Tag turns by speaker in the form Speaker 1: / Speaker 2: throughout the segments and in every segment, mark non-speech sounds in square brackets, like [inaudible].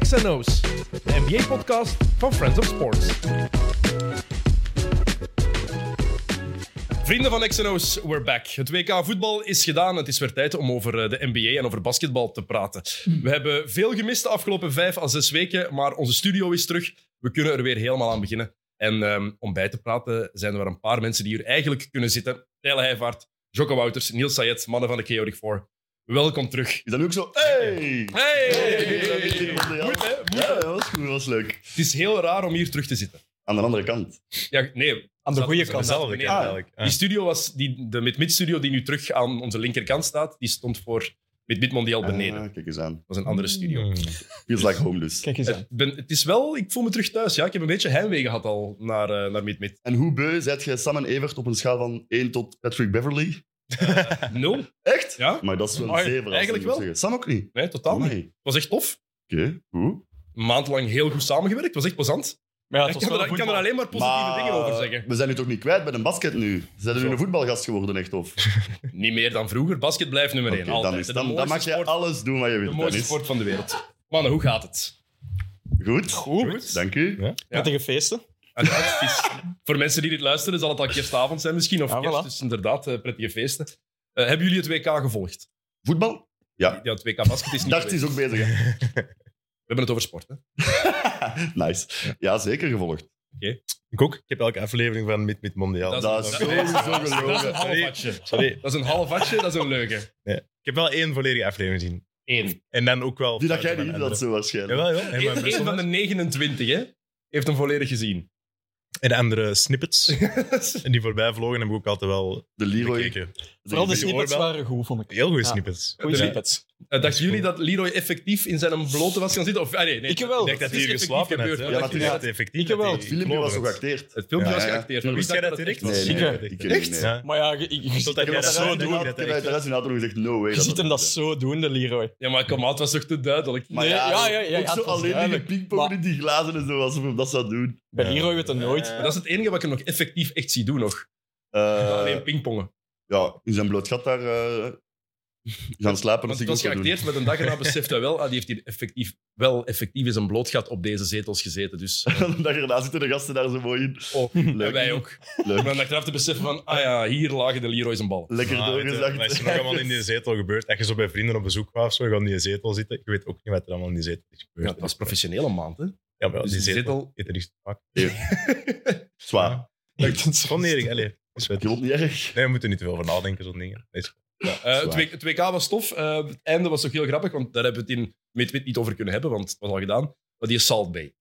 Speaker 1: XNO's, de NBA-podcast van Friends of Sports. Vrienden van XNO's, we're back. Het WK voetbal is gedaan. Het is weer tijd om over eh, de NBA en over basketbal te praten. We hebben veel gemist de afgelopen vijf à zes weken, maar onze studio is terug. We kunnen er weer helemaal aan beginnen. En ehm, om bij te praten zijn er maar een paar mensen die hier eigenlijk kunnen zitten. Tijl Heijvaart, Jocke Wouters, Niels Sayed, mannen van de Chaotic Four. Welkom terug.
Speaker 2: Is dat ook zo? Hey!
Speaker 1: Hey!
Speaker 2: Moet,
Speaker 1: hè? Moet,
Speaker 2: Ja, dat was goed, dat was leuk.
Speaker 1: Het is heel raar om hier terug te zitten.
Speaker 2: Aan de andere kant.
Speaker 1: Ja, nee.
Speaker 3: Aan de
Speaker 1: Zat-
Speaker 3: goede
Speaker 1: zat-
Speaker 3: kant.
Speaker 1: zat-
Speaker 3: eigenlijk,
Speaker 1: nee,
Speaker 3: hè,
Speaker 1: ah,
Speaker 3: eigenlijk.
Speaker 1: Die studio was, die, de Mid-Mid-studio die nu terug aan onze linkerkant staat, die stond voor Mid-Mid Mondial beneden.
Speaker 2: Ah, Hmm. kijk eens aan.
Speaker 1: Dat was een andere studio.
Speaker 3: Mm.
Speaker 2: Feels like home dus.
Speaker 3: Kijk eens aan.
Speaker 1: Het, ben, het is wel, ik voel me terug thuis. Ja, ik heb een beetje heimwee gehad al naar, eh, naar Mid-Mid.
Speaker 2: En hoe beu zet je Sam en Evert op een schaal van 1 tot Patrick Beverly?
Speaker 1: Nul?
Speaker 2: Echt?
Speaker 1: Ja?
Speaker 2: Maar dat is wel
Speaker 1: Maar
Speaker 2: een zeven.
Speaker 1: eigenlijk wel.
Speaker 2: Sam ook niet.
Speaker 1: Nee, totaal niet.
Speaker 2: Amai.
Speaker 1: Het was echt tof.
Speaker 2: Oké, goed.
Speaker 1: Een maand lang heel goed samengewerkt. Het was echt plezant.
Speaker 3: Maar ja,
Speaker 1: ik,
Speaker 3: het was
Speaker 1: kan
Speaker 3: wel
Speaker 1: er, ik kan er
Speaker 3: voetbal.
Speaker 1: alleen maar positieve
Speaker 2: Maar
Speaker 1: dingen over zeggen.
Speaker 2: We zijn nu toch niet kwijt bij een basket nu? Ze zijn
Speaker 1: Zo.
Speaker 2: nu een voetbalgast geworden, echt of?
Speaker 1: Niet meer dan vroeger. Basket blijft nummer één.
Speaker 2: Oké,
Speaker 1: altijd.
Speaker 2: dan, is,
Speaker 1: De
Speaker 2: dan, dan
Speaker 1: mooiste
Speaker 2: mag je
Speaker 1: sport-
Speaker 2: alles doen wat je
Speaker 1: De
Speaker 2: wilt.
Speaker 1: mooiste
Speaker 2: Dennis.
Speaker 1: sport van de wereld. Mannen, hoe gaat het?
Speaker 2: Goed.
Speaker 1: Goed.
Speaker 2: Dank u.
Speaker 3: Prettige feesten.
Speaker 1: En Ah, het is, voor mensen die dit luisteren, zal het al kerstavond zijn misschien. Of
Speaker 3: Ja,
Speaker 1: kerst,
Speaker 3: voilà.
Speaker 1: dus inderdaad, eh, prettige feesten. Eh, hebben jullie het WK gevolgd?
Speaker 2: Voetbal? Ja.
Speaker 1: Ja, het WK basket is niet
Speaker 2: Dacht
Speaker 1: geweest.
Speaker 2: is ook bezig. hè.
Speaker 1: We hebben het over sport, hè? [laughs]
Speaker 2: [laughs] nice. Ja, zeker gevolgd.
Speaker 3: Ik ook. Ik heb elke aflevering van Mid Mid Mondiaal.
Speaker 1: Dat
Speaker 2: Dat is
Speaker 1: dat is-
Speaker 2: sowieso
Speaker 1: Dat is een
Speaker 2: gelogen.
Speaker 1: half watje.
Speaker 3: Sorry.
Speaker 1: Dat is een half watje, dat is een leuke.
Speaker 3: Ik heb wel één volledige aflevering gezien.
Speaker 1: Eén.
Speaker 3: En dan ook wel...
Speaker 2: Die dat jij niet
Speaker 3: van
Speaker 2: doet,
Speaker 3: andere.
Speaker 2: dat zo waarschijnlijk.
Speaker 3: Jawel, jawel. En, mijn
Speaker 1: Eén
Speaker 3: beste
Speaker 1: één van de
Speaker 3: man.
Speaker 1: 29, hè? Heeft hem volledig gezien.
Speaker 3: en de andere snippets. en die voorbij vlogen heb ik ook altijd wel
Speaker 2: De Leroy.
Speaker 3: gekeken. Vooral de
Speaker 2: Leroy-
Speaker 3: snippets waren
Speaker 4: goed, vond
Speaker 3: Heel goede
Speaker 4: Ja.
Speaker 3: snippets.
Speaker 4: Goeie
Speaker 1: Ja.
Speaker 4: snippets.
Speaker 1: Eh, Dachten jullie dat Leroy effectief in zijn blote was gaan zitten? Of, ah, nee, nee,
Speaker 4: Ik wel.
Speaker 3: Ik denk dat
Speaker 1: het is
Speaker 3: hij
Speaker 1: effectief
Speaker 3: geslapen heeft.
Speaker 1: gebeurd,
Speaker 3: hè.
Speaker 1: hoor.
Speaker 2: Ja,
Speaker 3: Dat
Speaker 2: dat
Speaker 3: is
Speaker 2: is-
Speaker 3: echt effectief.
Speaker 4: Ik heb wel.
Speaker 3: dat
Speaker 2: Het
Speaker 3: hij
Speaker 2: filmpje
Speaker 3: gelogen
Speaker 2: was ook
Speaker 3: werd.
Speaker 2: geacteerd.
Speaker 1: Het filmpje
Speaker 2: Ja,
Speaker 1: was
Speaker 2: ja.
Speaker 1: geacteerd. maar
Speaker 3: Wist
Speaker 1: wie
Speaker 3: jij
Speaker 1: dacht
Speaker 3: dat direct?
Speaker 1: echt
Speaker 2: Nee,
Speaker 1: was?
Speaker 2: nee,
Speaker 4: Zieke.
Speaker 2: ik
Speaker 3: Ja.
Speaker 2: niet, nee.
Speaker 3: Ja.
Speaker 4: Maar ja, je, je- je ziet,
Speaker 3: Totdat
Speaker 2: Ik
Speaker 3: jij
Speaker 2: heb
Speaker 3: dat zo doet.
Speaker 2: Ik
Speaker 3: dat
Speaker 2: heb uit de
Speaker 3: echt-
Speaker 2: rest inderdaad nog gezegd, no way.
Speaker 4: je ziet hem dat zo doen, de Leroy.
Speaker 1: Ja, maar kom out was toch te duidelijk?
Speaker 2: Maar
Speaker 4: Nee,
Speaker 2: ja,
Speaker 4: ja, ja, ja,
Speaker 2: ook
Speaker 4: ja,
Speaker 2: zo
Speaker 4: het was
Speaker 2: alleen die
Speaker 4: duidelijk.
Speaker 2: pingpong
Speaker 4: Maar-
Speaker 2: in die glazen en zo, alsof hem dat zou doen.
Speaker 4: Bij
Speaker 3: Ja.
Speaker 4: Leroy weet het nooit.
Speaker 1: Maar dat is het enige wat ik hem nog effectief echt zie doen, nog.
Speaker 2: Eh,
Speaker 1: Alleen pingpongen.
Speaker 2: ja, in zijn bloot gat daar eh, gaan slapen.
Speaker 1: Want
Speaker 2: Dat
Speaker 1: het
Speaker 2: ik
Speaker 1: was
Speaker 2: ook zou doen.
Speaker 1: geacteerd, maar een dag erna beseft hij wel, ah, die heeft hier effectief, wel effectief in zijn blootgat op deze zetels gezeten. Dus eh,
Speaker 2: [laughs] En dan daarna zitten de gasten daar zo mooi
Speaker 1: [laughs]
Speaker 2: in.
Speaker 1: oh, en
Speaker 2: Leuk.
Speaker 1: wij ook.
Speaker 2: Leuk.
Speaker 1: Om dan achteraf te beseffen van, ah ja, hier lagen de Leroy's een bal.
Speaker 2: Lekker
Speaker 3: Maar, weet je,
Speaker 2: doorgezakt.
Speaker 3: Dat Ah, is nog allemaal in die zetel gebeurd. Als je zo bij vrienden op bezoek was, of zo, je gaat in die zetel zitten. Je weet ook niet wat er allemaal in die zetel is
Speaker 1: Ja,
Speaker 3: gebeurd.
Speaker 1: het was professionele maand, hè.
Speaker 3: Ja, maar
Speaker 1: Dus
Speaker 3: die
Speaker 1: die
Speaker 3: zetel
Speaker 1: zetel...
Speaker 3: heeft er niks te maken.
Speaker 2: [laughs] Zwaar.
Speaker 3: Gewoon neer, allee. is wet.
Speaker 2: Je loopt niet erg.
Speaker 3: Nee, we moeten niet te veel over nadenken, zo'n dingen. Nee, is-
Speaker 1: Eh, het,
Speaker 2: Zwaar.
Speaker 1: W- het WK was tof. Eh, het einde was toch heel grappig, want daar hebben we het in Midwit niet over kunnen hebben, want het was al gedaan. Maar die Salt Bay.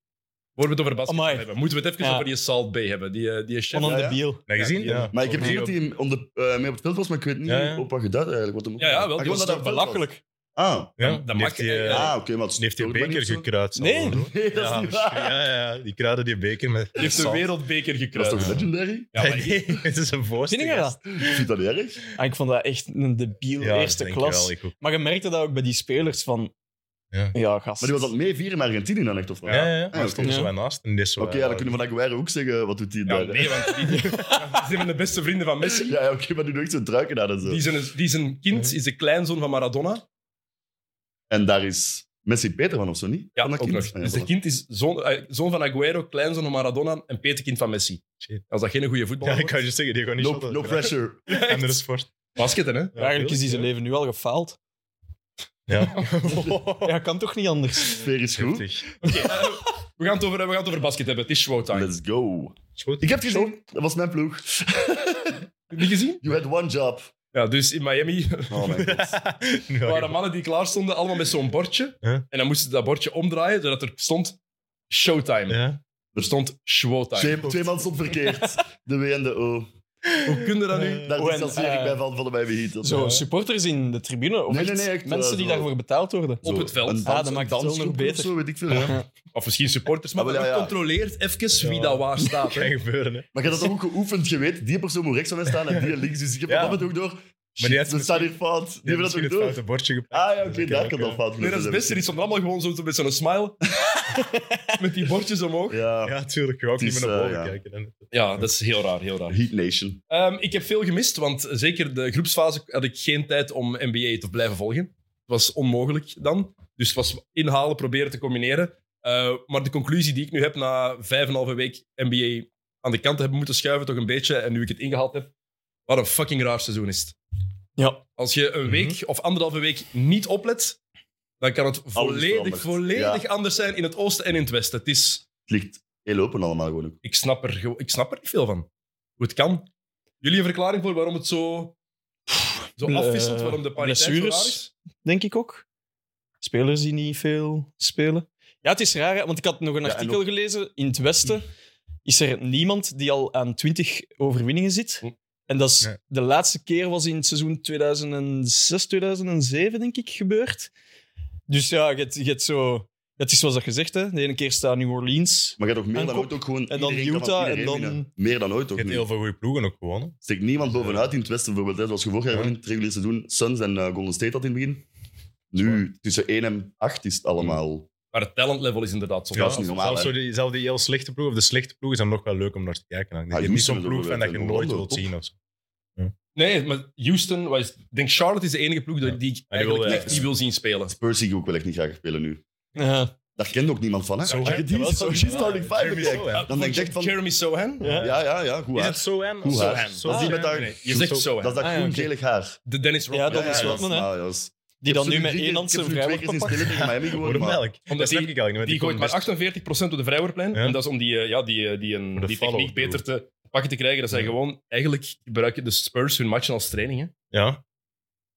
Speaker 1: Voor we het over basket
Speaker 4: Amai.
Speaker 1: hebben, moeten we het even
Speaker 4: Ja.
Speaker 1: over die Salt Bay hebben. Die, eh, die chef...
Speaker 4: Van een
Speaker 2: Ja, ja.
Speaker 4: debiel.
Speaker 3: Nee, gezien?
Speaker 1: Ja,
Speaker 3: Ja,
Speaker 2: Maar ik heb
Speaker 3: Over
Speaker 2: gezien dat
Speaker 3: die-
Speaker 2: hij hem om de, eh, mee op het veld was, maar ik weet niet
Speaker 3: Ja, ja.
Speaker 2: op wat geduid eigenlijk. Wat hem ook-
Speaker 1: Ja, ja, wel,
Speaker 2: Ah,
Speaker 1: die was
Speaker 2: gewoon dat
Speaker 1: toch
Speaker 2: hij op het veld
Speaker 4: Belachelijk.
Speaker 2: was. Ah,
Speaker 3: Ja,
Speaker 1: Ja, dat
Speaker 3: die
Speaker 1: mag
Speaker 3: heeft die,
Speaker 1: eigenlijk.
Speaker 3: eh,
Speaker 2: ah oké, maar het
Speaker 3: die heeft die
Speaker 2: stoort mij
Speaker 3: beker
Speaker 2: niet zo.
Speaker 3: gekruid.
Speaker 4: Nee.
Speaker 2: [laughs]
Speaker 3: allemaal, hoor.
Speaker 2: Nee, dat is
Speaker 3: Ja,
Speaker 2: niet waar.
Speaker 3: ja, ja, die kruiden die beker met.
Speaker 1: Die heeft de wereldbeker
Speaker 2: Dat
Speaker 1: gekruist.
Speaker 2: is toch legendary?
Speaker 1: Ja, maar-
Speaker 3: nee, [laughs] het is een voorstel.
Speaker 4: Vind je dat?
Speaker 2: Ik vind dat niet erg.
Speaker 4: Ah, ik vond dat echt een debiel
Speaker 3: Ja,
Speaker 4: eerste
Speaker 3: denk ik
Speaker 4: klas.
Speaker 3: Wel, ik ook.
Speaker 4: Maar je merkte dat ook bij die spelers van...
Speaker 3: Ja.
Speaker 4: Ja, gast.
Speaker 2: Maar die was aan het meevieren in Argentinië dan echt, of wat?
Speaker 3: Ja, ja, ja.
Speaker 2: Ah,
Speaker 3: Maar stond
Speaker 4: oké.
Speaker 3: zo wat naast. En dit zo.
Speaker 2: Oké, ja, dan kunnen we van Aguero ook zeggen, wat doet hij
Speaker 1: Ja,
Speaker 2: daar? hè?
Speaker 1: nee, want
Speaker 3: [laughs]
Speaker 1: die, die zijn de beste vrienden van Messi.
Speaker 2: [laughs] Ja, ja, oké, maar die doet echt zo'n truiken aan en zo.
Speaker 1: Die zijn, die zijn kind is de kleinzoon van Maradona.
Speaker 2: En daar is Messi Peter van, of zo niet?
Speaker 1: Ja,
Speaker 2: van dat
Speaker 1: ook
Speaker 2: kind?
Speaker 1: nog.
Speaker 2: Ah, ja,
Speaker 1: Dus de
Speaker 2: voilà.
Speaker 1: kind is zoon, eh, zoon van Aguero, kleinzoon van Maradona en petekind van Messi.
Speaker 3: Shit.
Speaker 1: Als dat geen goede voetbal
Speaker 3: Ja,
Speaker 1: is.
Speaker 3: ik kan je zeggen, die gewoon niet
Speaker 2: No, no pressure.
Speaker 3: Andere sport.
Speaker 1: Basketten, hè?
Speaker 4: Ja, Eigenlijk is die zijn
Speaker 3: leuk.
Speaker 4: leven nu al gefaald.
Speaker 3: Ja.
Speaker 4: Ja, kan toch niet anders?
Speaker 2: Sfeer is goed.
Speaker 3: Heftig.
Speaker 1: Oké, eh, we, gaan het over, we gaan het over basket hebben. Het is showtime.
Speaker 2: Let's go.
Speaker 3: Is goed.
Speaker 2: Ik heb het gezien. Dat was mijn ploeg.
Speaker 1: Heb je Niet gezien?
Speaker 2: You had one job.
Speaker 1: Ja, dus in Miami
Speaker 2: Oh
Speaker 1: [laughs]
Speaker 2: mijn god.
Speaker 3: [laughs] Nu
Speaker 1: waren
Speaker 3: al-
Speaker 1: mannen die klaar stonden, allemaal met zo'n bordje.
Speaker 3: Huh?
Speaker 1: En dan moesten ze dat bordje omdraaien, zodat er stond showtime.
Speaker 3: Ja.
Speaker 1: Er stond showtime.
Speaker 2: Twee, twee man stond verkeerd. De W en de O.
Speaker 1: Hoe kun je dat nu?
Speaker 2: Daar
Speaker 4: Oh, en,
Speaker 2: distancieer ik
Speaker 4: eh,
Speaker 2: mij van, van de Miami Heat. Dat-
Speaker 4: Zo,
Speaker 2: eh,
Speaker 4: supporters in de tribune. Of
Speaker 2: Nee,
Speaker 4: echt
Speaker 2: nee, nee, echt,
Speaker 4: mensen
Speaker 2: eh,
Speaker 4: die
Speaker 2: zo.
Speaker 4: daarvoor betaald worden.
Speaker 1: op het veld.
Speaker 2: een
Speaker 4: Ah, dat
Speaker 2: dans-
Speaker 4: maakt het wel nog
Speaker 2: dansgroep
Speaker 4: beter.
Speaker 2: Of zo, weet ik veel, ja.
Speaker 1: Of misschien supporters, maar
Speaker 2: Ah, wel, ja,
Speaker 1: dat
Speaker 2: ja.
Speaker 1: controleert even wie
Speaker 3: Ja.
Speaker 1: dat waar staat. hè.
Speaker 3: Kan gebeuren, hè.
Speaker 2: Maar je hebt dat ook geoefend, je weet, die persoon moet rechts van mij staan en die links. Dus ik heb
Speaker 3: Ja.
Speaker 2: op dat moment ook door.
Speaker 3: die heeft
Speaker 2: Shit, we staan hier fout. Die hebben dat
Speaker 3: misschien
Speaker 2: ook
Speaker 3: het
Speaker 2: door.
Speaker 3: foute bordje gepakt.
Speaker 2: Ah ja, oké,
Speaker 3: Dus dat
Speaker 2: daar kan
Speaker 3: kan ook,
Speaker 2: dat
Speaker 3: ja.
Speaker 2: fout
Speaker 1: Nee, dat is het beste. Die stonden allemaal gewoon zo met zo'n smile. met die bordjes omhoog. Ja,
Speaker 2: Ja,
Speaker 3: Ja, tuurlijk. Je wou ook
Speaker 2: Ah. Het
Speaker 3: niet meer
Speaker 2: is,
Speaker 3: naar boven
Speaker 2: eh, ja.
Speaker 3: kijken. hè.
Speaker 1: dat is heel raar, heel raar.
Speaker 2: Heat Nation.
Speaker 1: Ehm, ik heb veel gemist, want zeker de groepsfase had ik geen tijd om NBA te blijven volgen. Het was onmogelijk dan. Dus het was inhalen, proberen te combineren. Eh, maar de conclusie die ik nu heb na vijf en een halve week NBA aan de kant te hebben moeten schuiven, toch een beetje, en nu ik het ingehaald heb, wat een fucking raar seizoen is het.
Speaker 4: Ja.
Speaker 1: Als je een week of anderhalve week niet oplet, dan kan het volledig,
Speaker 2: veranderd.
Speaker 1: volledig
Speaker 2: Ja.
Speaker 1: anders zijn in het oosten en in het westen. Het is,
Speaker 2: Het ligt heel open allemaal gewoon. ook.
Speaker 1: ik, snap er, gewo- ik snap er niet veel van. Hoe het kan. Jullie een verklaring voor waarom het zo, zo
Speaker 4: Ble-
Speaker 1: afwisselt, waarom de pariteit zo raar
Speaker 4: blessures.
Speaker 1: is?
Speaker 4: Denk ik ook. Spelers die niet veel spelen. Ja, het is raar, hè, want ik had nog een
Speaker 2: Ja, en
Speaker 4: artikel
Speaker 2: ook-
Speaker 4: gelezen. In het Westen is er niemand die al aan 20 overwinningen zit.
Speaker 1: Hm.
Speaker 4: En dat is,
Speaker 3: Nee.
Speaker 4: de laatste keer was in het seizoen 2006, 2007, denk ik, gebeurd. Dus ja, je hebt, je hebt zo... Het is zoals dat gezegd, hè. De ene keer staat New Orleans.
Speaker 2: Maar je hebt ook meer
Speaker 4: En
Speaker 2: dan
Speaker 4: kop-
Speaker 2: ooit ook gewoon.
Speaker 4: en dan
Speaker 2: iedereen kan van
Speaker 4: Utah en
Speaker 2: iedereen
Speaker 4: dan-
Speaker 2: winnen. Meer dan ooit
Speaker 3: Je
Speaker 2: ook.
Speaker 3: hebt
Speaker 2: nu.
Speaker 3: heel veel goede ploegen ook gewonnen.
Speaker 2: Steekt niemand bovenuit in het Westen bijvoorbeeld. hè. Zoals je vorig jaar
Speaker 3: Ja.
Speaker 2: gewoon in het reguliere seizoen Suns en eh, Golden State had in het begin. Nu tussen 1 en 8 is het allemaal.
Speaker 1: Maar het talentlevel is inderdaad zo.
Speaker 2: Ja, dat is niet normaal,
Speaker 3: Zelfs,
Speaker 2: hè.
Speaker 3: zo die, zelfs die heel slechte ploegen, of de slechte ploegen, zijn nog wel leuk om naar te kijken. Ik
Speaker 2: Ah,
Speaker 3: denk niet
Speaker 2: Houston
Speaker 3: zo'n
Speaker 2: is ook
Speaker 3: ploeg
Speaker 2: wel
Speaker 3: van dat je
Speaker 2: leuk.
Speaker 3: nooit
Speaker 2: Orlando,
Speaker 3: wilt
Speaker 2: top.
Speaker 3: zien. Of zo.
Speaker 1: Nee, maar Houston, wat is, ik denk Charlotte is de enige ploeg die- die ik
Speaker 3: En die wilde-
Speaker 1: eigenlijk echt niet wil zien spelen.
Speaker 2: Spurs zie ik ook wel echt niet graag spelen nu.
Speaker 4: Ja.
Speaker 2: Daar kent ook niemand van, hè?
Speaker 3: Zo,
Speaker 2: Als
Speaker 3: hè?
Speaker 2: je die
Speaker 3: Jawel,
Speaker 2: als je
Speaker 3: zo-
Speaker 2: die starting
Speaker 3: ja,
Speaker 2: five
Speaker 3: Jeremy
Speaker 2: bekijkt,
Speaker 3: Sohan.
Speaker 2: dan denk je echt van...
Speaker 1: Jeremy Sohan?
Speaker 4: Ja.
Speaker 2: Ja, ja, ja, goed
Speaker 3: Is
Speaker 2: haar.
Speaker 3: het Sohan?
Speaker 2: Goed haar.
Speaker 3: Sohan.
Speaker 2: Dat is die met dat-
Speaker 1: Nee, je zegt
Speaker 2: Dat
Speaker 1: Sohan.
Speaker 2: is dat
Speaker 4: Ah, ja,
Speaker 2: groen-gelig haar.
Speaker 1: De Dennis
Speaker 4: Ja,
Speaker 1: Rodman.
Speaker 4: dat is
Speaker 1: Ja,
Speaker 4: wel- Rodman, hè.
Speaker 2: Ah, ja, dat is-
Speaker 4: Die dan
Speaker 2: Ik
Speaker 4: nu
Speaker 2: heb
Speaker 4: met
Speaker 2: ze drie-
Speaker 4: één
Speaker 2: ik
Speaker 4: hand
Speaker 2: heb
Speaker 4: zijn
Speaker 2: ze nu twee
Speaker 4: vrijwoord
Speaker 2: keer zien
Speaker 4: pakt.
Speaker 2: spelen tegen Miami geworden,
Speaker 3: Waarom
Speaker 2: maar-
Speaker 3: eigenlijk?
Speaker 1: Omdat
Speaker 3: dat snap
Speaker 1: die-
Speaker 3: ik eigenlijk niet. want
Speaker 1: Die gooit
Speaker 3: kon
Speaker 1: maar
Speaker 3: best-
Speaker 1: 48% op de vrijwoordlijn.
Speaker 3: Ja.
Speaker 1: En dat is om die, eh, ja, die, eh, die, een,
Speaker 3: de
Speaker 1: die
Speaker 3: follow-up
Speaker 1: techniek beter te pakken te krijgen. Dat zij
Speaker 3: Ja.
Speaker 1: gewoon, eigenlijk gebruiken de Spurs hun matchen als training. Hè.
Speaker 3: Ja.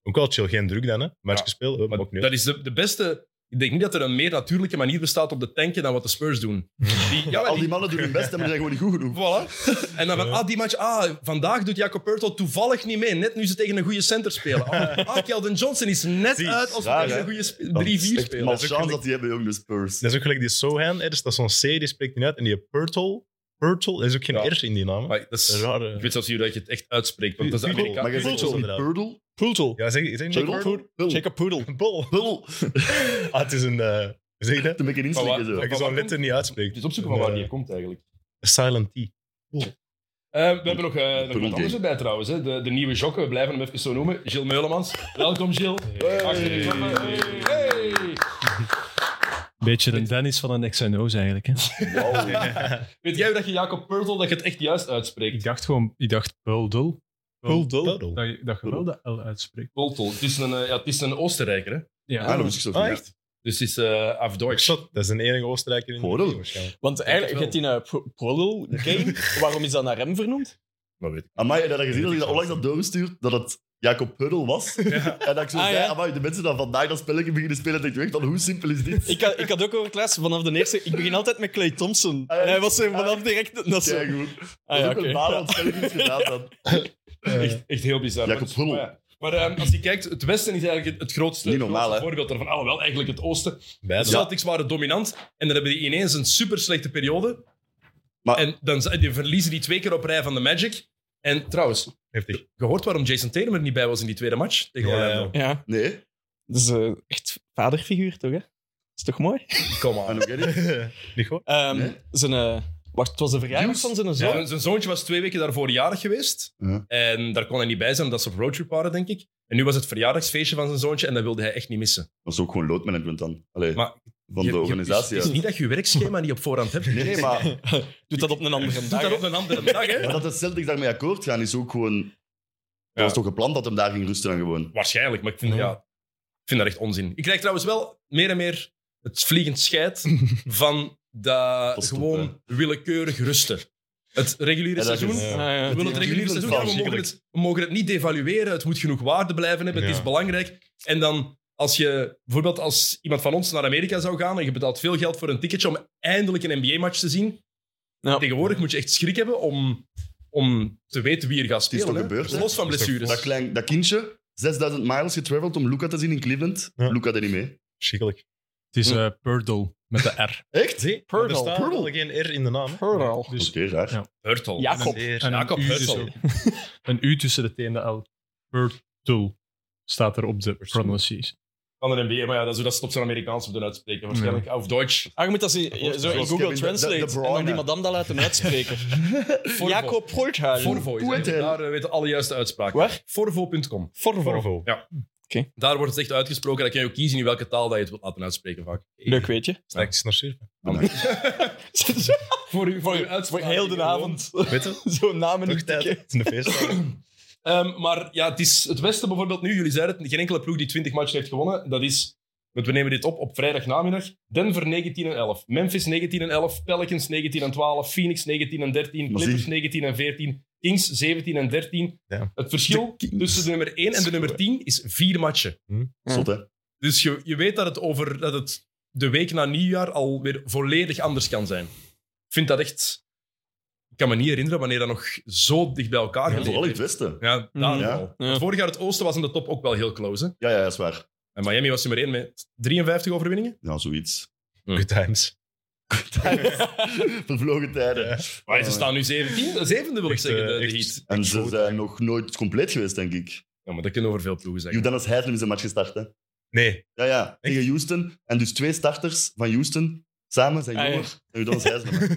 Speaker 3: Ook wel chill, geen druk dan, hè? Match
Speaker 1: Ja.
Speaker 3: gespeeld, hup,
Speaker 1: Maar
Speaker 3: ook niet.
Speaker 1: dat is de, de beste. Ik denk niet dat er een meer natuurlijke manier bestaat om te tanken dan wat de Spurs doen. Die, ja, maar
Speaker 2: Al die
Speaker 1: die,
Speaker 2: mannen doen hun best, maar die zijn gewoon niet goed genoeg.
Speaker 1: voilà. En dan van,
Speaker 3: Ja.
Speaker 1: ah, die match, ah, vandaag doet Jacob Pertl toevallig niet mee. Net nu ze tegen een goede center spelen. Ah, ah, Keldon Johnson is net
Speaker 3: Zie,
Speaker 1: uit als we
Speaker 2: raar,
Speaker 1: tegen
Speaker 2: hè?
Speaker 1: een goede sp- 3-4
Speaker 2: Dat is echt
Speaker 1: spelen.
Speaker 2: mal
Speaker 3: Dat is ook
Speaker 2: chance
Speaker 3: gelijk-
Speaker 2: dat die hebben, jong, de Spurs.
Speaker 3: Dat is ook gelijk die Sohan, hè, dus dat is zo'n C, die spreekt niet uit. En die Purtle, Purtle, er is ook geen
Speaker 1: Ja.
Speaker 3: R in die naam. hè.
Speaker 1: Maar dat is-
Speaker 3: Een
Speaker 1: ik
Speaker 3: Rare.
Speaker 1: weet zelfs niet hoe dat je het echt uitspreekt, want dat is
Speaker 3: Pudel.
Speaker 1: Amerikaans.
Speaker 2: Maar je zegt
Speaker 3: Pudel,
Speaker 2: zo niet
Speaker 3: inderdaad.
Speaker 2: Purdle?
Speaker 4: Poeltel.
Speaker 3: Ja, zeg, zeg je
Speaker 2: Purdle?
Speaker 3: Purtle?
Speaker 2: Purdle?
Speaker 4: Jacob Poedel.
Speaker 3: Bol.
Speaker 2: Purdle?
Speaker 3: Ah, het is een... eh, Zeg je dat?
Speaker 2: Een beetje
Speaker 1: Maar
Speaker 2: inslikken
Speaker 1: wat-
Speaker 2: zo.
Speaker 3: Dat je zo'n letter niet uitspreekt.
Speaker 1: Het is opzoeken van
Speaker 3: Een,
Speaker 1: waar
Speaker 3: eh,
Speaker 1: die komt eigenlijk.
Speaker 3: Silent T.
Speaker 1: Eh, we hebben nog, eh nog
Speaker 2: Tunnel
Speaker 1: wat anders
Speaker 2: game.
Speaker 1: erbij trouwens. Hè. De, de nieuwe jokken, we blijven hem even zo noemen. Gilles Meulemans. [laughs] Welkom Gilles. Achter de knoppen. Hey.
Speaker 5: Beetje een Dennis van een XNO's eigenlijk. Hè?
Speaker 1: Weet jij hoe dat je Jacob Purtle dat je het echt juist uitspreekt?
Speaker 5: Ik dacht gewoon, ik dacht Puldel.
Speaker 3: Purtle.
Speaker 5: Dat, je- dat je wel de L uitspreekt.
Speaker 1: Purtle. Het is een, eh, ja, het is een Oostenrijker. Hè.
Speaker 5: Ja.
Speaker 2: Ah, dat wist ik zo
Speaker 3: Ah,
Speaker 2: niet.
Speaker 3: echt?
Speaker 1: Dus het is eh
Speaker 3: Ik
Speaker 1: afdeutsch.
Speaker 3: zat, dat is de enige Oostenrijker in de
Speaker 2: Purdle.
Speaker 3: wereld waarschijnlijk.
Speaker 4: Want eigenlijk, je
Speaker 1: het
Speaker 4: hebt die uh, Game. Waarom is dat naar hem vernoemd?
Speaker 1: Maar weet ik.
Speaker 2: Amai, en dat had gezien dat ik dat onlangs had doorgestuurd, dat het Jacob Puddle was. En dat ik zo
Speaker 4: Ah,
Speaker 2: zei,
Speaker 4: ja.
Speaker 2: amai, de mensen die vandaag dat spelletje beginnen spelen, denk ik echt van, hoe simpel is dit?
Speaker 4: Ik had, ik had ook over Klaas vanaf de eerste. Ik begin altijd met Clay Thompson.
Speaker 2: Ah, ja.
Speaker 4: En hij was er vanaf direct. Dat
Speaker 2: Ja,
Speaker 4: ze,
Speaker 2: goed. dat
Speaker 4: ah,
Speaker 2: is
Speaker 4: ja,
Speaker 2: ook
Speaker 4: oké.
Speaker 2: een baan wat spelletjes gedaan dan.
Speaker 1: Echt, echt heel bizar.
Speaker 2: Jacob
Speaker 1: Maar-
Speaker 2: Purtle.
Speaker 1: Maar, ja. maar eh, als je kijkt, het Westen is eigenlijk het- het grootste,
Speaker 2: Niet normaal,
Speaker 1: grootste
Speaker 2: hè.
Speaker 1: voorbeeld daarvan. Alhoewel, eigenlijk het Oosten. De
Speaker 3: Beide.
Speaker 1: Celtics waren dominant en dan hebben die ineens een super slechte periode.
Speaker 2: Maar-
Speaker 1: En dan z- die verliezen die twee keer op rij van de Magic. En trouwens,
Speaker 3: Heftig.
Speaker 1: gehoord waarom Jason Tatum er niet bij was in die tweede match tegen
Speaker 3: Ja,
Speaker 1: Orlando.
Speaker 3: ja.
Speaker 4: Ja,
Speaker 2: Nee,
Speaker 4: dat is eh, echt vaderfiguur toch? Hè? Is toch mooi?
Speaker 1: Kom
Speaker 2: en
Speaker 1: aan.
Speaker 2: ook niet.
Speaker 3: Niet goed?
Speaker 4: Ehm,
Speaker 2: Nee. Zijn,
Speaker 4: Zijn, eh, wacht, het was de verjaardag
Speaker 2: Juice.
Speaker 4: van zijn zoon.
Speaker 1: Zijn, zijn zoontje was twee weken daarvoor jarig geweest.
Speaker 2: Ja.
Speaker 1: En daar kon hij niet bij zijn omdat ze op roadtrip waren, denk ik. En nu was het verjaardagsfeestje van zijn zoontje en dat wilde hij echt niet missen.
Speaker 2: Dat is ook gewoon loodmanagement dan. Allee,
Speaker 1: Maar-
Speaker 2: van
Speaker 1: Je-
Speaker 2: de
Speaker 1: je-
Speaker 2: organisatie.
Speaker 1: Het is
Speaker 2: ja.
Speaker 1: niet dat je je werkschema niet op voorhand hebt.
Speaker 2: Nee, maar, maar
Speaker 4: [laughs] Doet dat op een andere
Speaker 1: Doe
Speaker 4: dag.
Speaker 1: dat op
Speaker 4: hè?
Speaker 1: een andere dag, hè?
Speaker 2: dat de Celtics daarmee akkoord gaan, is ook gewoon...
Speaker 1: Ja.
Speaker 2: Dat was toch gepland dat hem daar ging rusten dan gewoon.
Speaker 1: Waarschijnlijk, maar ik vind,
Speaker 3: Ja.
Speaker 1: ja, ik vind dat echt onzin. Ik krijg trouwens wel meer en meer het vliegend
Speaker 2: [laughs]
Speaker 1: scheid van
Speaker 2: Dat
Speaker 1: dat
Speaker 2: is top,
Speaker 1: gewoon willekeurig rusten. Het reguliere
Speaker 2: Ja, dat is-
Speaker 1: seizoen.
Speaker 3: Ja.
Speaker 4: Ah,
Speaker 1: We willen
Speaker 4: ja.
Speaker 1: het
Speaker 2: Die
Speaker 1: reguliere
Speaker 2: Cleveland
Speaker 1: seizoen. Ja, we,
Speaker 2: fans,
Speaker 1: mogen het, we mogen het niet devalueren. Het moet genoeg waarde blijven hebben. Het
Speaker 3: Ja.
Speaker 1: is belangrijk. En dan als je bijvoorbeeld als iemand van ons naar Amerika zou gaan en je betaalt veel geld voor een ticketje om eindelijk een NBA-match te zien.
Speaker 4: Ja.
Speaker 1: Tegenwoordig moet je echt schrik hebben om, om te weten wie er gaat
Speaker 2: is
Speaker 1: spelen.
Speaker 2: toch
Speaker 1: hè.
Speaker 2: gebeurd, hè?
Speaker 1: Los van
Speaker 3: Dat is
Speaker 2: Dat,
Speaker 3: toch
Speaker 1: blessures.
Speaker 2: klein, dat kindje, 6000 miles getraveld om Luca te zien in Cleveland.
Speaker 3: Ja.
Speaker 2: Luca deed niet mee.
Speaker 3: Verschrikkelijk.
Speaker 5: Het is eh Purdle met de R.
Speaker 2: Echt?
Speaker 3: Zie,
Speaker 4: Purdle.
Speaker 3: er staat
Speaker 2: Purdle.
Speaker 3: wel geen R in de naam. hè.
Speaker 4: Purl.
Speaker 5: Dus
Speaker 2: Oké, raar.
Speaker 5: Ja.
Speaker 1: Hurtel.
Speaker 4: Ja. Jacob.
Speaker 3: Een R.
Speaker 5: en
Speaker 1: Jacob
Speaker 5: een, U dus
Speaker 1: Hurtle.
Speaker 5: ook. een U tussen de T en de L. Purdle staat er op de pronunciation.
Speaker 1: Van de NBA, maar ja, dat is hoe dat ze het op zijn Amerikaans moeten uitspreken. Waarschijnlijk. Of Duits.
Speaker 4: Ah, je moet dat zien, eh, zo in
Speaker 2: Zoals
Speaker 4: Google
Speaker 2: Kevin de-
Speaker 4: Translate.
Speaker 2: de- de
Speaker 4: en
Speaker 2: Bruyne.
Speaker 4: dan die madame dat laten uitspreken.
Speaker 2: [laughs]
Speaker 1: Forvo.
Speaker 4: Jacob Voorthuizen.
Speaker 1: Forvo is het, hè.
Speaker 2: Goed, hè.
Speaker 1: Daar eh, weten alle juiste uitspraken.
Speaker 4: Waar?
Speaker 1: Forvo.com.
Speaker 4: Forvo.
Speaker 3: Corvo.
Speaker 1: Ja.
Speaker 4: Oké.
Speaker 1: Daar wordt het echt uitgesproken. Dan kan je ook kiezen in welke taal dat je het wilt laten uitspreken vaak.
Speaker 4: Leuk weet
Speaker 2: [laughs]
Speaker 4: je.
Speaker 3: Straks nog surfen.
Speaker 1: Voor, u, voor, uw
Speaker 4: Voor
Speaker 1: uitspraak
Speaker 4: heel de
Speaker 1: gewoon.
Speaker 4: avond.
Speaker 3: Weet
Speaker 2: [laughs]
Speaker 3: je?
Speaker 4: [laughs] Zo'n naam in
Speaker 3: Toch
Speaker 4: de
Speaker 3: tijd.
Speaker 4: tikken.
Speaker 3: Het is een feest.
Speaker 1: Ehm, maar ja, het is het Westen bijvoorbeeld nu. Jullie zeiden het, geen enkele ploeg die 20 matchen heeft gewonnen. Dat is, want we nemen dit op op vrijdag namiddag. Denver 19 en 11, Memphis 19 en 11, Pelicans 19 en 12, Phoenix 19 en 13, Clippers 19 en 14, Kings 17 en 13.
Speaker 3: Ja.
Speaker 1: Het verschil tussen de nummer 1 en de nummer 10 is vier matchen.
Speaker 2: Zot, hè?
Speaker 1: Dus je, je weet dat het, over, dat het de week na nieuwjaar alweer volledig anders kan zijn. Ik vind dat echt... Ik kan me niet herinneren wanneer dat nog zo dicht bij elkaar
Speaker 2: Ja,
Speaker 1: geleefd
Speaker 2: Vooral in
Speaker 1: heeft.
Speaker 2: het Westen.
Speaker 1: Ja, daar
Speaker 4: Mm.
Speaker 2: Ja.
Speaker 1: wel.
Speaker 4: Ja.
Speaker 1: Want Vorig jaar het Oosten was in de top ook wel heel close. Hè?
Speaker 2: Ja, ja, dat is waar.
Speaker 1: En Miami was nummer 1 met 53 [laughs] overwinningen.
Speaker 2: Ja, zoiets.
Speaker 3: Good times.
Speaker 2: Vervlogen tijden.
Speaker 1: Maar ze staan nu 17, zevende, wil ik
Speaker 3: Echt,
Speaker 1: zeggen, de,
Speaker 3: eh,
Speaker 1: de
Speaker 3: echt.
Speaker 1: Heat.
Speaker 2: En ze
Speaker 3: Goed,
Speaker 2: zijn nog nooit compleet geweest, denk ik.
Speaker 1: Ja, maar dat kunnen we over veel ploegen zeggen.
Speaker 2: Jonas Heidlem is een match gestart, hè?
Speaker 3: [laughs] Nee,
Speaker 2: Ja, ja. Tegen Houston. En dus twee starters van Houston samen zijn
Speaker 4: Ah, ja.
Speaker 2: jonger dan Jonas Heidlem.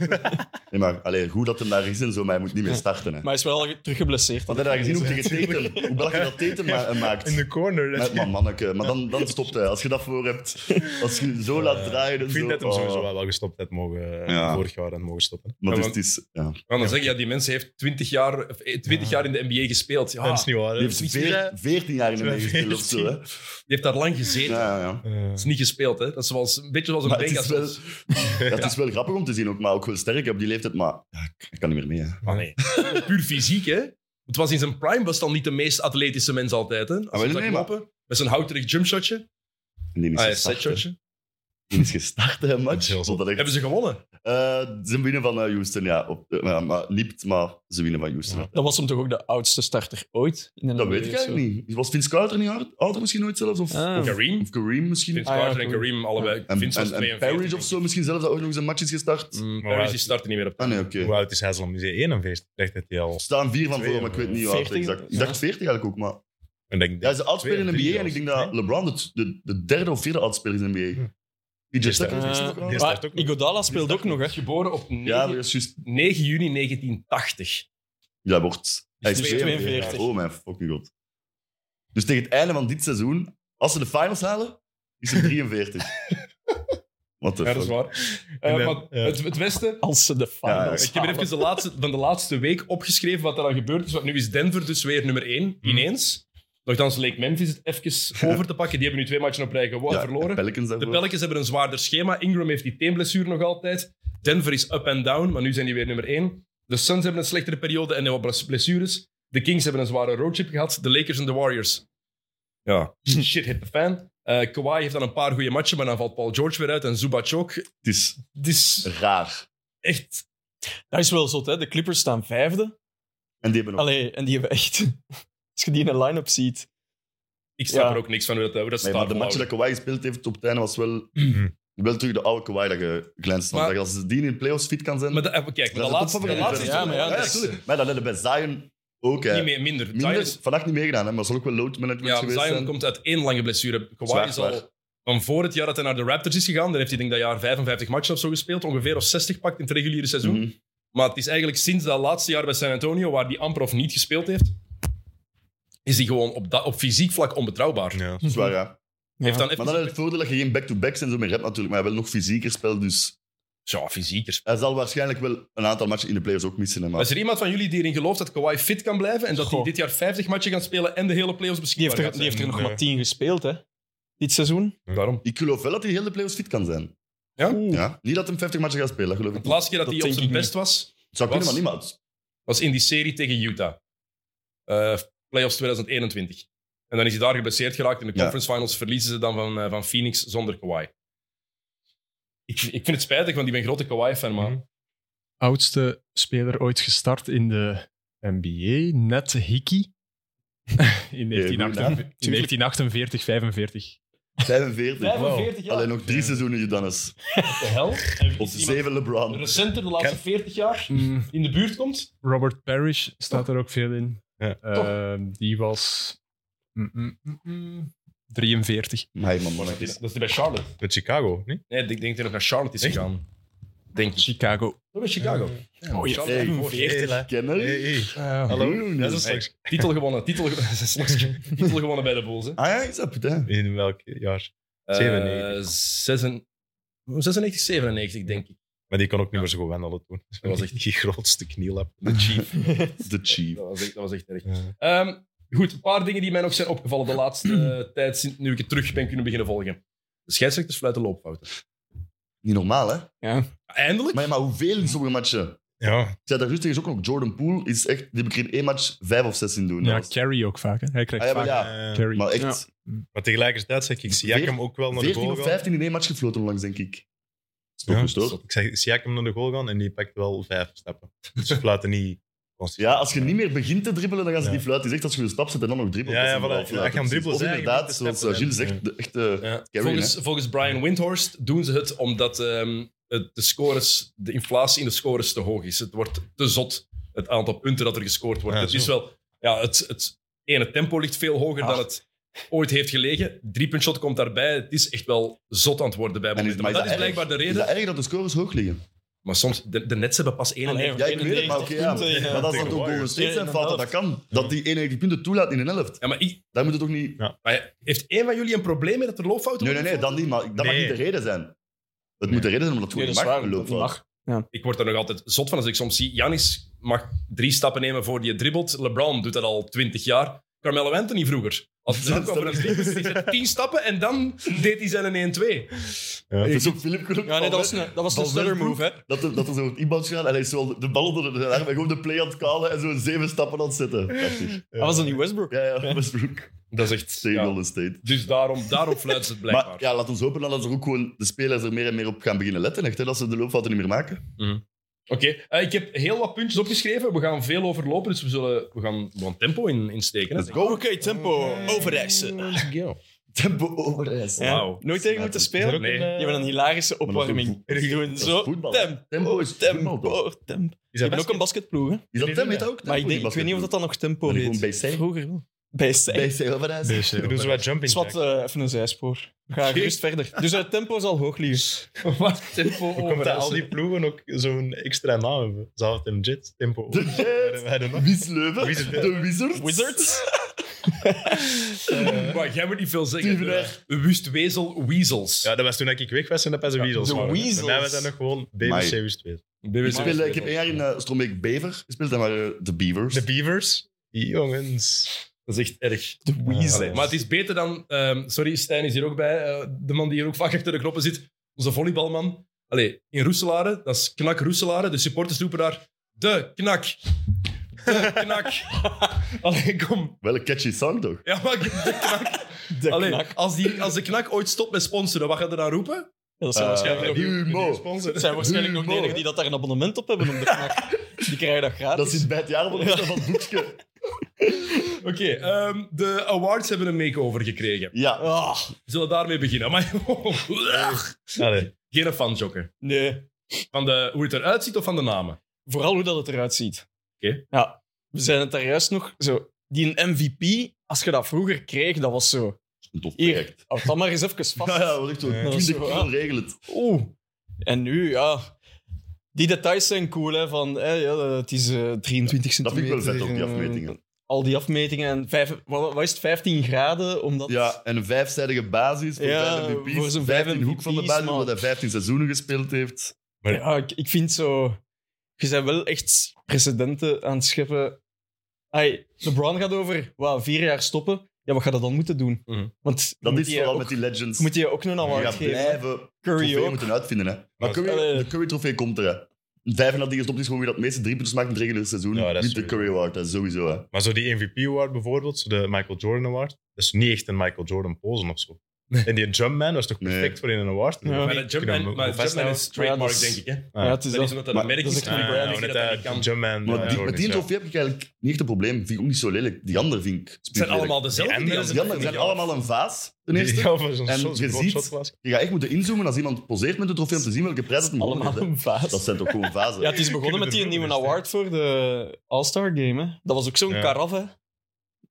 Speaker 2: nee, maar allee, goed dat hem daar is en zo, maar hij moet niet meer starten, hè.
Speaker 4: Maar hij is wel al terug geblesseerd.
Speaker 2: Want hij had gezien hoe tegen Tatum, hoe belachelijk dat Tatum ma- eh, maakt.
Speaker 3: in de corner. [laughs]
Speaker 2: Maar, maar manneke, maar dan, dan stopt hij. Als je dat voor hebt, als je zo laat draaien en
Speaker 3: Ik vind
Speaker 2: zo.
Speaker 3: dat hem
Speaker 2: oh.
Speaker 3: sowieso wel, wel gestopt had mogen, eh,
Speaker 2: Ja.
Speaker 3: vorig jaar had mogen stoppen.
Speaker 2: Maar dus
Speaker 1: Ja,
Speaker 2: het is, het is- ja.
Speaker 1: Maar dan zeg je, ja, die mensen heeft 20 jaar, of, eh, 20 jaar in de NBA gespeeld. Ja,
Speaker 3: Dat is
Speaker 1: die
Speaker 3: niet waar. hè.
Speaker 2: Die heeft
Speaker 1: is
Speaker 2: veer-
Speaker 1: meer, hè?
Speaker 2: 14 jaar in de
Speaker 3: eh, Ja,
Speaker 2: NBA gespeeld of zo, hè.
Speaker 1: heeft daar lang gezeten.
Speaker 2: Ja, ja, ja.
Speaker 3: Eh,
Speaker 1: Dat is niet gespeeld, hè. Dat is zoals, een beetje zoals een
Speaker 2: Maar het
Speaker 1: Bengas.
Speaker 2: is wel- Ja, het is wel grappig om te zien, ook, maar ook wel sterk op die leeftijd. Maar ja, ik- ik kan niet meer mee.
Speaker 3: Ah,
Speaker 2: Hè.
Speaker 1: Maar nee, puur fysiek, hè. Het was in zijn prime was dan niet de meest atletische mens altijd, hè. Als
Speaker 2: Ah,
Speaker 1: hij
Speaker 2: wel,
Speaker 1: zag
Speaker 2: nee, maar-
Speaker 1: lopen, Met zijn houterig jumpshotje.
Speaker 2: En die is
Speaker 1: Ah, ja,
Speaker 2: gestart, hè.
Speaker 1: setshotje.
Speaker 2: Die is gestart, hè,
Speaker 3: Dat
Speaker 2: match.
Speaker 3: is heel zot.
Speaker 2: Zodat echt-
Speaker 1: Hebben ze gewonnen.
Speaker 2: Eh, ze winnen van eh, Houston, ja. Op, eh, maar- maar, niet, maar ze winnen van Houston.
Speaker 3: Ja.
Speaker 4: Dat was hem toch ook de oudste starter ooit? In de
Speaker 2: Dat
Speaker 4: NBA
Speaker 2: weet ik
Speaker 4: of zo?
Speaker 2: eigenlijk niet. Was Vince Carter niet hard- ouder misschien nooit zelfs? Of,
Speaker 4: Ah.
Speaker 2: of,
Speaker 1: Kareem,
Speaker 2: of Kareem misschien?
Speaker 1: Vince
Speaker 4: Ah, ja,
Speaker 1: Carter en
Speaker 4: goed.
Speaker 1: Kareem, allebei.
Speaker 2: En,
Speaker 1: Vince was
Speaker 2: en, en
Speaker 1: 42.
Speaker 2: Parrish of zo misschien zelfs, dat ook nog eens een match is gestart.
Speaker 1: Mm,
Speaker 3: Maar
Speaker 1: Parrish
Speaker 3: ja,
Speaker 1: die start er niet meer op.
Speaker 2: Ah nee, oké.
Speaker 3: Hoe oud is Haslam? Is hij 41? Dacht dat hij al...
Speaker 2: Er staan vier van
Speaker 3: Twee,
Speaker 2: voor, maar ik weet niet hoe oud
Speaker 4: 14?
Speaker 2: exact. Ik dacht
Speaker 4: Ja.
Speaker 2: 40 eigenlijk ook, maar...
Speaker 3: Ik denk,
Speaker 2: Ja, ze oudspeler in de
Speaker 3: Twee of
Speaker 2: NBA
Speaker 3: drie
Speaker 2: en ik denk
Speaker 3: zelfs.
Speaker 2: dat LeBron de, de, de derde of vierde oudspeler is in de
Speaker 3: Hm.
Speaker 2: NBA. PJ
Speaker 3: Is dat-
Speaker 2: Tucker is misschien
Speaker 4: Eh,
Speaker 2: ook wel.
Speaker 3: Die is
Speaker 4: maar
Speaker 3: start ook nog.
Speaker 4: Iguodala speelde ook nog, hè?
Speaker 1: Geboren op 9,
Speaker 2: Ja, dat is juist.
Speaker 1: 9 juni 1980.
Speaker 2: Ja, wordt. Hij is
Speaker 4: 42.
Speaker 2: 42. Oh mijn fucking god. Dus tegen het einde van dit seizoen, als ze de finals halen, is hij [laughs] 43. Wat de
Speaker 1: Ja, dat is
Speaker 2: fuck.
Speaker 1: waar.
Speaker 3: [laughs] En
Speaker 1: Eh,
Speaker 3: dan-
Speaker 1: maar
Speaker 3: ja.
Speaker 1: het, het Westen...
Speaker 4: Als ze de
Speaker 2: Ja, ja.
Speaker 4: finals
Speaker 1: Ik heb hier even de laatste, van de laatste week opgeschreven wat er dan gebeurd is. Want nu is Denver dus weer nummer 1, ineens. Nochtans leek Memphis het even [laughs] over te pakken. Die hebben nu twee matchen op rij gewo-
Speaker 2: Ja,
Speaker 1: verloren.
Speaker 2: de Pelicans
Speaker 1: De
Speaker 2: daarvoor.
Speaker 1: Pelicans hebben een zwaarder schema. Ingram heeft die teenblessure nog altijd. Denver is up and down, maar nu zijn die weer nummer 1. De Suns hebben een slechtere periode en hebben wat blessures. De Kings hebben een zware roadtrip gehad. De Lakers en de Warriors.
Speaker 2: [laughs]
Speaker 1: Ja, shit hit the fan. Eh Kawhi heeft dan een paar goede matchen, maar dan valt Paul George weer uit en Zubac ook.
Speaker 2: Het is
Speaker 1: Het is
Speaker 2: raar.
Speaker 1: echt...
Speaker 4: Dat is wel zot, hè? De Clippers staan vijfde.
Speaker 2: En die hebben nog...
Speaker 4: Allee, en die hebben echt... [laughs] Als je die in een line-up ziet...
Speaker 1: Ik snap
Speaker 4: Ja.
Speaker 1: er ook niks van hoe dat, hoe dat
Speaker 2: Nee,
Speaker 1: staat
Speaker 2: maar de match dat Kawhi gespeeld heeft op het einde was
Speaker 1: [clears throat]
Speaker 2: wel... Wel terug de oude Kawhi dat je glans
Speaker 1: Mhm. Maar-
Speaker 2: Dat je als die in de playoffs fit kan zijn...
Speaker 1: Maar de- eh, kijk, maar de
Speaker 2: dat is de
Speaker 1: laatste, de
Speaker 2: topfavoriet.
Speaker 1: laatste is
Speaker 4: Ja, maar ja,
Speaker 1: toch-
Speaker 4: dat
Speaker 1: is-
Speaker 2: tuurlijk. Maar dat hadden we bij Zion ook, hè.
Speaker 1: niet meer, minder.
Speaker 2: Minder,
Speaker 1: Zion is-
Speaker 2: vannacht niet meegedaan, hè, maar zal ook wel load management
Speaker 1: ja,
Speaker 2: geweest
Speaker 1: Zion
Speaker 2: zijn.
Speaker 1: komt uit één lange blessure. Kawhi
Speaker 2: Zwaar,
Speaker 1: is
Speaker 2: zwaar.
Speaker 1: al van voor het jaar dat hij naar de Raptors is gegaan. Dan heeft hij denk ik dat jaar 55 matchen of zo gespeeld. Ongeveer of 60 pakt in het reguliere seizoen.
Speaker 2: Mhm.
Speaker 1: Maar het is eigenlijk sinds dat laatste jaar bij San Antonio, waar hij amper of niet gespeeld heeft, is hij gewoon op, dat, op fysiek vlak onbetrouwbaar.
Speaker 3: Ja.
Speaker 2: Dat is waar, ja.
Speaker 1: Heeft dan even...
Speaker 2: Maar dan is het voordeel dat je geen back-to-backs en zo meer hebt natuurlijk, maar hij wel nog fysieker speelt, dus
Speaker 1: Ja, fysieker.
Speaker 2: hij zal waarschijnlijk wel een aantal matchen in de playoffs ook missen. hè, Maar...
Speaker 1: Is er iemand van jullie die erin gelooft dat Kawhi fit kan blijven en dat hij
Speaker 4: Goh.
Speaker 1: dit jaar 50 matchen gaat spelen en de hele playoffs
Speaker 4: Die
Speaker 1: beschikbaar
Speaker 4: heeft er,
Speaker 1: gaat
Speaker 4: die heeft
Speaker 1: zijn?
Speaker 4: er nog
Speaker 3: Nee.
Speaker 4: maar tien gespeeld, hè? Dit seizoen.
Speaker 1: Daarom.
Speaker 2: Ik geloof wel dat hij heel de playoffs fit kan zijn.
Speaker 1: Ja?
Speaker 2: Ja? Niet dat hij 50 matchen gaat spelen, dat geloof ik
Speaker 1: Het
Speaker 2: niet.
Speaker 1: laatste keer dat,
Speaker 4: Dat
Speaker 1: hij op
Speaker 4: denk
Speaker 1: zijn
Speaker 4: ik
Speaker 1: best was,
Speaker 2: Het zou kunnen,
Speaker 1: was-
Speaker 2: maar niet, maar het-
Speaker 1: was in die serie tegen Utah. Eh playoffs 2021. En dan is hij daar geblesseerd geraakt. In de
Speaker 2: Ja.
Speaker 1: conference finals verliezen ze dan van, eh, van Phoenix zonder Kawhi. Ik, ik vind het spijtig, want ik ben een grote Kawhi-fan, maar...
Speaker 3: Mhm.
Speaker 5: Oudste speler ooit gestart in de NBA, net Hickey. [laughs] In 1948, in 1948, 45.
Speaker 2: 45.
Speaker 1: 45
Speaker 2: Alleen nog drie seizoenen, Judanis.
Speaker 1: de hel. En
Speaker 2: Of zeven LeBron.
Speaker 1: recenter, de laatste 40 jaar,
Speaker 5: Mm,
Speaker 1: in de buurt komt.
Speaker 5: Robert Parrish staat er ook veel in.
Speaker 3: Ja.
Speaker 5: Eh, die was mm, mm, mm, mm, 43.
Speaker 2: Nee, man, man.
Speaker 1: Dat is die bij Charlotte.
Speaker 3: Met Chicago, niet?
Speaker 1: Nee, ik denk dat hij nog naar Charlotte is
Speaker 3: Echt?
Speaker 1: gegaan. Denk ik.
Speaker 5: Chicago.
Speaker 1: Dat was Chicago.
Speaker 4: Oh, je
Speaker 1: Charlotte
Speaker 2: Hey.
Speaker 1: Ford.
Speaker 3: Hey,
Speaker 2: Kenner?
Speaker 3: hey, hey.
Speaker 1: Ah, ja.
Speaker 3: Hallo?
Speaker 2: Groen.
Speaker 3: Dat is
Speaker 1: Hey.
Speaker 3: straks.
Speaker 1: Titel gewonnen. Titel, ge- [laughs] titel gewonnen bij de Bulls. Hè.
Speaker 2: Ah ja, is dat putain.
Speaker 3: In welk jaar?
Speaker 1: Eh,
Speaker 3: 97.
Speaker 1: zes en- 96, 97 denk ik.
Speaker 3: Maar die kon ook niet meer zo goed wandelen toen. Dus Dat was echt die grootste knielap.
Speaker 1: De
Speaker 2: [laughs]
Speaker 1: Chief.
Speaker 2: The Chief.
Speaker 1: Dat was echt, dat was echt erg. Ehm, goed, een paar dingen die mij nog zijn opgevallen de laatste [clears throat] eh, tijd, sinds nu ik het terug ben kunnen beginnen volgen. De scheidsrechters fluiten loopfouten.
Speaker 2: Niet normaal, hè?
Speaker 1: Eindelijk?
Speaker 2: Maar, ja, maar hoeveel in sommige matchen?
Speaker 3: Ja,
Speaker 2: Ik zei daar juist tegen ook nog, Jordan Poole is echt... Die heb ik er in één match vijf of zes in doen.
Speaker 5: Ja,
Speaker 2: Dat was-
Speaker 5: Carrie ook vaak. Hè. Hij krijgt
Speaker 2: Ah, ja,
Speaker 5: vaak
Speaker 2: maar ja.
Speaker 3: eh,
Speaker 5: Carrie.
Speaker 2: Maar echt,
Speaker 3: maar tegelijkertijd zeg ik Siakam ook wel naar de
Speaker 2: 14
Speaker 3: goal
Speaker 2: of
Speaker 3: gaan.
Speaker 2: 15 in één match gefloten onlangs, denk ik. Dat is toch
Speaker 3: Ja,
Speaker 2: goed, hoor.
Speaker 3: Ik zeg Siakam naar de goal gaan en die pakt wel vijf stappen. Dus ze fluiten niet constant.
Speaker 2: Ja, als je niet meer begint te dribbelen, dan gaan ze
Speaker 3: Ja.
Speaker 2: die fluit. Die zegt als je een stap zet en dan nog dribbelt.
Speaker 3: Ja,
Speaker 2: dat
Speaker 3: ja,
Speaker 2: ze
Speaker 3: voilà.
Speaker 2: wel
Speaker 3: Ja,
Speaker 2: fluiten.
Speaker 3: je gaan dribbelen
Speaker 2: Of
Speaker 3: zijn, je
Speaker 2: inderdaad,
Speaker 3: moet de
Speaker 2: zoals eh,
Speaker 3: stappen
Speaker 2: Gilles
Speaker 3: nemen.
Speaker 2: zegt, de echte
Speaker 3: Ja.
Speaker 2: carry,
Speaker 1: Volgens,
Speaker 2: hè.
Speaker 1: volgens Brian Windhorst doen ze het omdat ehm, het- de, scores, de inflatie in de scores te hoog is. Het wordt te zot, het aantal punten dat er gescoord wordt.
Speaker 3: Ja,
Speaker 1: het
Speaker 3: zo.
Speaker 1: is wel... Ja, het, het ene tempo ligt veel hoger dan
Speaker 4: Ah.
Speaker 1: het ooit heeft gelegen. Driepuntshot komt daarbij. Het is echt wel zot aan het worden bij
Speaker 2: En
Speaker 1: momenten.
Speaker 2: maar
Speaker 1: Maar dat is Ah,
Speaker 2: erg?
Speaker 1: blijkbaar de
Speaker 2: Is
Speaker 1: reden.
Speaker 2: dat erg dat de scores hoog liggen?
Speaker 1: Maar soms, de, de Nets hebben pas 91.
Speaker 2: Ja, ik weet het, maar oké, ja.
Speaker 4: punten in, eh,
Speaker 2: Maar dat is dan
Speaker 3: tegen
Speaker 2: toch Golden
Speaker 3: Warriors.
Speaker 2: State zijn
Speaker 4: Ja,
Speaker 2: fout, dat dat kan. Dat die 91 punten toelaat in een helft.
Speaker 1: Ja, maar, ik-
Speaker 2: Dat moet het toch niet...
Speaker 1: maar heeft één van jullie een probleem met dat er loopfouten
Speaker 2: Nee, nee,
Speaker 1: worden
Speaker 2: nee, dat niet. Maar dat mag
Speaker 3: Nee.
Speaker 2: niet de reden zijn. Het moet de reden zijn omdat het
Speaker 4: Nee,
Speaker 2: goed
Speaker 4: dat is
Speaker 2: mag.
Speaker 4: waar, dat
Speaker 2: loopfout.
Speaker 4: mag.
Speaker 1: ik word er nog altijd zot van als ik soms zie. Janis mag drie stappen nemen voor die dribbelt. LeBron doet dat al twintig jaar. Carmelo Anthony vroeger. Als [laughs] het dan kwam voor een dribbel, deed hij tien stappen en dan deed hij zijn 1-2.
Speaker 3: Ja.
Speaker 2: Het is ook Philip Kroek
Speaker 4: Ja, nee,
Speaker 2: van
Speaker 4: dat was een, dat was een
Speaker 2: Van
Speaker 4: stutter
Speaker 2: Westbroek.
Speaker 4: move, hè.
Speaker 2: Dat er, dat er zo'n inbound gaat en hij is zo de bal onder de arm en gewoon de play aan het kalen en zo zeven stappen aan het zetten. Prachtig.
Speaker 4: Dat was dan niet Westbrook.
Speaker 2: Ja, ja, Westbrook.
Speaker 1: Dat is echt...
Speaker 2: Tegen
Speaker 1: ja.
Speaker 2: Golden State.
Speaker 1: Dus daarom, daarom fluiten ze het blijkbaar.
Speaker 2: Maar ja, laat ons hopen dat er ook gewoon de spelers er meer en meer op gaan beginnen letten. Echt, hè, dat ze de loopfouten niet meer maken.
Speaker 1: Oké, eh, ik heb heel wat puntjes opgeschreven. We gaan veel overlopen, dus we, zullen, we, gaan, we gaan tempo in, insteken. hè.
Speaker 2: Let's Dus go.
Speaker 4: Oké, tempo. Overreizen.
Speaker 2: Tempo overreis.
Speaker 4: Ja.
Speaker 1: Wauw.
Speaker 4: Nooit tegen moeten spelen.
Speaker 1: Nee.
Speaker 4: Je hebt een hilarische
Speaker 2: dat is
Speaker 4: opwarming.
Speaker 2: ook voet-
Speaker 4: Gewoon
Speaker 2: dat is
Speaker 4: zo.
Speaker 2: voetbal, hè.
Speaker 4: Tempo,
Speaker 2: Tempo is voetbal, toch?
Speaker 4: tempo, tempo. Je hebt ook een basketploeg, hè.
Speaker 2: Is dat Tem? Heet dat ook?
Speaker 4: Maar ik, denk, ik weet niet of dat dan nog tempo
Speaker 2: Ben ik
Speaker 4: heet.
Speaker 2: gewoon BC?
Speaker 4: Vroeger wel. BC.
Speaker 2: bij C overreis.
Speaker 3: We doen zo wat jumping
Speaker 4: is wat
Speaker 3: jacks.
Speaker 4: eh, even een zijspoor. Ga gerust verder. Dus het tempo zal hoog liggen.
Speaker 1: [laughs] Wat? Tempo
Speaker 3: Hoe komt dat
Speaker 1: overreizen.
Speaker 3: al die ploegen ook zo'n extra naam hebben? Zou het een jet tempo
Speaker 2: De
Speaker 4: [laughs]
Speaker 2: Jets.
Speaker 3: Wij doen
Speaker 2: Wies Leuven.
Speaker 3: Wizard.
Speaker 2: De Wizards.
Speaker 4: Wizards?
Speaker 1: [laughs] Maar jij moet niet veel
Speaker 2: Steven
Speaker 1: zeggen. Bewust wezel, weasels.
Speaker 3: Ja, dat was toen ik weg was en dat pas de Weasels
Speaker 4: de
Speaker 3: waren.
Speaker 4: Weasels.
Speaker 3: Bij mij was dat nog gewoon
Speaker 2: Amai.
Speaker 3: BBC Wist Weasels.
Speaker 2: Ik, speelde, ik heb één jaar in eh, Strombeek Bever gespeeld, en waren de Beavers.
Speaker 3: De Beavers? Die jongens.
Speaker 1: Dat is echt erg.
Speaker 4: De Weasels.
Speaker 1: Allee, maar het is beter dan... ehm, sorry, Stijn is hier ook bij. eh, de man die hier ook vaak achter de knoppen zit. Onze volleybalman. Allee, in Roeselare. Dat is Knak Roeselare. De supporters roepen daar... De Knak. De Knak. Allee, kom.
Speaker 2: Wel een catchy song, toch?
Speaker 1: Ja, maar de Knak.
Speaker 4: De
Speaker 1: Allee,
Speaker 4: knak.
Speaker 1: als, die, als de Knak ooit stopt met sponsoren, wat gaat er dan roepen?
Speaker 4: Ja, dat zijn waarschijnlijk nog...
Speaker 2: Humo.
Speaker 4: dat zijn waarschijnlijk nog de enigen die dat daar een abonnement op hebben om de knak. Die krijgen dat gratis.
Speaker 2: Dat zit bij het jaar van het boekje.
Speaker 1: Oké, ehm, de awards hebben een makeover gekregen.
Speaker 2: Ja.
Speaker 4: Ah,
Speaker 1: We zullen daarmee beginnen. Maar,
Speaker 3: Allee,
Speaker 1: [laughs] Geen fanjokken.
Speaker 4: nee.
Speaker 1: Van de, hoe het eruit ziet of van de namen?
Speaker 4: Vooral hoe dat het eruit ziet.
Speaker 1: Oké.
Speaker 4: Ja, we zijn het daar juist nog... Zo, die MVP, als je dat vroeger kreeg, dat was zo...
Speaker 2: Een tof
Speaker 4: Hier,
Speaker 2: project.
Speaker 4: houd dat maar eens even vast.
Speaker 2: [laughs] Ja, ja, wat echt zo.
Speaker 3: Ja.
Speaker 2: 20
Speaker 4: Dat is zo,
Speaker 2: euro regel het.
Speaker 4: Oeh. En nu, ja. Die details zijn cool, hè. Van, hè ja, het is eh 23
Speaker 2: Dat vind ik
Speaker 4: centimeter.
Speaker 2: wel vet, ook die
Speaker 4: eh,
Speaker 2: afmetingen.
Speaker 4: Al die afmetingen. En vijf, wat, wat is het, 15 graden? Omdat...
Speaker 2: Ja, en een vijfzijdige basis voor
Speaker 4: Ja,
Speaker 2: vijf MVP's.
Speaker 4: voor zijn vijf
Speaker 2: 15 hoek van de
Speaker 4: MVP's,
Speaker 2: basis,
Speaker 4: man.
Speaker 2: omdat hij 15 seizoenen gespeeld heeft.
Speaker 4: Ja, ik, ik vind zo... Je bent wel echt precedenten aan het scheppen. Ai, LeBron gaat over wauw, vier jaar stoppen. Ja, wat gaat dat dan moeten doen?
Speaker 1: Mhm.
Speaker 4: Want
Speaker 2: Dat
Speaker 4: moet
Speaker 2: is
Speaker 4: je
Speaker 2: vooral
Speaker 4: ook-
Speaker 2: met die legends.
Speaker 4: Moet je ook een
Speaker 2: je
Speaker 4: award
Speaker 2: gaat
Speaker 4: geven?
Speaker 2: blijven
Speaker 4: Curry
Speaker 2: trofee
Speaker 4: ook.
Speaker 2: moeten uitvinden. Hè. Maar
Speaker 3: Maar-
Speaker 2: Curry,
Speaker 4: Allee.
Speaker 2: de Curry-trofee komt er. Hè. De vijf en dat die gestopt is, gewoon wie dat meeste drie punten maakt in het reguliere seizoen.
Speaker 3: Ja, dat
Speaker 2: Wint
Speaker 3: is
Speaker 2: de
Speaker 3: sowieso.
Speaker 2: Curry Award, hè, sowieso. Hè.
Speaker 3: Maar zo die MVP-award bijvoorbeeld, zo de Michael Jordan Award, dat is niet echt een Michael Jordan pose of zo. En die Jumpman was toch perfect
Speaker 2: Nee.
Speaker 3: voor in een award?
Speaker 4: Ja. Maar
Speaker 1: Maar de Jumpman, maar Jumpman
Speaker 3: Ah.
Speaker 1: is trademark, denk ik. Hè?
Speaker 4: Ja, het is
Speaker 1: Dat
Speaker 4: dat.
Speaker 1: is omdat dat
Speaker 2: Maar-
Speaker 1: een merk
Speaker 4: dat
Speaker 1: is.
Speaker 4: is echt een brand,
Speaker 1: dat je dat niet kan.
Speaker 3: Jumpman. eh,
Speaker 2: Maar
Speaker 3: ja,
Speaker 2: die,
Speaker 3: ja,
Speaker 2: met die
Speaker 3: ja.
Speaker 2: trofee heb ik eigenlijk niet echt een probleem. Vind ik ook niet zo lelijk. Die andere vind ik...
Speaker 1: Het zijn allemaal dezelfde.
Speaker 3: Die anderen
Speaker 2: Die anderen zijn allemaal een vaas, ten eerste.
Speaker 3: Die over zo'n
Speaker 2: En
Speaker 3: shot-
Speaker 2: je
Speaker 3: zo'n
Speaker 2: ziet- Ah,
Speaker 3: shot was.
Speaker 2: Je gaat echt moeten inzoomen als iemand poseert met een trofee om te zien welke prijs het hem
Speaker 4: Allemaal
Speaker 2: gewonnen
Speaker 4: een
Speaker 2: heeft, hè. Dat
Speaker 4: vaas.
Speaker 2: zijn toch gewoon vazen?
Speaker 4: Ja, het is begonnen
Speaker 3: kunnen
Speaker 4: met die
Speaker 3: er
Speaker 4: nieuwe
Speaker 3: vroeger
Speaker 4: award voor de All-Star Game. Hè. Dat was ook zo'n
Speaker 3: Ja.
Speaker 4: karaf, hè.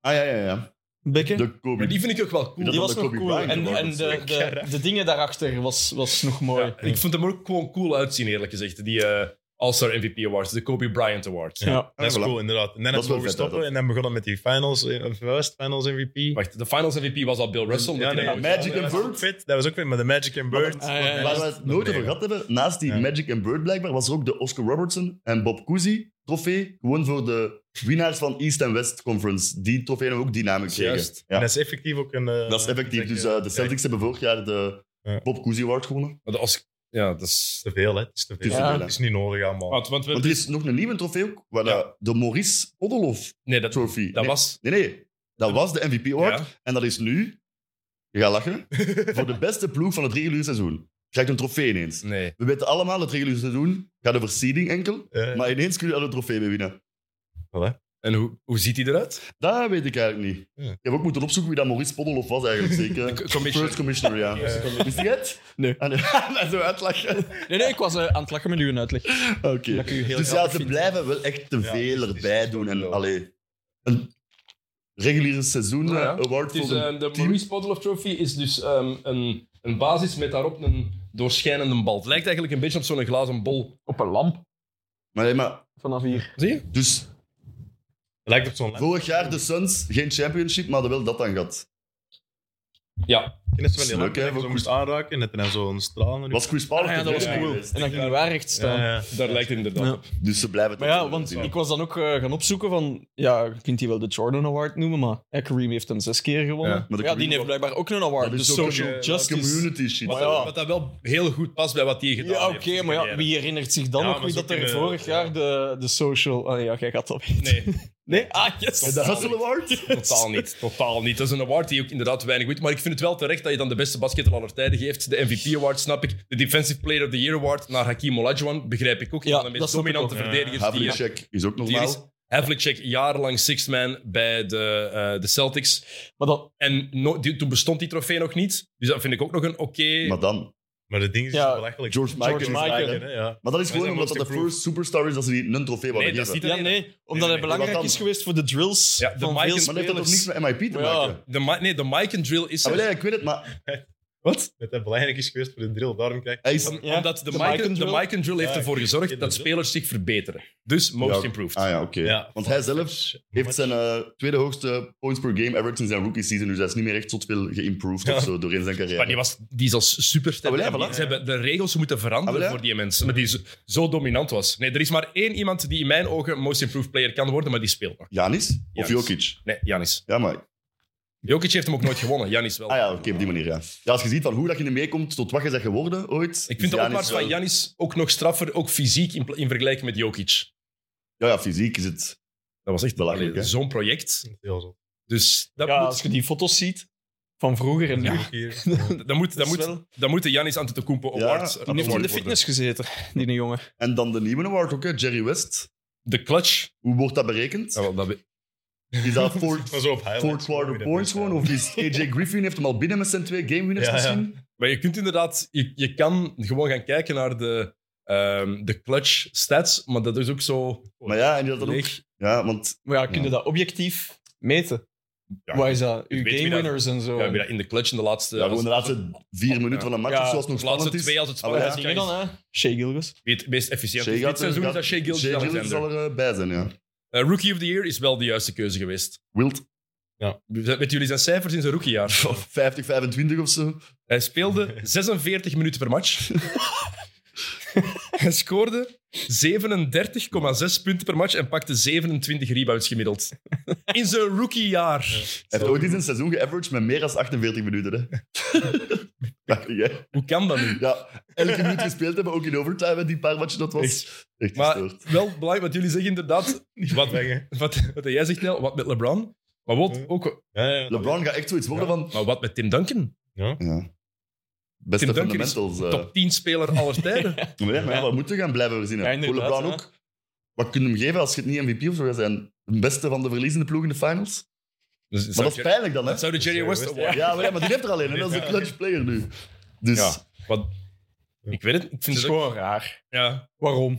Speaker 2: Ah ja, ja, ja.
Speaker 4: bekken.
Speaker 2: De Kobe.
Speaker 1: Maar die vind ik ook wel cool.
Speaker 2: dat
Speaker 4: die
Speaker 2: van
Speaker 4: was
Speaker 2: de
Speaker 4: nog
Speaker 2: Kobe
Speaker 4: cool.
Speaker 2: Bryant
Speaker 4: En,
Speaker 2: was
Speaker 4: en
Speaker 2: het
Speaker 4: de,
Speaker 2: zeker,
Speaker 4: de, de dingen daarachter was, was nog mooi.
Speaker 1: Ja, ik vond hem ook gewoon cool uitzien, eerlijk gezegd. Die eh, All-Star MVP Awards, de Kobe Bryant Awards.
Speaker 4: Ja.
Speaker 3: Dat is
Speaker 2: voilà.
Speaker 3: cool, inderdaad. En
Speaker 2: Dat
Speaker 3: dan hebben
Speaker 2: is
Speaker 3: we
Speaker 2: wel
Speaker 3: mogen
Speaker 2: vet, hè,
Speaker 3: stoppen
Speaker 2: dat.
Speaker 3: en dan begonnen met die finals, eh, first finals MVP.
Speaker 1: Wacht, de Finals MVP was al Bill Russell. omdat
Speaker 3: Ja,
Speaker 1: hij
Speaker 3: nee,
Speaker 1: dat-
Speaker 2: Magic
Speaker 3: dat
Speaker 2: and
Speaker 3: was
Speaker 2: Bird.
Speaker 3: ook vet. Dat was ook vet, maar de Magic and Bird.
Speaker 4: Ah, ja, ja.
Speaker 2: Waar we het nooit over gehad hebben, naast die
Speaker 3: Ja.
Speaker 2: Magic and Bird blijkbaar, was er ook de Oscar Robertson en Bob Cousy trofee. Gewoon voor de winnaars van East en West Conference. Die trofee hebben we ook dynamic gekregen.
Speaker 1: Juist.
Speaker 2: Ja.
Speaker 3: En dat is effectief ook een... eh,
Speaker 2: Dat is effectief. Dus eh, de Celtics hebben vorig jaar de
Speaker 3: Ja.
Speaker 2: Bob Cousy Award gewonnen.
Speaker 1: Maar de Osc- Ja, dat is...
Speaker 3: te veel, hè. Het is te veel.
Speaker 2: Het
Speaker 4: is te
Speaker 2: veel, hè.
Speaker 3: Het is niet nodig allemaal.
Speaker 1: Want, want we-
Speaker 2: Want er is nog een nieuwe trofee ook, waar
Speaker 1: Ja.
Speaker 2: eh, de Maurice Odolov
Speaker 1: nee, dat, dat
Speaker 2: Trophy. nee,
Speaker 1: was...
Speaker 2: nee, nee. dat was de MVP Award.
Speaker 1: Ja.
Speaker 2: En dat is nu, je gaat lachen, voor de beste ploeg van het reguliere seizoen. Krijgt een trofee ineens.
Speaker 1: Nee.
Speaker 2: We weten allemaal dat het reguliere seizoen gaat over seeding enkel.
Speaker 3: Eh,
Speaker 2: Maar ineens kun je daar een trofee mee winnen.
Speaker 1: En hoe, hoe ziet hij eruit?
Speaker 2: Dat weet ik eigenlijk niet.
Speaker 3: Ja.
Speaker 2: Ik heb ook moeten opzoeken wie dat Maurice Poddelhoff was eigenlijk, zeker.
Speaker 1: co- commissioner.
Speaker 2: First commissioner, ja. Wist je het?
Speaker 4: Nee.
Speaker 2: Ah, nee. [laughs] zo uitlachen.
Speaker 4: Nee, nee, ik was eh, aan het lachen met uw uitleg.
Speaker 2: Oké.
Speaker 4: Dat ik u heel
Speaker 2: Dus ja,
Speaker 4: grappig
Speaker 2: ze
Speaker 4: vind.
Speaker 2: blijven wel echt te
Speaker 3: Ja, dus
Speaker 2: veel
Speaker 3: het is- het
Speaker 2: erbij
Speaker 3: is
Speaker 2: doen.
Speaker 3: wel
Speaker 2: En
Speaker 3: wel.
Speaker 2: allee, een reguliere seizoen
Speaker 4: Oh
Speaker 1: Nou ja.
Speaker 2: eh, award
Speaker 1: Het is,
Speaker 2: voor een
Speaker 1: eh, de
Speaker 2: team.
Speaker 1: Maurice Podoloff Trophy is dus ehm, een, een basis met daarop een doorschijnende bal. Het lijkt eigenlijk een beetje op zo'n glazen bol.
Speaker 4: Op een lamp
Speaker 2: Maar, nee, maar
Speaker 4: vanaf hier.
Speaker 1: Zie je?
Speaker 2: dus
Speaker 3: Lijkt op zo'n...
Speaker 2: vorig jaar de Suns geen championship, maar hadden wel dat dan gehad.
Speaker 1: Ja.
Speaker 3: Ik ken het wel heel
Speaker 2: Leuk,
Speaker 3: leuk,
Speaker 2: hè,
Speaker 3: hè.
Speaker 2: voor
Speaker 3: Zo moest aanraken en dat er dan zo'n straal... Eh,
Speaker 2: Was Chris Paul
Speaker 4: Ah ja,
Speaker 2: te
Speaker 4: dat was
Speaker 2: veel
Speaker 4: cool.
Speaker 2: geweest.
Speaker 4: En dan ging waar recht staan.
Speaker 3: Ja, ja.
Speaker 1: Daar lijkt het inderdaad
Speaker 4: Ja.
Speaker 1: op.
Speaker 2: Dus ze blijven
Speaker 4: Maar
Speaker 2: dat
Speaker 4: ja,
Speaker 2: doen,
Speaker 4: want
Speaker 2: zien.
Speaker 4: ik was dan ook eh, gaan opzoeken van... Ja, je kunt die wel de Jordan Award noemen, maar eh, Kareem heeft hem zes keer gewonnen.
Speaker 1: Ja,
Speaker 4: Ja,
Speaker 2: maar de
Speaker 4: die
Speaker 2: Kareem-
Speaker 4: heeft blijkbaar ook een award.
Speaker 2: Dat is
Speaker 4: Dus
Speaker 2: ook
Speaker 4: social
Speaker 3: een, eh,
Speaker 4: justice.
Speaker 2: Community shit.
Speaker 1: Wat,
Speaker 4: Maar ja.
Speaker 1: dat- wat dat wel heel goed past bij wat hij gedaan
Speaker 4: Ja, oké,
Speaker 1: heeft in zijn
Speaker 4: maar ja,
Speaker 1: carrière.
Speaker 4: wie herinnert zich dan
Speaker 3: Ja,
Speaker 4: nog
Speaker 3: maar
Speaker 4: wie
Speaker 3: dat
Speaker 4: dat er
Speaker 3: is ook een,
Speaker 4: vorig
Speaker 3: eh,
Speaker 4: jaar de, de social... Ah ja, jij gaat dat weten.
Speaker 1: [laughs] Nee,
Speaker 4: Nee? Ah, yes.
Speaker 2: De Hustle Award?
Speaker 1: totaal niet. Totaal niet. Dat is een award die ook inderdaad weinig weet. Maar ik vind het wel terecht dat je dan de beste basketter aller tijden geeft. De MVP award snap ik. De Defensive Player of the Year award naar Hakim Olajuwon begrijp ik ook. Een
Speaker 4: Ja,
Speaker 1: van de
Speaker 4: dat
Speaker 1: meest
Speaker 4: snap ik
Speaker 1: dominante
Speaker 3: ook.
Speaker 1: verdedigers die je
Speaker 2: Havlicek is ook
Speaker 1: Die is
Speaker 2: normaal.
Speaker 1: Havlicek jarenlang sixth man bij de, eh, de Celtics.
Speaker 4: Maar dan...
Speaker 1: En no- die- toen bestond die trofee nog niet. Dus dat vind ik ook nog een oké...
Speaker 2: Maar dan,
Speaker 3: Maar het ding is,
Speaker 4: Ja.
Speaker 3: het is belachelijk.
Speaker 2: George Michael.
Speaker 4: George
Speaker 2: is
Speaker 4: Michael.
Speaker 2: eigenlijk-
Speaker 3: Ja, ja.
Speaker 2: Maar dat is gewoon
Speaker 3: Wij zijn
Speaker 2: omdat dat de
Speaker 3: most improved.
Speaker 2: first superstar is dat ze die een trofee
Speaker 1: nee,
Speaker 2: willen
Speaker 1: dat is
Speaker 2: geven.
Speaker 1: niet de
Speaker 4: Ja,
Speaker 1: reden.
Speaker 4: nee. Omdat
Speaker 3: nee,
Speaker 4: het belangrijk
Speaker 2: want dan-
Speaker 4: is geweest voor de drills
Speaker 1: Ja, de
Speaker 4: van
Speaker 1: Mike-
Speaker 4: veel
Speaker 1: maar
Speaker 2: Maar dat heeft toch niks
Speaker 4: spelers.
Speaker 2: met MIP te
Speaker 4: Maar ja.
Speaker 2: maken?
Speaker 1: De, mi- nee, de mic and drill is
Speaker 2: Ah,
Speaker 1: er.
Speaker 2: wel, ja, ik weet het, maar
Speaker 1: Wat?
Speaker 3: Dat dat belangrijk is geweest voor de drill. Daarom krijg ik...
Speaker 2: hij is...
Speaker 1: Om-
Speaker 4: Ja,
Speaker 1: Omdat de,
Speaker 4: de
Speaker 1: mic and,
Speaker 4: mic and
Speaker 1: de
Speaker 4: drill.
Speaker 1: mic and drill heeft
Speaker 3: Ja,
Speaker 1: ervoor
Speaker 3: ik- ik
Speaker 1: gezorgd
Speaker 3: ken
Speaker 1: dat
Speaker 3: dat
Speaker 1: spelers zich verbeteren. Dus most
Speaker 2: Ja.
Speaker 1: improved.
Speaker 2: Ah ja, oké.
Speaker 3: Ja.
Speaker 2: Want hij zelf heeft zijn eh, tweede hoogste points per game ever sinds zijn rookie season. Dus hij is niet meer echt zot veel geïmproved of zo
Speaker 1: [laughs]
Speaker 2: doorheen zijn carrière.
Speaker 1: Maar die, was, die is als superster.
Speaker 2: Ah, wel, ja,
Speaker 1: Die-
Speaker 2: voilà.
Speaker 1: Ze hebben de regels moeten veranderen
Speaker 2: Ah, wel, ja.
Speaker 1: voor die mensen. Maar die zo, zo dominant was. Nee, er is maar één iemand die in mijn ogen most improved player kan worden, maar die speelt nog.
Speaker 2: Janis? Of
Speaker 1: Janis. Oh,
Speaker 2: Jokic?
Speaker 1: Nee, Janis.
Speaker 2: Ja, maar...
Speaker 1: Jokic heeft hem ook nooit gewonnen. Janis wel.
Speaker 2: Ah ja, oké, op
Speaker 1: oh.
Speaker 2: die manier, ja. Ja, als je ziet van hoe dat je ermee komt tot wat je bent geworden ooit...
Speaker 1: Ik
Speaker 2: is
Speaker 1: vind de
Speaker 2: Giannis
Speaker 1: opmars van
Speaker 2: wel-
Speaker 1: Janis ook nog straffer, ook fysiek, in, pla- in vergelijking met Jokic.
Speaker 2: Ja, ja, fysiek is het...
Speaker 1: Dat was echt
Speaker 2: Belachelijk,
Speaker 1: allee,
Speaker 2: Ah,
Speaker 1: dus-
Speaker 2: hè?
Speaker 1: zo'n project.
Speaker 3: Heel zo.
Speaker 1: Dus dat
Speaker 4: Ja,
Speaker 1: moet...
Speaker 4: als je die foto's ziet van vroeger en nu.
Speaker 2: [laughs]
Speaker 3: Ook hier. Ja.
Speaker 1: [laughs] Dat moet, dat,
Speaker 4: Dat is
Speaker 1: moet,
Speaker 4: wel-
Speaker 1: dat moet de Janis Antetokounmpo
Speaker 2: Ja,
Speaker 1: Award.
Speaker 2: toen
Speaker 4: Toen heeft hij in de
Speaker 1: award
Speaker 4: fitness gezeten, die een jongen.
Speaker 2: En dan de nieuwe award ook, hè, Jerry West.
Speaker 1: worden. De clutch.
Speaker 2: Hoe wordt Ah, dat berekend?
Speaker 1: Ja, wel, dat we-
Speaker 2: Is dat
Speaker 1: [laughs]
Speaker 2: voor
Speaker 3: Maar zo op highlights.
Speaker 2: Four quarter points
Speaker 3: eh,
Speaker 2: gewoon? Of is AJ Griffin heeft hem al binnen met zijn twee game winners
Speaker 3: Ja, ja.
Speaker 2: misschien?
Speaker 1: Maar je kunt inderdaad... Je, je kan gewoon gaan kijken naar de, ehm, de clutch stats, maar dat is ook zo...
Speaker 2: Maar ja, en die had dat ook...
Speaker 1: leeg.
Speaker 2: Ja, want
Speaker 4: Maar ja, kun je dat objectief meten?
Speaker 1: Ja,
Speaker 4: Waar is dat?
Speaker 1: weet
Speaker 4: Uw
Speaker 1: wie
Speaker 4: game
Speaker 1: dat-
Speaker 4: winners en zo.
Speaker 1: Ja, weer in de clutch in de laatste...
Speaker 2: ja, gewoon de laatste vier minuten van een match
Speaker 4: Ja.
Speaker 2: of zo, als het nog
Speaker 1: de laatste
Speaker 2: spannend is.
Speaker 1: twee als het
Speaker 2: Ah, wel,
Speaker 1: spannend is.
Speaker 4: Dingen dan, hè? Shea Gilgus.
Speaker 1: Wie het meest efficiënt
Speaker 2: Shea
Speaker 1: is. Dit
Speaker 2: gaat-
Speaker 1: seizoen is dat Shea Gilgeous
Speaker 2: Shea Gilgeous
Speaker 1: Alexander.
Speaker 2: zal erbij zijn, ja.
Speaker 1: Eh, rookie of the Year is wel de juiste keuze geweest.
Speaker 2: Wild
Speaker 1: Met jullie zijn cijfers in zijn rookiejaar.
Speaker 2: [laughs] 50, 25 of zo.
Speaker 1: Hij speelde
Speaker 2: [laughs]
Speaker 1: 46 minuten per match. Hij scoorde 37,6 punten per match en pakte 27 rebounds gemiddeld. In zijn rookiejaar.
Speaker 2: Hij heeft ooit eens een seizoen geaveraged met meer dan 48 minuten.
Speaker 1: [laughs]
Speaker 2: Hè. Prachtig, hè?
Speaker 1: Hoe kan dat nu?
Speaker 2: Ja, elke minuut gespeeld hebben, ook in overtime, hè, die paar matchen dat was. Echt,
Speaker 1: Maar
Speaker 2: gestoord.
Speaker 1: wel belangrijk wat jullie zeggen, inderdaad. Wat, wat, wat jij zegt, Nel, wat met LeBron. Maar wat, ook,
Speaker 2: LeBron gaat echt zoiets worden van...
Speaker 1: maar wat met Tim Duncan?
Speaker 2: Ja. Beste
Speaker 1: Tim Duncan is
Speaker 2: fundamentals. eh.
Speaker 1: Top 10 speler aller tijden.
Speaker 2: Maar ja, maar ja,
Speaker 4: Ja.
Speaker 2: wat moeten we gaan blijven verzinnen?
Speaker 4: Ja,
Speaker 2: Ja,
Speaker 4: inderdaad,
Speaker 2: LeBron
Speaker 4: hè.
Speaker 2: ook. Wat kunnen we hem geven als je het niet MVP of zo gaat zijn? De beste van de verliezende ploeg in de finals?
Speaker 1: Dus
Speaker 2: Maar
Speaker 1: zou
Speaker 2: dat is
Speaker 1: Jerry-
Speaker 2: pijnlijk dan, hè?
Speaker 1: Zou de Jerry
Speaker 3: Jerry
Speaker 1: West
Speaker 3: West,
Speaker 1: Award
Speaker 2: Ja, maar, ja, maar die heeft er alleen, hè? Dat is een clutch player nu. Dus...
Speaker 1: Ja. Wat, ik weet het. Ik
Speaker 4: Het
Speaker 1: vind
Speaker 4: is
Speaker 1: het ook-
Speaker 4: gewoon raar.
Speaker 1: ja.
Speaker 4: Waarom?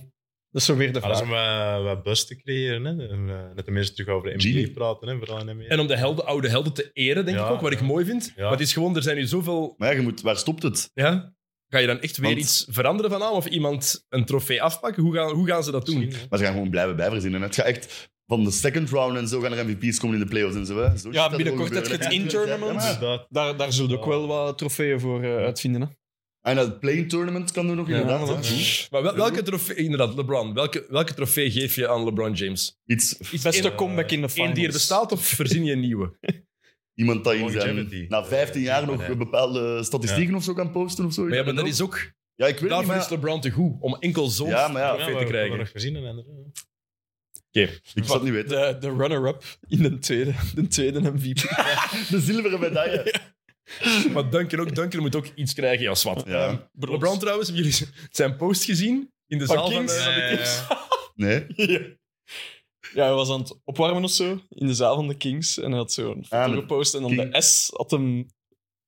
Speaker 4: Dat is zo weer de
Speaker 1: Ah,
Speaker 3: Maar dat is
Speaker 4: vraag.
Speaker 3: om wat, wat buzz te creëren. Hè. En, eh, dat de mensen terug over de NBA
Speaker 2: Genie.
Speaker 3: praten. Hè, vooral in NBA.
Speaker 1: En om de helden, oude helden te eren, denk
Speaker 3: Ja,
Speaker 1: ik ook, wat ik
Speaker 3: ja.
Speaker 1: mooi vind.
Speaker 3: Ja.
Speaker 1: Maar het is gewoon, er zijn nu zoveel...
Speaker 2: Maar ja, je moet, waar stopt het?
Speaker 1: Ja, ga je dan echt weer
Speaker 2: Want-
Speaker 1: iets veranderen van aan? Of iemand een trofee afpakken? Hoe gaan, hoe gaan ze dat doen?
Speaker 3: Misschien, hè.
Speaker 2: Maar ze gaan gewoon blijven bijverzinnen. Het gaat echt van de second round en zo gaan er MVP's komen in de playoffs en zo. Hè. zo
Speaker 4: Ja, binnenkort heb je het in-tournament.
Speaker 2: tournament.
Speaker 3: Inderdaad.
Speaker 4: Daar, daar zullen we
Speaker 1: Oh.
Speaker 4: ook wel wat trofeeën voor eh, uitvinden. Hè?
Speaker 2: Ah, En dat playing tournament kan doen nog inderdaad.
Speaker 4: voilà.
Speaker 2: hè. Goed.
Speaker 1: Maar wel- welke trofee... Inderdaad, LeBron. Welke, welke trofee geef je aan LeBron James?
Speaker 2: Iets,
Speaker 4: Beste
Speaker 3: eh,
Speaker 4: comeback in de finals.
Speaker 1: Eén die er bestaat of verzin je een nieuwe?
Speaker 2: iemand dat in
Speaker 3: Longevity.
Speaker 2: zijn, na 15 jaar
Speaker 3: Eh,
Speaker 2: nog
Speaker 3: ja.
Speaker 2: bepaalde statistieken of zo kan posten of zo.
Speaker 1: Maar ja, maar dat
Speaker 2: Ik
Speaker 1: is ook...
Speaker 2: ja, ik weet het niet,
Speaker 1: Daarvoor
Speaker 2: maar
Speaker 1: is LeBron te goed, om enkel zo'n
Speaker 2: Ja, maar ja.
Speaker 3: Ja,
Speaker 1: trofee
Speaker 3: maar
Speaker 1: te
Speaker 3: we hebben
Speaker 1: krijgen.
Speaker 3: nog gezien en andere.
Speaker 2: ik zou het niet weten.
Speaker 4: De, de runner-up in de tweede, de tweede MVP.
Speaker 2: De zilveren medaille.
Speaker 1: Maar Duncan, ook, Duncan moet ook iets krijgen, ja, zwart. Ehm,
Speaker 2: Ja.
Speaker 1: LeBron trouwens, hebben jullie [laughs] zijn post gezien? In de
Speaker 4: Van
Speaker 1: zaal van,
Speaker 4: Kings?
Speaker 1: eh, van de
Speaker 3: Ja, ja,
Speaker 1: Kings?
Speaker 3: ja.
Speaker 2: Nee.
Speaker 4: Ja, hij was aan het opwarmen of zo in de zaal van de Kings. En hij had zo'n foto
Speaker 2: Ah, maar-
Speaker 4: gepost en dan
Speaker 2: King-
Speaker 4: de S had hem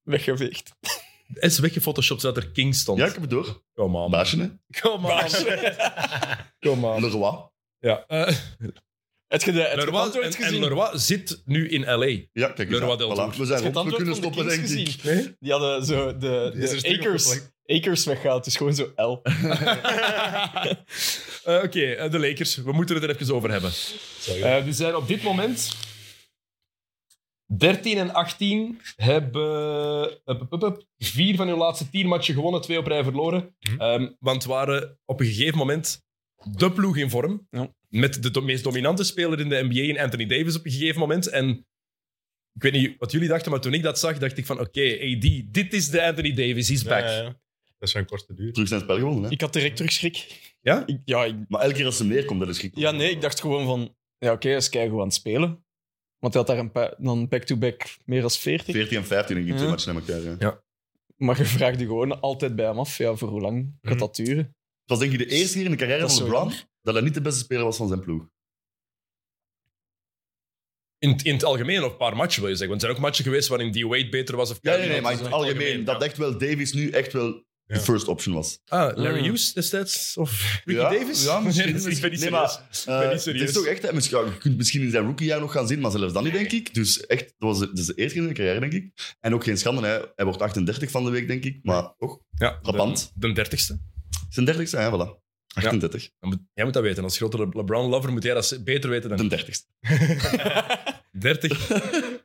Speaker 4: weggeveegd.
Speaker 1: is weggefotoshopt zodat er King stond.
Speaker 2: Ja, ik heb het door.
Speaker 1: Kom aan.
Speaker 2: Baasje, hè?
Speaker 1: Kom aan. [laughs] Kom aan.
Speaker 2: Le Roi.
Speaker 1: Ja. Eh,
Speaker 4: Heb je de heb je het
Speaker 1: Leroy, en,
Speaker 4: antwoord
Speaker 1: en
Speaker 4: gezien?
Speaker 1: Leroy zit nu in L.A.
Speaker 2: Ja, kijk
Speaker 1: Le
Speaker 2: eens.
Speaker 1: Roi
Speaker 2: aan.
Speaker 1: del
Speaker 2: Voilà.
Speaker 1: Tour.
Speaker 2: We zijn
Speaker 4: Heb je het
Speaker 2: rond, we
Speaker 4: antwoord
Speaker 2: kunnen
Speaker 4: van de
Speaker 2: stoppen, denk
Speaker 4: Kings
Speaker 2: ik.
Speaker 4: gezien? Die hadden zo de,
Speaker 3: Die is er
Speaker 4: de
Speaker 3: terug
Speaker 4: acres,
Speaker 3: opgeplakt.
Speaker 4: acres weggehaald. Het is gewoon zo L.
Speaker 1: Eh, Oké, eh, de Lakers. We moeten het er even over hebben. Eh, die zijn op dit moment 13 en 18. Hebben eh, pup, pup, pup, vier van hun laatste tien matchen gewonnen, twee op rij verloren.
Speaker 3: Mhm.
Speaker 1: Ehm, want waren op een gegeven moment de ploeg in vorm.
Speaker 4: Ja.
Speaker 1: Met de do- meest dominante speler in de NBA, in Anthony Davis, op een gegeven moment. En ik weet niet wat jullie dachten, maar toen ik dat zag, dacht ik van oké, AD, dit is de Anthony Davis, he's back.
Speaker 3: Ja, ja, ja. Dat is een korte duur.
Speaker 2: Terug zijn spel gewonnen, hè?
Speaker 4: Ik had direct terugschrik.
Speaker 1: Ja?
Speaker 4: Ik, ja, ik-
Speaker 2: Maar elke keer als ze neerkomt, dat is gek.
Speaker 4: ja, nee, ik dacht gewoon van... Ja, oké, hij is keigoed aan het spelen. Want hij had daar een pa- dan back-to-back meer dan 40.
Speaker 2: 14 en 15 denk ik,
Speaker 4: Ja.
Speaker 2: twee matchen naar elkaar. hè.
Speaker 4: Maar je vraagt je gewoon altijd bij hem af, ja, voor hoe lang
Speaker 1: Mhm.
Speaker 4: gaat dat duren?
Speaker 2: Het was denk ik de eerste keer in de carrière
Speaker 4: Dat is
Speaker 2: van
Speaker 4: zo
Speaker 2: LeBron dat hij niet de beste speler was van zijn ploeg.
Speaker 1: In, in het algemeen, of een paar matchen wil je zeggen. Want er zijn ook matchen geweest waarin die Wade beter was. Of
Speaker 2: Ja, nee,
Speaker 1: Kyrie
Speaker 2: nee, maar in
Speaker 1: was.
Speaker 2: het algemeen. Dat
Speaker 1: ja.
Speaker 2: echt wel Davis nu echt wel de
Speaker 3: Ja.
Speaker 2: first option was.
Speaker 1: Ah, Larry
Speaker 2: Mm.
Speaker 4: Ah.
Speaker 1: Hughes destijds? Of Ricky
Speaker 2: Ja,
Speaker 1: Davis?
Speaker 2: ja, misschien.
Speaker 1: Nee, dat is- [laughs] ik ben niet
Speaker 2: Nee,
Speaker 1: serieus.
Speaker 2: Eh,
Speaker 1: ben niet
Speaker 2: het
Speaker 1: serieus.
Speaker 2: is toch echt, hè, misschien, ja, je kunt het misschien in zijn rookiejaar nog gaan zien, maar zelfs dan niet, denk ik. Dus echt, dat was de, dat is de eerste keer in zijn carrière, denk ik. En ook geen schande, hè. hij wordt 38 van de week, denk ik. Maar toch,
Speaker 1: ja,
Speaker 2: frappant.
Speaker 1: De, de dertigste.
Speaker 2: zijn 30 zijn, hè, voilà. 38.
Speaker 1: Dan moet- Jij moet dat weten. Als grote Le- LeBron-lover moet jij dat z- beter weten dan
Speaker 2: De 30 [laughs]
Speaker 1: 30,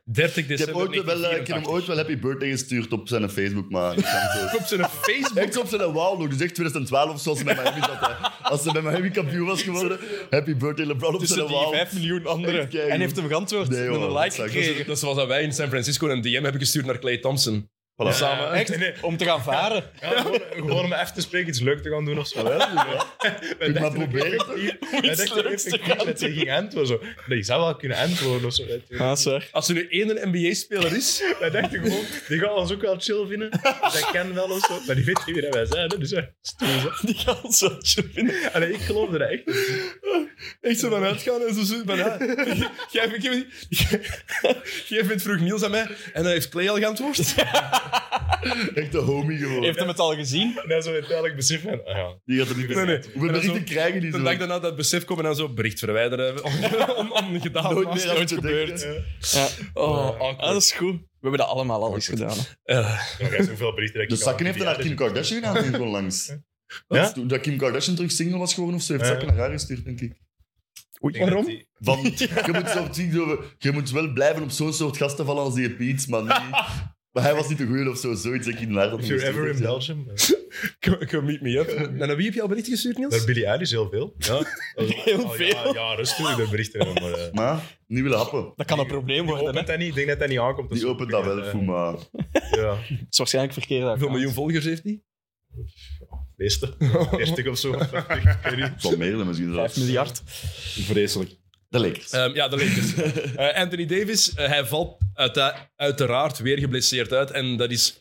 Speaker 1: 30
Speaker 2: Ik heb,
Speaker 1: december
Speaker 2: ooit wel, eh, ik heb hem ooit wel happy birthday gestuurd op zijn Facebook, maar ik kan
Speaker 1: [laughs]
Speaker 2: het zo-
Speaker 1: op zijn Facebook.
Speaker 2: Ik op zijn wow nog, dus echt 2012 zoals ze bij Miami zat. hè. Als ze bij Miami kampioen was geworden, happy birthday LeBron op
Speaker 4: Tussen
Speaker 2: zijn
Speaker 4: die
Speaker 2: wow.
Speaker 4: 5 miljoen anderen.
Speaker 2: Echt keigoed.
Speaker 4: En heeft hem geantwoord
Speaker 2: Nee,
Speaker 4: met
Speaker 2: joh,
Speaker 4: een
Speaker 2: dat
Speaker 4: like
Speaker 2: zou ik
Speaker 4: gekregen.
Speaker 1: Dat is zoals dat wij in San Francisco een DM hebben gestuurd naar Clay Thompson.
Speaker 2: Voilà.
Speaker 1: Samen.
Speaker 4: Echt? Om te gaan varen.
Speaker 3: Ja, gewoon, gewoon om even te spreken, iets leuk te gaan doen
Speaker 2: [laughs]
Speaker 3: of zo.
Speaker 2: Kun je maar proberen.
Speaker 3: Hij dacht er
Speaker 4: leuks te
Speaker 3: effectief dat hij ging antwoorden. Zo. Nee, ik zou wel kunnen antwoorden of zo. weet je.
Speaker 4: Ah, zeg.
Speaker 1: Als er nu één NBA-speler [laughs] is,
Speaker 3: Wij dachten gewoon, die gaan ons ook wel chill vinden. Dat kan wel of zo. Maar die weet niet wie dat wij zijn. hè. Dus ja, stoer, hè.
Speaker 4: [laughs] Die gaan zo chill vinden.
Speaker 3: Allee, ik geloofde dat echt.
Speaker 1: echt zo vanuit gaan en zo zo van... ja, Jij vindt- [laughs] jij vindt vroeg Niels aan mij en dan heeft Clay al geantwoord.
Speaker 2: Echt een homie geworden.
Speaker 4: Heeft hem het al gezien?
Speaker 3: En dan zo uiteindelijk besef van, ah ja.
Speaker 2: Die gaat er niet
Speaker 1: Nee, nee.
Speaker 2: Hoeveel
Speaker 1: En [laughs] dan
Speaker 2: berichten
Speaker 1: zo-
Speaker 2: krijgen die
Speaker 1: De
Speaker 2: zo?
Speaker 1: dag daarna dat besef komen en dan zo bericht verwijderen. [laughs] On, on, ongedaan.
Speaker 2: Nooit meer aan het gebeurd.
Speaker 4: Ja.
Speaker 1: Oh, awkward.
Speaker 4: Ah, dat is goed. We hebben dat allemaal al eens gedaan. hè.
Speaker 1: Eh,
Speaker 3: Dan krijg je zoveel berichten dat
Speaker 2: De
Speaker 3: ik
Speaker 2: Sakken heeft dat
Speaker 3: dus
Speaker 2: naar Kim Kardashian gedaan, denk ik, onlangs.
Speaker 3: Ja?
Speaker 2: Toen dat Kim Kardashian terug single was geworden of zo, heeft
Speaker 3: Ja.
Speaker 2: Sakken naar haar gestuurd, denk ik.
Speaker 1: waarom?
Speaker 2: Van,
Speaker 3: [laughs]
Speaker 2: je, moet zo, op zich zo- je moet wel blijven op zo'n soort gasten vallen als die Piet, maar
Speaker 3: [laughs]
Speaker 2: niet... Maar hij was niet de goede of zo, zoiets dat ik in de naart had
Speaker 3: If you're
Speaker 2: gestuurd,
Speaker 3: ever in
Speaker 2: ja.
Speaker 3: Belgium. eh.
Speaker 1: Come, come meet me up. En aan wie heb je al bericht gestuurd,
Speaker 3: Naar
Speaker 1: Niels?
Speaker 3: Billy Eilish heel
Speaker 1: [laughs]
Speaker 3: veel. Ja.
Speaker 4: Heel
Speaker 3: Oh,
Speaker 4: veel.
Speaker 3: Ja, ja rustig. De berichten hebben maar... eh,
Speaker 2: Maar, niet willen happen.
Speaker 4: Dat kan een probleem
Speaker 3: Ik
Speaker 4: worden. Hè. Het
Speaker 3: opent dat niet. Ik denk dat dat niet aankomt.
Speaker 2: Die
Speaker 3: Dus-
Speaker 2: opent dat wel,
Speaker 3: eh,
Speaker 2: Foe, maar...
Speaker 3: Ja,
Speaker 4: is waarschijnlijk verkeerd.
Speaker 1: Hoeveel
Speaker 4: account.
Speaker 1: miljoen volgers heeft hij?
Speaker 2: [laughs]
Speaker 3: meeste. 30 of zo. Ik weet niet.
Speaker 2: Van
Speaker 3: [laughs]
Speaker 2: meerdere misschien zelfs.
Speaker 4: 5 miljard.
Speaker 2: Vreselijk. De Lakers.
Speaker 1: Ehm, ja, de Lakers.
Speaker 3: [laughs]
Speaker 1: Eh, Anthony Davis, eh, hij valt uita- uiteraard weer geblesseerd uit. En dat is...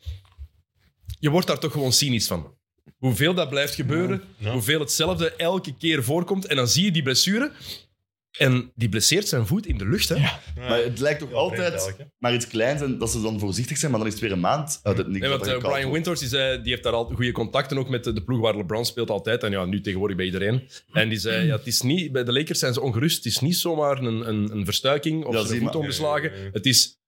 Speaker 1: Je wordt daar toch gewoon cynisch van. Hoeveel dat blijft gebeuren,
Speaker 3: Ja.
Speaker 1: hoeveel hetzelfde elke keer voorkomt. En dan zie je die blessure. En die blesseert zijn voet in de lucht. Hè?
Speaker 2: Maar het lijkt toch
Speaker 3: Ja,
Speaker 2: altijd
Speaker 3: eigenlijk, hè.
Speaker 2: maar iets kleins en dat ze dan voorzichtig zijn, maar dan is het weer een maand uit het niks.
Speaker 1: Nee,
Speaker 2: wat
Speaker 1: want
Speaker 2: er
Speaker 1: eh,
Speaker 2: gekald
Speaker 1: Brian
Speaker 2: wordt.
Speaker 1: Winters die zei, die heeft daar al goede contacten ook met de, de ploeg waar LeBron speelt altijd. En ja, nu tegenwoordig bij iedereen. En die zei, ja, het is niet, bij de Lakers zijn ze ongerust. Het is niet zomaar een, een, een verstuiking of
Speaker 2: Ja,
Speaker 1: ze
Speaker 2: zie
Speaker 1: zijn voet
Speaker 2: maar.
Speaker 1: omgeslagen.
Speaker 3: Ja, ja, ja.
Speaker 1: Het is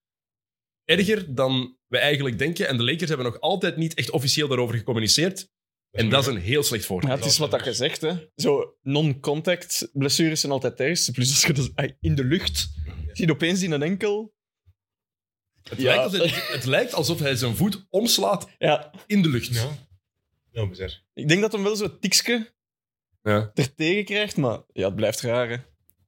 Speaker 1: erger dan we eigenlijk denken. En de Lakers hebben nog altijd niet echt officieel daarover gecommuniceerd. En dat is een heel slecht
Speaker 4: Ja,
Speaker 1: voorbeeld.
Speaker 4: het is wat dat gezegd, hè. Zo, non-contact blessures zijn altijd het ergste. Plus als je dat ai, in de lucht ziet opeens in een enkel.
Speaker 1: Het,
Speaker 4: Ja.
Speaker 1: lijkt alsof, het, het lijkt alsof hij zijn voet omslaat
Speaker 4: Ja,
Speaker 1: in de lucht.
Speaker 3: Ja. Ja, bizar.
Speaker 4: ik denk dat hem wel zo'n tikske
Speaker 1: Ja.
Speaker 4: er tegen krijgt, maar ja, het blijft raar, hè.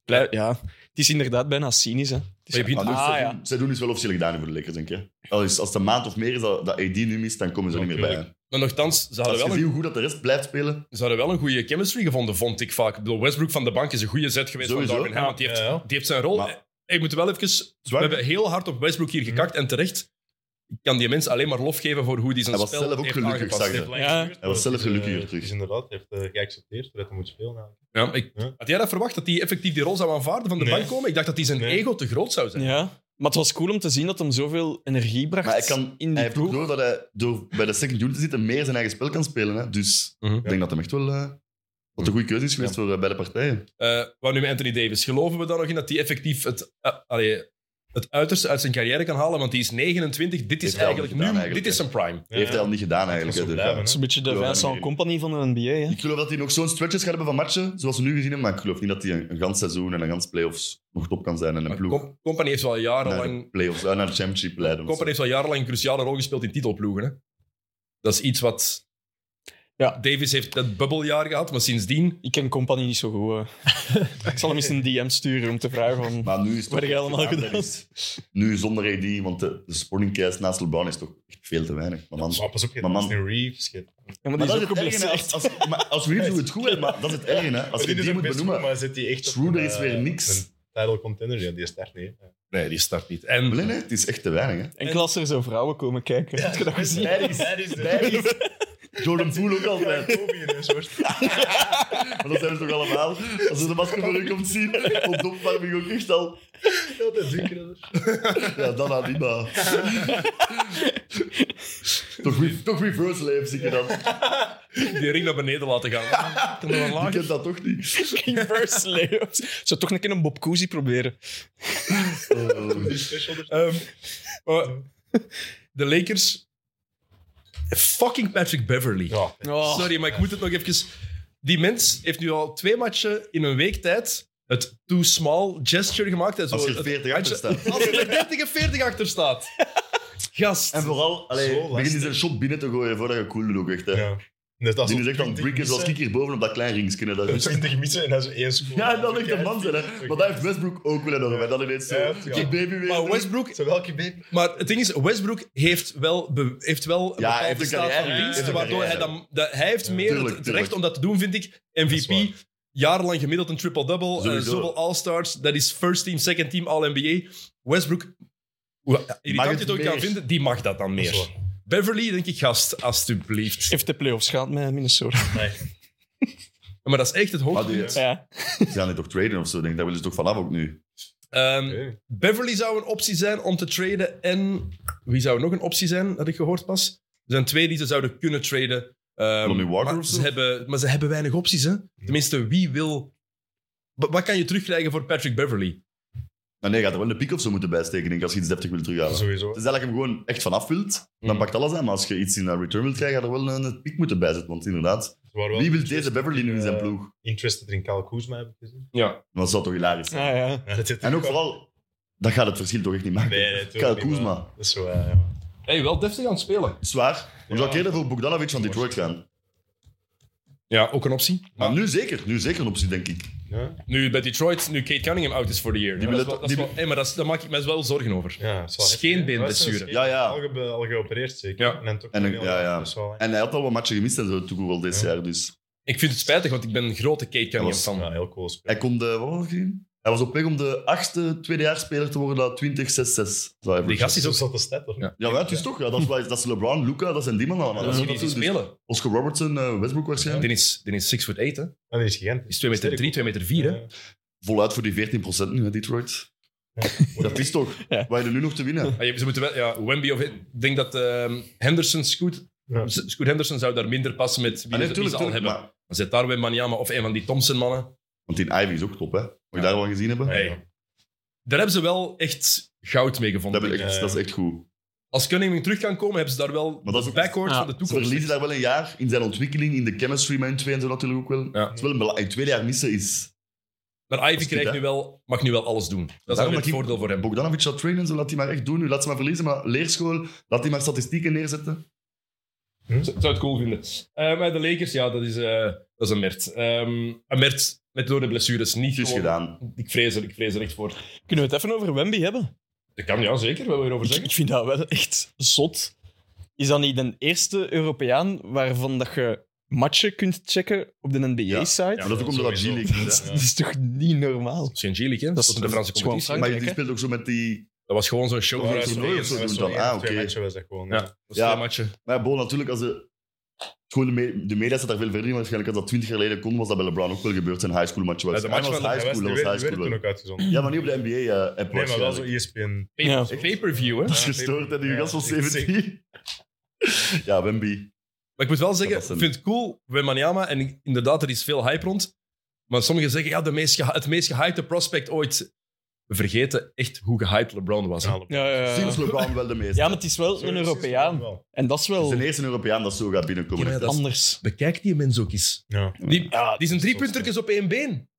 Speaker 4: Blijf- ja, het is inderdaad bijna cynisch, hè. Het is-
Speaker 1: Maar je begint-
Speaker 2: Maar dus
Speaker 4: Ah,
Speaker 2: zij,
Speaker 4: ja.
Speaker 2: doen, zij doen dus wel officieel gedaan voor de Lakers, denk je. Als, als het een maand of meer is dat, dat AD nu mist, dan komen ze er niet meer bij. hè.
Speaker 1: Maar nogthans, ze
Speaker 2: Als
Speaker 1: hadden,
Speaker 2: je
Speaker 1: wel
Speaker 2: ziet
Speaker 1: een,
Speaker 2: hoe goed dat de rest blijft spelen,
Speaker 1: ze hadden wel een goede chemistry gevonden, vond ik vaak. Ik bedoel, Westbrook van de bank is een goede zet geweest
Speaker 2: Sowieso.
Speaker 1: van Darwin Ham, want die heeft,
Speaker 3: Ja, ja.
Speaker 1: die heeft zijn rol...
Speaker 2: Maar-
Speaker 1: ik moet wel even... We
Speaker 2: zwaar. Hm.
Speaker 1: hebben heel hard op Westbrook hier gekakt, en terecht. Ik kan die mens alleen maar lof geven voor hoe die zijn
Speaker 2: Hij was
Speaker 1: spel
Speaker 2: zelf ook
Speaker 1: heeft
Speaker 2: gelukkig,
Speaker 1: aangepast.
Speaker 2: zag je.
Speaker 1: Heeft-
Speaker 4: Ja.
Speaker 2: Hij was zelf
Speaker 3: Het is, eh,
Speaker 2: gelukkiger
Speaker 3: Het
Speaker 2: terug.
Speaker 3: is inderdaad, hij heeft eh, geaccepteerd dat hij moet spelen.
Speaker 1: Ja,
Speaker 3: eigenlijk.
Speaker 1: ik,
Speaker 2: Hm.
Speaker 3: Ja.
Speaker 1: Had jij dat verwacht, dat hij effectief die rol zou aanvaarden van de
Speaker 3: Nee.
Speaker 1: bank komen? Ik dacht dat hij zijn
Speaker 3: Nee.
Speaker 1: ego te groot zou zijn.
Speaker 4: Ja, maar het was cool om te zien dat hem zoveel energie bracht
Speaker 2: Maar hij, kan,
Speaker 4: in
Speaker 2: hij
Speaker 4: die
Speaker 2: heeft ook
Speaker 4: ploeg.
Speaker 2: door dat hij door bij de second unit te zitten meer zijn eigen spel kan spelen. Hè. Dus
Speaker 1: Mhm.
Speaker 2: ik denk dat hem echt wel eh, dat een goede keuze is geweest voor eh, beide partijen.
Speaker 1: Eh, wat nu met Anthony Davis? Geloven we dan nog in dat hij effectief het, eh, allee, het uiterste uit zijn carrière kan halen? Want die is 29. Dit is
Speaker 2: Heeft hij al
Speaker 1: eigenlijk nu.
Speaker 2: gedaan eigenlijk,
Speaker 1: dit is
Speaker 2: hè.
Speaker 1: zijn prime.
Speaker 3: Ja,
Speaker 2: Heeft hij
Speaker 3: ja.
Speaker 2: al niet gedaan eigenlijk.
Speaker 3: Dat
Speaker 2: hè,
Speaker 3: is
Speaker 2: dus,
Speaker 3: zo
Speaker 2: ja.
Speaker 4: Het is
Speaker 3: blijven,
Speaker 4: een beetje de
Speaker 2: Ja,
Speaker 4: Vincent
Speaker 2: nee.
Speaker 4: Company van de NBA, hè.
Speaker 2: Ik geloof dat hij nog zo'n stretches gaat hebben van matchen, zoals we nu gezien hebben. Maar ik geloof niet dat hij een, een gans seizoen en een gans playoffs nog top kan zijn. En een
Speaker 1: Maar
Speaker 2: ploeg
Speaker 1: Com- Company heeft wel
Speaker 2: naar de
Speaker 1: jarenlang,
Speaker 2: playoffs, eh, naar de championship leiden. of zo.
Speaker 1: Company heeft wel jarenlang een cruciale rol gespeeld in titelploegen. Hè? Dat is iets wat.
Speaker 4: Ja.
Speaker 1: Davis heeft dat bubbeljaar gehad, maar sindsdien.
Speaker 4: Ik ken Company niet zo goed. hè. ik zal hem eens een DM sturen om te vragen van...
Speaker 2: Maar nu is het
Speaker 4: Wat
Speaker 2: toch-
Speaker 4: heb jij allemaal
Speaker 2: Ja, dat
Speaker 4: gedaan?
Speaker 2: is- Nu zonder AD, want de, de supporting cast naast LeBron is toch echt veel te weinig. Maar, man,
Speaker 3: Maar pas op, je
Speaker 2: Maar man-
Speaker 3: Austin Reeves. je-
Speaker 4: Ja, maar
Speaker 2: Maar
Speaker 4: die
Speaker 2: dat
Speaker 4: is
Speaker 2: is
Speaker 4: ook
Speaker 2: het erg.
Speaker 4: geblesseerd.
Speaker 2: Als, als, maar als Reeves doet het goed, hè, maar dat is het erg. Hè. Als je
Speaker 3: doet
Speaker 2: die
Speaker 3: het
Speaker 2: moet
Speaker 3: best
Speaker 2: benoemen.
Speaker 3: goed, maar zit die echt op
Speaker 2: Schroeder
Speaker 3: een,
Speaker 2: is weer
Speaker 3: eh,
Speaker 2: niks.
Speaker 3: Een title contender, ja, die start niet. hè.
Speaker 1: Nee, die start niet. En
Speaker 2: Nee, nee, het is echt te weinig. Hè.
Speaker 4: Enkel als er zo vrouwen komen kijken. Heb je dat gezien?
Speaker 2: Jordan Poole ook
Speaker 3: Ja,
Speaker 2: altijd. [laughs]
Speaker 3: Kobe in een soort.
Speaker 2: Maar dat zijn we toch allemaal. Als ze de masker voor u komt zien, op de opwarming ook echt al.
Speaker 3: Altijd zinkeren.
Speaker 2: Ja, dan aan die maar. toch, re- toch reverse lives, zie je dan.
Speaker 1: die ring naar beneden laten gaan. Kan er wel
Speaker 2: Ik
Speaker 1: lager?
Speaker 2: ken dat toch niet.
Speaker 4: [laughs] Reverse layups. Zou toch een keer een Bob Cousy proberen.
Speaker 2: Eh,
Speaker 3: Die special er-
Speaker 1: Ehm, maar de Lakers. Fucking Patrick Beverly.
Speaker 3: Ja,
Speaker 4: Oh.
Speaker 1: Sorry, maar ik moet het nog even. Die mens heeft nu al twee matchen in een week tijd het too small gesture gemaakt. En zo,
Speaker 2: Als je
Speaker 1: het
Speaker 2: 40 achter
Speaker 1: handje-
Speaker 2: staat.
Speaker 1: Als je er 30 en 40 achter
Speaker 2: [laughs]
Speaker 1: staat. Gast.
Speaker 2: En vooral,
Speaker 3: Zo
Speaker 2: allee,
Speaker 3: lastig.
Speaker 2: begin eens een shot binnen te gooien voordat je cool doet ook echt. Hè.
Speaker 3: ja. Dus Net als
Speaker 2: Die is
Speaker 3: op
Speaker 2: echt aan het
Speaker 3: 20
Speaker 2: bricken zoals ik
Speaker 3: missen,
Speaker 2: hier boven op dat klein ringsje. hè. Dat
Speaker 3: een
Speaker 2: is
Speaker 3: 20 missen en dat is één score.
Speaker 2: Ja, en dat ligt een man zijn, hè.
Speaker 3: Oké.
Speaker 2: Maar dat heeft Westbrook ook willen hebben. En dan ineens zo,
Speaker 3: Ja, ja.
Speaker 2: die baby weer.
Speaker 1: Maar
Speaker 2: doen.
Speaker 1: Westbrook,
Speaker 3: Zo welke baby.
Speaker 1: maar het ding is, Westbrook heeft wel, be- heeft wel een
Speaker 2: Ja, hij
Speaker 1: bepaalde
Speaker 2: heeft een
Speaker 1: staat van
Speaker 2: carrière,
Speaker 1: dienst,
Speaker 2: heeft een
Speaker 1: waardoor hij,
Speaker 2: carrière.
Speaker 1: dan, dat, hij heeft meer
Speaker 2: Tuurlijk,
Speaker 1: het- het
Speaker 2: tuurlijk.
Speaker 1: recht om dat te doen, vind ik.
Speaker 3: is waar.
Speaker 1: MVP, jarenlang gemiddeld een triple-double, eh,
Speaker 2: Sowieso.
Speaker 1: zoveel All-Stars, dat is first team, second team, All-NBA. Westbrook, hoe irritant je
Speaker 2: het
Speaker 1: het ook
Speaker 2: meer?
Speaker 1: kan vinden, die mag dat dan
Speaker 3: Dat is
Speaker 1: meer. Beverly, denk ik, gast, alstublieft.
Speaker 4: Heeft de playoffs gehad met Minnesota.
Speaker 1: Maar dat is echt het
Speaker 2: Maar
Speaker 1: hoogtepunt.
Speaker 2: die,
Speaker 4: Ja.
Speaker 2: ze gaan niet toch traden of zo, denk ik. Daar willen ze toch vanaf ook nu.
Speaker 1: Ehm,
Speaker 3: Oké.
Speaker 1: Beverly zou een optie zijn om te traden. En wie zou nog een optie zijn, had ik gehoord pas? Er zijn twee die ze zouden kunnen traden. Ehm,
Speaker 2: Lonnie Walker
Speaker 1: maar,
Speaker 2: of zo?
Speaker 1: ze hebben, maar ze hebben weinig opties, hè? Tenminste, wie wil... Wa- Wat kan je terugkrijgen voor Patrick Beverly?
Speaker 2: Maar nee, je gaat er wel een piek of zo moeten bijsteken, denk ik, als je iets deftig wil terughalen.
Speaker 3: Sowieso.
Speaker 2: Het is dat je hem gewoon echt vanaf wilt, dan
Speaker 1: Mm.
Speaker 2: pakt alles aan. Maar als je iets in een return wilt krijgen, ga je er wel een, een piek moeten bijzetten. Want inderdaad,
Speaker 3: Ze waren wel
Speaker 2: wie wil
Speaker 3: interest-
Speaker 2: deze Beverly nu in zijn
Speaker 3: eh,
Speaker 2: ploeg?
Speaker 3: Interested in Kyle Kuzma, heb ik gezien.
Speaker 1: Ja.
Speaker 2: Dat zou toch hilarisch zijn.
Speaker 4: Ah, ja.
Speaker 3: Ja, dat zit er
Speaker 2: En ook
Speaker 3: wel-
Speaker 2: vooral, dat gaat het verschil toch echt niet maken.
Speaker 3: Nee, nee,
Speaker 2: Kyle
Speaker 3: tuurlijk niet, maar
Speaker 2: Kuzma,
Speaker 3: Dat is zo, eh, ja.
Speaker 1: Hey, wel deftig aan het spelen.
Speaker 2: zwaar. Je
Speaker 3: Ja.
Speaker 2: zou ik eerder voor Bogdanovic van Detroit gaan.
Speaker 1: Ja, ook een optie.
Speaker 2: Maar nu zeker, nu zeker een optie, denk ik.
Speaker 3: Ja,
Speaker 1: Nu bij Detroit, nu Kate Cunningham out is voor de year.
Speaker 2: Die
Speaker 1: dat is
Speaker 2: willen
Speaker 1: wel, dat
Speaker 2: toch-
Speaker 1: is
Speaker 2: die-
Speaker 1: wel- hey, maar dat is- daar maak ik me wel zorgen over.
Speaker 3: ja, dat is wel heftig,
Speaker 1: Scheenbeenblessure.
Speaker 3: hè. Dat is een
Speaker 2: Ja, ja.
Speaker 3: Al, ge- al geopereerd zeker.
Speaker 1: Ja.
Speaker 3: En dan toch
Speaker 2: En een-
Speaker 3: nog
Speaker 2: ja,
Speaker 3: heel-
Speaker 2: ja.
Speaker 3: dat is wel-
Speaker 2: En hij had al wat matchen gemist en zo, Toekoegel dit
Speaker 3: Ja.
Speaker 2: jaar. Dus
Speaker 1: Ik vind het spijtig, want ik ben een grote Kate Cunningham
Speaker 2: was-
Speaker 1: fan.
Speaker 3: ja, heel cool
Speaker 2: Hij
Speaker 3: spel.
Speaker 2: kon de, wat was het gezien? Hij was op weg om de achtste tweedejaarsspeler te worden dat 20 6 6 zou hebben.
Speaker 1: Die gast is
Speaker 3: Zo
Speaker 1: ook...
Speaker 3: zat de stat, toch?
Speaker 1: Ja.
Speaker 2: Ja, maar het is toch. Ja, dat, is, wel- dat is LeBron, Luca, dat zijn die mannen allemaal.
Speaker 1: Dat
Speaker 2: Dat
Speaker 1: is
Speaker 2: is
Speaker 1: hoe die
Speaker 2: dat is- dus
Speaker 1: spelen.
Speaker 2: Oscar Robertson, eh, Westbrook waarschijnlijk.
Speaker 1: Die is 6 foot 8, hè?
Speaker 3: En Ah, die is Eh, gigantisch.
Speaker 1: Die is 2 meter 3, 2 meter 4, hè?
Speaker 3: Ja.
Speaker 2: voluit voor die 14% nu, hè, Detroit. Dat is toch,
Speaker 4: Ja.
Speaker 2: waar je nu nog te winnen.
Speaker 1: Ah, je- Ze moeten wel, ja, Wemby of... Ik denk dat ehm, Henderson, Scoot...
Speaker 3: Ja.
Speaker 1: Scoot Henderson zou daar minder passen met wie,
Speaker 2: Ah,
Speaker 1: ze-
Speaker 2: nee,
Speaker 1: wie
Speaker 2: tuurlijk,
Speaker 1: ze al
Speaker 2: tuurlijk,
Speaker 1: hebben.
Speaker 2: maar-
Speaker 1: Dan zet daar Wembanyama of een van die Thompson-mannen.
Speaker 2: want die Ivy is ook top, hè? Moet je daar wel gezien hebben?
Speaker 1: Hey. Daar hebben ze wel echt goud mee gevonden.
Speaker 2: Dat, heb ik echt,
Speaker 3: Ja, ja.
Speaker 2: dat is echt goed.
Speaker 1: Als Cunningham terug kan komen, hebben ze daar wel
Speaker 2: Maar dat is
Speaker 1: de
Speaker 2: ook-
Speaker 1: backcourt
Speaker 5: Ja.
Speaker 1: van de
Speaker 2: Ze
Speaker 1: toekomst.
Speaker 2: verliezen daar wel een jaar in zijn ontwikkeling, in de chemistry met hun twee en zo natuurlijk ook wel.
Speaker 1: Ja.
Speaker 2: Het is wel een bela- en twee jaar missen is...
Speaker 1: Maar Ivy
Speaker 2: goed,
Speaker 1: krijgt
Speaker 2: hè?
Speaker 1: nu wel, mag nu wel alles doen. Dat is
Speaker 2: Daarom
Speaker 1: wel
Speaker 2: dat
Speaker 1: het
Speaker 2: ik-
Speaker 1: voordeel voor hem.
Speaker 2: Bogdanovic gaat trainen, zo laat hij maar echt doen. Nu laat ze maar verliezen, maar leerschool, laat hij maar statistieken neerzetten.
Speaker 1: Z- zou het cool vinden. Eh, maar de Lakers, ja, dat is, eh, dat is een mert. Ehm, een mert met door de blessures niet
Speaker 2: Het is
Speaker 1: gewoon-
Speaker 2: gedaan.
Speaker 1: Ik vrees er, ik vrees er echt voor.
Speaker 4: Kunnen we het even over Wemby hebben?
Speaker 1: Dat kan, ja, zeker. Wat wil je erover
Speaker 4: Ik,
Speaker 1: zeggen?
Speaker 4: ik vind dat wel echt zot. Is dat niet de eerste Europeaan waarvan dat je matchen kunt checken op de
Speaker 2: Ja.
Speaker 4: NBA-site?
Speaker 2: Maar dat is ook omdat dat
Speaker 3: sowieso.
Speaker 2: G-League is,
Speaker 4: [laughs]
Speaker 1: [laughs]
Speaker 4: Dat, dat is toch niet normaal?
Speaker 1: Dat is geen G-League, hè?
Speaker 4: Dat
Speaker 1: Dat
Speaker 4: is-
Speaker 1: is de Franse
Speaker 4: dat is gewoon
Speaker 1: competitie.
Speaker 4: Frankrijk.
Speaker 2: Maar
Speaker 4: Kijk,
Speaker 2: die
Speaker 4: hè.
Speaker 2: speelt ook zo met die...
Speaker 1: Dat was gewoon zo'n show
Speaker 2: Ja,
Speaker 1: vooruit.
Speaker 2: zo'n
Speaker 1: voor de
Speaker 2: toernooi of
Speaker 1: eerste.
Speaker 2: zo.
Speaker 1: Dat
Speaker 2: doen
Speaker 3: Zo'n
Speaker 2: dan.
Speaker 3: één of
Speaker 2: Ah,
Speaker 3: twee
Speaker 2: oké.
Speaker 3: matchen was dat gewoon.
Speaker 1: Ja.
Speaker 3: Ja.
Speaker 1: was
Speaker 2: Ja.
Speaker 1: twee matchen.
Speaker 2: Maar ja, bon, natuurlijk, als de... Gewoon de, me- de media staat daar veel verder in. Waarschijnlijk als dat 20 jaar geleden kon, was dat bij LeBron ook wel gebeurd. Zijn high school match was.
Speaker 1: Ja, de match
Speaker 2: Ah, dat
Speaker 1: van
Speaker 2: was
Speaker 3: Hij
Speaker 2: high
Speaker 3: was
Speaker 2: school,
Speaker 3: die
Speaker 2: dat
Speaker 3: werd-
Speaker 2: was high
Speaker 3: die werd
Speaker 2: school.
Speaker 3: toen
Speaker 2: hè.
Speaker 3: ook uitgezonden.
Speaker 2: Ja, maar niet op de NBA-app
Speaker 3: Nee, maar wel E zo ESPN.
Speaker 4: Ja.
Speaker 1: Pay-per-view, hè?
Speaker 2: Dat is
Speaker 3: Ja,
Speaker 2: eh, gestoord, hè, die
Speaker 3: ja,
Speaker 2: gast van
Speaker 3: ik zeg-
Speaker 2: 17. ja, Wemby.
Speaker 1: Maar ik moet wel zeggen,
Speaker 2: Dat was
Speaker 1: ik
Speaker 2: een-
Speaker 1: vind het cool, Wembanyama, en ik- inderdaad, er is veel hype rond. Maar sommigen zeggen, ja, de meest geha- het meest gehypte prospect ooit. We vergeten echt hoe gehyped LeBron was. hè.
Speaker 4: Ja, ja, ja.
Speaker 2: Sinds LeBron wel de meeste.
Speaker 4: ja, maar het is wel een Europeaan.
Speaker 3: Ja.
Speaker 4: En dat is wel
Speaker 2: Zijn eerste Europeaan dat zo gaat binnenkomen.
Speaker 1: Ja, maar
Speaker 2: echt,
Speaker 1: dat is-
Speaker 4: anders.
Speaker 1: Bekijk die mens ook eens.
Speaker 3: Ja.
Speaker 1: Die,
Speaker 4: Ja,
Speaker 1: die zijn drie puntertjes op één been.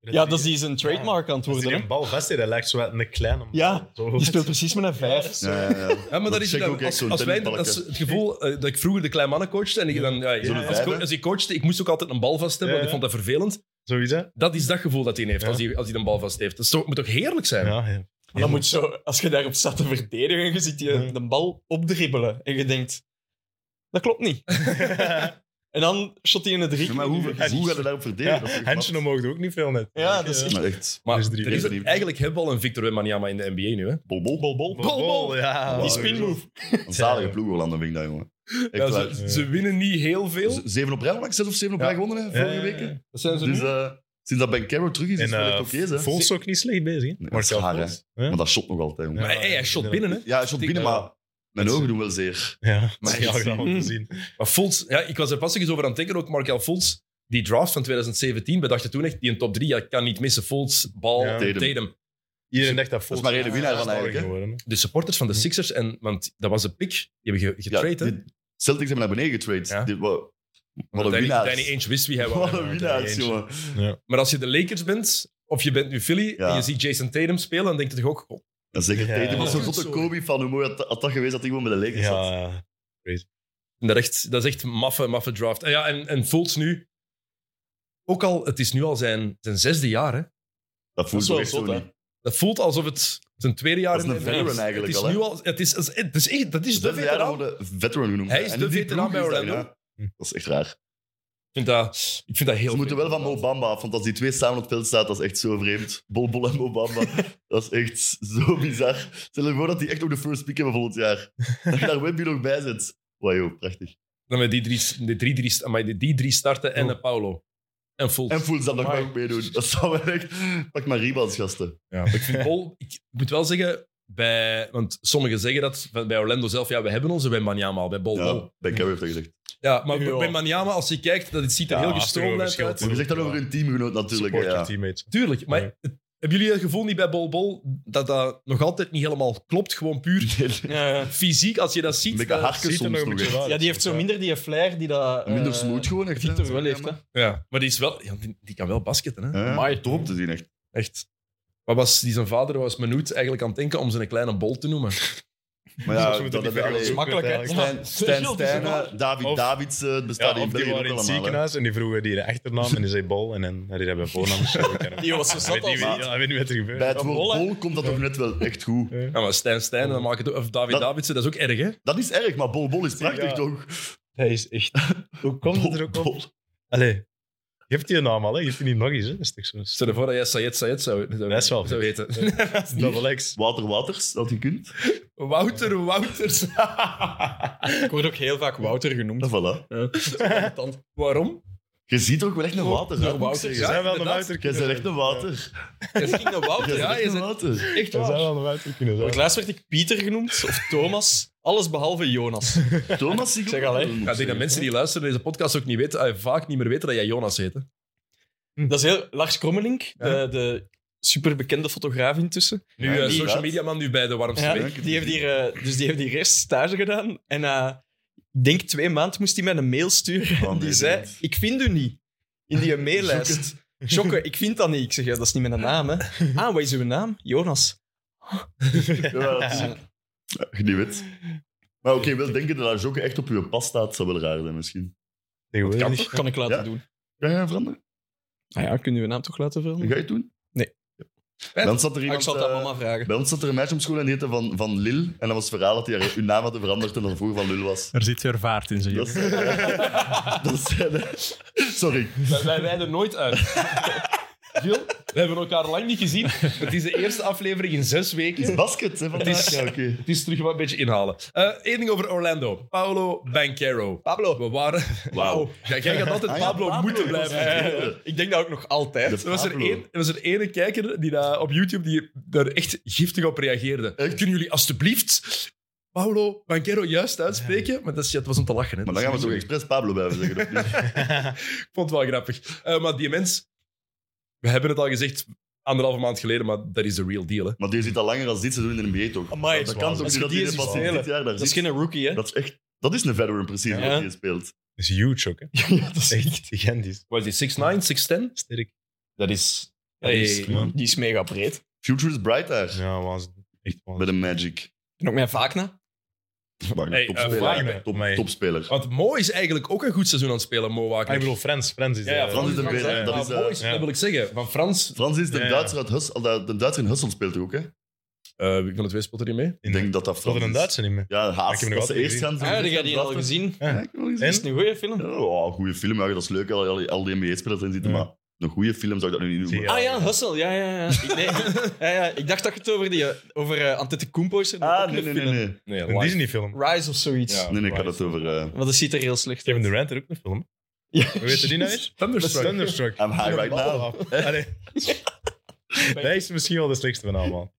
Speaker 4: Ja, dat is die zijn trademark aan het
Speaker 3: Als
Speaker 4: worden.
Speaker 3: hij
Speaker 4: hè.
Speaker 3: een bal vast heeft, dat lijkt zo uit een kleine man.
Speaker 4: Ja,
Speaker 3: Zo.
Speaker 4: Die
Speaker 3: [laughs]
Speaker 4: speelt precies met een vijf.
Speaker 2: hè. Ja, ja, ja.
Speaker 1: Ja, maar dat is,
Speaker 2: check
Speaker 1: dat-
Speaker 2: ook echt
Speaker 1: als,
Speaker 2: zo'n
Speaker 1: als wij, dat is
Speaker 2: tennisbalken.
Speaker 1: het gevoel eh, dat ik vroeger de kleine mannen coachte. En ik dan, ja,
Speaker 2: Zo'n
Speaker 1: als,
Speaker 2: vijf,
Speaker 1: co-
Speaker 2: hè?
Speaker 1: als ik coachte, ik moest ook altijd een bal vast hebben,
Speaker 3: Ja,
Speaker 1: want ik
Speaker 3: ja.
Speaker 1: vond dat vervelend.
Speaker 3: Sowieso. Ja.
Speaker 1: Dat is dat gevoel dat hij heeft,
Speaker 3: Ja.
Speaker 1: als, hij, als hij een bal vast heeft. Dat is toch- moet toch heerlijk zijn?
Speaker 3: ja.
Speaker 4: Dan moet zo, als je daarop staat te verdedigen, je ziet je
Speaker 3: Ja.
Speaker 4: de bal opdribbelen. En je denkt, dat klopt
Speaker 2: [laughs]
Speaker 4: niet. En dan shot hij in het drie.
Speaker 2: Ja, maar hoe, hoe gaat het daarop verdelen? Dat is echt
Speaker 3: Handje
Speaker 2: knap.
Speaker 3: omhoog doet ook niet veel net.
Speaker 4: Ja, dat is [laughs] echt-
Speaker 2: Maar echt,
Speaker 1: Maar
Speaker 3: Dus drie
Speaker 1: er is
Speaker 2: keer drie.
Speaker 1: eigenlijk hebben we al een Victor Wembanyama in de NBA nu. Hè?
Speaker 2: bol, bol, bol, bol.
Speaker 3: Bol, bol, ja.
Speaker 4: Die
Speaker 2: Wow.
Speaker 4: spin move.
Speaker 2: Een zalige ploeg Orlando, vind ik dat, jongen. Echt
Speaker 1: Ja,
Speaker 2: waar.
Speaker 1: ze, ze winnen niet heel veel.
Speaker 2: Z- Zeven op rij, maar ik zes of zeven op
Speaker 1: Ja.
Speaker 2: rij gewonnen, hè, vorige
Speaker 3: Ja, ja, ja.
Speaker 2: weken.
Speaker 1: Dat zijn ze
Speaker 2: Dus
Speaker 1: nu.
Speaker 2: eh, sinds dat Ben Carroll terug is, is
Speaker 3: En
Speaker 2: het wel echt oké,
Speaker 3: eh
Speaker 2: hè.
Speaker 3: Vos ook niet slecht bezig. hè?
Speaker 2: dat
Speaker 3: Marcel
Speaker 2: is raar,
Speaker 3: Vos.
Speaker 2: Maar dat shot nog altijd, jongen.
Speaker 1: Maar hey, hij shot binnen, hè?
Speaker 2: Ja, hij shot binnen, maar mijn ogen doen wel zeer.
Speaker 3: Ja,
Speaker 2: Maar Hmm.
Speaker 3: maar ja,
Speaker 2: echt,
Speaker 3: graag om te zien.
Speaker 1: Maar Fultz, ja, ik was er pas eens over aan het denken, ook Markel Fultz. Die draft van 2017, we dachten toen echt, die in top 3, ja, ik kan niet missen. Fultz, Bal,
Speaker 3: Ja.
Speaker 1: Tatum.
Speaker 2: Tatum.
Speaker 3: Iedereen dacht dat Vos...
Speaker 2: maar de winnaar van
Speaker 3: star
Speaker 2: eigenlijk, hè?
Speaker 3: geworden, hè.
Speaker 1: De supporters van de Sixers, en, want dat was de pick, die hebben ge-
Speaker 2: Mhm. Ja,
Speaker 1: getrade. hè?
Speaker 2: die Celtics hebben naar beneden getrade.
Speaker 1: Ja.
Speaker 2: Dit, wa- wat,
Speaker 1: Want
Speaker 2: een
Speaker 1: Danny,
Speaker 2: winnaars.
Speaker 1: Danny Ainge wist wie
Speaker 2: [laughs]
Speaker 1: hij was.
Speaker 2: Wat een
Speaker 3: Ja,
Speaker 2: winnaars,
Speaker 3: Danny Ainge.
Speaker 2: jongen.
Speaker 1: Maar als je de Lakers bent, of je bent nu Philly,
Speaker 2: Ja.
Speaker 1: en je ziet Jason Tatum spelen, dan denk je toch ook... oh,
Speaker 2: Dat is echt
Speaker 3: Ja.
Speaker 2: Tatum was zo'n
Speaker 1: Goed,
Speaker 2: zotte
Speaker 1: sorry.
Speaker 2: Kobe van hoe mooi had, had dat geweest dat hij gewoon bij de Lakers zat.
Speaker 3: Ja,
Speaker 1: dat, is echt, dat is echt maffe, maffe draft. En, ja, en, en Fultz nu... Ook al, het is nu al zijn, zijn zesde jaar, hè.
Speaker 2: Dat voelt
Speaker 4: wel
Speaker 2: me echt zo
Speaker 4: zot, hè.
Speaker 2: niet.
Speaker 1: Dat voelt alsof het zijn tweede jaar
Speaker 2: Dat is
Speaker 1: in
Speaker 2: een
Speaker 1: de NBA
Speaker 2: veteran
Speaker 1: is.
Speaker 2: eigenlijk
Speaker 1: het is
Speaker 2: al, hè?
Speaker 1: Nu al, het is, het is, het is echt, dat is de
Speaker 2: Zesde jaar
Speaker 1: veteraan.
Speaker 2: worden veteran genoemd.
Speaker 1: Hij is
Speaker 2: En
Speaker 1: de
Speaker 2: in die
Speaker 1: veteraan
Speaker 2: ploeg
Speaker 1: bij
Speaker 2: is dat,
Speaker 1: Orlando.
Speaker 2: ja. Dat is echt raar.
Speaker 1: Ik vind dat, ik vind dat heel
Speaker 2: Ze moeten wel
Speaker 1: vreemd.
Speaker 2: van Mobamba af, want als die twee samen op het veld staan, dat is echt zo vreemd. Bol Bol en
Speaker 3: [laughs]
Speaker 2: Mobamba. dat is echt zo bizar. Stel je voor dat die echt ook de first pick hebben volgend jaar. Dat je daar Webby nog bij zit. Wauw, joh, prachtig.
Speaker 1: Dan met die drie, die drie, drie, amai, die- die drie starten en
Speaker 3: Oh.
Speaker 1: eh, Paulo. En Fultz.
Speaker 2: En voelt dat nog
Speaker 4: Amai.
Speaker 2: maar ook meedoen. Dat zou wel echt... Pak maar rebounds, gasten.
Speaker 1: Ja, maar ik, vind Paul, ik moet wel zeggen, bij, want sommigen zeggen dat van- bij Orlando zelf, ja, we hebben onze Wembanyama al, bij
Speaker 3: Oh,
Speaker 1: Bol Bol. Ja.
Speaker 2: Ja, bij Carrie heeft dat gezegd.
Speaker 1: maar
Speaker 4: Ja.
Speaker 1: bij Wembanyama, als je kijkt, dat het ziet er
Speaker 3: Ja,
Speaker 1: heel
Speaker 3: als er wel
Speaker 1: gestroomlijnd
Speaker 3: verschil
Speaker 1: uit.
Speaker 2: Maar je zegt dat over hun teamgenoot natuurlijk. hè,
Speaker 3: support je
Speaker 2: Ja.
Speaker 3: teammates.
Speaker 1: Tuurlijk, maar
Speaker 3: Ja.
Speaker 1: het- hebben jullie het gevoel niet bij Bol Bol dat dat nog altijd niet helemaal klopt? Gewoon puur
Speaker 2: [laughs]
Speaker 4: Ja, ja.
Speaker 1: fysiek, als je dat
Speaker 2: Een
Speaker 1: ziet.
Speaker 2: beetje
Speaker 1: dat-
Speaker 2: harken
Speaker 3: eh, Ziet er nog
Speaker 2: soms
Speaker 3: een
Speaker 2: nog.
Speaker 3: beetje
Speaker 2: hè.
Speaker 3: raar uit.
Speaker 4: ja, die heeft zo
Speaker 3: Ja.
Speaker 4: minder die flair die dat... eh,
Speaker 2: Minder smooth gewoon echt. hè.
Speaker 4: Victor wel heeft, hè.
Speaker 1: ja, maar die, is wel, ja, die, die kan wel basketten, hè?
Speaker 2: Ja,
Speaker 4: Amai.
Speaker 2: top te zien, echt.
Speaker 1: Echt. Wat was die zijn vader, was Menoet, eigenlijk aan het denken om zijn kleine Bol te noemen?
Speaker 2: Maar
Speaker 3: Dus
Speaker 2: ja,
Speaker 3: we moeten
Speaker 2: dat hebben
Speaker 3: niet verder
Speaker 2: allee,
Speaker 3: zoeken
Speaker 4: makkelijk, hè.
Speaker 3: eigenlijk.
Speaker 2: Stijn, Stijn Stijnen, David
Speaker 3: Of-
Speaker 2: Davids, eh, het bestaat
Speaker 3: Ja,
Speaker 2: hier in
Speaker 3: of die
Speaker 2: België ook
Speaker 3: waren in het
Speaker 2: allemaal. hè.
Speaker 3: ziekenhuis en die vroegen die de achternaam en die zei Bol en dan had hij dat bij
Speaker 2: [laughs]
Speaker 3: voornaam. geschreven.
Speaker 4: Die was zo zat
Speaker 3: Ik weet niet-
Speaker 4: als-
Speaker 3: ja, Ik weet niet wat er gebeurt.
Speaker 2: Bij het
Speaker 4: Ja,
Speaker 2: woord
Speaker 4: bol, hè.
Speaker 2: bol komt dat toch net wel echt goed.
Speaker 1: Ja, maar Stijn Stijn, dan maak het, ook- of David
Speaker 2: Dat-
Speaker 1: Davidsen, dat is ook erg, hè?
Speaker 2: Dat is erg, maar bol bol is prachtig
Speaker 3: Ja.
Speaker 2: toch?
Speaker 3: Hij is echt... Hoe komt
Speaker 2: Bol,
Speaker 3: het er ook op?
Speaker 2: bol.
Speaker 3: Allee, je hebt die naam al, hè? je hebt die niet nog eens. Hè? Dat is toch zo...
Speaker 1: Stel je voor dat jij Sayed Sayed zou, zou,
Speaker 3: Dat is wel
Speaker 1: zou heten. [laughs]
Speaker 3: Double X.
Speaker 2: Water Waters, dat je kunt.
Speaker 1: Wouter Wouters.
Speaker 4: Ik word ook heel vaak Wouter genoemd.
Speaker 2: En voilà.
Speaker 1: Waarom?
Speaker 2: Je ziet er ook wel echt een water uit,
Speaker 1: Door
Speaker 2: moet ik
Speaker 1: Wouter,
Speaker 2: zeggen.
Speaker 1: ja.
Speaker 3: zijn wel een
Speaker 1: inderdaad.
Speaker 3: Wouter
Speaker 2: Jij bent echt een water.
Speaker 4: Ik ging naar
Speaker 2: Jij
Speaker 4: Wouter.
Speaker 1: Ja,
Speaker 2: bent
Speaker 1: je
Speaker 2: echt een
Speaker 1: bent-
Speaker 2: water.
Speaker 1: Echt
Speaker 3: Jij bent
Speaker 1: waar.
Speaker 3: wel een Wouter kunnen zijn.
Speaker 4: Want laatst werd ik Pieter genoemd, of Thomas. Alles behalve Jonas.
Speaker 2: Thomas zie ik
Speaker 4: zeg
Speaker 2: ook
Speaker 4: al, hè.
Speaker 2: wel doen,
Speaker 1: Ja, ik denk dat
Speaker 2: zeg.
Speaker 1: mensen die luisteren naar deze podcast ook niet weten, eh, vaak niet meer weten dat jij Jonas heet. hè.
Speaker 4: Dat is heel... Lars Krommelink, de, de superbekende fotograaf intussen.
Speaker 1: Nu
Speaker 2: Ja,
Speaker 1: eh,
Speaker 2: inderdaad.
Speaker 1: social media man, nu bij de warmste
Speaker 4: Ja,
Speaker 1: week.
Speaker 2: week.
Speaker 4: die heeft hier, eh, dus die heeft hier eerst stage gedaan. En eh, ik denk twee maanden moest hij mij een mail sturen.
Speaker 2: Oh,
Speaker 4: en [laughs] die
Speaker 2: nee,
Speaker 4: zei,
Speaker 2: nee.
Speaker 4: ik vind u niet. In die maillijst. Jokke, ik vind dat niet. Ik zeg, ja, dat is niet mijn naam.
Speaker 2: [laughs]
Speaker 4: Hè. Ah, wat is uw naam? Jonas.
Speaker 2: Ja, dat is- Ja, je niet weet. Maar oké, wel denken dat dat jokken echt op je pas staat, zou wel raar zijn misschien.
Speaker 3: Tegenwoordig
Speaker 4: Kan,
Speaker 3: niet.
Speaker 4: toch? kan ik laten
Speaker 2: Ja.
Speaker 4: doen.
Speaker 2: Ga jij veranderen?
Speaker 4: Nou ja, kunnen we uw naam toch laten veranderen?
Speaker 2: Ga je het doen?
Speaker 4: Nee.
Speaker 2: Ja. Dan zat er
Speaker 4: Ah, ik
Speaker 2: iemand...
Speaker 4: zal het aan
Speaker 2: eh,
Speaker 4: mama
Speaker 2: [laughs]
Speaker 4: vragen.
Speaker 2: Bij ons zat er een meisje op school en die heette van, van Lil. En dat was het verhaal dat hij haar- hun naam had veranderd en dat vroeger van Lul was.
Speaker 5: Er zit weer vaart in, zeg
Speaker 2: Dat
Speaker 5: je.
Speaker 2: is, dat [laughs] is- sorry.
Speaker 1: Wij wijden
Speaker 4: [laughs]
Speaker 1: nooit
Speaker 2: [laughs]
Speaker 1: uit. Gil, we hebben elkaar lang niet gezien. Het is de eerste aflevering in zes weken.
Speaker 2: Het is basket, hè, vandaag.
Speaker 1: is-
Speaker 2: Ja, oké.
Speaker 1: Het is terug wat een beetje inhalen. Eén ding over Orlando. Paolo Banquero. Pablo. We waren...
Speaker 2: Wauw.
Speaker 1: Ja, jij gaat altijd
Speaker 2: Ah ja,
Speaker 1: Pablo, moeten
Speaker 2: dat was
Speaker 1: blijven.
Speaker 2: het.
Speaker 1: Eh,
Speaker 4: Ik denk dat ook nog altijd.
Speaker 2: De
Speaker 1: Er was, er
Speaker 2: Pablo.
Speaker 1: één, er was er ene kijker die daar op YouTube die daar echt giftig op reageerde.
Speaker 2: Echt?
Speaker 1: Kunnen jullie alstublieft Paolo Banquero juist uitspreken? Maar dat is, ja, het was om te lachen. Hè.
Speaker 2: Maar dan gaan we toch expres Pablo blijven zeggen. of
Speaker 4: [laughs]
Speaker 2: niet?
Speaker 1: Ik vond het wel grappig. Eh, maar die mens... We hebben het al gezegd anderhalve maand geleden, maar dat is de real deal. Hè.
Speaker 2: Maar die zit al langer als dit seizoen in de NBA toch?
Speaker 4: Amai,
Speaker 2: dat kan toch niet
Speaker 4: als je
Speaker 2: dat
Speaker 4: Oh, die
Speaker 2: hij
Speaker 4: eens
Speaker 2: pas
Speaker 4: ziet
Speaker 2: dit
Speaker 4: spelen,
Speaker 2: jaar daar
Speaker 4: Dat is
Speaker 2: zit?
Speaker 4: geen rookie, hè?
Speaker 2: Dat is echt... Dat is een veteran precies,
Speaker 3: Ja.
Speaker 2: wat hij speelt.
Speaker 3: Dat is huge [laughs] ook, hè. dat is echt gigantisch.
Speaker 1: Wat is die, 6'9", 6'10"?
Speaker 3: Sterk.
Speaker 1: Dat is...
Speaker 4: is-
Speaker 1: Hey.
Speaker 4: Die is mega breed.
Speaker 2: Future is bright daar,
Speaker 3: Ja, waanzin. Echt
Speaker 2: bij
Speaker 3: waanzin.
Speaker 2: de Magic.
Speaker 4: En ook mijn Vakna.
Speaker 2: Maar
Speaker 1: Hey,
Speaker 2: topspeler.
Speaker 1: eh, Wagner.
Speaker 2: Top-
Speaker 3: Amai.
Speaker 2: topspeler.
Speaker 1: Want Mo is eigenlijk ook een goed seizoen aan het spelen, Mo Wagner.
Speaker 3: Ah, ik bedoel, Frans. Frans is...
Speaker 1: Ja, ja,
Speaker 3: eh,
Speaker 1: Frans is
Speaker 2: Frans
Speaker 1: er
Speaker 2: is
Speaker 1: weer.
Speaker 2: er,
Speaker 1: Dat,
Speaker 2: dat
Speaker 1: is,
Speaker 2: is, eh,
Speaker 1: Mo is,
Speaker 3: ja.
Speaker 1: dat wil ik zeggen. Van Frans,
Speaker 2: Frans is de,
Speaker 3: Ja, ja.
Speaker 2: Duitser uit Hussel, de, de Duitser in Hussel speelt er ook, hè?
Speaker 1: eh wie van de twee speelt er niet mee?
Speaker 2: Ik denk dat dat Frans
Speaker 3: Wat er een
Speaker 2: is.
Speaker 3: Duitse niet meer.
Speaker 2: Ja,
Speaker 3: Ik
Speaker 2: haast.
Speaker 3: heb hem nog
Speaker 2: Dat ze
Speaker 3: altijd
Speaker 2: eerst gaan
Speaker 4: Ah, die heb je al gezien.
Speaker 2: Ja, ik heb hem al gezien.
Speaker 4: Dat is een goede film.
Speaker 2: Ja, oh, goede film. Ja, dat is leuk, al die, al die NBA-spelers in zitten,
Speaker 3: Ja.
Speaker 2: maar een goede film zou ik dat nu niet noemen.
Speaker 3: Ja.
Speaker 4: ah ja, Hustle. Ja, ja, ja. Ik, nee. ja, ja. ik dacht dat je het over, die, eh, over eh, Antetokounmpo is. Er nog ook
Speaker 2: Ah, nee,
Speaker 4: een
Speaker 2: nee, nee.
Speaker 4: film.
Speaker 2: Nee,
Speaker 1: Nee,
Speaker 3: Een Disney-film.
Speaker 4: Rise of zoiets.
Speaker 1: Ja.
Speaker 4: Want
Speaker 2: nee, nee ik had het over... eh,
Speaker 4: dat ziet er heel slecht
Speaker 3: Kevin
Speaker 4: uit.
Speaker 3: Durant er ook een film.
Speaker 4: Ja.
Speaker 3: Hoe heet die nou eens?
Speaker 1: Thunderstruck.
Speaker 3: Thunderstruck.
Speaker 2: I'm high right now.
Speaker 3: Allee.
Speaker 1: [laughs]
Speaker 3: Dat Ah, is misschien wel de slechtste van allemaal.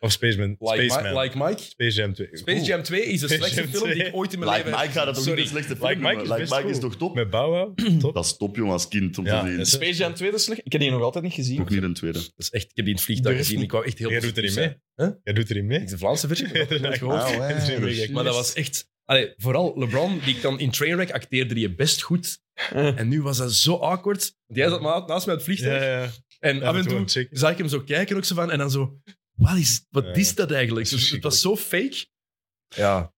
Speaker 3: Of Spaceman.
Speaker 1: Like,
Speaker 3: Spaceman.
Speaker 1: Mi- like Mike.
Speaker 3: Space Jam 2.
Speaker 1: Space Jam 2 is de
Speaker 3: Space
Speaker 1: slechtste
Speaker 3: Jam
Speaker 1: film die
Speaker 3: 2.
Speaker 1: ik ooit in mijn
Speaker 2: Like
Speaker 1: leven
Speaker 2: Mike gaat het ook niet
Speaker 1: Sorry.
Speaker 2: een slechte film
Speaker 3: Like Mike
Speaker 2: noemen.
Speaker 3: is
Speaker 2: Like
Speaker 3: best
Speaker 2: Mike is
Speaker 3: goed.
Speaker 2: toch top?
Speaker 3: Met Bauwau.
Speaker 1: [clears throat]
Speaker 3: Top.
Speaker 2: Dat is top, jongen, als kind om
Speaker 3: Ja,
Speaker 2: te zien.
Speaker 3: dat
Speaker 4: [laughs]
Speaker 3: is-
Speaker 4: Space Jam 2 dat is slecht. Ik heb die nog altijd niet gezien.
Speaker 2: Ook niet een tweede.
Speaker 1: Dat is echt, ik heb die in het vliegtuig
Speaker 4: Er is
Speaker 1: gezien. Ik wou echt heel
Speaker 3: Jij doet er niet
Speaker 1: positief
Speaker 3: mee. Jij doet erin mee.
Speaker 1: zijn. Ik de Vlaamse versie. ik heb dat nooit gehoord.
Speaker 2: Ah,
Speaker 3: ja.
Speaker 2: wow.
Speaker 3: Dat is een beetje gek.
Speaker 1: Maar dat was echt... Allee, vooral LeBron, die kan in Trainwreck acteerde die best goed.
Speaker 4: Eh.
Speaker 1: En nu was dat zo awkward. Want jij zat na- naast mij op het vliegtuig.
Speaker 3: Ja, ja.
Speaker 1: En
Speaker 3: Ja,
Speaker 1: af en
Speaker 3: dat
Speaker 1: toe
Speaker 3: wordt zeker.
Speaker 1: zag ik hem zo kijken ook zo van. En dan zo... Wat is, wat
Speaker 3: Ja.
Speaker 1: is dat eigenlijk?
Speaker 3: Dat is
Speaker 1: Dus het was zo fake. Ja,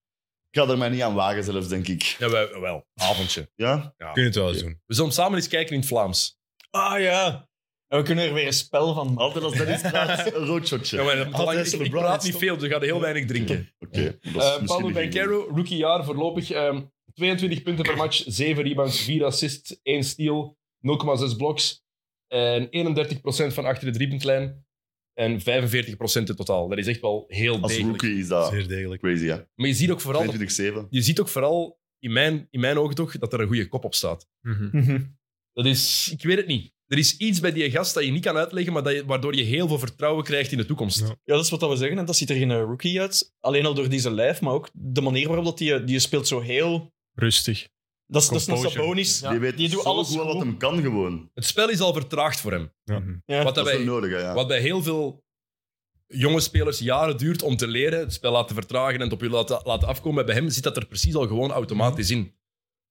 Speaker 2: Ik ga er mij niet aan wagen zelfs, denk ik.
Speaker 1: ja wel, wel. Avondje.
Speaker 2: Ja?
Speaker 3: Kun je het wel eens doen.
Speaker 1: We zullen samen eens kijken in het Vlaams.
Speaker 4: Ah ja. En we kunnen er weer een spel van maken.
Speaker 2: Altijd als Dennis praat, een roodshotje.
Speaker 1: Ja,
Speaker 2: Oké,
Speaker 1: maar dat moet
Speaker 3: Altijd
Speaker 1: lang-
Speaker 3: is
Speaker 1: ik, ik
Speaker 3: LeBron
Speaker 1: praat
Speaker 3: het
Speaker 1: niet
Speaker 3: stom.
Speaker 1: veel, dus we gaan heel weinig drinken.
Speaker 2: dat is
Speaker 1: Eh
Speaker 2: misschien
Speaker 1: Pablo
Speaker 2: niet goed.
Speaker 1: Banquero, rookiejaar voorlopig. ehm, 22 punten per match, 7 rebounds, 4 assists, 1 steal, 0,6 bloks. En 31% van achter de driepuntlijn. En 45% in totaal. Dat is echt wel heel
Speaker 2: Als
Speaker 1: degelijk.
Speaker 2: rookie is dat
Speaker 3: Zeer degelijk.
Speaker 2: crazy, hè?
Speaker 1: Maar je ziet ook vooral,
Speaker 2: 22-7.
Speaker 1: je ziet ook vooral in, mijn, in mijn ogen toch, dat er een goede kop op staat.
Speaker 4: Mhm.
Speaker 1: Dat is, ik weet het niet. Er is iets bij die gast dat je niet kan uitleggen, maar dat je, waardoor je heel veel vertrouwen krijgt in de toekomst.
Speaker 3: Ja.
Speaker 4: Ja, dat is wat dat we zeggen. En dat ziet er geen eh, rookie uit. Alleen al door deze lijf, maar ook de manier waarop dat die, eh, die speelt zo heel...
Speaker 5: Rustig.
Speaker 4: Dat is, dat is een
Speaker 5: Composure.
Speaker 4: Sabonis.
Speaker 2: Die weet
Speaker 4: Die doet
Speaker 2: zo
Speaker 4: alles
Speaker 2: goed wat
Speaker 4: goed.
Speaker 2: hem kan gewoon.
Speaker 1: Het spel is al vertraagd voor hem.
Speaker 3: Ja.
Speaker 4: Ja.
Speaker 1: Wat
Speaker 2: Dat is
Speaker 1: daarbij-
Speaker 2: wel nodig, hè, ja.
Speaker 1: Wat bij heel veel jonge spelers jaren duurt om te leren, het spel laten vertragen en het op je laten, laten afkomen. Bij hem zit dat er precies al gewoon automatisch in.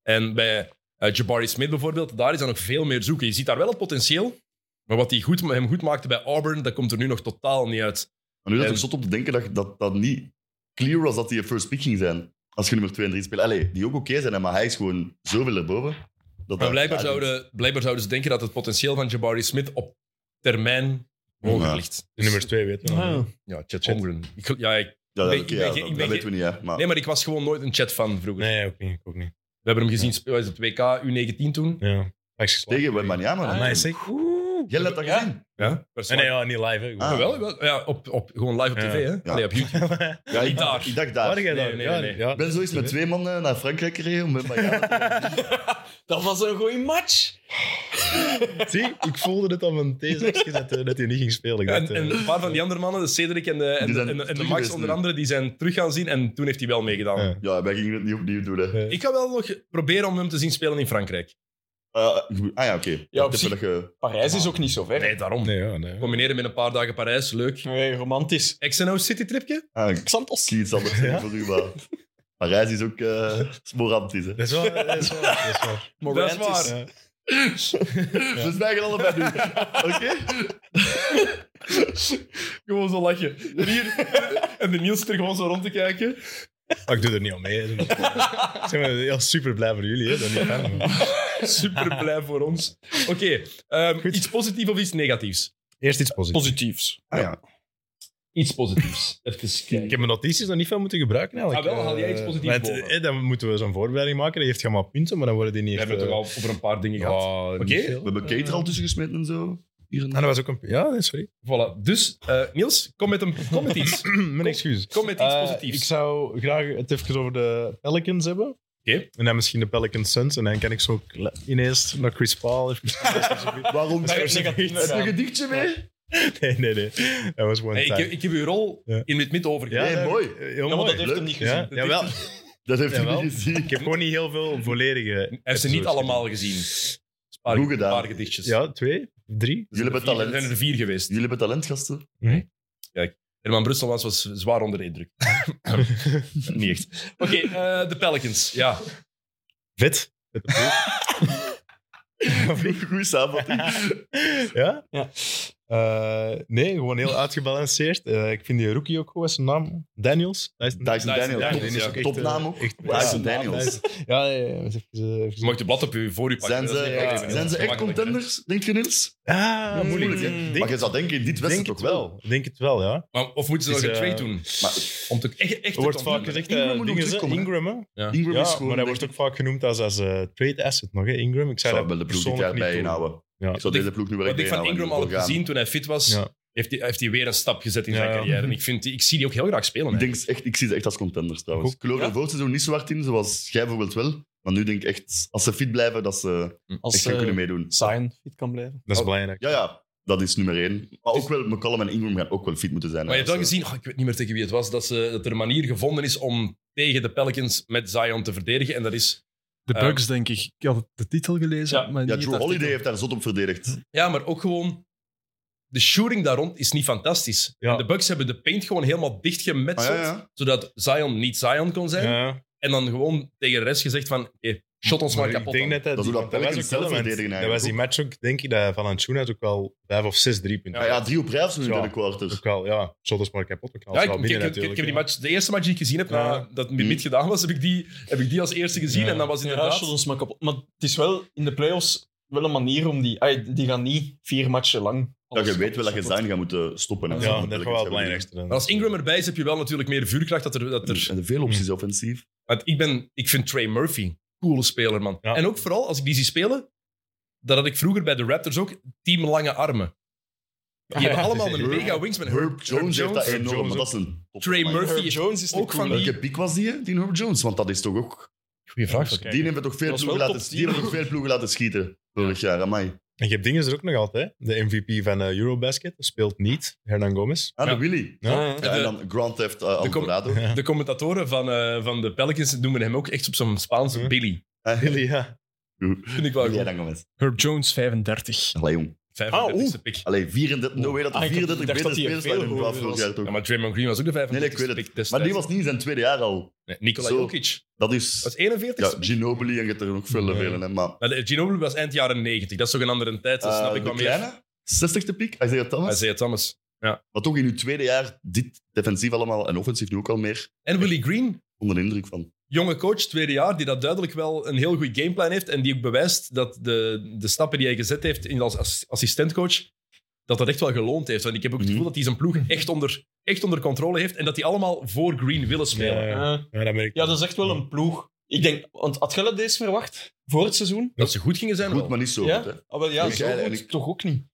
Speaker 1: En bij eh, Jabari Smith bijvoorbeeld, daar is dan nog veel meer zoeken. Je ziet daar wel het potentieel, maar wat hij goed, hem goed maakte bij Auburn, dat komt er nu nog totaal niet uit.
Speaker 2: Maar nu dat
Speaker 1: En-
Speaker 2: ik zot op te denken dat, dat dat niet clear was dat die een first pick ging zijn. Als je nummer 2 en 3 speelt. Allee, die ook oké zijn, hè, maar hij is gewoon zoveel erboven. Dat
Speaker 1: Maar
Speaker 2: dat-
Speaker 1: blijkbaar
Speaker 2: ja,
Speaker 1: zouden, blijkbaar zouden ze denken dat het potentieel van Jabari Smith op termijn hoger
Speaker 2: Ja.
Speaker 1: ligt. Dus-
Speaker 3: De nummer 2 weet je wel.
Speaker 4: Ah.
Speaker 1: Ja, Chet Holmgren. Ik gel- ja, ik-
Speaker 2: Ja,
Speaker 1: Ik
Speaker 2: ja,
Speaker 1: ben-
Speaker 2: oké,
Speaker 1: ik
Speaker 2: ja,
Speaker 1: ben-
Speaker 2: dat,
Speaker 1: ik
Speaker 2: dat
Speaker 1: ben-
Speaker 2: weten we niet, hè. Maar,
Speaker 1: nee, maar ik was gewoon nooit een Chet fan vroeger.
Speaker 3: Nee, ook niet. Ook niet.
Speaker 1: We hebben hem gezien spelen op het WK U19 toen.
Speaker 3: Ja.
Speaker 2: tegen Wembanyama.
Speaker 3: Ah,
Speaker 2: hè.
Speaker 3: nice, zeg.
Speaker 2: Jij hebt dat
Speaker 4: Ja.
Speaker 2: gezien?
Speaker 1: Ja,
Speaker 3: Nee, nee, ja, niet live. Hè. [laughs]
Speaker 2: Ah.
Speaker 3: Ah.
Speaker 1: Wel, wel, ja, op, op, gewoon live op
Speaker 3: Ja.
Speaker 1: tv, hè? Allee, op
Speaker 3: [laughs]
Speaker 1: YouTube.
Speaker 2: Ja, ik,
Speaker 1: Daar.
Speaker 2: ik dacht daar.
Speaker 3: Waar
Speaker 2: Ik
Speaker 3: jij
Speaker 1: Nee,
Speaker 3: dan?
Speaker 1: nee,
Speaker 3: Ja,
Speaker 1: nee, nee.
Speaker 3: ja.
Speaker 2: ben zoiets met twee man eh, naar Frankrijk gereden om met Marianne te gaan vliegen.
Speaker 4: Dat was een goede match.
Speaker 3: Zie, ik voelde het aan mijn theezakje dat, eh, dat hij niet ging spelen. Ik
Speaker 1: En,
Speaker 3: dacht, eh,
Speaker 1: en een paar van die andere mannen, de Cedric en de, en,
Speaker 2: Die
Speaker 1: de-
Speaker 2: zijn
Speaker 1: en, de- en de
Speaker 2: terug
Speaker 1: Max
Speaker 2: geweest
Speaker 1: onder
Speaker 2: nu.
Speaker 1: andere, die zijn terug gaan zien en toen heeft hij wel meegedaan.
Speaker 3: Ja.
Speaker 2: Ja, wij gingen het niet opnieuw doen. Hè.
Speaker 3: eh,
Speaker 1: Ik ga wel nog proberen om hem te zien spelen in Frankrijk.
Speaker 2: Eh, ah ja, oké.
Speaker 4: Ja, op
Speaker 2: Ik heb
Speaker 4: zich-
Speaker 2: dat ge-
Speaker 4: Parijs is ook niet zo ver.
Speaker 1: Nee, daarom.
Speaker 3: Nee, ja, nee.
Speaker 1: Combineren met een paar dagen Parijs, leuk.
Speaker 4: Nee, romantisch.
Speaker 1: XNO City tripje?
Speaker 2: Ah, ik
Speaker 4: Xantos.
Speaker 2: zie iets anders zeggen voor u, maar... Parijs is ook eh smorantisch, hè.
Speaker 3: Dat is wel, dat is wel, dat is wel.
Speaker 1: Dat is waar.
Speaker 3: Ja.
Speaker 2: We zwijgen Dus allebei nu. Oké?
Speaker 1: Gewoon zo lachen. En, hier, [laughs] en de Niels er gewoon zo rond te kijken.
Speaker 3: Maar ik doe er niet aan mee. hè.
Speaker 1: [laughs]
Speaker 3: Zeg maar, ja, super blij voor jullie. Hè. Dat niet fijn, maar.
Speaker 1: Super blij voor ons. Oké, ehm, iets positiefs of iets negatiefs?
Speaker 3: Eerst iets positiefs.
Speaker 4: Positiefs.
Speaker 2: Ah, ja.
Speaker 1: Iets positiefs. Even
Speaker 3: Ik
Speaker 1: kijken.
Speaker 3: heb mijn notities nog niet veel moeten gebruiken eigenlijk.
Speaker 1: Ah, wel, haal jij iets
Speaker 3: Eh,
Speaker 1: positiefs
Speaker 3: want,
Speaker 1: boven?
Speaker 3: eh, dan moeten we zo'n voorbereiding maken. Die heeft helemaal punten, maar dan worden die niet eh,
Speaker 1: We hebben het toch al over een paar dingen gehad.
Speaker 3: Oké.
Speaker 1: Oké.
Speaker 2: We hebben Kate er al tussen gesmeten en zo. Hier en
Speaker 3: Ah, dat was ook een... Ja, nee, sorry.
Speaker 1: Voilà. Dus, eh, Niels, kom met, een, kom met iets.
Speaker 3: [clears throat] mijn excuus.
Speaker 1: Kom met iets
Speaker 3: Eh,
Speaker 1: positiefs.
Speaker 3: Ik zou graag het even over de Pelicans hebben.
Speaker 1: Oké.
Speaker 3: En dan misschien de Pelicans Suns. En dan kan ik zo ook le- ineens naar Chris Paul. even- [laughs]
Speaker 2: Waarom?
Speaker 4: Daar
Speaker 2: Heb
Speaker 4: is [laughs] negatief.
Speaker 2: je een gedichtje mee?
Speaker 3: nee, nee, nee. Dat was one
Speaker 1: Hey, ik,
Speaker 3: time.
Speaker 1: heb- ik heb uw rol
Speaker 3: Ja.
Speaker 1: in het midden overgegeven.
Speaker 2: Ja, nee,
Speaker 3: dat- eh,
Speaker 2: mooi.
Speaker 3: Heel
Speaker 4: Ja, maar dat
Speaker 3: mooi.
Speaker 4: heeft
Speaker 2: leuk.
Speaker 4: hem niet gezien.
Speaker 3: Ja, jawel.
Speaker 2: Dat heeft hij
Speaker 3: Jawel.
Speaker 2: niet gezien.
Speaker 3: Ik heb gewoon niet heel veel volledige...
Speaker 1: Hij heeft ze niet
Speaker 3: episodes
Speaker 1: allemaal gezien. Een paar-
Speaker 2: Goed gedaan.
Speaker 1: Een paar gedichtjes.
Speaker 3: Ja, twee, drie.
Speaker 2: Jullie hebben
Speaker 1: Vier- Er zijn er
Speaker 2: talent.
Speaker 1: vier geweest.
Speaker 2: Jullie hebben talent, gasten.
Speaker 1: Herman Brusselmans was zwaar onder de indruk. [laughs] niet echt. Oké, eh, de Pelicans. Ja.
Speaker 3: Vet. Met de
Speaker 1: [laughs]
Speaker 3: ploeg.
Speaker 2: [laughs] Goeie samenvatting.
Speaker 3: ja?
Speaker 4: Ja.
Speaker 3: Eh, nee, gewoon heel uitgebalanceerd. Eh, ik vind die rookie ook goed, wat is zijn naam? Daniels? Hij is-
Speaker 2: Dyson Daniels.
Speaker 1: Daniels,
Speaker 2: Top-
Speaker 1: ja.
Speaker 3: ook echt,
Speaker 2: Topnaam
Speaker 3: eh,
Speaker 2: ook.
Speaker 3: echt-
Speaker 2: Dyson
Speaker 3: ja,
Speaker 2: Daniels.
Speaker 3: Ja, ja, ja. Even, eh, even-
Speaker 1: Dus Je mag de blad op je voor u pakken.
Speaker 2: Zijn ze,
Speaker 1: Dat is niet echt-
Speaker 2: zijn ze echt
Speaker 1: gemakkelijk, hè.
Speaker 2: contenders, denk je, Niels?
Speaker 3: Ah,
Speaker 2: Mm.
Speaker 3: moeilijk. hè?
Speaker 4: Maar
Speaker 2: Maar
Speaker 3: Denk,
Speaker 2: je zou denken, in dit
Speaker 3: denk
Speaker 2: wedstrijd
Speaker 3: het
Speaker 2: toch wel.
Speaker 3: wel. Ik Denk het wel, ja.
Speaker 1: Maar, of moeten ze
Speaker 3: Het
Speaker 1: nog
Speaker 3: is,
Speaker 1: een trade
Speaker 3: eh,
Speaker 1: doen?
Speaker 2: Maar
Speaker 1: Om te, echt, echt
Speaker 3: Er wordt
Speaker 1: te
Speaker 3: vaak
Speaker 1: ontwikkelen.
Speaker 3: gezegd,
Speaker 2: Ingram
Speaker 3: eh,
Speaker 2: moet nog
Speaker 3: dingen ze-
Speaker 2: terugkomen, hè?
Speaker 3: Ingram, hè?
Speaker 2: Ingram
Speaker 3: Ja,
Speaker 2: is gewoon...
Speaker 3: maar hij
Speaker 2: denk
Speaker 3: wordt
Speaker 2: ik-
Speaker 3: ook vaak genoemd als, als eh, trade asset nog, hè, Ingram. Ik
Speaker 2: Ik zou
Speaker 3: zou
Speaker 2: wel de ploeg die
Speaker 3: dat persoonlijk niet
Speaker 2: daarbij
Speaker 3: doen.
Speaker 2: inhouden.
Speaker 3: Ja.
Speaker 2: Ik zou
Speaker 1: Wat
Speaker 2: deze ploeg nu wel
Speaker 1: Wat ik van Ingram al heb gezien toen hij fit was,
Speaker 3: Ja.
Speaker 1: heeft, hij, heeft hij weer een stap gezet in
Speaker 3: Ja,
Speaker 1: zijn
Speaker 3: ja.
Speaker 1: carrière. En ik, vind, die- ik zie die ook heel graag spelen.
Speaker 2: Ik,
Speaker 1: hè.
Speaker 2: denk echt, ik zie ze echt als contenders trouwens. Ik geloof
Speaker 4: Ja.
Speaker 2: er voorseizoen niet zo hard in, zoals jij bijvoorbeeld wel. Maar nu denk ik echt, als ze fit blijven, dat ze
Speaker 4: Als eh,
Speaker 2: echt gaan kunnen
Speaker 4: Sign
Speaker 2: meedoen.
Speaker 4: fit kan blijven.
Speaker 3: Dat is belangrijk.
Speaker 2: Ja, ja, dat is nummer één. Maar ook wel, McCollum en Ingram gaan ook wel fit moeten zijn.
Speaker 1: Maar je hebt wel
Speaker 2: Dus,
Speaker 1: gezien, oh, ik weet niet meer tegen wie het was, dat, ze, dat er een manier gevonden is om tegen de Pelicans met Zion te verdedigen. En dat is...
Speaker 5: De
Speaker 1: Eh,
Speaker 5: Bucks, denk ik. Ik had de titel gelezen,
Speaker 1: Ja.
Speaker 5: maar
Speaker 2: eh,
Speaker 5: niet
Speaker 2: Ja,
Speaker 5: het
Speaker 2: Drew
Speaker 5: artikel.
Speaker 2: Holiday heeft daar zot op verdedigd.
Speaker 1: Ja, maar ook gewoon... De shooting daar rond is niet fantastisch.
Speaker 3: Ja.
Speaker 1: En de Bucks hebben de paint gewoon helemaal dichtgemetseld,
Speaker 2: Ah, ja, ja.
Speaker 1: zodat Zion niet Zion kon zijn.
Speaker 3: Ja.
Speaker 1: En dan gewoon tegen de rest gezegd van, hey, shot ons maar,
Speaker 3: Maar
Speaker 1: kapot.
Speaker 3: Ik denk
Speaker 1: dan.
Speaker 3: dat dat,
Speaker 2: Dat is hoe dat
Speaker 3: dat was
Speaker 2: Pelicans
Speaker 3: ook wel,
Speaker 2: zelf
Speaker 3: want
Speaker 2: verdedigen
Speaker 3: Dat was
Speaker 2: eigenlijk
Speaker 3: die match ook, denk ik, dat Valanciunas ook wel vijf of zes drie punten.
Speaker 2: Ja, ja, drie op rij of zo nu in
Speaker 3: Ja.
Speaker 2: de derde quarter.
Speaker 3: Ook wel, ja. Zodat maar kapot. ook wel
Speaker 1: Ja, ik,
Speaker 3: snel
Speaker 1: ik-
Speaker 3: binnen
Speaker 1: ik- ik- ik
Speaker 3: natuurlijk,
Speaker 1: heb die
Speaker 3: ja.
Speaker 1: match, de eerste match die ik gezien heb,
Speaker 3: Ja.
Speaker 1: na, dat mid gedaan was, heb ik, die, heb ik die als eerste gezien.
Speaker 3: Ja.
Speaker 1: En dat was
Speaker 4: Ja,
Speaker 1: inderdaad...
Speaker 4: shot ons maar kapot. Maar het is wel in de playoffs wel een manier om die. ai, die gaan niet vier matchen lang.
Speaker 2: Ja,
Speaker 4: alles
Speaker 2: je weet wel dat je
Speaker 4: kapot
Speaker 2: zijn gaat moeten stoppen. hè.
Speaker 4: Ja,
Speaker 2: Zo,
Speaker 3: Ja, dat is
Speaker 2: natuurlijk,
Speaker 3: wel het
Speaker 2: hebben we
Speaker 3: belangrijkste. dan.
Speaker 1: Maar als Ingram erbij is, heb je wel natuurlijk meer vuurkracht. Dat er, dat
Speaker 2: gezien.
Speaker 1: er,
Speaker 2: En er zijn veel opties offensief.
Speaker 1: want ik, ben, ik vind Trey Murphy coole speler, man.
Speaker 3: Ja.
Speaker 1: En ook vooral als ik die zie spelen, dat had ik vroeger bij de Raptors ook, team lange armen. Die hebben allemaal een
Speaker 2: Herb-
Speaker 1: mega wingsman.
Speaker 2: Herb, Jones heeft dat
Speaker 3: Herb
Speaker 2: enorm,
Speaker 3: Jones
Speaker 2: maar dat is een top-
Speaker 1: Trey
Speaker 2: Maar-
Speaker 1: Murphy
Speaker 4: Herb
Speaker 1: is
Speaker 4: Jones is
Speaker 1: ook van die...
Speaker 2: Welke piek was die, hè, die Herb Jones? Want dat is toch ook...
Speaker 1: Goeie vraag.
Speaker 5: Kijk,
Speaker 2: Die hebben toch veel
Speaker 4: Dat is
Speaker 2: ploegen
Speaker 4: wel
Speaker 2: laten,
Speaker 4: top
Speaker 2: die hebben toch veel ploegen laten schieten vorig jaar, amai.
Speaker 3: En je hebt dingen er ook nog altijd. hè. De MVP van eh, Eurobasket speelt niet. Hernan Gomez.
Speaker 2: Ah, de
Speaker 1: Ja.
Speaker 2: Willy.
Speaker 4: Ja, ja.
Speaker 2: Ja, en dan Grand Theft eh,
Speaker 1: de com-
Speaker 2: Autorado.
Speaker 1: de commentatoren van, eh, van de Pelicans noemen hem ook echt op zijn Spaans
Speaker 3: Ja.
Speaker 1: Billy.
Speaker 2: Eh,
Speaker 3: Billy, ja.
Speaker 1: Vind ik wel
Speaker 2: Ja,
Speaker 1: goed.
Speaker 2: dan Gomez.
Speaker 5: Herb Jones, 35.
Speaker 2: Allee, jong.
Speaker 1: 35e pick.
Speaker 2: Allee, 34... No way dat er
Speaker 4: Ah, ik
Speaker 2: 34
Speaker 4: dacht
Speaker 2: betere
Speaker 4: dat die
Speaker 2: spelers
Speaker 4: veel
Speaker 2: waren in de
Speaker 4: hoger
Speaker 2: draft vorig
Speaker 4: was.
Speaker 2: jaar toch.
Speaker 1: Ja, maar Draymond Green was ook de 35e
Speaker 2: Nee, nee, ik weet het.
Speaker 1: pick destijds.
Speaker 2: Maar die was niet in zijn tweede jaar al.
Speaker 1: Nee, Nikola
Speaker 2: Zo.
Speaker 1: Jokic.
Speaker 2: Dat
Speaker 1: Dat
Speaker 2: is...
Speaker 1: is 41
Speaker 2: Ja, Ginobili en je hebt er nog veel
Speaker 3: Nee.
Speaker 2: velen, hè, maar...
Speaker 1: Maar de- Ginobili was eind jaren 90. Dat is toch een andere tijd. Dat snap
Speaker 2: Eh,
Speaker 1: ik
Speaker 2: de
Speaker 1: wel meer.
Speaker 2: kleine? 60ste piek, Isaiah
Speaker 1: Hij
Speaker 2: Thomas.
Speaker 1: zei het anders.
Speaker 2: Maar toch in uw tweede jaar, dit defensief allemaal en offensief nu ook al meer,
Speaker 1: En Willie Green,
Speaker 2: onder de indruk van.
Speaker 1: jonge coach, tweede jaar, die dat duidelijk wel een heel goed gameplan heeft. En die ook bewijst dat de, de stappen die hij gezet heeft in als ass- assistentcoach, dat dat echt wel geloond heeft. Want ik heb ook het
Speaker 2: Mhm.
Speaker 1: gevoel dat hij zijn ploeg echt onder, echt onder controle heeft. En dat die allemaal voor Green willen spelen.
Speaker 3: Ja,
Speaker 4: Eh,
Speaker 3: Ja, dat merk ik.
Speaker 4: ja, dat is echt wel een ploeg. Ik denk, want had Gelle deze verwacht voor het seizoen?
Speaker 1: Dat ze goed gingen zijn.
Speaker 2: Goed,
Speaker 1: wel.
Speaker 2: maar niet zo
Speaker 4: ja?
Speaker 2: goed, hè.
Speaker 4: Ah, wel, ja
Speaker 2: Ik-
Speaker 4: zo
Speaker 2: en
Speaker 4: goed
Speaker 2: ik-
Speaker 4: toch ook niet.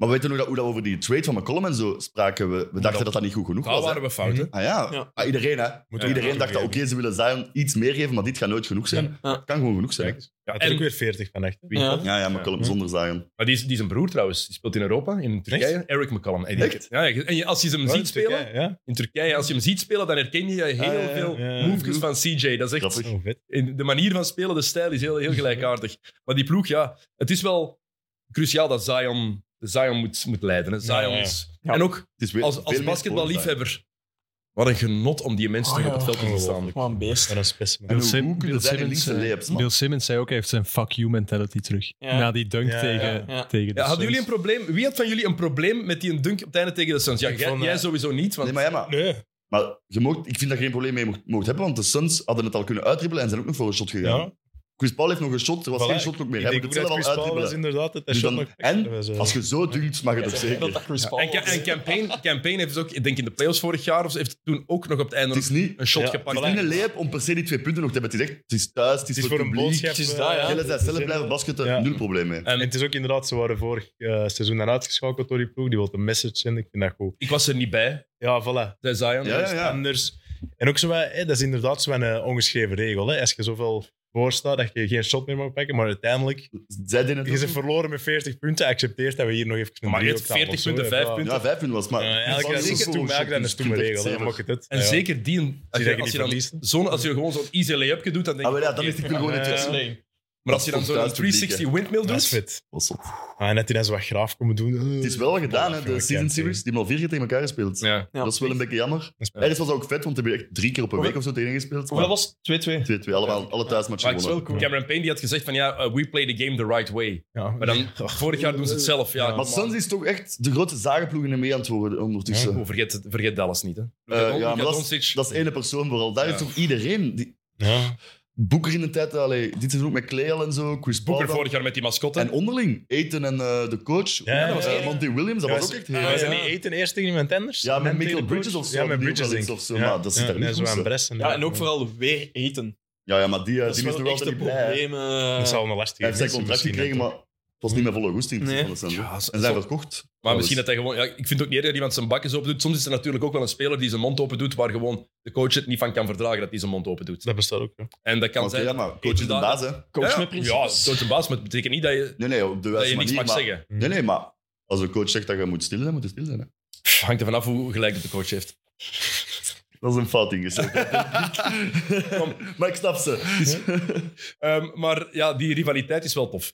Speaker 2: Maar we weten nog dat, hoe dat we over die trade van McCollum en zo spraken. We, we dachten dat dat niet goed genoeg
Speaker 1: Daar
Speaker 2: was. hè.
Speaker 1: waren we fout, hè?
Speaker 2: Ah ja,
Speaker 4: Ja.
Speaker 2: Ah, iedereen hè.
Speaker 3: Moet
Speaker 1: Ja,
Speaker 2: iedereen dacht dat, oké, ze willen Zion iets meer geven, maar dit gaat nooit genoeg zijn.
Speaker 4: Ja.
Speaker 2: Het kan gewoon genoeg zijn.
Speaker 3: Kijk, ja,
Speaker 1: en-
Speaker 3: en... ook weer 40 van echt. hè.
Speaker 1: Wie?
Speaker 4: Ja.
Speaker 2: Ja, ja, McCollum zonder Zion.
Speaker 1: Maar die is, die is een broer trouwens. Die speelt in Europa, in Turkije. Eric McCallum. En die-
Speaker 2: Echt?
Speaker 1: Ja, ja. en je- als je hem
Speaker 3: Ja,
Speaker 1: ziet spelen
Speaker 3: Turkije, Ja,
Speaker 1: in Turkije, als je hem ziet spelen, dan herken je heel
Speaker 2: Ah, ja, ja.
Speaker 1: veel
Speaker 3: Ja, ja.
Speaker 1: moves van CJ. Dat is echt,
Speaker 2: Grappig.
Speaker 3: Zo Oh, vet.
Speaker 1: in de manier van spelen, de stijl is heel, heel gelijkaardig. Maar die ploeg, ja, het is wel cruciaal dat Zion, Zion moet, moet leiden. Hè. Zion
Speaker 3: Ja, ja, ja.
Speaker 1: is-
Speaker 4: Ja.
Speaker 1: En ook
Speaker 2: Het is weer
Speaker 1: als,
Speaker 2: veel
Speaker 1: als
Speaker 2: meer
Speaker 1: basketballiefhebber, wat een genot om die mensen
Speaker 4: Oh,
Speaker 1: terug op
Speaker 4: ja.
Speaker 1: het veld te zien staan.
Speaker 4: Wat een beest.
Speaker 3: Wat een specimen.
Speaker 2: En
Speaker 5: Bill,
Speaker 2: hoe
Speaker 5: Sim-
Speaker 2: goed kunnen
Speaker 5: Bill
Speaker 2: zij in
Speaker 5: Simmons,
Speaker 2: linkse
Speaker 5: eh,
Speaker 2: layups, man?
Speaker 5: Bill Simmons zei ook, hij heeft zijn fuck you mentality terug.
Speaker 4: Ja.
Speaker 5: Na die dunk
Speaker 3: Ja, ja,
Speaker 5: tegen,
Speaker 4: ja.
Speaker 5: tegen de
Speaker 1: Ja, hadden
Speaker 5: Suns.
Speaker 1: jullie een probleem? Wie had van jullie een probleem met die een dunk op het einde tegen de Suns? Ja,
Speaker 3: Ik
Speaker 1: jij,
Speaker 3: vond, eh,
Speaker 1: jij sowieso niet, want
Speaker 2: Nee, maar ja, maar,
Speaker 3: Nee.
Speaker 2: maar je moogt, ik vind dat je geen probleem mee mocht, mocht hebben, want de Suns hadden het al kunnen uitdribbelen en zijn ook nog voor een shot gegaan.
Speaker 3: Ja.
Speaker 2: Chris Paul heeft nog een shot, er was
Speaker 3: Voilà,
Speaker 2: geen shot nog meer.
Speaker 3: Ik
Speaker 2: Hij
Speaker 3: denk
Speaker 2: moet
Speaker 3: ook
Speaker 2: het
Speaker 3: dat
Speaker 2: zelf
Speaker 3: Chris
Speaker 2: al
Speaker 3: Paul was
Speaker 2: uitdribbelen.
Speaker 3: inderdaad het
Speaker 2: Dus
Speaker 3: shot
Speaker 2: dan-
Speaker 3: nog
Speaker 2: en
Speaker 3: was, eh,
Speaker 2: als je zo dunkt, mag het ook
Speaker 4: Dat
Speaker 2: zeker.
Speaker 4: dat Chris Paul
Speaker 1: En, ca-
Speaker 4: was.
Speaker 1: en campaign, campaign heeft dus ook, ik denk in de playoffs vorig jaar, of zo, heeft toen ook nog op het einde
Speaker 2: Het is
Speaker 1: nog
Speaker 2: niet,
Speaker 1: een shot
Speaker 3: Ja,
Speaker 1: gepakt.
Speaker 2: het is niet een layup om per se die twee punten nog te hebben. Het is echt, het is thuis, het is,
Speaker 3: het is voor een
Speaker 2: publiek.
Speaker 3: boodschap.
Speaker 4: Het is
Speaker 3: eh,
Speaker 4: dat, ja.
Speaker 2: Jij bent zelf
Speaker 3: te
Speaker 2: blijven
Speaker 3: zenden.
Speaker 2: basketten,
Speaker 3: Ja.
Speaker 2: nul probleem mee.
Speaker 1: En
Speaker 3: En het is ook inderdaad, ze waren vorig eh, seizoen dan uitgeschakeld door die ploeg. Die wilde een message zenden. Ik vind dat goed.
Speaker 1: ik was er niet bij,
Speaker 3: Ja, voilà.
Speaker 1: zei Zion.
Speaker 2: Ja, ja,
Speaker 3: is
Speaker 2: ja.
Speaker 3: Dus anders. En ook zo, wat, hè, dat is inderdaad zo'n eh, ongeschreven regel. Hè. Als je zoveel voorstaat dat je geen shot meer mag pakken, maar uiteindelijk,
Speaker 2: Zij deden
Speaker 3: je
Speaker 2: het
Speaker 3: bent
Speaker 2: ook.
Speaker 3: verloren met 40 punten, accepteert dat we hier nog even een
Speaker 1: Maar
Speaker 3: driehoek
Speaker 1: eerst
Speaker 3: halen
Speaker 1: 40
Speaker 3: of zo,
Speaker 1: punten,
Speaker 3: hè,
Speaker 1: vijf
Speaker 3: voilà.
Speaker 1: punten.
Speaker 2: Ja, vijf punten was het, maar...
Speaker 3: Ja, eigenlijk
Speaker 2: Van
Speaker 3: als je
Speaker 2: zeker
Speaker 3: dat
Speaker 2: voor
Speaker 3: toen
Speaker 2: een
Speaker 3: maakt,
Speaker 2: shot
Speaker 3: dan is het toen
Speaker 2: is
Speaker 3: een
Speaker 2: het
Speaker 3: regel. hè.
Speaker 2: echt
Speaker 3: Dan mag je het.
Speaker 1: En
Speaker 3: Ja, ja.
Speaker 1: zeker die, als
Speaker 3: Zie
Speaker 1: je,
Speaker 3: dat je
Speaker 1: als
Speaker 3: niet
Speaker 1: je, dan
Speaker 3: verliest.
Speaker 1: zo'n- als je gewoon zo'n easy layupje doet, dan denk
Speaker 2: Ah,
Speaker 1: ik...
Speaker 2: maar ja, dan is het gewoon
Speaker 3: Ja,
Speaker 2: het
Speaker 3: ja.
Speaker 2: is-
Speaker 4: Slim.
Speaker 1: Maar als je dan
Speaker 2: Dat
Speaker 1: zo'n
Speaker 2: komt uit het publiek,
Speaker 1: 360 windmill
Speaker 3: Dat is
Speaker 1: doet...
Speaker 3: vet.
Speaker 2: was zot.
Speaker 3: Ah, en dat hij dan zo wat graaf komen doen.
Speaker 2: Het is wel gedaan, hè, de season series. Die hebben al vier keer tegen elkaar gespeeld.
Speaker 1: Ja.
Speaker 4: Ja.
Speaker 2: Dat is wel een beetje jammer.
Speaker 3: is-
Speaker 2: Ergens was dat ook vet, want die hebben echt drie keer op een
Speaker 4: Hoeveel-
Speaker 2: week of zo tegen gespeeld.
Speaker 4: Hoeveel was het? 2-2.
Speaker 2: Twee, twee, allemaal, alle thuismatchen
Speaker 1: Maar het is
Speaker 2: gewonnen.
Speaker 1: wel cool. Cameron Payne die had gezegd van ja, eh, we play the game the right way.
Speaker 3: Ja,
Speaker 1: Maar dan, vorig jaar doen ze het zelf. Ja,
Speaker 2: Maar Suns is toch echt de grootste zagenploeg in de mee aan het worden ondertussen.
Speaker 1: Oh, vergeet, het- vergeet Dallas niet, hè.
Speaker 2: Eh,
Speaker 1: Luka Don-
Speaker 2: ja, maar
Speaker 1: Luka
Speaker 2: dat
Speaker 1: Doncic.
Speaker 2: is, dat is ene persoon vooral. Daar
Speaker 1: Ja.
Speaker 2: is toch iedereen. Die,
Speaker 3: Ja.
Speaker 2: Boeker in de tijd, allee, dit is ook met Clay al en zo, Chris Paul.
Speaker 1: Booker
Speaker 2: dan.
Speaker 1: vorig jaar met die mascotte.
Speaker 2: En onderling, Eten en eh, de coach,
Speaker 3: ja,
Speaker 2: Eh,
Speaker 3: dat was-
Speaker 2: Monty Williams, dat
Speaker 3: Ja,
Speaker 2: was
Speaker 3: ze-
Speaker 2: ook echt
Speaker 3: Maar
Speaker 2: heel...
Speaker 3: was dat niet eten eerst tegen iemand anders?
Speaker 2: Ja, met
Speaker 3: Dan
Speaker 2: Michael
Speaker 3: tegen de coach?
Speaker 2: Bridges of zo,
Speaker 3: Ja, met
Speaker 2: die
Speaker 3: Bridges
Speaker 2: wel
Speaker 3: denk
Speaker 2: eens
Speaker 3: ik.
Speaker 2: of zo, maar dat zit daar
Speaker 3: nee,
Speaker 2: niet
Speaker 3: zo
Speaker 2: goed,
Speaker 3: aan
Speaker 2: zo.
Speaker 3: Bressen.
Speaker 4: Ja, en ook vooral weer eten.
Speaker 2: Ja, ja, maar die, eh,
Speaker 4: Dat is
Speaker 2: die is
Speaker 4: wel
Speaker 2: toch
Speaker 4: echt
Speaker 2: altijd
Speaker 4: een
Speaker 2: niet blij.
Speaker 4: probleem.
Speaker 3: Dat
Speaker 4: eh.
Speaker 3: zal een lastige
Speaker 2: Hij heeft zijn
Speaker 3: missie
Speaker 2: contract
Speaker 3: misschien,
Speaker 2: gekregen,
Speaker 3: hè,
Speaker 2: maar het was niet met volle goesting.
Speaker 4: Nee.
Speaker 2: van de Suns, hè.
Speaker 1: Ja, zo-
Speaker 2: en zijn
Speaker 1: zo-
Speaker 2: verkocht.
Speaker 1: Maar misschien dat hij gewoon... Ja, ik vind het ook niet erg dat iemand zijn bakjes open doet. Soms is er natuurlijk ook wel een speler die zijn mond open doet, waar gewoon de coach het niet van kan verdragen dat hij zijn mond open doet.
Speaker 3: Dat bestaat ook. Ja.
Speaker 1: En dat kan
Speaker 2: Want,
Speaker 1: zijn...
Speaker 2: ja, maar coach is de
Speaker 1: Inderdaad.
Speaker 2: baas, hè.
Speaker 4: Coach
Speaker 1: ja,
Speaker 4: met principes.
Speaker 1: Ja, coach en baas, maar het betekent niet dat je,
Speaker 2: Nee, nee, op de
Speaker 1: dat
Speaker 2: wijze
Speaker 1: je niks
Speaker 2: manier.
Speaker 1: mag
Speaker 2: maar,
Speaker 1: zeggen.
Speaker 2: Nee, nee, maar als een coach zegt dat je moet stil zijn, moet je stil zijn. Hè.
Speaker 1: Pff, hangt er vanaf hoe gelijk dat de coach heeft.
Speaker 2: Dat is een
Speaker 1: [laughs]
Speaker 2: fout ingezet. maar ik snap ze.
Speaker 1: Ehm, maar ja, die rivaliteit is wel tof.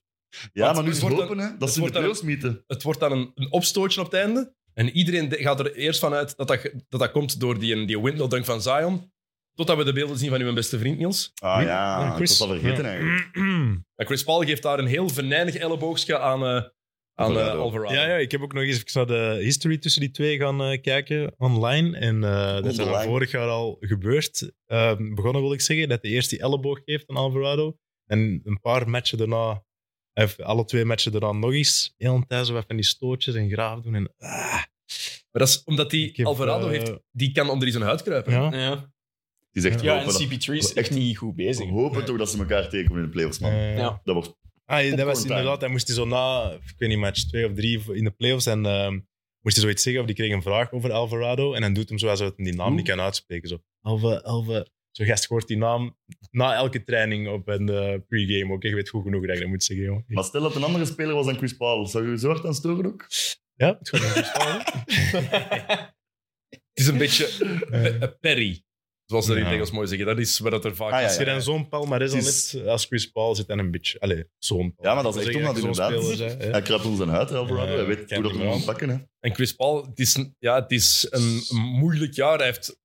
Speaker 2: Ja,
Speaker 1: Want
Speaker 2: maar nu is
Speaker 1: het
Speaker 2: het
Speaker 1: wordt
Speaker 2: hopen, hè. Dat
Speaker 1: het
Speaker 2: ze in de
Speaker 1: wordt dan-
Speaker 2: playoffs meeten.
Speaker 1: Het wordt dan een, een opstootje op het einde. En iedereen de- gaat er eerst vanuit dat dat, ge- dat, dat komt door die, die windmill dunk van Zion. Totdat we de beelden zien van uw beste vriend, Niels.
Speaker 2: Ah ja, ik
Speaker 3: Chris.
Speaker 2: was al vergeten eigenlijk.
Speaker 1: Ja, Chris Paul geeft daar een heel venijnig elleboogje aan, eh, aan eh,
Speaker 2: Alvarado.
Speaker 1: Alvarado.
Speaker 3: Ja, ja, ik heb ook nog eens even naar de history tussen die twee gaan eh, kijken online. En eh, dat is
Speaker 2: Online.
Speaker 3: al vorig jaar al gebeurd. Ehm, begonnen wil ik zeggen dat hij eerst die elleboog geeft aan Alvarado. En een paar matchen daarna, of alle twee matchen daarna nog eens. Heel een tijd zo wat van die stootjes en graaf doen. En, ah,
Speaker 1: Maar dat is omdat die
Speaker 3: Ik heb,
Speaker 1: Alvarado
Speaker 3: eh,
Speaker 1: heeft, die kan onder die zijn huid kruipen.
Speaker 3: ja.
Speaker 4: Ja.
Speaker 2: Die zegt
Speaker 4: ja, en
Speaker 2: hopen, dat,
Speaker 4: CP3 is echt
Speaker 2: Echt.
Speaker 4: niet goed bezig.
Speaker 2: hopen toch dat ze elkaar tegenkomen in de playoffs, man.
Speaker 3: Eh,
Speaker 4: Ja.
Speaker 2: Dat wordt...
Speaker 3: Ah, ja, dat was
Speaker 2: Popcorn time.
Speaker 3: inderdaad. Hij moest hij zo na, ik weet niet, match 2 of 3 in de playoffs. En ehm, moest hij zoiets zeggen, of die kreeg een vraag over Alvarado. En dan doet hem zoals hij die naam niet kan uitspreken. Zo, Alva, Alva. Zo gast hoort die naam na elke training op een eh, pre-game ook. Ik weet goed genoeg dat ik dat moet zeggen, jongen.
Speaker 2: Maar stel dat een andere speler was dan Chris Paul. Zou je je zo hard aan storen ook?
Speaker 3: Ja, het gaat niet.
Speaker 1: Het is een beetje
Speaker 3: [laughs]
Speaker 1: pe- een perry, zoals ze dat in
Speaker 3: Ja.
Speaker 1: het Engels mooi zeggen. Dat is waar dat er vaak
Speaker 2: Ah, ja,
Speaker 3: Als je dan zo'n palmarès al
Speaker 2: Het is-
Speaker 3: hebt, als Chris Paul zit dan een beetje... Allee, zo'n
Speaker 2: Ja, maar dat is echt
Speaker 3: Zeg je
Speaker 2: omdat
Speaker 3: zo'n
Speaker 2: inderdaad-
Speaker 3: speler is, hè?
Speaker 2: Hij kruipt onder zijn huid, hè, Alvarado.
Speaker 3: Ja,
Speaker 2: Hij weet
Speaker 3: ik
Speaker 2: hoe
Speaker 3: ken
Speaker 2: dat hem
Speaker 3: hem wel.
Speaker 2: moet pakken, hè.
Speaker 1: En Chris Paul, het is, een- ja, het is een moeilijk jaar. Hij heeft,
Speaker 2: Kwart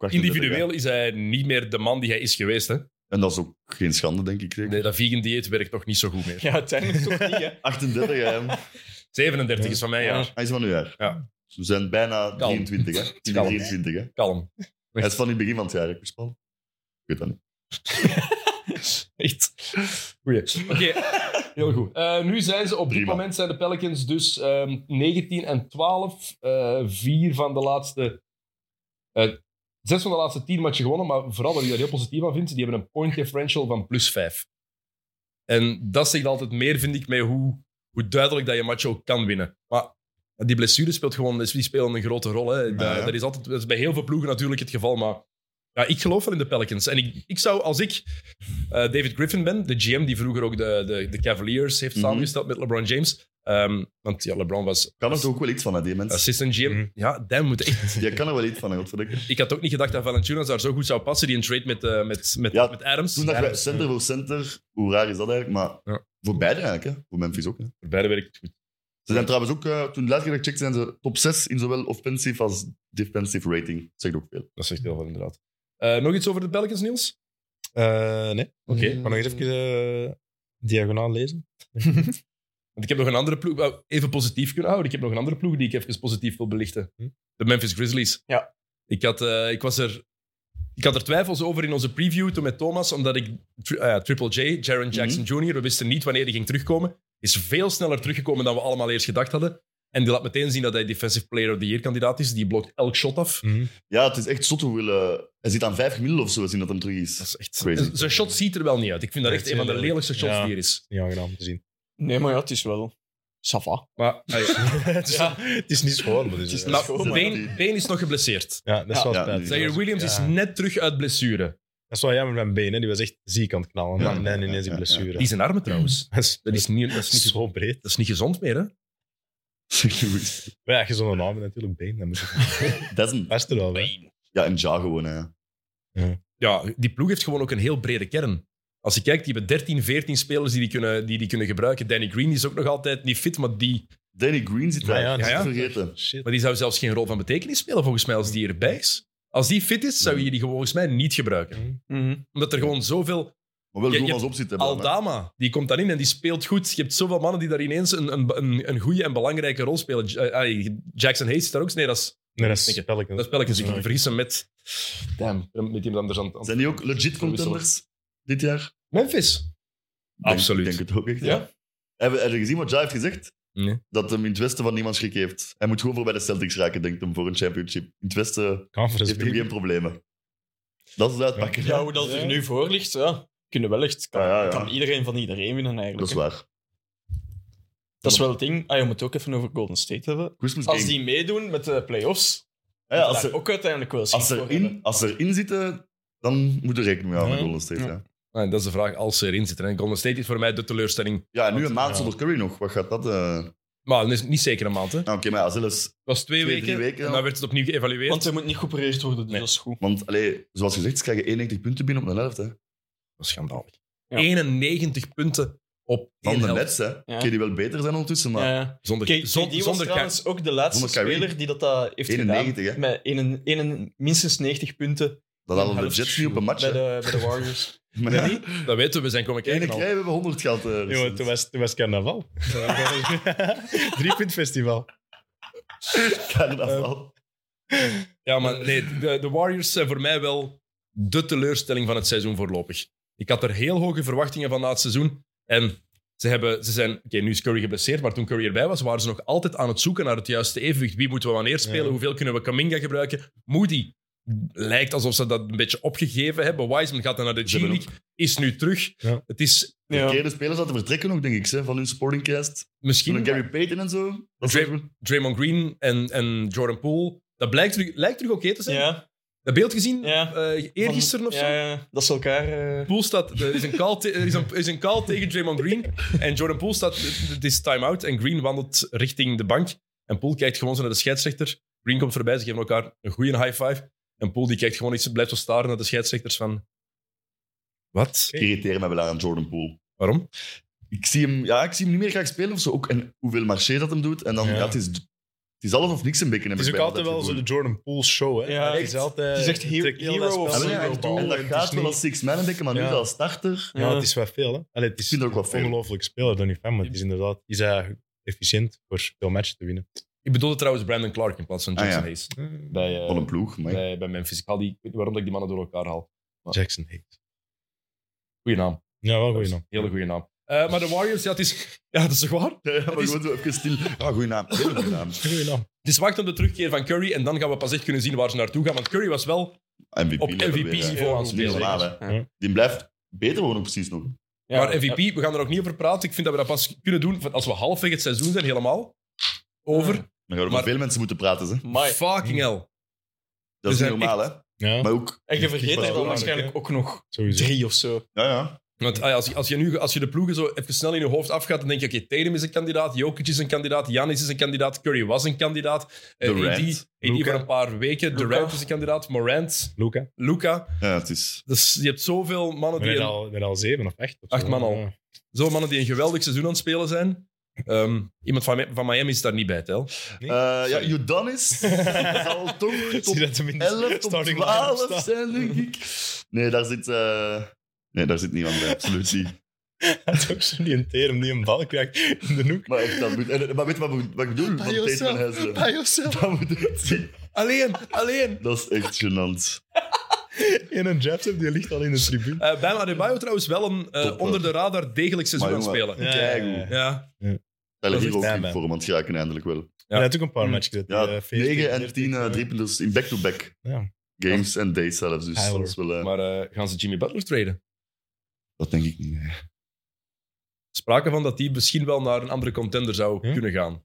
Speaker 2: voor dertig,
Speaker 1: individueel is hij niet meer de man die hij is geweest. Hè?
Speaker 2: hè. En dat is ook geen schande, denk ik. zeker.
Speaker 1: Nee, dat vegan dieet werkt toch niet zo goed meer.
Speaker 4: Ja, uiteindelijk toch
Speaker 2: [laughs]
Speaker 4: niet, hè.
Speaker 2: 38,
Speaker 1: [laughs]
Speaker 2: hè. hem.
Speaker 1: 37 is van mijn
Speaker 4: Ja.
Speaker 1: jaar.
Speaker 2: Hij is van nu jaar.
Speaker 1: Ja.
Speaker 2: Dus We zijn bijna
Speaker 1: Kalm.
Speaker 2: 23, hè. Die
Speaker 1: Kalm.
Speaker 2: 23, hè.
Speaker 1: Kalm.
Speaker 2: Hij is van in het begin van het jaar, hè, Chris Paul. Ik weet dat niet.
Speaker 1: Echt. Goeie. Oké, heel goed. Eh, nu zijn ze op dit
Speaker 2: Prima.
Speaker 1: moment zijn de Pelicans dus ehm, 19 en 12. eh vier van de laatste. eh, zes van de laatste tien matchen gewonnen. Maar vooral wat ik daar heel positief aan vind, die hebben een point differential van plus 5. En dat zegt altijd meer, vind ik, met hoe, hoe duidelijk dat je match ook kan winnen. Maar Die blessure speelt gewoon, die spelen een grote rol. Hè. Dat,
Speaker 2: Ja, ja.
Speaker 1: dat is altijd, dat is bij heel veel ploegen natuurlijk het geval, maar ja, ik geloof wel in de Pelicans. En ik, ik zou, als ik eh, David Griffin ben, de GM die vroeger ook de, de, de Cavaliers heeft
Speaker 2: Mhm.
Speaker 1: samengesteld met LeBron James, ehm, want ja, LeBron was
Speaker 2: Kan er ook wel iets van, hè, die mensen.
Speaker 1: assistant GM.
Speaker 3: Mhm.
Speaker 1: Ja, damn, moet echt
Speaker 2: Je kan er wel iets van, hè, godverdikke.
Speaker 1: ik had ook niet gedacht dat Valanciunas daar zo goed zou passen, die een trade met, eh, met, met,
Speaker 2: Ja,
Speaker 1: met Adams.
Speaker 2: Toen dachten wij,
Speaker 1: Adams,
Speaker 2: center voor center, hoe raar is dat eigenlijk? Maar
Speaker 1: Ja.
Speaker 2: voor beide eigenlijk, hè. voor Memphis ook. Hè.
Speaker 1: Voor beide werkt het goed.
Speaker 2: Ze zijn trouwens ook, eh, toen de laatste keer dat ik checkte, zijn ze top 6 in zowel offensief als defensive rating. Dat zegt ook veel.
Speaker 1: Dat zegt heel veel, inderdaad. Eh, nog iets over de Pelicans, Niels?
Speaker 3: Eh, nee.
Speaker 1: Oké.
Speaker 3: Ik ga nog eens even eh, diagonaal lezen.
Speaker 1: Want ik heb nog een andere ploeg, wou even positief kunnen houden. Ik heb nog een andere ploeg die ik even positief wil belichten.
Speaker 3: Hm?
Speaker 1: De Memphis Grizzlies.
Speaker 4: Ja.
Speaker 1: Ik had, eh, ik, was er, ik had er twijfels over in onze preview toen met Thomas, omdat ik tri- eh, Triple J, Jaron Jackson Jr., we wisten niet wanneer hij ging terugkomen, is veel sneller teruggekomen dan we allemaal eerst gedacht hadden. En die laat meteen zien dat hij Defensive Player of the Year kandidaat is. Die blokt elk shot af.
Speaker 3: Hm. Mhm,
Speaker 2: Ja, het is echt zot hoeveel... eh, hij zit aan 5 gemiddeld of zo, zien dat hem terug is.
Speaker 1: Dat is echt...
Speaker 2: Crazy.
Speaker 1: Zijn shot ziet er wel niet uit. Ik vind dat
Speaker 3: Ja,
Speaker 1: echt
Speaker 3: het
Speaker 1: een
Speaker 3: is
Speaker 1: van de
Speaker 3: heel
Speaker 1: lelijkste shots
Speaker 3: Ja.
Speaker 1: die er is.
Speaker 3: Niet aangenaam om
Speaker 2: [laughs]
Speaker 3: te zien.
Speaker 4: Nee, maar ja, het is wel. Safa.
Speaker 1: Maar,
Speaker 3: het, is,
Speaker 4: Ja.
Speaker 3: [laughs] het is niet schoon, maar het is,
Speaker 4: Het is
Speaker 3: [laughs] eh,
Speaker 4: niet
Speaker 1: maar
Speaker 4: schoon, maar-
Speaker 1: Bane, Bane is nog geblesseerd.
Speaker 3: ja, dat is
Speaker 4: Ja.
Speaker 3: wel
Speaker 2: Ja,
Speaker 3: spijtig.
Speaker 2: die-
Speaker 1: Zaire Williams is
Speaker 3: Ja.
Speaker 1: net terug uit blessure.
Speaker 3: Dat is wel jammer met benen, die was echt ziek aan het knallen.
Speaker 2: Ja,
Speaker 3: en
Speaker 2: ja,
Speaker 3: dan
Speaker 2: ja,
Speaker 3: ineens
Speaker 2: ja,
Speaker 3: die
Speaker 2: ja.
Speaker 3: blessure.
Speaker 1: Die zijn armen trouwens.
Speaker 3: [laughs]
Speaker 2: Mm.
Speaker 3: dat is,
Speaker 1: Dat is niet, dat is niet,
Speaker 3: zo breed.
Speaker 1: dat is niet gezond meer, hè?
Speaker 3: Maar ja, je zo'n naam hebt natuurlijk been. Dat moet je
Speaker 2: dat is een...
Speaker 3: best wel. Hè.
Speaker 2: Ja, en Ja gewoon, hè.
Speaker 1: Ja, die ploeg heeft gewoon ook een heel brede kern. Als je kijkt, die hebben 13, 14 spelers die die kunnen, die die kunnen gebruiken. Danny Green die is ook nog altijd niet fit, maar die,
Speaker 2: Danny Green zit daar.
Speaker 3: Maar ja,
Speaker 2: dat is
Speaker 1: ja,
Speaker 2: niet vergeten.
Speaker 3: Shit.
Speaker 1: maar die zou zelfs geen rol van betekenis spelen, volgens mij, als die erbij is. Als die fit is, zou je die gewoon volgens mij niet gebruiken. Omdat er gewoon zoveel
Speaker 2: Maar wel
Speaker 1: Je-
Speaker 2: goed
Speaker 1: je
Speaker 2: als opzit hebben. dan, hè.
Speaker 1: Aldama, die komt daarin en die speelt goed. Je hebt zoveel mannen die daar ineens een, een, een, een goede en belangrijke rol spelen. J- eh, ah, Jackson Hayes is daar ook. Nee, dat is,
Speaker 3: Nee, dat is
Speaker 1: Denk
Speaker 3: spelletje.
Speaker 1: dat is Pelicans. Ik vergis hem met... Damn, met iemand anders aan, aan-
Speaker 2: Zijn die ook legit contenders dit jaar?
Speaker 1: Memphis.
Speaker 2: Denk-
Speaker 1: Absoluut.
Speaker 2: Ik denk het ook echt,
Speaker 1: Ja.
Speaker 2: ja. Hebben Heb je gezien wat Ja heeft gezegd?
Speaker 1: Nee.
Speaker 2: Dat hem in het westen van niemand schrik heeft. Hij moet gewoon voor bij de Celtics raken, denkt hem, voor een championship. In het westen
Speaker 3: Conference
Speaker 2: heeft hij geen
Speaker 3: League.
Speaker 2: problemen. Dat is het uitpakken.
Speaker 4: Ja, hoe dat er nu voor ligt, ja. Kunnen wel echt. Kan,
Speaker 2: Ja, ja, ja.
Speaker 4: kan iedereen van iedereen winnen eigenlijk.
Speaker 2: Dat is
Speaker 4: hè.
Speaker 2: waar.
Speaker 4: Dat is wel het ding. Ah, je moet het ook even over Golden State hebben.
Speaker 2: Christmas
Speaker 4: Als
Speaker 2: game.
Speaker 4: die meedoen met de playoffs,
Speaker 2: Ja,
Speaker 4: moeten
Speaker 2: als,
Speaker 4: daar
Speaker 2: ze,
Speaker 4: ook uiteindelijk wel zin
Speaker 2: als,
Speaker 4: voor
Speaker 2: er
Speaker 4: hebben.
Speaker 2: in, als ze erin zitten, dan moet er rekening mee houden
Speaker 3: Ja.
Speaker 2: met Golden State. Ja,
Speaker 1: Ah, dat is de vraag, als ze erin zitten. En Golden State is voor mij de teleurstelling.
Speaker 2: ja en nu een maand
Speaker 3: Ja.
Speaker 2: zonder Curry nog. Wat gaat dat? eh? Nou,
Speaker 1: Maar dat is niet zeker een maand, hè. Het
Speaker 2: Oké, maar ja, zelfs...
Speaker 1: was twee,
Speaker 2: Twee, drie
Speaker 1: weken,
Speaker 2: weken,
Speaker 1: en
Speaker 2: ja.
Speaker 1: dan werd het opnieuw geëvalueerd.
Speaker 4: Want hij moet niet geopereerd worden, dus dat is goed.
Speaker 2: Want, allee, zoals gezegd, ze krijgen 91 punten binnen op de helft. Hè.
Speaker 1: Dat is schandalig.
Speaker 4: Ja.
Speaker 1: 91 punten op
Speaker 2: Van
Speaker 1: één
Speaker 2: de
Speaker 1: helft.
Speaker 2: Nets, hè. Kun je die wel beter zijn ondertussen, maar...
Speaker 4: Ja, ja.
Speaker 1: Zonder,
Speaker 4: Kijk,
Speaker 1: zon-
Speaker 4: die was
Speaker 1: zonder
Speaker 4: trouwens ook de laatste
Speaker 2: zonder Kyrie.
Speaker 4: speler die dat, dat heeft
Speaker 2: 91,
Speaker 4: gedaan.
Speaker 2: hè?
Speaker 4: Met een, een, minstens 90 punten
Speaker 2: Dat hadden de Jets niet op een match.
Speaker 4: bij
Speaker 2: hè.
Speaker 4: de, bij
Speaker 2: [laughs]
Speaker 4: de Warriors.
Speaker 2: Maar
Speaker 1: Nee, Dat weten we, we zijn komen
Speaker 2: ene
Speaker 1: kijken
Speaker 2: keer
Speaker 1: al.
Speaker 2: hebben we 100 geld. eh,
Speaker 3: Jongen,
Speaker 2: recent.
Speaker 3: toen was, toen
Speaker 2: [laughs]
Speaker 3: was carnaval. Drie punt festival.
Speaker 2: [laughs] Carnaval.
Speaker 1: Ja, maar nee, de, de Warriors zijn voor mij wel de teleurstelling van het seizoen voorlopig. Ik had er heel hoge verwachtingen van na het seizoen. En ze, hebben, ze zijn... Oké, nu is Curry geblesseerd, maar toen Curry erbij was, waren ze nog altijd aan het zoeken naar het juiste evenwicht. Wie moeten we wanneer spelen?
Speaker 3: Ja.
Speaker 1: Hoeveel kunnen we Kaminga gebruiken? Moody lijkt alsof ze dat een beetje opgegeven hebben. Wiseman gaat dan naar de
Speaker 2: Ze hebben
Speaker 1: G-League, is nu terug.
Speaker 3: Ja.
Speaker 1: Het is
Speaker 2: Verkeerde spelers laten vertrekken ook, denk ik, hè, van hun sportingcast. Toen een
Speaker 1: misschien...
Speaker 2: Gary Payton en zo. Dat is
Speaker 1: Dray- Draymond Green en, en Jordan Poole, dat blijkt terug, lijkt terug oké te zijn.
Speaker 4: Ja,
Speaker 1: Dat beeld gezien
Speaker 4: ja.
Speaker 1: eh eergisteren of zo.
Speaker 4: Ja, ja, dat ze elkaar... eh,
Speaker 1: Poel staat, er is een call, te- er is een, is een call tegen Draymond Green. En Jordan Poel staat, het is time-out. En Green wandelt richting de bank. En Poel kijkt gewoon zo naar de scheidsrechter. Green komt voorbij, ze geven elkaar een goede high-five. En Poel die kijkt gewoon iets, blijft zo staren naar de scheidsrechters van... Wat?
Speaker 2: Ik irriteer mij wel aan Jordan Poole.
Speaker 1: Waarom?
Speaker 2: Ik zie hem, ja, ik zie hem niet meer graag spelen of zo. Ook, en hoeveel marché dat hem doet. En dan,
Speaker 3: Ja.
Speaker 2: ja. het, is, het is alles of niks een beetje.
Speaker 3: Het is ook altijd wel zo de Jordan Poole show, hè?
Speaker 4: Ja,
Speaker 3: het
Speaker 4: echt.
Speaker 3: is altijd.
Speaker 4: Het is echt
Speaker 3: je
Speaker 4: he-
Speaker 3: trekt heel
Speaker 4: hero
Speaker 3: dat
Speaker 4: of
Speaker 2: Ah,
Speaker 3: spel
Speaker 4: zero.
Speaker 3: in
Speaker 4: Ja,
Speaker 3: je
Speaker 4: ik
Speaker 3: doel
Speaker 2: En dat
Speaker 3: het
Speaker 2: gaat
Speaker 3: is
Speaker 2: wel
Speaker 3: niet-
Speaker 2: als six man, denk ik, maar nu
Speaker 3: Ja.
Speaker 2: is als starter.
Speaker 3: Ja, het is wel veel, hè? Allee, het is
Speaker 2: Ik vind er ook wel veel.
Speaker 3: een ongelooflijk speler, Donny Fan, maar het is inderdaad is hij efficiënt voor veel matchen te winnen.
Speaker 1: Ik bedoelde trouwens Brandon Clark in plaats van Jackson
Speaker 2: Ah, ja.
Speaker 1: Hayes.
Speaker 3: Eh,
Speaker 1: Bij, eh,
Speaker 2: Van een ploeg. Maar
Speaker 1: bij, bij Memphis. Ik, haal die, ik weet niet waarom dat ik die mannen door elkaar haal.
Speaker 3: Jackson heet.
Speaker 1: Goeie naam.
Speaker 3: Ja, wel goed naam.
Speaker 1: Hele goede naam. Eh, maar de Warriors, ja, het is, ja, dat is toch waar?
Speaker 2: Ja, [laughs] maar
Speaker 1: is-
Speaker 2: gewoon zo even stil. Ja, goeie naam. Hele goeie naam.
Speaker 3: Goeie naam.
Speaker 1: Het is wachten op de terugkeer van Curry en dan gaan we pas echt kunnen zien waar ze naartoe gaan. Want Curry was wel
Speaker 2: MVP.
Speaker 1: op
Speaker 2: level weer, hè.
Speaker 1: MVP-niveau aan het
Speaker 2: Dat is niet
Speaker 1: spelen.
Speaker 2: normaal, hè.
Speaker 3: Ja.
Speaker 2: Die blijft beter worden, precies nog.
Speaker 4: ja,
Speaker 1: maar MVP, we gaan er ook niet over praten. Ik vind dat we dat pas kunnen doen als we halfweg het seizoen zijn, helemaal over.
Speaker 2: Dan gaan we
Speaker 1: Maar-
Speaker 2: met veel mensen moeten praten. Hè.
Speaker 4: Maar,
Speaker 1: Fucking hell.
Speaker 3: Dus
Speaker 2: Dat is
Speaker 1: Er
Speaker 2: niet
Speaker 1: zijn
Speaker 2: normaal, hè?
Speaker 3: Ja,
Speaker 2: Maar ook,
Speaker 4: en je vergeet er dan
Speaker 3: Kickball.
Speaker 4: waarschijnlijk ook nog
Speaker 3: sowieso.
Speaker 4: drie of zo.
Speaker 2: ja, ja.
Speaker 1: Want ah ja, als, je, als, je nu, als je de ploegen zo even snel in je hoofd afgaat, dan denk je, oké, Tatum is een kandidaat, Jokic is een kandidaat, Janis is een kandidaat, Curry was een kandidaat. eh, AD,
Speaker 2: Durant.
Speaker 1: AD voor
Speaker 3: Luka.
Speaker 1: een paar weken, Durant is een kandidaat, Morant,
Speaker 3: Luca.
Speaker 1: Luca.
Speaker 2: ja het is...
Speaker 1: Dus je hebt zoveel mannen,
Speaker 3: We
Speaker 1: die
Speaker 3: zijn
Speaker 1: een,
Speaker 3: al, we zijn al zeven of acht. Of
Speaker 1: Acht
Speaker 3: zo.
Speaker 1: man al. [laughs]
Speaker 3: Ja.
Speaker 1: zoveel mannen die een geweldig seizoen aan het spelen zijn. Ehm, iemand van, Mi- van Miami is daar niet bij, Tel.
Speaker 2: Eh ja,
Speaker 3: [laughs]
Speaker 2: Udonis zal toch
Speaker 3: Zie
Speaker 2: top
Speaker 3: dat tenminste.
Speaker 2: 11, top
Speaker 3: starting line-up
Speaker 2: 12
Speaker 3: staat.
Speaker 2: zijn, denk ik. Nee, daar zit... eh, Nee, daar zit niemand bij, absoluut niet.
Speaker 3: Dat is ook zo niet een term die een bal krijgt in de hoek.
Speaker 2: Maar echt, dat moet... en- maar weet je wat, ik- wat ik bedoel? Van Tatum en Haslem. Dat moet echt zien.
Speaker 1: Alleen, alleen.
Speaker 2: Dat is echt gênant.
Speaker 3: In een jabstep, die ligt al in de tribune.
Speaker 1: Eh Bam Adebayo trouwens wel een eh,
Speaker 2: Top,
Speaker 1: onder de radar degelijk seizoen
Speaker 2: Maar
Speaker 1: aan het
Speaker 2: jongen.
Speaker 1: spelen.
Speaker 3: Ja,
Speaker 2: Kijk hoe.
Speaker 3: ja, ja.
Speaker 1: Ja.
Speaker 2: Daar
Speaker 3: Dat
Speaker 2: liggen
Speaker 3: is
Speaker 2: hier ook
Speaker 3: echt
Speaker 2: in
Speaker 3: fijn,
Speaker 2: vorm, want geraken eindelijk wel.
Speaker 1: Ja. Hm.
Speaker 3: Hij had ook een paar matches gezet.
Speaker 2: Ja,
Speaker 3: eh, 14,
Speaker 2: 9 en
Speaker 3: 13,
Speaker 2: 10
Speaker 3: eh,
Speaker 2: uh, driepunters in back-to-back
Speaker 3: Ja.
Speaker 2: games en days zelfs. Dus
Speaker 3: Tyler.
Speaker 2: dat is wel... eh,
Speaker 1: Maar eh, gaan ze Jimmy Butler traden?
Speaker 2: Dat denk ik niet. nee.
Speaker 1: Sprake van dat die misschien wel naar een andere contender zou
Speaker 3: Ja?
Speaker 1: kunnen gaan.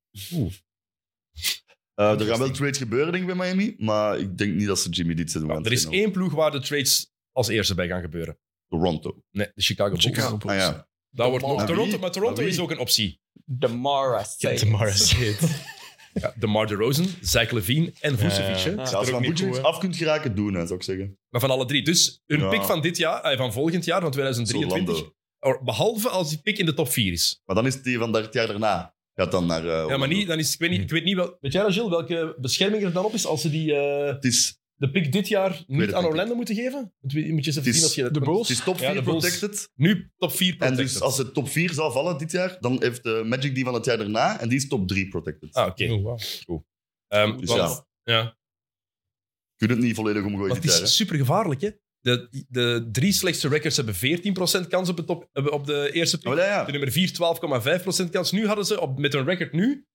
Speaker 2: Eh, er gaan wel trades gebeuren, denk ik, bij Miami. Maar ik denk niet dat ze Jimmy dit zetten.
Speaker 1: Ja, er is één ploeg waar de trades als eerste bij gaan gebeuren.
Speaker 2: Toronto.
Speaker 1: Nee, de Chicago Bulls.
Speaker 2: Ah, ja.
Speaker 1: Dat wordt nog
Speaker 2: Maar wie?
Speaker 1: Toronto, maar Toronto
Speaker 2: Maar wie?
Speaker 1: is ook een optie.
Speaker 4: De Mara
Speaker 3: Ja, Tamara State.
Speaker 1: Ja, DeMar DeRozan, Zach Levine en Vucevic. hè.
Speaker 3: Ja.
Speaker 2: Ja, als je
Speaker 3: ook
Speaker 2: van
Speaker 3: niet
Speaker 2: Butcher
Speaker 3: goed, hè.
Speaker 2: af kunt geraken, doen, hè, zou ik zeggen.
Speaker 1: Maar van alle drie. Dus hun
Speaker 2: Ja.
Speaker 1: pick van dit jaar, eh, van volgend jaar, van 2023.
Speaker 2: Orlando.
Speaker 1: or- Behalve als die pick in de top 4 is.
Speaker 2: Maar dan is die van dat het jaar daarna. Gaat dan naar... eh,
Speaker 1: Ja,
Speaker 2: Orlando.
Speaker 1: maar niet, dan is, ik weet niet, ik weet niet wel, weet jij dat, Gilles, welke bescherming er dan op is als ze die, eh,
Speaker 2: Het is,
Speaker 1: de pick dit jaar
Speaker 2: het
Speaker 1: niet aan
Speaker 2: niet.
Speaker 1: Orlando moeten geven? Want we- Moet je eens even
Speaker 2: Het is
Speaker 1: zien als je
Speaker 4: de
Speaker 1: Bulls.
Speaker 2: het is top
Speaker 1: Ja,
Speaker 2: 4
Speaker 1: de Bulls.
Speaker 2: protected.
Speaker 1: Nu top 4
Speaker 2: En
Speaker 1: protected.
Speaker 2: dus als het top 4 zou vallen dit jaar, dan heeft de Magic die van het jaar daarna. En die is top 3 protected.
Speaker 1: Ah, [laughs] oké.
Speaker 3: Oh, wow.
Speaker 1: Ehm,
Speaker 2: Dus
Speaker 1: want- ja.
Speaker 2: Je kunt het niet volledig omgooien
Speaker 1: Want
Speaker 2: dit jaar.
Speaker 1: het is super gevaarlijk, hè? De, de drie slechtste records hebben 14% kans op, het top, eh, op de eerste
Speaker 2: hè.
Speaker 1: pick.
Speaker 2: Maar Ah, ja,
Speaker 1: De
Speaker 2: ja.
Speaker 1: nummer 4, 12,5% kans. Nu hadden ze op, met hun record nu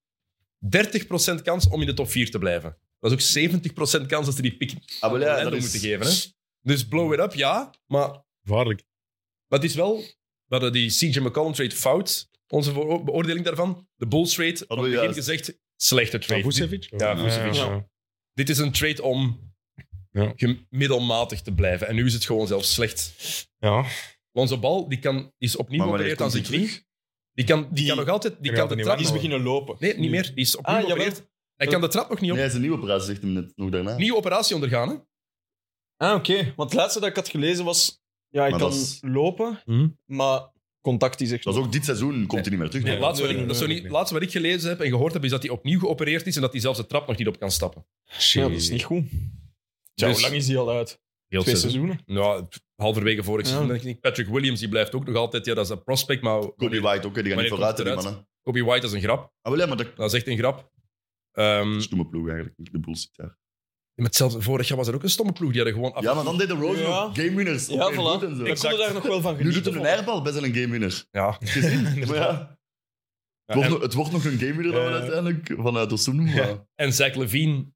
Speaker 1: 30% kans om in de top 4 te blijven. Dat is ook 70% kans dat ze die pick aan
Speaker 2: Ah, wel, ja,
Speaker 1: Orlando
Speaker 2: dat is-
Speaker 1: moeten geven. Hè? Dus blow it up, ja. Maar,
Speaker 3: Waarlijk.
Speaker 1: maar het is wel... We hadden die CJ McCollum trade fout. Onze voor- beoordeling daarvan. De Bulls trade. Hadden
Speaker 2: we
Speaker 1: we begin
Speaker 2: Oh, juist.
Speaker 1: gezegd, slechte trade.
Speaker 3: Van Vucevic?
Speaker 1: Ja, Vucevic.
Speaker 3: Ja.
Speaker 1: Dit is een trade om
Speaker 3: Ja.
Speaker 1: gem- middelmatig te blijven. En nu is het gewoon zelfs slecht.
Speaker 3: Ja.
Speaker 1: Lonzo Bal die kan, is opnieuw
Speaker 2: Maar wanneer
Speaker 1: geopereerd aan zijn
Speaker 2: komt hij
Speaker 1: knie. Die kan, die
Speaker 4: Die-
Speaker 1: kan nog altijd... Die kan
Speaker 3: Ja, dat
Speaker 1: de
Speaker 3: niet
Speaker 1: trap
Speaker 3: waar.
Speaker 4: is
Speaker 1: nog...
Speaker 4: beginnen lopen.
Speaker 1: Nee, niet meer. Die is opnieuw
Speaker 4: Ah, jawel.
Speaker 1: geopereerd. Hij kan de trap nog niet op.
Speaker 2: Nee, zijn nieuwe operatie zegt hem net nog daarna.
Speaker 1: Nieuwe operatie ondergaan, hè?
Speaker 4: Ah, oké. Want het laatste dat ik had gelezen was... Ja, ik
Speaker 2: Maar
Speaker 4: kan
Speaker 2: dat is-
Speaker 4: lopen,
Speaker 1: Hm?
Speaker 4: maar contact is echt...
Speaker 2: Dat is ook dit seizoen, komt hij niet meer terug.
Speaker 1: Nee,
Speaker 3: Nee,
Speaker 1: laatste,
Speaker 4: nee,
Speaker 1: wat ik,
Speaker 4: nee,
Speaker 1: dat is zo
Speaker 3: nee,
Speaker 1: niet-
Speaker 3: nee.
Speaker 1: laatste wat ik gelezen heb en gehoord heb, is dat hij opnieuw geopereerd is en dat hij zelfs de trap nog niet op kan stappen.
Speaker 4: Ja, dat is niet goed. Tja,
Speaker 1: Dus-
Speaker 4: hoe lang is die al uit?
Speaker 1: Heel
Speaker 4: Twee
Speaker 1: seizoen.
Speaker 4: seizoenen.
Speaker 1: Nou, pff, halverwege vorig
Speaker 4: Ja.
Speaker 1: seizoen. denk ik. Patrick Williams die blijft ook nog altijd... Ja, dat is een prospect, maar...
Speaker 2: Kobe White ook, hè, die gaan
Speaker 1: Wanneer
Speaker 2: niet vooruit,
Speaker 1: komt
Speaker 2: hè,
Speaker 1: het
Speaker 2: die
Speaker 1: eruit?
Speaker 2: mannen.
Speaker 1: Kobe White is een grap.
Speaker 2: Ah, wel, ja, maar dat
Speaker 1: Dat is echt een grap. Ehm,
Speaker 2: stomme ploeg eigenlijk, de Bulls dit jaar.
Speaker 1: Met zelfs vorig jaar was er ook een stomme ploeg. Die hadden gewoon af...
Speaker 2: Ja, maar dan deed de Rose
Speaker 4: Ja.
Speaker 2: nog game winners.
Speaker 4: Ja, voilà.
Speaker 2: En zo.
Speaker 4: Ik kon er daar nog wel van
Speaker 2: Nu
Speaker 4: genieten.
Speaker 2: doet hem een
Speaker 4: vond ik.
Speaker 2: airbal best wel een game
Speaker 1: [laughs]
Speaker 2: winner.
Speaker 1: Ja.
Speaker 2: Gezien? maar ja, het,
Speaker 1: Ja,
Speaker 2: wordt
Speaker 1: en,
Speaker 2: nog, het wordt nog een game winner dan wel
Speaker 3: Eh.
Speaker 2: uiteindelijk vanuit Osunu. maar-
Speaker 1: Ja. en Zach Levine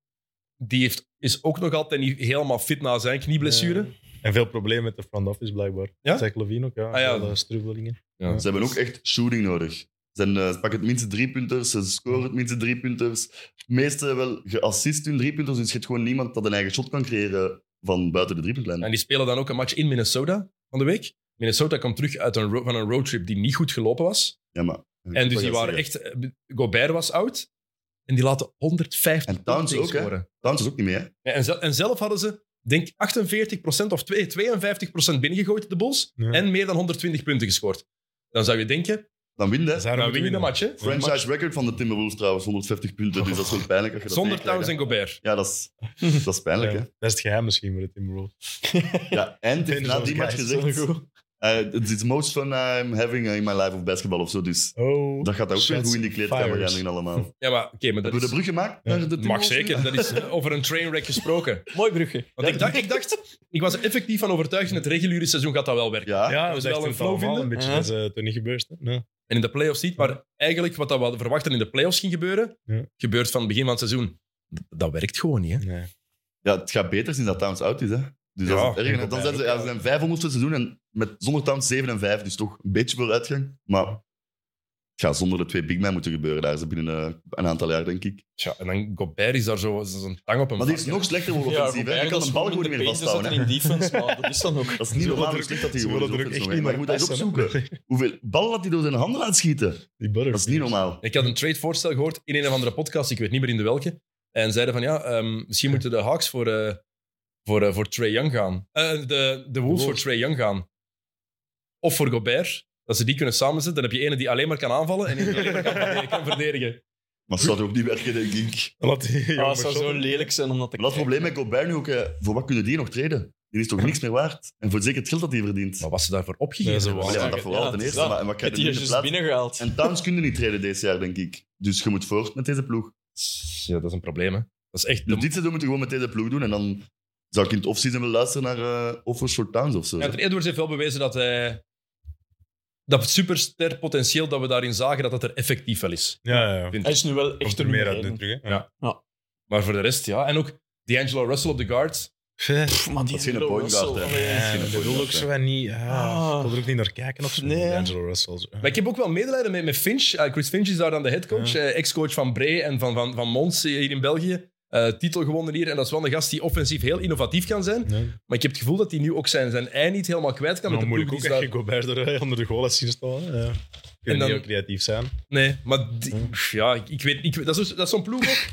Speaker 1: die heeft, is ook nog altijd niet helemaal fit na zijn knieblessure.
Speaker 3: Eh, En veel problemen met de front office, blijkbaar.
Speaker 1: Ja?
Speaker 3: Zach Levine ook, ja.
Speaker 1: Ah, ja.
Speaker 3: Veel, eh, struggelingen.
Speaker 1: Ja.
Speaker 2: Ze hebben ook echt shooting nodig. Ze zijn, eh, ze pakken het minste driepunters, ze scoren het minste driepunters. De meeste wel geassist hun driepunters, dus je hebt gewoon niemand dat een eigen shot kan creëren van buiten de driepuntlijn.
Speaker 1: En die spelen dan ook een match in Minnesota van de week. Minnesota kwam terug uit een ro- van een roadtrip die niet goed gelopen was.
Speaker 2: Ja, maar,
Speaker 1: En dus die waren echt... eh, Gobert was oud. En die laten 150
Speaker 2: En Towns
Speaker 1: punten
Speaker 2: ook, hè?
Speaker 1: scoren.
Speaker 2: Towns is ook niet mee, hè?
Speaker 1: Ja, En, zel- en zelf hadden ze, denk 48% of twee- 52% binnengegooid, de Bulls.
Speaker 3: Ja.
Speaker 1: En meer dan 120 punten gescoord. Dan zou je denken,
Speaker 2: Dan win, hè?
Speaker 3: Dus daarom
Speaker 1: nou
Speaker 3: moeten
Speaker 1: win je de
Speaker 3: winnen.
Speaker 1: match, hè?
Speaker 2: Franchise record van de Timberwolves trouwens, 150 punten, dus dat is wel pijnlijk als je dat
Speaker 1: Zonder Towns
Speaker 2: tegenkrijgt, hè.
Speaker 1: en Gobert.
Speaker 2: Ja, dat is, dat is pijnlijk,
Speaker 3: Ja,
Speaker 2: hè?
Speaker 3: Dat is het geheim misschien met het Timberwolves.
Speaker 2: Ja, en het heeft na die match
Speaker 3: Guys, dat is
Speaker 2: gezegd... eh, It's the most fun I'm having in my life of basketball of zo, dus...
Speaker 3: Oh.
Speaker 2: Dat gaat ook weer
Speaker 3: Shots
Speaker 2: goed in die kleedkamer
Speaker 3: fires.
Speaker 2: gaan doen allemaal.
Speaker 1: Ja, maar oké, maar dat
Speaker 2: Hebben we de
Speaker 1: is-
Speaker 2: brug gemaakt?
Speaker 3: Ja.
Speaker 2: naar
Speaker 1: Mag
Speaker 2: de Timberwolves?
Speaker 1: zeker, dat is eh, over een trainwreck
Speaker 2: [laughs]
Speaker 1: gesproken.
Speaker 4: Mooi brugje.
Speaker 1: Want ik, dacht, ik dacht, ik was er effectief van overtuigd, in het reguliere seizoen gaat dat wel werken.
Speaker 2: Ja.
Speaker 3: ja, dat
Speaker 1: is
Speaker 3: is
Speaker 1: wel
Speaker 3: wel
Speaker 1: een
Speaker 3: een
Speaker 1: flow
Speaker 3: flow
Speaker 1: vinden.
Speaker 3: Een beetje,
Speaker 4: Ja.
Speaker 3: dat is eh, toch niet gebeurd, hè? Nee.
Speaker 1: En in de playoffs niet, maar eigenlijk wat dat we hadden verwacht en in de playoffs ging gebeuren,
Speaker 3: Ja.
Speaker 1: gebeurt van het begin van het seizoen. D- Dat werkt gewoon niet, hè?
Speaker 3: nee.
Speaker 2: Ja, het gaat beter sinds dat Towns oud is, hè. Dus
Speaker 1: Ja,
Speaker 2: dat is het
Speaker 1: denk
Speaker 2: erg.
Speaker 1: ik
Speaker 2: Dan
Speaker 1: ook
Speaker 2: zijn ze, ja, ze zijn 500 seizoen en met, zonder Towns 7 en 5, dus toch een beetje vooruitgang. Maar Het gaat zonder de twee big men moeten gebeuren daar. Ze binnen eh, een aantal jaar, denk ik.
Speaker 1: Tja, en dan Gobert is daar zo zo'n tang op hem.
Speaker 2: Maar die is nog slechter voor offensief. hè. Hij kan een bal gewoon meer vasthouden. hè.
Speaker 4: in defense, maar dat is dan ook.
Speaker 2: Dat is niet
Speaker 3: Ze
Speaker 2: normaal
Speaker 3: willen
Speaker 2: hoe
Speaker 3: er-
Speaker 2: slecht dat hij
Speaker 3: ze
Speaker 2: gewoon is.
Speaker 3: willen er ook
Speaker 2: offensief,
Speaker 3: echt
Speaker 2: hè. Maar
Speaker 3: niet naar
Speaker 2: je moet dat eens
Speaker 3: passen, hè.
Speaker 2: opzoeken. Hoeveel ballen dat hij door zijn handen laat schieten.
Speaker 3: Die butter.
Speaker 2: Dat is niet normaal.
Speaker 1: Ik had een tradevoorstel gehoord in een of andere podcast, ik weet niet meer in de welke. En zeiden van ja, ehm, misschien moeten de Hawks voor, eh, voor, eh, voor Trey Young gaan. Eh, de, de Wolves voor Trey Young gaan. Of voor Gobert. Dat ze die kunnen samenzetten. Dan heb je ene die alleen maar kan aanvallen en ene die alleen maar kan verdedigen- kan verdedigen.
Speaker 2: Maar dat zou ook niet werken, denk ik.
Speaker 3: Laat die
Speaker 4: Ah,
Speaker 3: jongen
Speaker 4: het zou zo
Speaker 3: shotten.
Speaker 4: lelijk zijn om dat te
Speaker 2: Maar dat is het probleem met Gobert nu ook. eh, Voor wat kunnen die nog treden? Die is toch niks meer waard? En voor zeker het geld dat hij verdient.
Speaker 1: Maar was ze daarvoor opgegeven?
Speaker 3: Nee, ze
Speaker 1: hebben?
Speaker 3: was-
Speaker 2: Maar ja, dat
Speaker 4: Ja,
Speaker 2: vooral ten
Speaker 4: het is
Speaker 2: eerste.
Speaker 4: dat.
Speaker 2: Maar en wat
Speaker 4: Het
Speaker 2: krijg je
Speaker 4: hier
Speaker 2: in
Speaker 4: is
Speaker 2: de
Speaker 4: dus
Speaker 2: plaats?
Speaker 4: binnengehaald.
Speaker 2: En Towns kunnen niet treden deze jaar, denk ik. Dus je moet voort met deze ploeg.
Speaker 1: Ja, dat is een probleem, hè. Dat is echt...
Speaker 2: Dus dit seizoen moeten we gewoon met deze ploeg doen. En dan zou ik in het offseason willen luisteren naar eh, offers voor Towns of zo.
Speaker 1: Ja, Anthony Edwards heeft wel bewezen dat hij... Dat superster potentieel dat we daarin zagen, dat dat er effectief wel is.
Speaker 3: Ja, ja, ja.
Speaker 1: Vind-
Speaker 4: Hij is nu wel
Speaker 3: Komt
Speaker 4: echt
Speaker 3: er
Speaker 4: een
Speaker 3: meer uit
Speaker 4: nummer
Speaker 3: nu
Speaker 4: één.
Speaker 3: terug, hè?
Speaker 1: Ja. Maar voor de rest, ja. En ook D'Angelo Russell op de guard.
Speaker 4: Pff, Maar die
Speaker 2: Dat is geen
Speaker 4: Angelo
Speaker 2: point guard,
Speaker 4: Russell,
Speaker 2: hè.
Speaker 4: allee.
Speaker 3: Ja,
Speaker 2: Misschien een
Speaker 3: dat wil
Speaker 2: goeie
Speaker 3: ook
Speaker 2: gast,
Speaker 3: zo en niet. Ja,
Speaker 4: Ah.
Speaker 3: ik wil er ook niet naar kijken of zo.
Speaker 4: Nee, hè?
Speaker 3: Angelo Russell. zo.
Speaker 1: Maar ik heb ook wel medelijden met, met Finch. Eh, Chris Finch is daar dan de headcoach.
Speaker 3: Ja.
Speaker 1: eh, Ex-coach van Bray en van, van, van Mons eh, hier in België. Eh, titel gewonnen hier. En dat is wel een gast die offensief heel innovatief kan zijn.
Speaker 3: Nee.
Speaker 1: Maar ik heb het gevoel dat hij nu ook zijn, zijn ei niet helemaal kwijt kan.
Speaker 3: Dan
Speaker 1: met de
Speaker 3: moet ik
Speaker 1: ploeg
Speaker 3: Nou, ook
Speaker 1: die
Speaker 3: echt
Speaker 1: is
Speaker 3: geen Gobert er eh, onder de goal laten zien staan. hè. Ja. Kunnen
Speaker 1: dan-
Speaker 3: niet heel creatief zijn.
Speaker 1: daar- Nee, maar die-
Speaker 3: Hm.
Speaker 1: pff, ja, ik, ik weet, ik, weet- dat is, dat is zo'n ploeg ook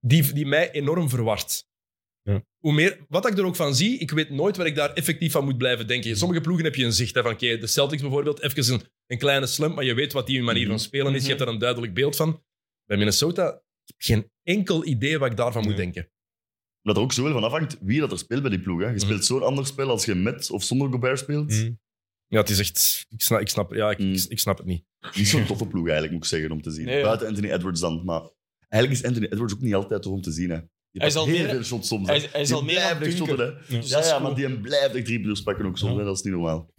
Speaker 1: die, die mij enorm verwart.
Speaker 3: Ja.
Speaker 1: Hoe meer, wat ik er ook van zie, ik weet nooit waar ik daar effectief van moet blijven denken. In sommige ploegen heb je een zicht. Hè, van, oké, de Celtics bijvoorbeeld, even een, een kleine slump, maar je weet wat die hun manier van
Speaker 3: Mhm.
Speaker 1: spelen is. Je hebt daar een duidelijk beeld van. Bij Minnesota ik heb geen enkel idee wat ik daarvan moet
Speaker 3: Nee.
Speaker 1: denken.
Speaker 2: Omdat er ook zoveel van afhangt wie dat er speelt bij die ploeg. Hè. Je speelt
Speaker 4: Mhm.
Speaker 2: zo'n ander spel als je met of zonder Gobert speelt.
Speaker 3: Mm.
Speaker 1: Ja, het is echt... Ik snap, ik snap, ja, ik,
Speaker 2: Mm.
Speaker 1: ik, ik snap het niet.
Speaker 2: Niet zo'n toffe ploeg eigenlijk, moet ik zeggen, om te zien.
Speaker 4: Nee, ja.
Speaker 2: Buiten Anthony Edwards dan. Maar eigenlijk is Anthony Edwards ook niet altijd tof om te zien. Hè. Die
Speaker 4: Hij is al
Speaker 2: pakt heel
Speaker 4: meer-
Speaker 2: veel shots soms. hè.
Speaker 4: Hij is- hij is
Speaker 2: Die
Speaker 4: al meer aan
Speaker 2: blijft
Speaker 4: het
Speaker 2: echt
Speaker 4: dunken.
Speaker 2: shotten, hè.
Speaker 4: Dus
Speaker 2: Ja,
Speaker 4: dat is
Speaker 2: ja,
Speaker 4: goed.
Speaker 2: maar die blijft echt drie plus pakken ook soms.
Speaker 3: Ja.
Speaker 2: hè. Dat is niet normaal.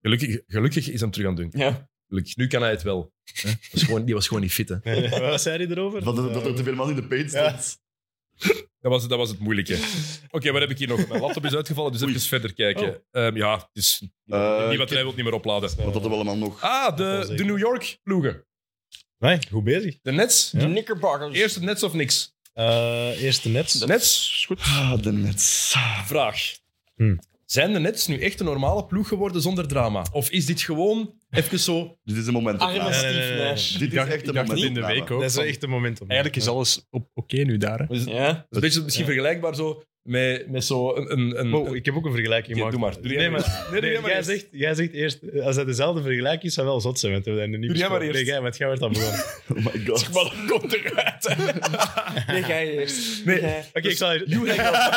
Speaker 1: Gelukkig, gelukkig is hem terug aan het doen.
Speaker 4: Ja.
Speaker 1: Gelukkig, nu kan hij het wel. hè. Dat is gewoon, die was gewoon niet fit, hè.
Speaker 3: Nee, Wat zei hij erover?
Speaker 2: Dat, dat er te veel man in de paint stond.
Speaker 1: Dat was, dat was het moeilijke. Oké, wat heb ik hier nog? Mijn laptop is uitgevallen, dus
Speaker 2: Oei.
Speaker 1: even verder kijken. Ehm, ja, het is
Speaker 2: Eh,
Speaker 1: niet wat hij wil niet meer opladen.
Speaker 2: Wat hadden we allemaal nog?
Speaker 1: Ah,
Speaker 3: Dat wel
Speaker 1: de,
Speaker 3: zeker.
Speaker 1: de New York ploegen.
Speaker 3: Nee, goed bezig.
Speaker 1: De Nets.
Speaker 4: De Knickerbockers.
Speaker 1: Eerst het Nets of niks?
Speaker 3: Eh, eerste net.
Speaker 1: Nets,
Speaker 2: Ah, de Nets.
Speaker 1: vraag.
Speaker 3: Hm.
Speaker 1: Zijn de Nets nu echt een normale ploeg geworden zonder drama? Of is dit gewoon even zo...
Speaker 2: Dit is een moment.
Speaker 4: Arme
Speaker 3: nee, nee,
Speaker 4: Steve
Speaker 3: nee, nee.
Speaker 4: Nash.
Speaker 2: Dit
Speaker 5: Ik
Speaker 2: is
Speaker 5: dacht,
Speaker 2: echt
Speaker 5: ik
Speaker 2: een
Speaker 5: dacht het
Speaker 2: moment.
Speaker 5: in de week ook.
Speaker 3: Dat is
Speaker 5: van-
Speaker 3: wel echt een moment om.
Speaker 5: Eigenlijk is alles op oké nu daar. hè.
Speaker 4: Ja.
Speaker 1: Dat is misschien vergelijkbaar zo met, met zo een... een, een-
Speaker 3: Wow, ik heb ook een vergelijking
Speaker 1: Oké,
Speaker 3: gemaakt.
Speaker 1: doe maar. Doe jij
Speaker 3: nee,
Speaker 1: maar
Speaker 3: maar, nee,
Speaker 1: doe jij maar
Speaker 3: jij,
Speaker 1: eerst.
Speaker 3: zegt, jij zegt eerst, eh, als dat dezelfde vergelijking is, zou wel zot zijn. Want we hebben dat nu niet
Speaker 1: Doe jij maar
Speaker 3: besproken.
Speaker 1: eerst.
Speaker 3: Nee, jij, want jij
Speaker 1: [laughs]
Speaker 3: werd al begonnen. Oké,
Speaker 2: Oh my god.
Speaker 4: Maar dat komt eruit. Nee, ga je eerst.
Speaker 1: Nee.
Speaker 4: Jij.
Speaker 3: ik zal
Speaker 1: Dus,
Speaker 3: hier...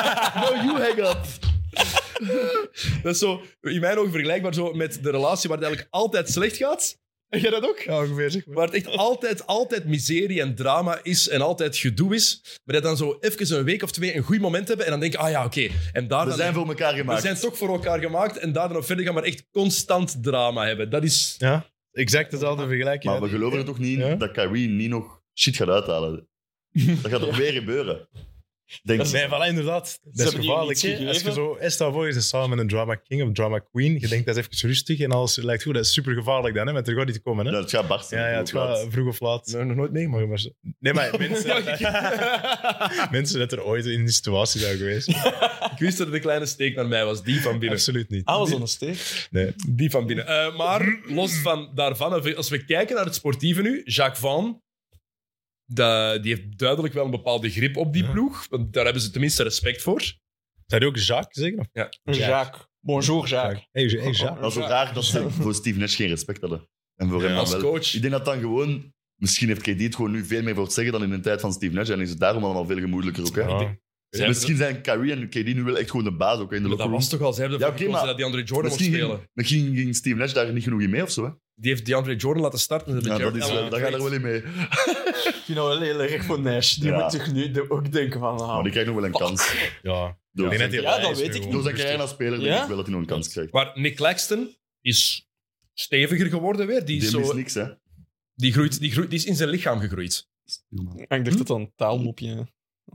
Speaker 1: [laughs]
Speaker 2: No, you hang up.
Speaker 1: dat is zo in mijn ogen vergelijkbaar zo met de relatie waar het eigenlijk altijd slecht gaat. En jij dat ook?
Speaker 3: Ja, ongeveer, zeg maar.
Speaker 1: Waar het echt altijd, altijd miserie en drama is en altijd gedoe is. Maar dat dan zo even een week of twee een goed moment hebben en dan denk ik, ah ja, oké. En daar
Speaker 2: We
Speaker 1: dan-
Speaker 2: zijn voor elkaar
Speaker 1: we
Speaker 2: gemaakt.
Speaker 1: zijn toch voor elkaar gemaakt en daar dan op verder gaan, maar echt constant drama hebben. Dat is...
Speaker 3: Ja, exact dezelfde vergelijking.
Speaker 2: Maar we geloven er toch niet in
Speaker 3: Ja?
Speaker 2: dat Kyrie niet nog shit gaat uithalen. Dat gaat ook weer gebeuren. Denk
Speaker 3: Nee, voilà, inderdaad. Dat is
Speaker 4: hebben die
Speaker 3: gevaarlijk.
Speaker 4: niet
Speaker 3: hè. Als je
Speaker 4: gegeven.
Speaker 3: zo, eh, stel voor, je zit samen met een drama king of drama queen. Je denkt dat is even rustig en alles lijkt goed. Dat is super gevaarlijk dan, hè, want er gaat iets komen. Hè?
Speaker 2: dat het gaat barsten.
Speaker 3: Ja, ja, het gaat vroeg of laat.
Speaker 1: Nee, nog nooit meegemaakt.
Speaker 3: Mag je maar zo-
Speaker 1: [laughs]
Speaker 3: Nee, maar mensen, [laughs] mensen dat er ooit in die situatie zijn geweest.
Speaker 1: Ik wist dat het een kleine steek naar mij was. Die van [laughs] binnen.
Speaker 3: Absoluut niet.
Speaker 4: Alles aan een steek.
Speaker 3: Nee.
Speaker 1: Die van binnen. Eh,
Speaker 2: [clears throat]
Speaker 1: maar los van daarvan, als we kijken naar het sportieve nu, Jacques Van, de- die heeft duidelijk wel een bepaalde grip op die
Speaker 3: Ja.
Speaker 1: ploeg. Want daar hebben ze tenminste respect voor.
Speaker 3: Zou je ook Jacques zeggen? Of?
Speaker 4: Jacques. Bonjour, Jacques.
Speaker 3: Hey, hey, Jacques.
Speaker 2: Dat is zo raar dat ze voor Steve Nash geen respect hadden. En voor
Speaker 3: Ja,
Speaker 2: hem dan
Speaker 1: als
Speaker 2: wel.
Speaker 1: coach.
Speaker 2: Ik denk dat dan gewoon... Misschien heeft KD het gewoon nu veel meer voor te zeggen dan in de tijd van Steve Nash. En is het daarom allemaal veel gemoedelijker ook. Hè?
Speaker 3: Ja.
Speaker 1: Zij
Speaker 2: Misschien zijn Kyrie en KD nu wel echt gewoon de baas ook hè, in de
Speaker 1: hebben- dat
Speaker 2: locker room.
Speaker 1: was toch al. Ze hebben
Speaker 2: Ja,
Speaker 1: ervoor
Speaker 2: oké,
Speaker 1: gekozen dat
Speaker 2: maar
Speaker 1: die Andre Jordan mocht
Speaker 2: Misschien ging,
Speaker 1: spelen.
Speaker 2: misschien ging Steve Nash daar niet genoeg in mee of zo. Hè?
Speaker 1: Die heeft die Andre Jordan laten starten.
Speaker 2: Ja, dat is wel, daar gaat er wel in mee.
Speaker 4: Ik vind dat wel heel erg voor Nash. Die
Speaker 2: Ja.
Speaker 4: moet toch nu de- ook denken van... ah,
Speaker 2: Maar die krijgt nog wel een kans.
Speaker 3: Oh. Ja.
Speaker 2: Door
Speaker 3: Ik denk
Speaker 2: zijn,
Speaker 3: die
Speaker 4: Ja, dat
Speaker 3: lijst
Speaker 4: weet ik
Speaker 3: nu gewoon
Speaker 2: door zijn carrière als speler denk
Speaker 4: Ja?
Speaker 2: ik wel dat hij nog een kans krijgt.
Speaker 1: Maar Nick Claxton is steviger geworden weer. Die,
Speaker 2: Die
Speaker 1: is
Speaker 2: mist
Speaker 1: zo,
Speaker 2: niks, hè.
Speaker 1: die, groeit, die, groeit, die is in zijn lichaam gegroeid.
Speaker 4: Ah, Ik dacht dat dat een taalmopje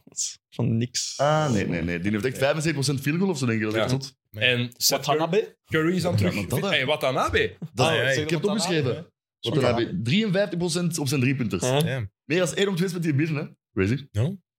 Speaker 4: was. Van niks.
Speaker 2: Ah, nee, nee, nee. Die heeft echt 75% field goal of zo, denk ik. Dat is
Speaker 1: Ja.
Speaker 2: echt zot.
Speaker 1: En Seth
Speaker 4: Watanabe?
Speaker 1: Curry is dan
Speaker 2: Ja,
Speaker 1: terug.
Speaker 2: maar dat, hè.
Speaker 1: hey, Watanabe.
Speaker 2: Dat-
Speaker 3: Ah, ja,
Speaker 2: ik
Speaker 3: ik
Speaker 2: heb het
Speaker 4: Watanabe?
Speaker 2: opgeschreven. Want dan heb je 53% op zijn driepunters.
Speaker 4: Huh?
Speaker 3: Damn.
Speaker 2: Meer als één op twee met die binnen, hè? Crazy.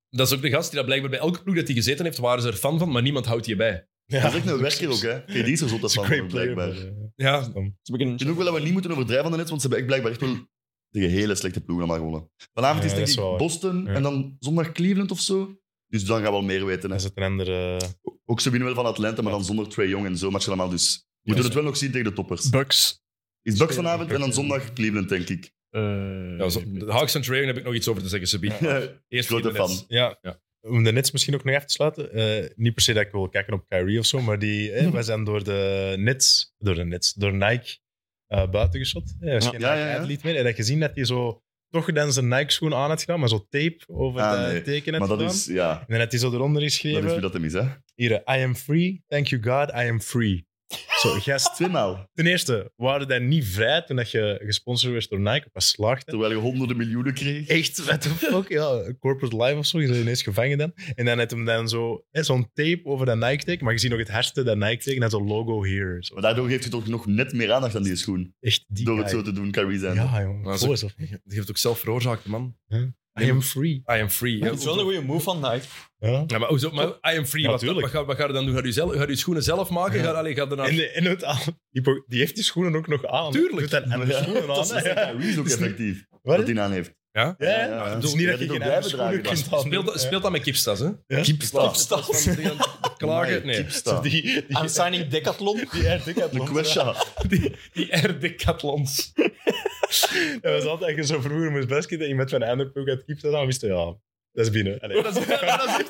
Speaker 1: Dat is ook de gast die dat blijkbaar bij elke ploeg dat hij gezeten heeft, waren ze er fan van, maar niemand houdt je bij.
Speaker 2: Dat is echt een werker ook, hè? KD is er zot
Speaker 3: Dat
Speaker 2: als
Speaker 3: is een
Speaker 2: van,
Speaker 3: great player.
Speaker 2: blijkbaar.
Speaker 3: maar,
Speaker 2: Ik
Speaker 3: eh,
Speaker 1: Ja,
Speaker 4: Ze beginnen-
Speaker 2: vind ook wel dat we niet moeten overdrijven aan de net, want ze hebben echt blijkbaar echt wel tegen hele slechte ploegen maar gewonnen. Vanavond
Speaker 3: Ja,
Speaker 2: is
Speaker 3: dat
Speaker 2: denk
Speaker 3: is
Speaker 2: ik
Speaker 3: wel waar.
Speaker 2: Boston
Speaker 3: Ja.
Speaker 2: en dan zondag Cleveland of zo. Dus dan gaan we wel meer weten. Hè.
Speaker 3: Dat is het een andere... eh,
Speaker 2: Ook ze winnen wel van Atlanta, maar dan zonder Trae Young en zo match allemaal. Dus we moeten het wel nog zien tegen de toppers.
Speaker 5: Bucks.
Speaker 2: Is Bucks vanavond en dan zondag Cleveland, denk ik.
Speaker 5: eh,
Speaker 1: ja zo- de Hawks en Trae Young heb ik nog iets over te zeggen, Sabi.
Speaker 2: [laughs]
Speaker 1: Eerst
Speaker 2: Grote
Speaker 1: die de Nets.
Speaker 2: fan.
Speaker 3: Ja.
Speaker 1: Ja.
Speaker 3: Om de Nets misschien ook nog af te sluiten. eh, niet per se dat ik wil kijken op Kyrie of zo, maar die, eh, wij zijn door de Nets, door de Nets, door Nike eh buiten geschot. Eh, was
Speaker 4: Ja.
Speaker 3: geen
Speaker 2: Ja,
Speaker 3: Nike
Speaker 2: ja, ja.
Speaker 3: athlete meer. En dat gezien dat hij zo toch dan zijn Nike-schoen aan had gedaan, maar zo tape over
Speaker 2: Ah,
Speaker 3: het
Speaker 2: nee.
Speaker 3: teken had
Speaker 2: Maar dat
Speaker 3: gedaan.
Speaker 2: is, ja,
Speaker 3: En dan had hij zo eronder
Speaker 2: dat is
Speaker 3: geschreven.
Speaker 2: wie dat hem is, hè?
Speaker 3: Hier, eh, I am free, thank you God, I am free. Zo,
Speaker 2: [laughs]
Speaker 3: gast.
Speaker 2: Tweemaal.
Speaker 3: Ten eerste, waren dat niet vrij toen dat je gesponsord werd door Nike, pas slaagde.
Speaker 2: Terwijl je honderden miljoenen kreeg.
Speaker 3: Echt, what the [laughs] fuck? Ja, corporate life of zo. Je bent ineens gevangen dan. En dan had hem dan zo, hè, zo'n tape over dat Nike-teken. Maar je ziet nog het herste, dat Nike-teken. En dan zo'n logo here. Zo.
Speaker 2: Maar daardoor geeft hij toch nog net meer aandacht aan die schoen.
Speaker 3: Echt die
Speaker 2: Door het
Speaker 3: guy.
Speaker 2: zo te doen, Kyrie zijn.
Speaker 3: Ja, jongen.
Speaker 1: Maar
Speaker 3: Goh, zo.
Speaker 1: Die heeft ook zelf veroorzaakt, man.
Speaker 3: I am free.
Speaker 1: I am free.
Speaker 4: Het is wel een goede move van Nike.
Speaker 3: Ja.
Speaker 1: Ja, maar, hoezo, maar I am free.
Speaker 3: Ja,
Speaker 1: wat,
Speaker 3: tuurlijk.
Speaker 1: wat, ga, wat ga je dan doen? Ga je, zelf, ga je schoenen zelf maken?
Speaker 3: Ja.
Speaker 1: Ga, allee, ga je ernaar-
Speaker 3: En, en het aan. Die, po- die heeft die schoenen ook nog aan.
Speaker 1: Tuurlijk.
Speaker 3: Doet dan andere
Speaker 2: Ja, [laughs]
Speaker 3: schoenen
Speaker 2: dat
Speaker 3: aan.
Speaker 2: is
Speaker 3: Ja.
Speaker 2: Kyrie is ook
Speaker 3: Dus niet-
Speaker 2: effectief.
Speaker 3: Wat?
Speaker 2: Dat hij aan heeft.
Speaker 1: Ja?
Speaker 3: Ja, ja.
Speaker 2: Ja, ja.
Speaker 3: Het is niet
Speaker 2: Ja,
Speaker 3: dat je
Speaker 2: die
Speaker 3: geen
Speaker 2: ook
Speaker 3: andere
Speaker 2: blijven
Speaker 3: schoenen
Speaker 2: dragen,
Speaker 3: kunt aan
Speaker 1: Speelt, dat-
Speaker 3: doen.
Speaker 1: speelt dat met kipstas, hè?
Speaker 2: Kipsta.
Speaker 1: Dat is van die
Speaker 3: [laughs]
Speaker 1: aan het Klagen? Nee.
Speaker 2: Kipsta.
Speaker 3: Die, die, die,
Speaker 4: I'm signing Decathlon.
Speaker 2: De Quesha.
Speaker 1: Die R-decathlons.
Speaker 3: Dat was altijd, als je zo vroeger moest basket en iemand van een andere ploeg had keept, dan wist je, ja, dat is binnen. Allee, dat is, [laughs]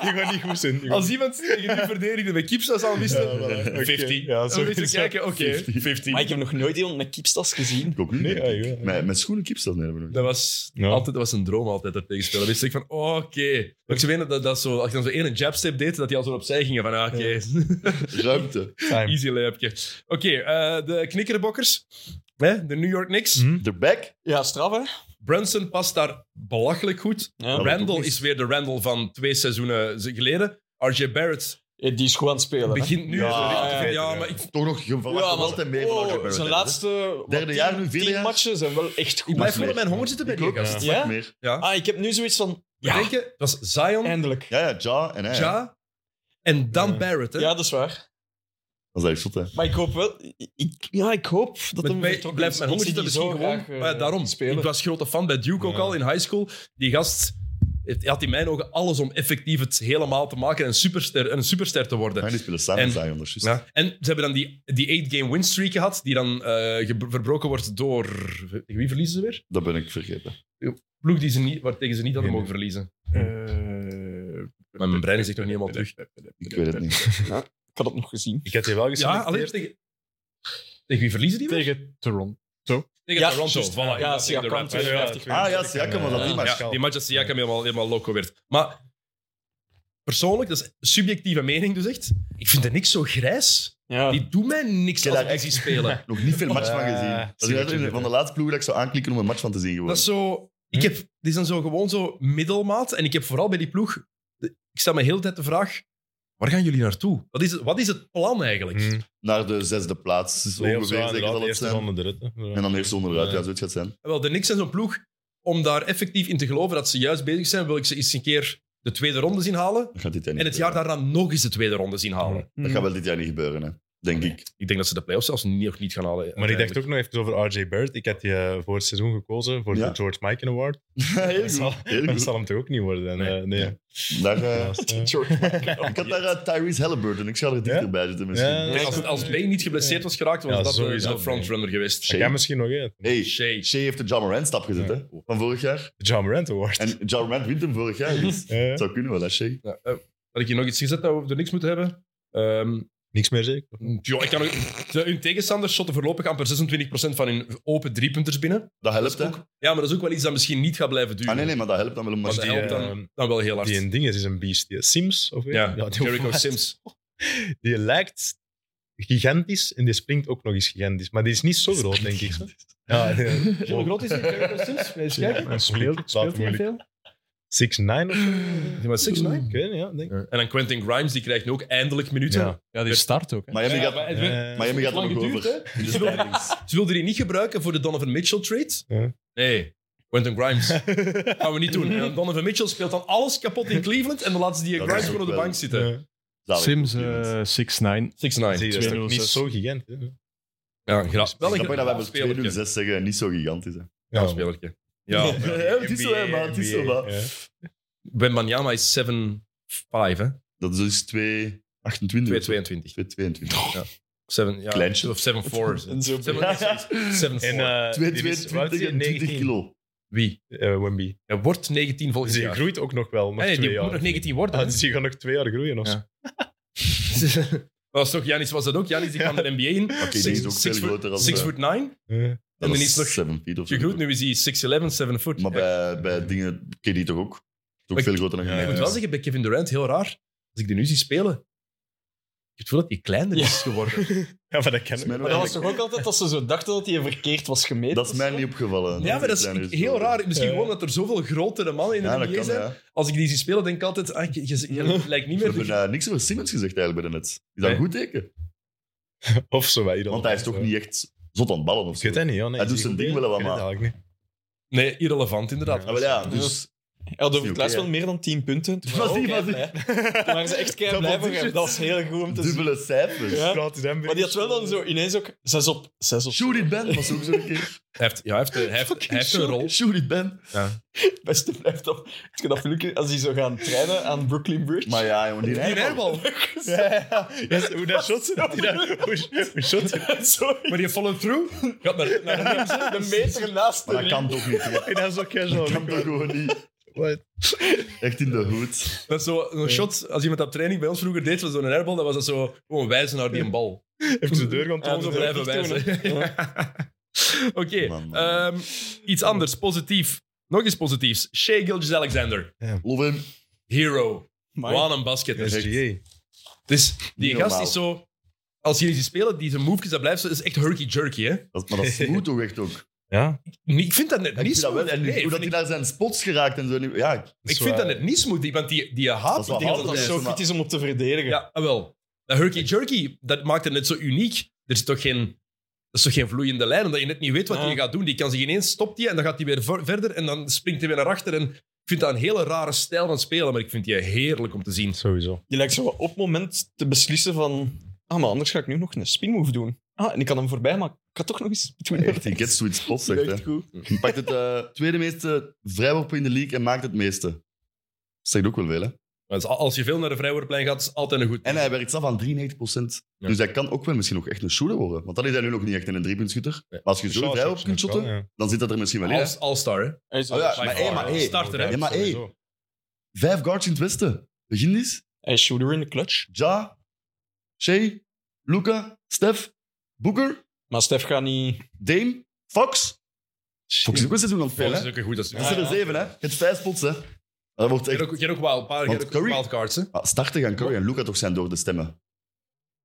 Speaker 1: [laughs]
Speaker 3: die gaat niet goed zijn. Die gaat-
Speaker 1: Oh, Als iemand tegen die verdedigde met kipstas aan wist,
Speaker 3: Ja, voilà. Oké.
Speaker 1: 50.
Speaker 3: Ja,
Speaker 1: Ja,
Speaker 3: zo
Speaker 1: zo
Speaker 3: is het.
Speaker 1: kijken, oh. oké, 50.
Speaker 4: Maar ik heb nog nooit iemand met kiepstas gezien.
Speaker 2: Ik ook niet.
Speaker 3: Nee,
Speaker 2: denk ik.
Speaker 3: ja, ja.
Speaker 2: Met, met schoenen kipsta. Nee, hebben we nog niet.
Speaker 1: Dat was,
Speaker 3: Ja.
Speaker 1: altijd, dat was een droom altijd, dat tegenspelen. Dan wist ik van, oh, oké. Maar Ik zou weten dat, dat zo, als je dan zo één jabstep deed, dat die al zo opzij gingen van, ah, oké,
Speaker 2: Ruimte.
Speaker 1: [laughs]
Speaker 3: Time.
Speaker 1: easy layupje. Oké, eh, de knikkerbokkers, hè, de New York Knicks.
Speaker 3: Hm?
Speaker 2: De back.
Speaker 4: Ja, straf hè?
Speaker 1: Brunson past daar belachelijk goed.
Speaker 4: Ja.
Speaker 1: Randall
Speaker 2: ook is.
Speaker 1: is weer de Randall van twee seizoenen geleden. RJ Barrett
Speaker 4: Eh, Die is goed aan het spelen. hè.
Speaker 1: begint nu.
Speaker 3: Ja,
Speaker 1: zo richting-
Speaker 4: ja,
Speaker 1: ja,
Speaker 4: ja.
Speaker 1: maar ik
Speaker 2: Toch nog gevaarlijk. Ja,
Speaker 4: maar-
Speaker 2: altijd meer
Speaker 4: oh,
Speaker 2: van Arjen Barrett,
Speaker 4: Zijn
Speaker 2: hè.
Speaker 4: laatste wat,
Speaker 2: Derde
Speaker 4: tien-
Speaker 2: jaar nu, vierde
Speaker 4: tien
Speaker 2: jaar?
Speaker 4: matchen zijn wel echt goed.
Speaker 1: blijf
Speaker 2: meer.
Speaker 1: gewoon op mijn honger zitten bij
Speaker 2: Ik
Speaker 1: die
Speaker 2: ook,
Speaker 1: gast.
Speaker 4: Ja?
Speaker 2: Meer.
Speaker 1: Ja.
Speaker 4: Ah, ik heb nu zoiets van...
Speaker 1: Ja.
Speaker 4: Ja,
Speaker 1: Denk je, dat was Zion,
Speaker 4: eindelijk.
Speaker 2: Ja, ja, Ja en hij. hè.
Speaker 1: Ja en dan
Speaker 3: Ja.
Speaker 1: Barrett. Hè?
Speaker 4: Ja, dat is waar.
Speaker 2: Dat is echt zot, hè.
Speaker 4: Maar ik hoop wel... Ik, ja, ik hoop dat
Speaker 1: Met
Speaker 4: hem
Speaker 1: mij
Speaker 4: vertrokken
Speaker 1: blijft
Speaker 4: is.
Speaker 1: mijn
Speaker 4: Ik
Speaker 1: honger dus zitten
Speaker 4: zie die
Speaker 1: misschien
Speaker 4: zo
Speaker 1: gewoon.
Speaker 4: graag, eh,
Speaker 1: Maar ja, daarom. Ik was grote fan bij Duke ook
Speaker 3: Ja.
Speaker 1: al in high school. Die gast heeft, had in mijn ogen alles om effectief het helemaal te maken en een superster, een superster te worden.
Speaker 2: Maar die spelen samen
Speaker 1: En-
Speaker 2: samen, dus juist.
Speaker 1: Ja. En ze hebben dan die, die 8-game win streak gehad, die dan eh, ge- verbroken wordt door. tegen Wie verliezen ze weer?
Speaker 2: Dat ben ik vergeten.
Speaker 1: Ploeg die ze niet, waar tegen ze niet hadden
Speaker 3: Nee,
Speaker 1: mogen verliezen.
Speaker 5: eh,
Speaker 1: Maar mijn brein is echt nog niet
Speaker 3: eh,
Speaker 1: helemaal terug.
Speaker 2: Ik weet het niet.
Speaker 4: Ik had het nog gezien.
Speaker 3: Ik had die wel
Speaker 1: Ja, alleen
Speaker 3: geselecteerd.
Speaker 1: tegen. Tegen wie verliezen die? weer?
Speaker 5: Tegen Toronto.
Speaker 1: Tegen
Speaker 4: Ja,
Speaker 1: Toronto.
Speaker 4: juist.
Speaker 1: voilà,
Speaker 4: Ja,
Speaker 1: tegen de
Speaker 4: Siakam
Speaker 1: Raptors.
Speaker 4: twee.
Speaker 2: Ah, ja, Siakam was dat
Speaker 4: die
Speaker 2: match.
Speaker 1: Ja, die match dat Siakam helemaal, helemaal loco werd. Maar persoonlijk, dat is subjectieve mening dus echt. Ik vind er niks zo grijs. [laughs]
Speaker 4: Ja.
Speaker 1: Die doen mij niks
Speaker 2: Ik
Speaker 1: als
Speaker 2: heb
Speaker 1: ik
Speaker 2: daar
Speaker 1: die zie spelen.
Speaker 2: Nog niet veel match
Speaker 3: [laughs] Ja,
Speaker 2: van gezien. Dat is
Speaker 3: zie ik
Speaker 2: eigenlijk
Speaker 3: je
Speaker 2: van de laatste ploeg dat ik zou aanklikken om een match van te zien. Gewoon.
Speaker 1: Dat is zo... Ik
Speaker 3: Hm.
Speaker 1: heb, die zijn zo gewoon zo middelmaat. En ik heb vooral bij die ploeg... Ik stel me heel de tijd de vraag... Waar gaan jullie naartoe? Wat is het, wat is het plan eigenlijk?
Speaker 3: Hm.
Speaker 2: Naar de zesde plaats. Dus
Speaker 3: Playoffs
Speaker 2: ongeveer
Speaker 3: waren
Speaker 2: zeker
Speaker 3: inderdaad
Speaker 2: zal
Speaker 3: de
Speaker 2: het
Speaker 3: eerste
Speaker 2: zijn.
Speaker 3: ronde eruit. hè. Zo.
Speaker 2: En dan eerst onderuit.
Speaker 3: Ja.
Speaker 2: Ja, zoiets gaat zijn.
Speaker 1: Wel, de Knicks en zo'n ploeg, om daar effectief in te geloven dat ze juist bezig zijn, wil ik ze eens een keer de tweede ronde zien halen.
Speaker 3: Hm.
Speaker 2: Dat gaat dit jaar niet
Speaker 1: En het jaar
Speaker 2: gebeuren.
Speaker 1: daarna nog eens de tweede ronde zien halen.
Speaker 2: Dat gaat wel dit jaar niet gebeuren, hè. denk ik.
Speaker 1: Ik denk dat ze de playoffs zelfs niet, nog niet gaan halen.
Speaker 3: Maar ik
Speaker 1: uiteindelijk.
Speaker 3: dacht ook nog even over RJ Barrett. Ik had die eh, voor het seizoen gekozen, voor
Speaker 2: Ja.
Speaker 3: de George Mikan Award.
Speaker 2: Heel
Speaker 3: Dat
Speaker 2: goed.
Speaker 3: zal,
Speaker 2: Heel
Speaker 3: dat
Speaker 2: goed.
Speaker 3: zal hem toch ook niet worden. En, eh, nee.
Speaker 2: Daar, eh,
Speaker 3: Helaas,
Speaker 2: [laughs]
Speaker 3: eh.
Speaker 2: ik had daar eh, Tyrese Halliburton. Ik zou er dichterbij zitten misschien.
Speaker 3: Ja.
Speaker 1: Kijk, als, als Bane niet geblesseerd was geraakt, was
Speaker 3: Ja,
Speaker 1: dat de,
Speaker 3: sowieso.
Speaker 1: de frontrunner geweest.
Speaker 3: Dat kan misschien nog eh, uit.
Speaker 2: Hey,
Speaker 1: Shea.
Speaker 2: Shea heeft de Ja Morant stap gezet
Speaker 3: Ja.
Speaker 2: hè, van vorig jaar.
Speaker 3: De John Morant Award.
Speaker 2: En Ja Morant wint hem vorig jaar.
Speaker 3: [laughs]
Speaker 2: Dus
Speaker 3: Eh,
Speaker 2: het zou kunnen wel, hè, Shea.
Speaker 1: Ja, eh, had ik hier nog iets gezet dat we er niks moeten hebben? Ehm,
Speaker 3: niks meer zeker.
Speaker 1: joh, ik kan ook, de, hun tegenstanders shotten voorlopig amper 26% van hun open driepunters binnen.
Speaker 2: Dat helpt,
Speaker 1: Dat is
Speaker 2: hè?
Speaker 1: ook- ja, maar dat is ook wel iets dat misschien niet gaat blijven duren.
Speaker 2: Ah, nee, nee, maar dat helpt dan wel om
Speaker 1: Want
Speaker 2: maar
Speaker 1: dat
Speaker 3: die,
Speaker 1: helpt dan,
Speaker 3: eh,
Speaker 1: dan wel heel hard.
Speaker 3: Die een ding is, is een beest. Die Sims, of weet
Speaker 1: ja,
Speaker 3: je? Ja, die
Speaker 1: Jericho
Speaker 3: overlijdt.
Speaker 1: Sims.
Speaker 3: Die lijkt gigantisch en die springt ook nog eens gigantisch. Maar die is niet zo groot, denk ik. [laughs] Ja, ja.
Speaker 1: groot is Jericho Sims?
Speaker 5: Ja, en speelt,
Speaker 3: Laat
Speaker 5: speelt hij
Speaker 3: moeilijk.
Speaker 5: veel?
Speaker 3: 6 9 of zo?
Speaker 1: Die was 6
Speaker 3: Ik weet niet, ja. Denk. ik.
Speaker 1: En dan Quentin Grimes, die krijgt nu ook eindelijk minuten.
Speaker 3: Ja.
Speaker 4: Ja, die start ook. Hè.
Speaker 2: Miami
Speaker 1: Ja,
Speaker 2: gaat,
Speaker 1: maar het-
Speaker 3: Eh, [laughs]
Speaker 2: Miami gaat er
Speaker 1: lang
Speaker 2: nog
Speaker 1: geduurd,
Speaker 2: over.
Speaker 1: [laughs]
Speaker 2: In de standings.
Speaker 1: Ze wilden die niet gebruiken voor de Donovan Mitchell-trade.
Speaker 3: Ja.
Speaker 1: Nee, Quentin Grimes. gaan we niet doen. En Donovan Mitchell speelt dan alles kapot in Cleveland en dan laten ze die
Speaker 2: Dat
Speaker 1: Grimes
Speaker 2: is ook
Speaker 1: gewoon op de
Speaker 2: wel-
Speaker 1: bank zitten.
Speaker 3: eh,
Speaker 2: Zalig.
Speaker 5: Sims
Speaker 2: Compliment.
Speaker 5: eh 6-9.
Speaker 1: 6-9.
Speaker 3: zie je, dat is toch
Speaker 5: 206.
Speaker 3: niet zo gigant. Hè?
Speaker 1: Ja, grap. Wel een
Speaker 2: Grappig dat wij
Speaker 1: graaf
Speaker 2: met 2
Speaker 1: spelertje.
Speaker 2: 6 zeggen en niet zo gigantisch. Hè.
Speaker 1: Ja,
Speaker 3: Ja,
Speaker 1: spelertje. [laughs] Ja,
Speaker 2: het is zo, hè, maar het is zo, maar.
Speaker 3: ja.
Speaker 1: Ben Banyama is 7-5, hè?
Speaker 2: Dat is dus 2, 28.
Speaker 1: 2-22.
Speaker 2: 2, 22.
Speaker 1: Ja. 7, ja,
Speaker 2: Kleintje.
Speaker 1: Of 7-4.
Speaker 4: En zo
Speaker 1: Seven-
Speaker 2: [laughs] En,
Speaker 1: 7-4.
Speaker 3: En, eh,
Speaker 2: 2,
Speaker 3: die is- wat is
Speaker 2: 22
Speaker 3: die?
Speaker 2: en 20
Speaker 3: 19.
Speaker 2: kilo.
Speaker 1: Wie?
Speaker 3: Eh, Wemby.
Speaker 1: Hij wordt 19 volgend
Speaker 3: Dus die
Speaker 1: jaar.
Speaker 3: groeit ook nog wel, nog
Speaker 1: Nee,
Speaker 3: twee
Speaker 1: die
Speaker 3: jaar.
Speaker 1: moet nog 19
Speaker 3: Ah,
Speaker 1: worden.
Speaker 3: dus die gaat nog twee jaar groeien. Of
Speaker 1: Ja.
Speaker 3: zo.
Speaker 1: Maar was toch, Janis was dat ook. Janis die kwam de NBA in.
Speaker 2: Oké, die is ook veel groter als...
Speaker 1: 6
Speaker 2: eh,
Speaker 1: foot 9.
Speaker 3: Eh,
Speaker 1: En
Speaker 2: dat
Speaker 1: dan
Speaker 2: is
Speaker 1: is nog
Speaker 2: 7 feet of zo.
Speaker 1: gegroeid. Nu is hij 6'11, 7 foot.
Speaker 2: Maar bij, bij dingen ken je die toch ook? Het is
Speaker 1: Maar
Speaker 2: ook
Speaker 1: ik-
Speaker 2: veel groter dan
Speaker 3: Ja,
Speaker 1: Ik
Speaker 2: jij.
Speaker 1: moet wel zeggen, bij Kevin Durant, heel raar. Als ik die nu zie spelen, ik heb het gevoel dat hij kleiner is geworden.
Speaker 3: Ja, maar dat kan
Speaker 2: Dat is mij
Speaker 3: ook.
Speaker 2: nog
Speaker 4: Maar dat was
Speaker 2: eigenlijk-
Speaker 4: toch ook altijd dat ze zo dachten dat hij verkeerd was gemeten?
Speaker 2: Dat is mij niet opgevallen.
Speaker 1: Ja, maar dat is
Speaker 2: Kleiner
Speaker 1: heel
Speaker 2: geworden.
Speaker 1: raar. Misschien
Speaker 3: Ja.
Speaker 1: gewoon dat er zoveel grotere mannen in de
Speaker 2: Ja, dat
Speaker 1: NBA
Speaker 2: kan,
Speaker 1: zijn.
Speaker 2: ja.
Speaker 1: Als ik die zie spelen, denk ik altijd, ah, je, je-
Speaker 2: [laughs]
Speaker 1: je lijkt niet
Speaker 2: We
Speaker 1: meer...
Speaker 2: hebben eh, niks over Simmons gezegd eigenlijk bij de net. Is dat
Speaker 1: Nee.
Speaker 2: een goed teken?
Speaker 3: Of zo. wat, ieder
Speaker 2: Want hij is
Speaker 3: geval.
Speaker 2: toch niet echt zot aan het ballen of
Speaker 3: Ik
Speaker 2: zo.
Speaker 3: weet dat niet, ja. Nee,
Speaker 2: Hij doet
Speaker 3: die-
Speaker 2: zijn ding wel wat,
Speaker 3: Ik weet het
Speaker 2: maar-
Speaker 3: eigenlijk niet.
Speaker 1: Nee, irrelevant inderdaad.
Speaker 2: Ah, wel ja, dus...
Speaker 4: Hij had over
Speaker 2: Is
Speaker 4: het
Speaker 2: niet
Speaker 4: laatst
Speaker 2: oké,
Speaker 4: wel meer dan 10 punten.
Speaker 2: [laughs]
Speaker 4: Toen
Speaker 2: Was die-
Speaker 4: waren
Speaker 2: was
Speaker 4: ze
Speaker 2: die-
Speaker 4: ook keiblij. Toen waren ze echt kei blij voor hem. Dat was heel goed om te zien.
Speaker 2: Dubbele cijfers.
Speaker 4: Ja.
Speaker 3: Praat is hem weer.
Speaker 4: Maar die had wel dan zo ineens ook 6 op 6 op
Speaker 2: Shoot it, Ben. Was ook zo'n keer.
Speaker 1: Hij heeft, ja, hij heeft, hij heeft, hij heeft een rol.
Speaker 2: Shoot it, Ben.
Speaker 4: Het beste blijft op. Als je dat filmpje, als die zo gaan trainen aan Brooklyn Bridge.
Speaker 2: Maar ja, jongen, die
Speaker 1: Die
Speaker 2: rijdt
Speaker 4: [laughs]
Speaker 2: wel.
Speaker 1: rijbal.
Speaker 3: Ja, hoe dat shot ze dat? die dat- hoe- Hoe shot ze
Speaker 4: [laughs] Sorry,
Speaker 1: Maar die follow-through gaat naar, naar links. hè.
Speaker 4: de meter naast de
Speaker 2: Maar dat
Speaker 4: ring.
Speaker 2: kan toch niet. hè?
Speaker 3: En dat is ook
Speaker 2: Dat
Speaker 3: casual.
Speaker 2: kan toch gewoon niet.
Speaker 3: Wat?
Speaker 2: Echt in de hoed.
Speaker 1: Dat is zo een shot, als iemand op training bij ons vroeger deed, was zo'n airbal, dat was dat zo gewoon wijzen naar die een bal.
Speaker 3: Even de deur gaan
Speaker 1: Gewoon zo
Speaker 3: tonen.
Speaker 1: blijven wijzen. [laughs] Oké,
Speaker 2: Man, man.
Speaker 1: ehm, iets anders, positief. Nog eens positiefs. Shea Gilgis Alexander,
Speaker 2: Love hem.
Speaker 1: hero.
Speaker 4: Maar-
Speaker 1: Wat een basket.
Speaker 3: SGA.
Speaker 1: Dus die
Speaker 2: Niet
Speaker 1: gast
Speaker 2: normaal.
Speaker 1: is zo... Als jullie die spelen, die zijn moves, dat blijft zo, dat is echt herky-jerky, hè?
Speaker 2: Dat, maar dat is goed toch echt ook.
Speaker 3: Ja.
Speaker 1: Nee, ik vind dat net
Speaker 2: Ik
Speaker 1: niet
Speaker 2: vind dat
Speaker 1: smooth.
Speaker 2: wel. En
Speaker 1: Nee,
Speaker 2: hoe dat
Speaker 1: vind
Speaker 2: hij
Speaker 1: ik,
Speaker 2: naar zijn spots geraakt en zo. Ja, ik-
Speaker 1: ik vind dat net niet smooth, want die, die haat
Speaker 2: Dat is wel
Speaker 1: die
Speaker 4: Ik
Speaker 1: altijd
Speaker 4: denk dat dat
Speaker 2: altijd
Speaker 4: zo
Speaker 2: maar-
Speaker 4: goed is om op te verdedigen.
Speaker 1: Ja, ah, wel. Dat Herky Jerky, dat maakt het net zo uniek. Er is toch geen, dat is toch geen vloeiende lijn, omdat je net niet weet wat
Speaker 4: Ja.
Speaker 1: hij gaat doen. Die kan zich ineens stopt hij en dan gaat hij weer ver- verder en dan springt hij weer naar achter. En ik vind dat een hele rare stijl van spelen, maar ik vind die heerlijk om te zien.
Speaker 3: Sowieso.
Speaker 4: Je lijkt zo op het moment te beslissen van... Ah, maar anders ga ik nu nog een spinmove doen. Ah, en ik kan hem voorbij, maar ik ga toch nog eens doen.
Speaker 2: Echt, die gets sweet spots,
Speaker 4: Dat
Speaker 2: echt.
Speaker 4: is
Speaker 2: Hè.
Speaker 4: echt goed.
Speaker 2: Hij pakt het eh, tweede meeste vrijworpen in de league en maakt het meeste. Dat zegt ook wel veel, hè.
Speaker 1: Maar als- als je veel naar de vrijwoordplein gaat, is het altijd een goed.
Speaker 2: En hij werkt zelf aan 93 Dus hij kan ook wel misschien nog echt een shooter worden. Want dan is hij nu nog niet echt een driepuntschutter.
Speaker 1: Nee.
Speaker 2: Maar als je zo vrijworp kunt shotten, dan zit dat er misschien wel in. hè.
Speaker 1: All- All-star, hè?
Speaker 4: Hij is,
Speaker 2: Oh ja,
Speaker 1: By
Speaker 2: maar
Speaker 1: far.
Speaker 2: hey, maar hey.
Speaker 1: Starter, hè?
Speaker 2: Ja, maar hey. Vijf guards in het westen. Begin eens.
Speaker 4: hij is shooter in de clutch.
Speaker 2: Ja, Shea, Luca, Stef, Booker,
Speaker 4: Maar Stef gaat niet...
Speaker 2: Dame, Fox. Fox is ook een seizoen aan het
Speaker 1: Dat
Speaker 2: spelen,
Speaker 1: is
Speaker 2: hè.
Speaker 1: ook een goed. Dat is
Speaker 2: Dat zijn er zeven, hè. Je hebt vijf spots, hè. Dat wordt
Speaker 1: Je hebt
Speaker 2: echt...
Speaker 1: ook, je hebt ook wild, paar, je
Speaker 2: Want
Speaker 1: hebt ook
Speaker 2: Curry-
Speaker 1: wildcards, hè?
Speaker 2: Ah, starten gaan Curry en Luca toch zijn door de stemmen.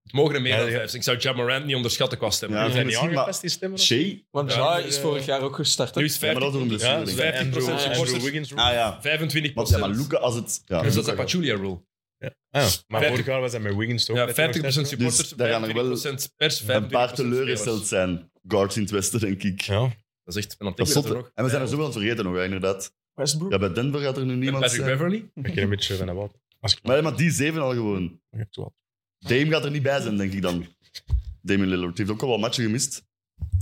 Speaker 1: Het mogen er meer
Speaker 3: Ja,
Speaker 1: dan
Speaker 3: ja.
Speaker 1: vijf zijn. Ik zou Jam Morant niet onderschatten qua stemmen.
Speaker 2: Ja,
Speaker 3: Zijn die
Speaker 2: misschien, maar-
Speaker 3: aangepast, die stemmen? of-
Speaker 2: Shea?
Speaker 4: Want
Speaker 1: Ja,
Speaker 4: Ja,
Speaker 1: maar,
Speaker 4: is
Speaker 1: eh,
Speaker 4: vorig jaar ook gestart. hè?
Speaker 1: Nu is
Speaker 2: Ja, maar dat is door
Speaker 1: 50%.
Speaker 2: een
Speaker 3: Ja,
Speaker 2: blessure.
Speaker 3: dus
Speaker 1: 15%
Speaker 2: denk ik.
Speaker 3: Andrew-
Speaker 1: supporters.
Speaker 3: Andrew Wiggins.
Speaker 2: Ah ja.
Speaker 1: 25
Speaker 2: Want ja, maar Luca als het...
Speaker 1: Dus
Speaker 2: Ja,
Speaker 1: dat is
Speaker 2: Luca
Speaker 1: de Pachulia rule.
Speaker 3: Ah, maar
Speaker 1: Vijftig-
Speaker 3: vorig jaar was dat met Wiggins toch?
Speaker 1: Ja, 50%
Speaker 3: net nog steeds, hè?
Speaker 1: supporters,
Speaker 2: Dus daar gaan er wel
Speaker 1: 25% pers, 25%
Speaker 2: gaat een paar
Speaker 1: spelers.
Speaker 2: teleurgesteld zijn. Guards in het westen, denk ik.
Speaker 3: Ja.
Speaker 1: Dat is echt... En dan
Speaker 2: Dat
Speaker 1: tikken we
Speaker 2: is zot,
Speaker 1: er
Speaker 2: hè.
Speaker 1: nog.
Speaker 2: En we zijn er zoveel aan het vergeten nog, hè, inderdaad.
Speaker 4: Westbrook.
Speaker 2: Ja, bij Denver gaat er nu
Speaker 1: En
Speaker 2: niemand
Speaker 1: Patrick
Speaker 2: zijn.
Speaker 1: Beverly.
Speaker 3: Ik heb een beetje van dat wat. Als ik
Speaker 2: Maar, maar die zeven al gewoon.
Speaker 3: Ja, zo wat.
Speaker 2: Dame gaat er niet bij zijn, denk ik dan. Damian Lillard heeft ook al wat matchen gemist.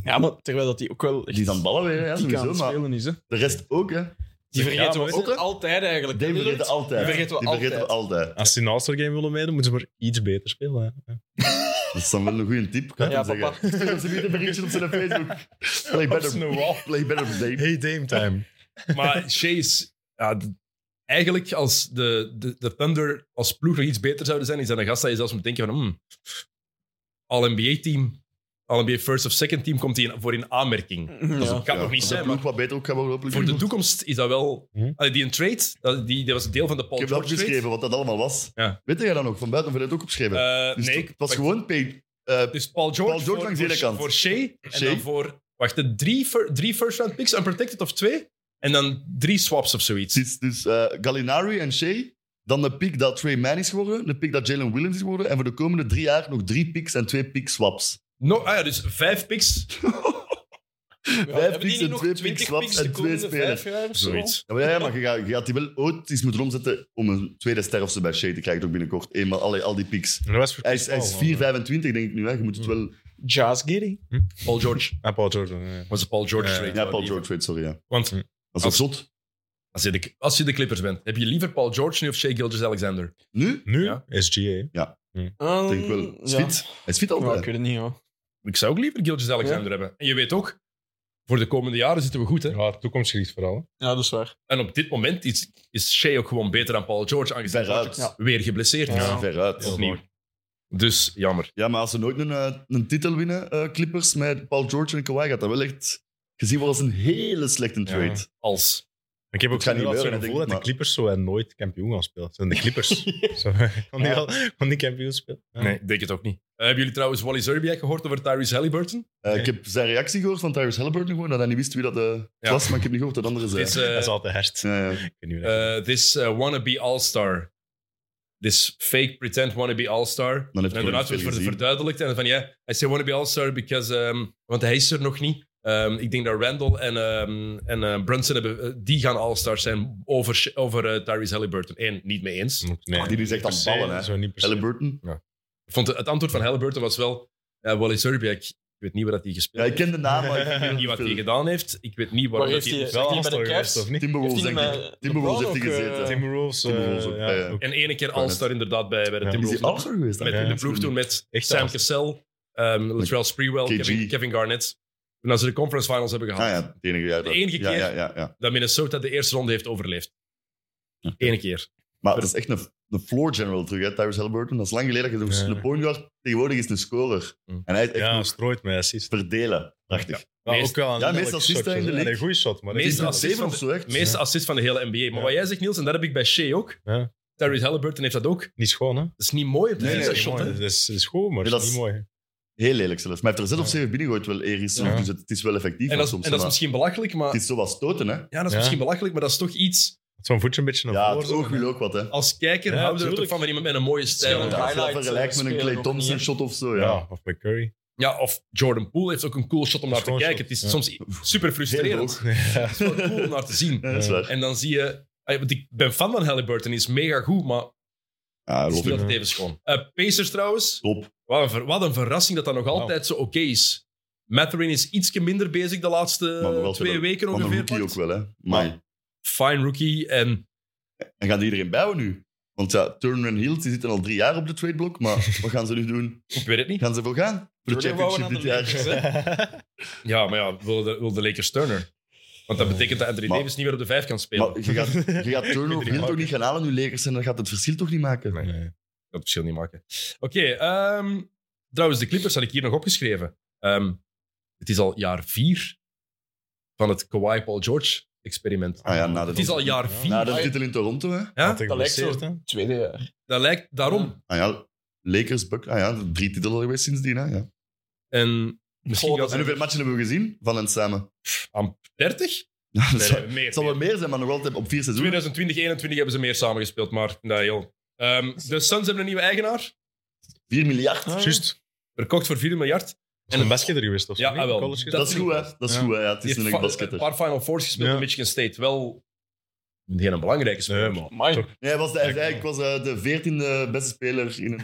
Speaker 4: Ja, maar terwijl dat die ook wel echt
Speaker 2: Die is aan het ballen weer, ja,
Speaker 4: die kan
Speaker 2: sowieso. Maar
Speaker 4: spelen is, hè.
Speaker 2: de rest ook, hè.
Speaker 4: Die vergeten
Speaker 1: maar
Speaker 4: we
Speaker 2: ook, hè?
Speaker 4: altijd eigenlijk.
Speaker 2: Dame
Speaker 4: Lillard.
Speaker 2: vergeten altijd.
Speaker 4: Die vergeten we
Speaker 2: we altijd.
Speaker 3: Als ze in een All-Star game willen meedoen, moeten ze maar iets beter spelen. hè.
Speaker 2: Dat is dan wel een goede tip. Ik ga het
Speaker 4: Ja,
Speaker 2: hem
Speaker 4: papa.
Speaker 2: zeggen. Stuur hem zometeen een berichtje op zijn Facebook. Play better, play better Dame.
Speaker 3: Hey, Dame time.
Speaker 1: Maar Shea is... Ja, d- eigenlijk, als de, de, de Thunder als ploeg nog iets beter zouden zijn, is dat een gast dat je zelfs moet denken van... hmm, All-NBA-team... All-NBA first of second team komt hij voor in aanmerking.
Speaker 4: Ja.
Speaker 1: Dat kan
Speaker 2: Ja,
Speaker 1: nog niet
Speaker 2: als
Speaker 1: zijn,
Speaker 2: de ploeg
Speaker 1: maar
Speaker 2: wat beter ook gaan worden, hopelijk.
Speaker 1: voor de toekomst is dat wel...
Speaker 3: Hm?
Speaker 1: Allee, die een trade, dat, die, dat was deel van de Paul
Speaker 2: Ik heb dat
Speaker 1: George trade.
Speaker 2: opgeschreven, wat dat allemaal was.
Speaker 1: Ja.
Speaker 2: Weet jij dat nog? Van buiten heb je dat ook opgeschreven.
Speaker 1: Eh,
Speaker 2: Dus
Speaker 1: nee,
Speaker 2: het was
Speaker 1: ik-
Speaker 2: gewoon pay, eh,
Speaker 1: Dus Paul George,
Speaker 2: Paul George
Speaker 1: voor,
Speaker 2: langs de
Speaker 1: voor,
Speaker 2: ene kant.
Speaker 1: voor Shea. En
Speaker 2: Shea.
Speaker 1: dan voor... Wacht, de drie, fir- drie first round picks, unprotected of twee? En dan drie swaps of zoiets.
Speaker 2: Het is dus eh, Gallinari en Shea. Dan de pick dat Trey Mann is geworden. De pick dat Jalen Williams is geworden. En voor de komende drie jaar nog drie picks en twee pick swaps.
Speaker 1: No, ah ja, dus vijf picks.
Speaker 2: Vijf picks en twee picks swaps en twee spelers.
Speaker 1: Zoiets.
Speaker 2: Ja, maar, ja, maar je, gaat, je gaat die wel ooit eens moeten omzetten om een tweede ster of zo bij Shea te krijgen. Ook binnenkort. Eenmaal alle, al die picks.
Speaker 3: En dat was voor
Speaker 2: Hij is, hij is
Speaker 1: Oh,
Speaker 3: Paul,
Speaker 2: 4,25 denk ik nu. Hè. Je moet
Speaker 1: Hmm.
Speaker 2: het wel...
Speaker 4: Jazz Giddy.
Speaker 1: Paul George.
Speaker 3: hè. Ja, Ah, Paul Jordan. ja.
Speaker 1: Was het Paul George
Speaker 3: Ja,
Speaker 1: trade?
Speaker 2: Ja, Paul George trade, sorry. Ja.
Speaker 1: Want
Speaker 2: Dat is toch zot.
Speaker 1: als je, de, als je de Clippers bent, heb je liever Paul George nu of Shea Gilgis-Alexander?
Speaker 2: Nu?
Speaker 3: Nu?
Speaker 1: Ja.
Speaker 3: SGA. hè.
Speaker 4: Um,
Speaker 2: Denk ik
Speaker 1: Hmm,
Speaker 2: wel. Is
Speaker 4: Ja.
Speaker 2: fit. Hij is fit
Speaker 4: Ja, ik
Speaker 2: altijd.
Speaker 4: weet het niet, hoor.
Speaker 1: Ik zou ook liever Gilgis-Alexander hebben. En je weet ook, voor de komende jaren zitten we goed, hè?
Speaker 3: Ja, toekomstgericht vooral. hè.
Speaker 4: Ja, dat is waar.
Speaker 1: En op dit moment is, is Shea ook gewoon beter dan Paul George, aangezien Paul
Speaker 2: Veruit.
Speaker 1: George weer geblesseerd is.
Speaker 4: Ja.
Speaker 2: Veruit.
Speaker 1: Opnieuw. Dus jammer.
Speaker 2: Ja, maar als ze nooit een, eh, een titel winnen, eh, Clippers, met Paul George en Kawhi, gaat dat wel echt gezien worden als een hele slechte trade.
Speaker 3: Ja.
Speaker 1: Als.
Speaker 3: Ik heb ook
Speaker 2: Het gaat
Speaker 3: zo'n
Speaker 2: niet
Speaker 3: zo'n
Speaker 2: gebeuren,
Speaker 3: gevoel
Speaker 2: denk ik,
Speaker 3: dat de
Speaker 2: maar-
Speaker 3: Clippers zo eh, nooit kampioen gaan spelen. Het
Speaker 2: [laughs]
Speaker 3: zijn de Clippers. Zo, Kon die
Speaker 2: Ja.
Speaker 3: al- kon die kampioen spelen? Ja.
Speaker 1: Nee, ik denk het ook niet. Eh, hebben jullie trouwens Wally Zerbiak gehoord over Tyrese Halliburton?
Speaker 2: Eh, Ik heb zijn reactie gehoord van Tyrese Halliburton, gewoon, dat hij niet wist wie dat eh, het
Speaker 1: Ja.
Speaker 2: was, maar ik heb niet gehoord dat anderen
Speaker 1: Dit
Speaker 2: zijn.
Speaker 1: is
Speaker 3: Dat is
Speaker 1: eh,
Speaker 3: altijd hard.
Speaker 2: Ja, ja.
Speaker 3: Ik weet niet hoe dat-
Speaker 1: eh, this eh, wannabe all-star. This fake pretend wannabe all-star.
Speaker 2: Dan heeft
Speaker 1: en
Speaker 2: Corey
Speaker 1: daarna wordt
Speaker 2: veel
Speaker 1: het
Speaker 2: gezien.
Speaker 1: verduidelijkt. En dan van ja, hij zei wannabe all-star because... ehm, want hij is er nog niet. Ehm, ik denk dat Randall en, ehm, en eh, Brunson hebben, eh, die gaan all-stars zijn over, over eh, Tyrese Halliburton. Eén, niet mee eens.
Speaker 3: nee,
Speaker 2: Ah, die is echt
Speaker 3: per
Speaker 2: aan
Speaker 3: se,
Speaker 2: ballen, hè.
Speaker 3: Zo niet per se.
Speaker 2: Halliburton.
Speaker 1: Ik vond het, het antwoord van Halliburton was wel... ja, Wally Zerbiak, ik weet niet waar dat hij
Speaker 2: Ja,
Speaker 1: gespeeld
Speaker 2: ik
Speaker 1: heeft.
Speaker 2: ken de naam, maar ik weet
Speaker 1: Ik weet [laughs] niet
Speaker 2: niet
Speaker 1: wat
Speaker 2: wat
Speaker 1: hij
Speaker 2: tegen
Speaker 1: gedaan heeft. Ik weet niet waarom
Speaker 4: Waar
Speaker 1: dat
Speaker 4: heeft
Speaker 1: hij...
Speaker 4: hij- Zegt
Speaker 3: All-star
Speaker 4: bij de
Speaker 3: geweest,
Speaker 4: Cavs?
Speaker 3: of niet?
Speaker 2: Timberwolves,
Speaker 4: Heeft hij
Speaker 2: denk
Speaker 4: niet
Speaker 2: ik.
Speaker 4: met
Speaker 2: Timberwolves heeft
Speaker 4: LeBron
Speaker 2: hij
Speaker 4: ook, eh,
Speaker 2: gezeten.
Speaker 3: Timberwolves. eh,
Speaker 2: Timberwolves ook, ja,
Speaker 3: ja,
Speaker 2: ja.
Speaker 3: ook.
Speaker 1: En ene keer
Speaker 2: Correct.
Speaker 1: all-star inderdaad bij, bij de
Speaker 3: Ja.
Speaker 2: Is hij
Speaker 1: Timberwolves.
Speaker 2: All-Star geweest? dan?
Speaker 1: Met
Speaker 3: Ja,
Speaker 1: in de
Speaker 3: dat
Speaker 1: ploeg
Speaker 2: is
Speaker 1: toen met
Speaker 3: Echt
Speaker 1: Sam
Speaker 3: zelfs.
Speaker 1: Cassell, ehm Latrell Sprewell,
Speaker 2: KG.
Speaker 1: Kevin, Kevin Garnett. En als ze de conference finals hebben
Speaker 2: Ah
Speaker 1: gehad,
Speaker 2: ja, het enige jaar. dat-
Speaker 1: De enige
Speaker 2: ja,
Speaker 1: keer.
Speaker 2: Ja, ja, ja.
Speaker 1: dat Minnesota de eerste ronde heeft overleefd.
Speaker 2: Ja.
Speaker 1: Eén keer.
Speaker 2: Maar dat is echt een, een floor general terug, hè, Tyrese Halliburton. Dat is lang geleden. dat je
Speaker 3: Ja.
Speaker 2: zo'n Een point guard tegenwoordig is een scorer.
Speaker 1: Hm.
Speaker 2: En hij is echt
Speaker 3: Ja,
Speaker 2: nog
Speaker 3: strooit met assist.
Speaker 2: verdelen. Prachtig.
Speaker 3: Ja,
Speaker 1: Meest-
Speaker 3: ook wel een
Speaker 2: Ja, meest
Speaker 3: lelijk
Speaker 2: assist
Speaker 3: shot,
Speaker 2: in de
Speaker 3: hè.
Speaker 2: league.
Speaker 3: Nee, goeie shot, maar dat
Speaker 1: Meest
Speaker 3: is-
Speaker 2: Meest
Speaker 1: assist
Speaker 2: assist
Speaker 1: van-
Speaker 2: of zo, echt.
Speaker 1: De meeste assist van de hele NBA. Maar
Speaker 3: Ja.
Speaker 1: wat jij zegt, Niels, en dat heb ik bij Shea ook.
Speaker 3: Ja.
Speaker 1: Tyrese Halliburton heeft dat ook. Dat
Speaker 3: niet schoon, hè?
Speaker 1: is niet mooi op de
Speaker 2: Nee,
Speaker 1: eerste
Speaker 2: nee,
Speaker 1: shot,
Speaker 3: mooi.
Speaker 1: hè.
Speaker 3: Dat is, dat is goed, maar
Speaker 2: Nee,
Speaker 3: dat is niet
Speaker 2: dat
Speaker 3: mooi. hè.
Speaker 2: Heel lelijk zelfs. Maar hij heeft er zes of
Speaker 3: Ja.
Speaker 2: zeven binnengooid wel ergens.
Speaker 3: Ja.
Speaker 2: Dus het, het is wel effectief.
Speaker 1: En
Speaker 2: maar
Speaker 1: dat, is-
Speaker 2: soms,
Speaker 1: en dat is
Speaker 2: maar
Speaker 1: misschien belachelijk, maar...
Speaker 2: Het is zo wat stoten, hè?
Speaker 1: Ja, dat is
Speaker 3: Ja.
Speaker 1: misschien belachelijk, maar dat is toch iets...
Speaker 3: Zo'n voetje een beetje naar
Speaker 2: Ja,
Speaker 3: voren.
Speaker 2: het
Speaker 3: zo,
Speaker 2: oog
Speaker 3: hè.
Speaker 2: wil ook wat, hè?
Speaker 1: Als kijker
Speaker 3: Ja,
Speaker 1: houden we er toch
Speaker 3: tuurlijk.
Speaker 1: van, van iemand met een mooie stijl.
Speaker 4: Ja.
Speaker 1: Ja.
Speaker 2: Ja, als je dat
Speaker 4: highlight,
Speaker 2: vergelijkt
Speaker 4: eh,
Speaker 2: met een
Speaker 4: spelen
Speaker 2: Clay
Speaker 4: nog
Speaker 2: Thompson
Speaker 4: niet,
Speaker 2: shot of zo, ja.
Speaker 3: Ja, of bij Curry.
Speaker 1: of Jordan Poole heeft ook een cool shot om naar te
Speaker 3: Schoon
Speaker 1: kijken.
Speaker 3: shot,
Speaker 1: Het is
Speaker 3: ja.
Speaker 1: soms super
Speaker 2: Heel
Speaker 1: frustrerend.
Speaker 2: hoog.
Speaker 1: Het is wel cool nou. om naar te zien.
Speaker 2: Ja, dat is waar.
Speaker 1: En dan zie je... ah, Want ik ben fan van Halliburton, die is mega goed, maar
Speaker 2: Ja,
Speaker 1: het is niet
Speaker 2: Robin.
Speaker 1: altijd even schoon. Eh, Pacers trouwens,
Speaker 2: Top.
Speaker 1: wat een, ver- wat een verrassing dat dat nog
Speaker 3: Wauw.
Speaker 1: altijd zo oké is. Mathurin is ietsje minder bezig de
Speaker 2: Maar
Speaker 1: laatste
Speaker 2: wel
Speaker 1: twee
Speaker 2: veel-
Speaker 1: weken
Speaker 2: Van de
Speaker 1: ongeveer.
Speaker 2: rookie ook
Speaker 1: pakt.
Speaker 2: wel, hè? Maar,
Speaker 1: Fine rookie en
Speaker 2: en gaat iedereen bijhouden nu? Want ja, Turner en Hield die zitten al drie jaar op de tradeblok,
Speaker 3: [laughs]
Speaker 2: maar wat gaan ze nu doen?
Speaker 1: ik weet het niet.
Speaker 2: Gaan ze voor gaan? Voor de
Speaker 4: Jordan wou
Speaker 2: championship
Speaker 4: aan
Speaker 2: dit
Speaker 4: de Lakers,
Speaker 2: jaar?
Speaker 4: hè.
Speaker 1: Ja, maar ja, wil de, wil de Lakers Turner? Want dat betekent dat Anthony
Speaker 2: Maar-
Speaker 1: Davis niet meer op de vijf kan spelen.
Speaker 2: [laughs] Maar je gaat, je gaat Turner of Hield toch niet gaan halen nu Lakers en dat gaat het verschil toch niet maken?
Speaker 3: Nee.
Speaker 1: dat verschil niet maken. Oké, ehm, trouwens, de Clippers had ik hier nog opgeschreven. Ehm, het is al jaar vier van het Kawhi Paul George experiment.
Speaker 2: Ah ja, Nou, na de,
Speaker 1: Het is al jaar vier.
Speaker 2: na de titel in Toronto, hè?
Speaker 1: Ja?
Speaker 3: Had ik
Speaker 4: Dat lijkt
Speaker 3: geblesseerd,
Speaker 4: zo.
Speaker 3: hè?
Speaker 4: [laughs] Tweede jaar.
Speaker 1: Dat lijkt daarom.
Speaker 2: Ah ja, Lakers, Buck. Ah ja, drie titels al geweest sindsdien, hè? Ja.
Speaker 1: En misschien wel
Speaker 4: Goh,
Speaker 3: Oh,
Speaker 4: dat
Speaker 2: En hoeveel matchen hebben we gezien van hen samen? [laughs]
Speaker 1: aan 30?
Speaker 2: Ja, dat zal-
Speaker 1: Nee, nee, meer.
Speaker 2: het zal wel meer zijn, maar nog altijd op vier seizoenen.
Speaker 1: 2020, 2021 hebben ze meer samengespeeld, maar nee, joh. Ehm, de Suns hebben een nieuwe eigenaar,
Speaker 2: 4 miljard.
Speaker 1: Ah,
Speaker 3: Juist.
Speaker 1: verkocht voor 4 miljard.
Speaker 3: En een basketter geweest of zo?
Speaker 1: Ja,
Speaker 3: niet?
Speaker 1: ah, wel.
Speaker 3: College
Speaker 2: Dat, is
Speaker 1: vind ik
Speaker 2: goed, hè?
Speaker 1: wel.
Speaker 2: Dat is
Speaker 3: Ja.
Speaker 2: goed, hè? Ja, het
Speaker 1: Die
Speaker 2: is een
Speaker 1: heeft
Speaker 2: echt
Speaker 1: fa-
Speaker 2: basketter.
Speaker 1: een paar Final Fours gespeeld
Speaker 3: Ja.
Speaker 1: in Michigan State. Wel geen belangrijke speler.
Speaker 3: Nee, man.
Speaker 4: Amai.
Speaker 2: Nee, hij was de, hij zei, ik was eh, de veertiende beste speler in een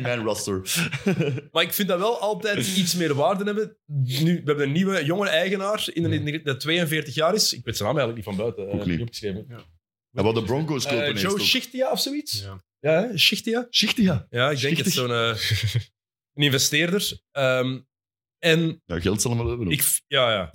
Speaker 2: 14-man roster.
Speaker 3: [laughs]
Speaker 1: Maar ik vind dat wel
Speaker 2: [laughs]
Speaker 1: altijd iets meer waarde hebben. Nu, we hebben een nieuwe, jonge eigenaar in de, in de- dat 42 jaar is. Ik weet zijn naam eigenlijk niet van buiten.
Speaker 2: Ook
Speaker 1: eh,
Speaker 2: niet.
Speaker 1: opgeschreven.
Speaker 2: Hij wou de Broncos kopen
Speaker 1: Eh,
Speaker 2: ineens
Speaker 1: Joe
Speaker 2: toch?
Speaker 1: Schichtia of zoiets?
Speaker 5: Ja.
Speaker 1: Ja, hè? Schichtia?
Speaker 2: Schichtia.
Speaker 1: Ja, ik denk het zo'n eh, een investeerder. Ehm, en
Speaker 2: Ja, Nou, geld zal hem wel hebben. hoor.
Speaker 1: ik, v- ja, ja.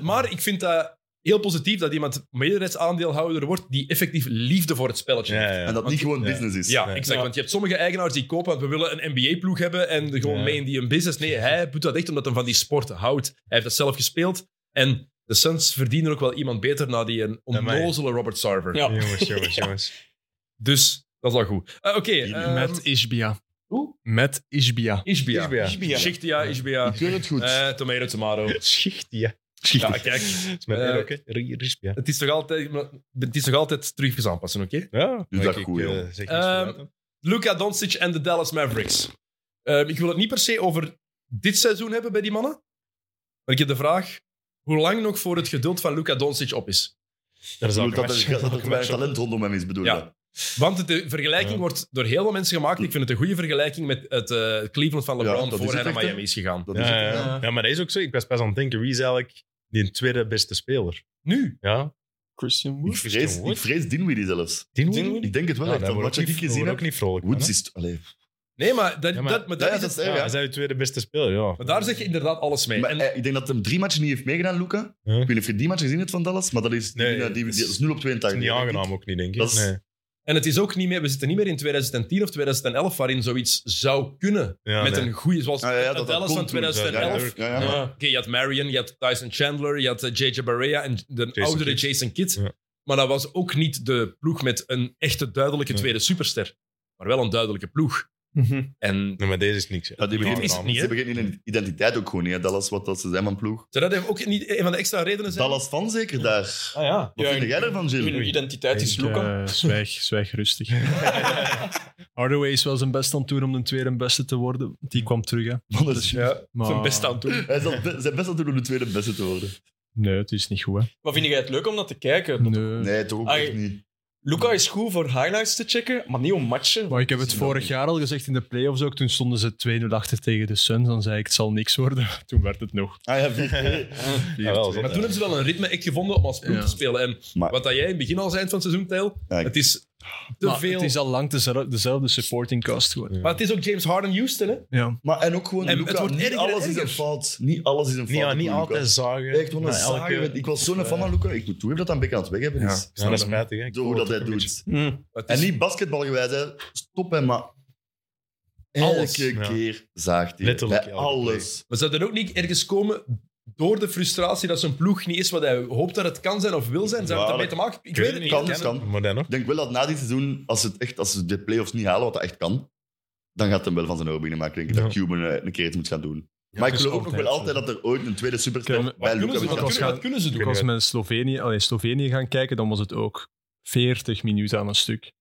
Speaker 1: maar ik vind dat heel positief dat iemand meerderheidsaandeelhouder wordt die effectief liefde voor het spelletje heeft.
Speaker 3: Ja, ja.
Speaker 2: en dat
Speaker 1: want
Speaker 2: niet gewoon
Speaker 3: ja.
Speaker 2: business is.
Speaker 1: Ja,
Speaker 3: Ja.
Speaker 1: exact.
Speaker 4: Ja.
Speaker 1: Want je hebt sommige eigenaars die kopen, want we willen een NBA-ploeg hebben en er gewoon
Speaker 3: Ja.
Speaker 1: mee in die een business. Nee, hij doet dat echt omdat hij van die sport houdt. Hij heeft dat zelf gespeeld. En de Suns verdienen ook wel iemand beter na die een
Speaker 3: Amai.
Speaker 1: onnozele Robert Sarver.
Speaker 4: Ja.
Speaker 3: Jongens, jongens, jongens.
Speaker 1: Dus dat is wel goed. Eh, Oké, ehm,
Speaker 5: Met Ishbia.
Speaker 1: Hoe?
Speaker 5: Met Ishbia.
Speaker 1: Ishbia.
Speaker 3: Ishbia.
Speaker 1: Ishbia, Ishbia.
Speaker 2: Ik wil het goed.
Speaker 1: Eh, tomato, tomato.
Speaker 3: Schicht, ja.
Speaker 1: Ja, kijk,
Speaker 3: Dat is mijn
Speaker 1: Eh,
Speaker 3: eer ook, hè. R- Risp, ja.
Speaker 1: het is toch altijd, het is toch altijd terugjes aanpassen, oké?
Speaker 3: Ja,
Speaker 2: Doe dat
Speaker 3: ik,
Speaker 2: goed,
Speaker 3: eh,
Speaker 2: joh.
Speaker 3: zeg niks
Speaker 1: Ehm,
Speaker 3: vooruit, hè.
Speaker 1: Luka Doncic en de Dallas Mavericks. Ehm, ik wil het niet per se over dit seizoen hebben bij die mannen. Maar ik heb de vraag hoe lang nog voor het geduld van Luka Doncic op is.
Speaker 3: dat is
Speaker 2: bedoel,
Speaker 3: elke
Speaker 2: dat,
Speaker 3: match.
Speaker 2: er, [laughs] dat er
Speaker 3: Elke
Speaker 2: te weinig
Speaker 3: match.
Speaker 2: talent rondom hem is, bedoel
Speaker 1: Ja.
Speaker 2: je?
Speaker 1: Want de vergelijking
Speaker 3: Ja.
Speaker 1: wordt door heel veel mensen gemaakt. Ik vind het een goede vergelijking met het eh, Cleveland van
Speaker 2: Ja,
Speaker 1: LeBron
Speaker 2: dat is
Speaker 1: voor
Speaker 2: het
Speaker 1: hij naar
Speaker 2: echt, hè?
Speaker 1: Miami is gegaan.
Speaker 2: Dat is
Speaker 3: Ja,
Speaker 2: het,
Speaker 3: ja,
Speaker 2: ja.
Speaker 3: ja. ja, maar dat is ook zo. Ik was pas aan het denken, wie is eigenlijk die tweede beste speler?
Speaker 1: Nu?
Speaker 3: Ja,
Speaker 4: Christian
Speaker 2: Ik
Speaker 4: Wood.
Speaker 2: vrees, ik vrees Dinwiddie zelfs.
Speaker 3: Dinwiddie?
Speaker 2: Ik denk het wel.
Speaker 3: Ja,
Speaker 2: echt.
Speaker 3: daar
Speaker 2: Van
Speaker 3: word
Speaker 2: wat ik
Speaker 3: ik
Speaker 2: gezien
Speaker 3: ook
Speaker 2: heb,
Speaker 3: niet vrolijk van,
Speaker 2: Woods
Speaker 3: hè.
Speaker 2: is... Allee.
Speaker 1: Nee, maar, dat,
Speaker 3: Ja, maar-
Speaker 1: dat, maar, dat
Speaker 2: Ja,
Speaker 1: is
Speaker 2: dat is
Speaker 1: het-
Speaker 2: erg,
Speaker 3: Ja,
Speaker 2: ja.
Speaker 3: hij is de tweede beste speler, ja.
Speaker 1: maar daar zeg je inderdaad alles mee.
Speaker 2: Maar
Speaker 1: en,
Speaker 2: eh, ik denk dat hem drie matchen niet heeft meegedaan, Luca.
Speaker 3: Ja.
Speaker 2: Ik weet niet of je die match gezien hebt van Dallas, maar dat is,
Speaker 3: Nee,
Speaker 2: die, die,
Speaker 3: dat
Speaker 2: die
Speaker 3: is-
Speaker 2: is 0 op
Speaker 3: Dat
Speaker 2: 82.
Speaker 3: is niet aangenaam ook niet, denk ik.
Speaker 2: Dat is-
Speaker 3: Nee.
Speaker 1: en het is ook niet meer, we zitten niet meer in 2010 of 2011 waarin zoiets zou kunnen.
Speaker 3: Ja,
Speaker 1: met
Speaker 3: nee.
Speaker 1: een goede, zoals
Speaker 2: Ah, ja, ja, dat- dat
Speaker 1: Dallas
Speaker 2: kon
Speaker 1: van
Speaker 2: toen, ja, ja.
Speaker 1: 2011.
Speaker 2: Ja, ja, maar-
Speaker 1: Ja. Oké, je had Marion, je had Tyson Chandler, je had eh, JJ Barea en de
Speaker 3: Jason
Speaker 1: oudere
Speaker 3: Kidd.
Speaker 1: Jason Kidd.
Speaker 3: Ja.
Speaker 1: Maar dat was ook niet de ploeg met een echte duidelijke
Speaker 3: Nee.
Speaker 1: tweede superster. Maar wel een duidelijke ploeg. En
Speaker 3: Nee, maar deze is niks. hè.
Speaker 2: Ja, die
Speaker 1: Dit
Speaker 2: begint
Speaker 1: is het niet,
Speaker 2: Ze
Speaker 1: hè?
Speaker 2: hebben geen identiteit ook gewoon niet. hè. Dallas, wat dat ze zijn van ploeg.
Speaker 1: zou dat ook niet een van de extra redenen zijn?
Speaker 2: Dallas van zeker daar.
Speaker 3: Ah ja.
Speaker 2: Wat
Speaker 4: Ja,
Speaker 2: vind
Speaker 4: en-
Speaker 2: jij ervan,
Speaker 4: Hun
Speaker 2: Gilles?
Speaker 4: identiteit is
Speaker 5: Ik,
Speaker 4: Luca.
Speaker 5: eh, zwijg, zwijg
Speaker 1: [laughs]
Speaker 5: rustig. Hardaway is wel zijn best aan het doen om de tweede beste te worden. Die kwam terug, hè. Dus-
Speaker 2: Man, dat is-
Speaker 1: Ja,
Speaker 5: Maar-
Speaker 1: zijn best aan het doen.
Speaker 2: Hij zal be- zijn best aan het doen om de tweede beste te worden.
Speaker 5: Nee, het is niet goed, hè.
Speaker 4: Maar vind jij het leuk om dat te kijken?
Speaker 5: Nee.
Speaker 2: Nee, toch ook
Speaker 4: Ah,
Speaker 2: echt niet.
Speaker 4: Luca is goed voor highlights te checken, maar niet om matchen.
Speaker 5: Maar ik heb het vorig jaar al gezegd in de playoffs ook. Toen stonden ze 2-0 achter tegen de Suns. Dan zei ik, het zal niks worden. [laughs] Toen werd het nog.
Speaker 2: Ah [laughs] ja, vier.
Speaker 3: Ja, wel,
Speaker 1: Maar toen hebben ze wel een ritme echt gevonden om als ploeg
Speaker 5: Ja.
Speaker 1: te spelen. En
Speaker 2: Maar-
Speaker 1: wat dat jij in het begin al zei van het seizoen, Tijl,
Speaker 2: Ja, ik-
Speaker 1: het is te
Speaker 5: Maar
Speaker 1: veel.
Speaker 5: Het is al lang dezelfde, dezelfde supporting cast geworden.
Speaker 1: Maar het is ook James Harden Houston, hè?
Speaker 5: Ja.
Speaker 2: Maar en ook gewoon,
Speaker 1: En
Speaker 2: Luca,
Speaker 1: het wordt
Speaker 2: niet
Speaker 1: erger en
Speaker 2: alles is
Speaker 1: erger.
Speaker 2: een fout. Niet alles is een fout.
Speaker 3: Niet, ja, niet
Speaker 2: voor Luca.
Speaker 3: altijd zagen.
Speaker 2: Echt, wat een
Speaker 3: maar
Speaker 2: saaie
Speaker 3: elke-
Speaker 2: vent. Ik was zo'n fan van Luca. Ik moet toegeven dat hij een beetje aan het weg hebben
Speaker 1: Ja.
Speaker 2: is.
Speaker 3: Ja, dat is spijtig, hè. Ik
Speaker 2: Door hoe
Speaker 3: hoor
Speaker 2: dat
Speaker 3: het
Speaker 2: hij
Speaker 3: ook een beetje.
Speaker 2: doet.
Speaker 4: Hm.
Speaker 1: Het
Speaker 2: En
Speaker 1: is-
Speaker 2: niet basketbalgewijs, hè. Stop hem, maar...
Speaker 1: Alles.
Speaker 2: Elke
Speaker 3: Ja.
Speaker 2: keer zaagt hij.
Speaker 3: Letterlijk
Speaker 2: Bij
Speaker 3: elke
Speaker 2: alles.
Speaker 1: Maar zou er ook niet ergens komen door de frustratie dat zijn ploeg niet is wat hij hoopt dat het kan zijn of wil zijn? Zou het
Speaker 2: Ja,
Speaker 1: daarmee te maken Ik
Speaker 3: weet
Speaker 1: weet het
Speaker 3: het
Speaker 1: niet.
Speaker 2: Kan, dus
Speaker 1: hè.
Speaker 2: kan.
Speaker 3: Maar dan nog.
Speaker 2: Ik denk wel dat na dit seizoen, als, het echt, als ze de playoffs niet halen, wat dat echt kan, dan gaat hem wel van zijn oren beginnen maken. Ik denk dat Cuban eh, een keer iets moet gaan doen. maar ik
Speaker 4: dus
Speaker 3: het is
Speaker 2: geloof ook nog wel
Speaker 3: altijd
Speaker 2: altijd dat er ooit een tweede
Speaker 5: Kijk,
Speaker 2: superster
Speaker 5: wat
Speaker 2: bij
Speaker 1: Wat kunnen,
Speaker 2: Luca
Speaker 1: ze,
Speaker 2: moet
Speaker 1: wat,
Speaker 5: Luka
Speaker 2: gaan
Speaker 5: was
Speaker 1: kunnen,
Speaker 5: gaan-
Speaker 1: wat kunnen ze
Speaker 5: Ook
Speaker 1: doen?
Speaker 5: als we in Slovenië, allee, Slovenië gaan kijken, dan was het ook 40 minuten aan een stuk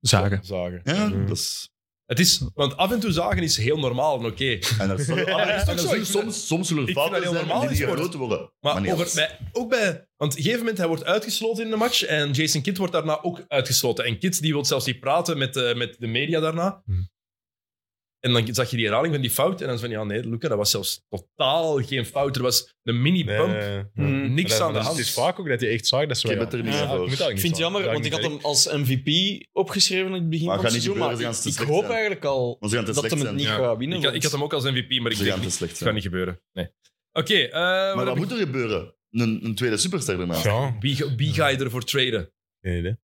Speaker 5: zagen.
Speaker 1: Zagen.
Speaker 2: Ja,
Speaker 3: Mhm.
Speaker 2: dat is...
Speaker 1: Het is, want af en toe zagen is heel normaal en oké.
Speaker 2: [laughs] En dat
Speaker 1: dat is
Speaker 2: is,
Speaker 1: toch
Speaker 2: en dat
Speaker 1: zo.
Speaker 2: zullen
Speaker 1: Ik vind
Speaker 2: soms, soms zullen
Speaker 1: ik
Speaker 2: er
Speaker 1: vind
Speaker 2: fouten
Speaker 1: dat heel
Speaker 2: zijn
Speaker 1: normaal
Speaker 2: die niet
Speaker 1: in sport.
Speaker 2: groot worden.
Speaker 1: Maar
Speaker 2: niet
Speaker 1: over,
Speaker 2: alles.
Speaker 1: bij- ook bij... Want op een gegeven moment, hij wordt uitgesloten in de match en Jason Kidd wordt daarna ook uitgesloten. En Kidd die wil zelfs niet praten met, eh, met de media daarna.
Speaker 3: Hm.
Speaker 1: En dan zag je die herhaling van die fout en dan is van, ja nee, Luca, dat was zelfs totaal geen fout. Er was een mini-bump,
Speaker 3: Nee.
Speaker 1: niks
Speaker 3: Maar dat-
Speaker 1: aan de
Speaker 3: dat is-
Speaker 1: hand.
Speaker 3: Het is vaak ook dat hij echt zag dat ze...
Speaker 2: Ik
Speaker 3: ja,
Speaker 2: heb het er niet
Speaker 3: ja,
Speaker 2: voor.
Speaker 3: ik moet dat ook
Speaker 4: Ik
Speaker 3: niet
Speaker 4: vind het
Speaker 3: zagen.
Speaker 4: jammer,
Speaker 3: Dat
Speaker 4: want ik had
Speaker 3: niet
Speaker 4: hem als MVP opgeschreven in het begin
Speaker 2: Maar
Speaker 4: van het
Speaker 2: gaat niet
Speaker 4: seizoen, maar
Speaker 2: gebeuren,
Speaker 4: ik,
Speaker 2: ze gaan
Speaker 4: ik
Speaker 2: te
Speaker 4: hoop
Speaker 2: slecht zijn.
Speaker 4: eigenlijk al
Speaker 2: Want ze gaan te
Speaker 4: dat
Speaker 2: slecht
Speaker 4: hem het
Speaker 2: zijn.
Speaker 4: niet
Speaker 3: Ja.
Speaker 4: gaat winnen.
Speaker 1: Ik, had- ik had hem ook als MVP, maar ik
Speaker 2: Ze
Speaker 1: denk
Speaker 2: gaan te
Speaker 1: niet,
Speaker 2: slecht
Speaker 1: het gaat
Speaker 2: zijn.
Speaker 1: niet gebeuren. Nee. Oké, eh, wat
Speaker 2: Maar
Speaker 1: heb
Speaker 2: wat
Speaker 1: ik-
Speaker 2: moet er gebeuren? Een, een tweede superster daarna.
Speaker 3: Ja,
Speaker 1: wie, ga- wie ga je ervoor traden?
Speaker 3: geen idee.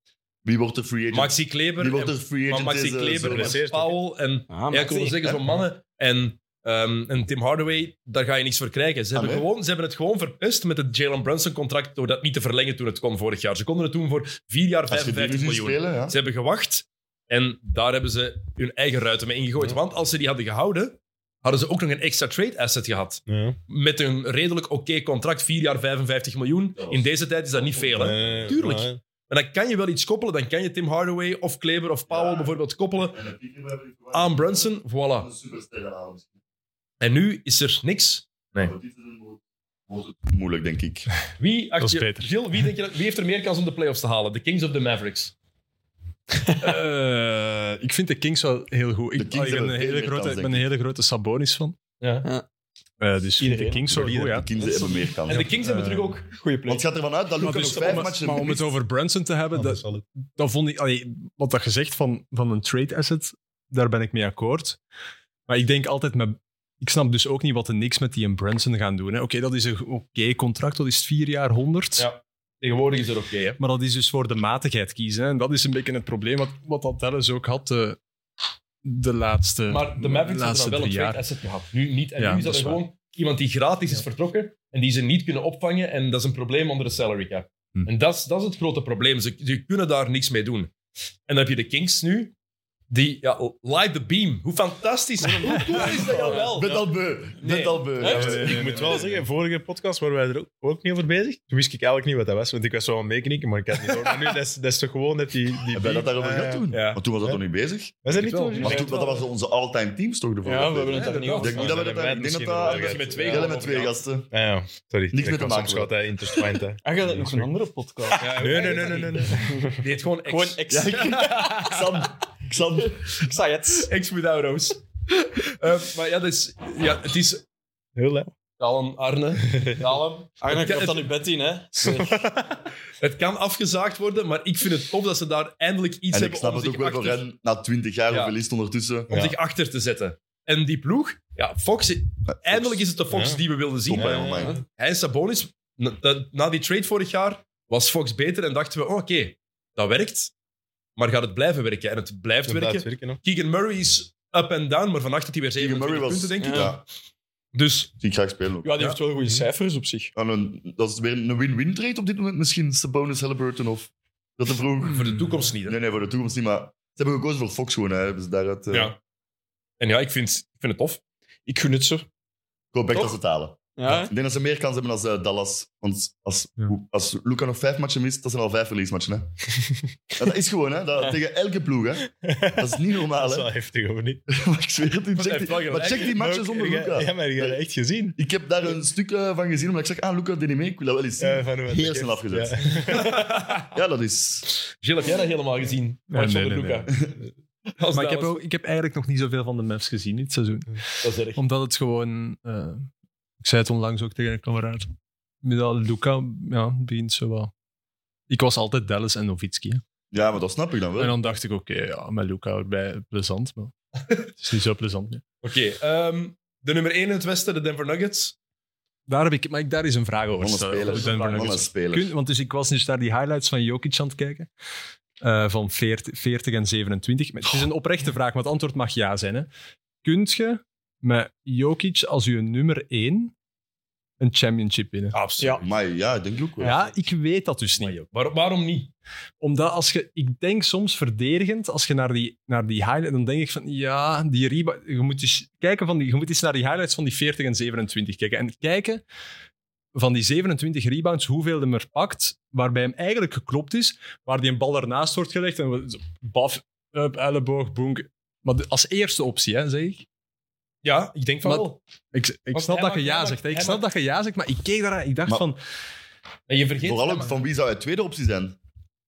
Speaker 2: Wie wordt de free agent?
Speaker 1: Maxi Kleber,
Speaker 2: Wie wordt
Speaker 1: en-
Speaker 2: de free
Speaker 1: maar
Speaker 2: dus agent? eh,
Speaker 1: Maxi
Speaker 2: deze
Speaker 1: Kleber
Speaker 2: zomer?
Speaker 1: en
Speaker 3: geblesseerd,
Speaker 1: Powell en...
Speaker 4: Ah, maar
Speaker 1: Ja, ik wilde
Speaker 4: zie-
Speaker 1: zeggen,
Speaker 4: hè?
Speaker 1: zo'n mannen en, ehm, en Tim Hardaway, daar ga je niks voor krijgen. Ze hebben,
Speaker 2: Ah, nee?
Speaker 1: gewoon, ze hebben het gewoon verpest met het Jalen Brunson-contract door dat niet te verlengen toen het kon vorig jaar. Ze konden het doen voor vier jaar
Speaker 2: Als je die
Speaker 1: 55
Speaker 2: nu ziet
Speaker 1: miljoen.
Speaker 2: spelen, ja.
Speaker 1: Ze hebben gewacht en daar hebben ze hun eigen ruiten mee ingegooid. Want als ze die hadden gehouden, hadden ze ook nog een extra trade-asset gehad.
Speaker 3: Ja.
Speaker 1: Met een redelijk oké contract, vier jaar 55 miljoen. In deze tijd is dat niet veel, hè?
Speaker 3: Eh,
Speaker 1: tuurlijk.
Speaker 3: maar-
Speaker 1: En dan kan je wel iets koppelen. Dan kan je Tim Hardaway of Kleber of Powell bijvoorbeeld koppelen aan Brunson.
Speaker 2: Ah.
Speaker 1: Voilà. En nu is er niks.
Speaker 2: Moeilijk, denk ik.
Speaker 1: Wie, acht
Speaker 5: Dat is
Speaker 1: je-
Speaker 5: beter.
Speaker 1: Gil, wie, denk je, dat- wie heeft er meer kans om de playoffs te halen? De Kings of de Mavericks?
Speaker 5: Eh, ik vind de Kings wel heel goed.
Speaker 2: De
Speaker 5: Ik,
Speaker 2: Kings
Speaker 5: ah, ik ben,
Speaker 2: hebben veel
Speaker 5: een hele
Speaker 2: meer
Speaker 5: grote,
Speaker 2: kans,
Speaker 5: ik ben een
Speaker 2: denk
Speaker 5: hele grote Sabonis van.
Speaker 1: Ja.
Speaker 5: Eh, dus
Speaker 4: Iedereen.
Speaker 5: de Kings wel goed,
Speaker 3: Iedereen.
Speaker 5: ja.
Speaker 2: Kinderen hebben meer kans.
Speaker 1: En de Kings hebben
Speaker 5: Eh,
Speaker 1: terug ook.
Speaker 4: Goeie play.
Speaker 2: Want het gaat ervan uit dat
Speaker 5: Maar,
Speaker 2: Luca
Speaker 5: dus
Speaker 2: nog vijf
Speaker 5: om, het-
Speaker 2: matchen Ah,
Speaker 5: maar om
Speaker 2: mist.
Speaker 5: het over Brunson te hebben, dat, dat vond ik, allee, wat dat gezegd van, van een trade asset, daar ben ik mee akkoord. Maar ik denk altijd met. Ik snap dus ook niet wat de niks met die en Branson gaan doen. hè. Oké, dat is een oké contract, dat is vier jaar 100.
Speaker 1: Ja. Tegenwoordig is dat oké, hè?
Speaker 5: Maar dat is dus voor de matigheid kiezen. hè. En dat is een beetje het probleem wat, wat dat Dallas ook had de, de laatste
Speaker 1: Maar de Mavericks hebben
Speaker 5: Eh,
Speaker 1: dan
Speaker 5: laatste
Speaker 1: wel een
Speaker 5: drie
Speaker 1: trade
Speaker 5: jaar.
Speaker 1: asset gehad. Nu niet. En
Speaker 5: Ja,
Speaker 1: nu is dat,
Speaker 5: dat is
Speaker 1: er gewoon iemand die gratis is vertrokken en die ze niet kunnen opvangen. En dat is een probleem onder de salary cap.
Speaker 5: Hm.
Speaker 1: En dat is, dat is het grote probleem. Ze, ze kunnen daar niks mee doen. En dan heb je de Kings nu, Die, ja, oh, Light the Beam. Hoe fantastisch. Hoe cool is dat dan wel?
Speaker 2: Bent al beu.
Speaker 1: Nee.
Speaker 2: Bent al beu.
Speaker 1: Echt?
Speaker 2: Ja,
Speaker 3: Ik moet wel zeggen, vorige podcast waren wij er ook- ook niet over bezig. Toen wist ik eigenlijk niet wat dat was, want ik was wel aan het meeknikken, maar ik had het niet door. Maar nu, dat is, dat is toch gewoon net die... die
Speaker 2: Hebben wij dat
Speaker 3: beat,
Speaker 2: daarover
Speaker 3: eh,
Speaker 2: gehad toen?
Speaker 1: ja.
Speaker 2: Maar toen was dat nog niet bezig.
Speaker 3: Was dat niet
Speaker 1: Wel,
Speaker 3: toen?
Speaker 2: Maar toen, dat was onze all-time teams toch? De vorige
Speaker 4: Ja, we hebben het
Speaker 2: aflevering?
Speaker 4: daar niet
Speaker 2: Ik
Speaker 4: over.
Speaker 2: denk niet dat we dat
Speaker 3: Ja,
Speaker 2: Ik denk dat
Speaker 3: misschien
Speaker 2: dat...
Speaker 3: wel.
Speaker 1: Dat is met twee
Speaker 2: Ja,
Speaker 1: gasten.
Speaker 2: met twee
Speaker 3: [laughs]
Speaker 2: gasten.
Speaker 3: Ah, ja, sorry.
Speaker 2: Niks
Speaker 3: Ik
Speaker 2: met te
Speaker 3: was
Speaker 2: maken
Speaker 3: Soms gaat hij intertwined,
Speaker 2: [laughs]
Speaker 3: hè.
Speaker 4: Ah, gaat nog een andere podcast?
Speaker 1: Ja,
Speaker 3: Nee, nee, nee, nee, nee. nee.
Speaker 1: Die heet gewoon X.
Speaker 4: Gewoon ex.
Speaker 2: Ja, Xan. Xan.
Speaker 4: Ik zei het.
Speaker 1: [laughs] Ex without O's. Eh, maar ja, dat is, ja, het is...
Speaker 3: Heel, hè.
Speaker 1: Kalm, [laughs] Arne. Kalm.
Speaker 4: Arne,
Speaker 1: Het kan-
Speaker 4: ik dat nu bed in, hè?
Speaker 1: Het kan afgezaagd worden, maar ik vind het tof dat ze daar eindelijk iets
Speaker 2: En ik
Speaker 1: hebben
Speaker 2: snap
Speaker 1: om,
Speaker 2: het
Speaker 1: zich
Speaker 2: ook wel voor
Speaker 1: achter,
Speaker 2: hen, na twintig jaar,
Speaker 1: Ja.
Speaker 2: hoeveel is het ondertussen?
Speaker 1: om
Speaker 3: Ja.
Speaker 1: zich achter te zetten. En die ploeg, ja, Fox, eh, eindelijk is het de Fox
Speaker 3: Ja.
Speaker 1: die we wilden zien.
Speaker 2: Top,
Speaker 3: Ja,
Speaker 2: hè,
Speaker 3: ja,
Speaker 2: man.
Speaker 1: Hij en Sabonis, na, na- na die trade vorig jaar, was Fox beter en dachten we, oh, oké, dat werkt. Maar gaat het blijven werken? En het blijft
Speaker 3: Dat
Speaker 1: werken.
Speaker 3: blijft werken, hè.
Speaker 1: Keegan Murray is up and down, maar vannacht had hij weer 27
Speaker 2: Keegan Murray was-
Speaker 1: punten, denk ik.
Speaker 2: Ja,
Speaker 1: Dus
Speaker 2: die ga ik spelen ook.
Speaker 4: Ja, die
Speaker 1: Ja.
Speaker 4: heeft wel goede cijfers op zich.
Speaker 2: En een- dat is weer een win-win trade op dit moment misschien. Sabonis, Halliburton of... Dat te vroeg.
Speaker 1: voor de toekomst niet. hè.
Speaker 2: Nee, nee, voor de toekomst niet, maar... Ze hebben gekozen voor Fox gewoon, hè. Hebben ze daaruit... eh,
Speaker 1: Ja. En ja, ik vind, ik vind het tof.
Speaker 5: [laughs]
Speaker 4: Ik gun het ze.
Speaker 2: Ik hoop echt
Speaker 1: Toch?
Speaker 2: dat ze het halen.
Speaker 4: Ja,
Speaker 2: Ik denk dat ze meer kans hebben dan eh, Dallas. Want als,
Speaker 5: Ja.
Speaker 2: hoe- als Luca nog vijf matchen mist, dat zijn al vijf
Speaker 5: [laughs]
Speaker 2: verliesmatchen. Hè? Ja, dat is gewoon, hè? Dat, tegen elke ploeg. Hè? [laughs] Dat is niet normaal,
Speaker 3: Dat is
Speaker 2: hè?
Speaker 3: wel heftig, of niet?
Speaker 2: [laughs] Maar ik zweer het u.
Speaker 1: hij
Speaker 2: Check
Speaker 1: heeft wel gelijk.
Speaker 2: die,
Speaker 1: eh,
Speaker 2: maar check die
Speaker 3: Maar
Speaker 2: matchen
Speaker 3: ook-
Speaker 2: zonder
Speaker 3: jij- Ja,
Speaker 2: Luca.
Speaker 3: maar je hebt dat echt gezien.
Speaker 2: Ik heb daar een stuk eh, van gezien, omdat ik zeg, ah, Luca deed niet mee, ik wil dat wel eens zien.
Speaker 1: Eh.
Speaker 3: Ja, Eh, van hoe het
Speaker 2: Heel
Speaker 3: is.
Speaker 2: snel afgezet.
Speaker 3: Ja.
Speaker 2: Ja, dat is...
Speaker 1: Jill, heb jij dat helemaal gezien?
Speaker 5: Nee,
Speaker 1: Match
Speaker 5: nee,
Speaker 1: zonder
Speaker 5: nee,
Speaker 1: Luca. Als
Speaker 5: Maar
Speaker 1: dat
Speaker 5: ik heb,
Speaker 1: was-
Speaker 5: ook, ik heb eigenlijk nog niet zoveel van de Mavs gezien dit seizoen.
Speaker 1: Dat is erg.
Speaker 5: Omdat het gewoon... eh, ik zei het onlangs ook tegen een kameraad. Met dat Luca ja, begint zo wat... Ik was altijd Dallas en Nowitzki. hè.
Speaker 2: Ja, maar dat snap ik dan
Speaker 5: En
Speaker 2: wel.
Speaker 5: dan dacht ik, oké, ja, met Luca erbij, plezant. Maar het is niet zo plezant meer.
Speaker 1: Oké, ehm, de nummer 1 in het Westen, de Denver Nuggets.
Speaker 5: Daar, heb ik, maar ik, daar is een vraag over.
Speaker 2: Mannen
Speaker 5: stel- over
Speaker 2: spelers.
Speaker 5: Denver Nuggets.
Speaker 2: Mannen spelers.
Speaker 5: Kun- want dus ik was dus daar die highlights van Jokic aan het kijken. Eh, van 40, 40 en 27. Maar het is een oprechte vraag, maar het antwoord mag ja zijn. Hè. Kunt je met Jokic als je nummer 1 een championship winnen?
Speaker 1: Absoluut.
Speaker 2: Maar ja, ik denk ik ook wel.
Speaker 5: Ja, ik weet dat dus niet.
Speaker 1: Maar waar- waarom niet?
Speaker 5: Omdat als je, ik denk soms verdedigend, als je naar die, naar die highlights, dan denk ik van ja, die rebound. Je moet eens kijken van die, je moet eens naar die highlights van die 40 en 27 kijken. En kijken van die 27 rebounds, hoeveel hem er pakt, waarbij hem eigenlijk geklopt is, waar die een bal ernaast wordt gelegd en we- baf, up, elleboog, boonk. Maar de- als eerste optie, hè, zeg ik.
Speaker 1: Ja, ik denk van
Speaker 5: Maar-
Speaker 1: wel.
Speaker 5: Ik, ik
Speaker 1: Want
Speaker 5: snap
Speaker 1: hij
Speaker 5: dat
Speaker 1: maakt-
Speaker 5: je ja
Speaker 1: hij maakt-
Speaker 5: zegt. hè. Ik
Speaker 1: hij
Speaker 5: snap dat
Speaker 1: maakt-
Speaker 5: je ja zegt, maar ik keek daaraan ik dacht
Speaker 2: Maar-
Speaker 5: van...
Speaker 1: En je vergeet
Speaker 2: Vooral
Speaker 1: het,
Speaker 2: ook
Speaker 1: maar-
Speaker 2: van wie zou hij tweede optie zijn?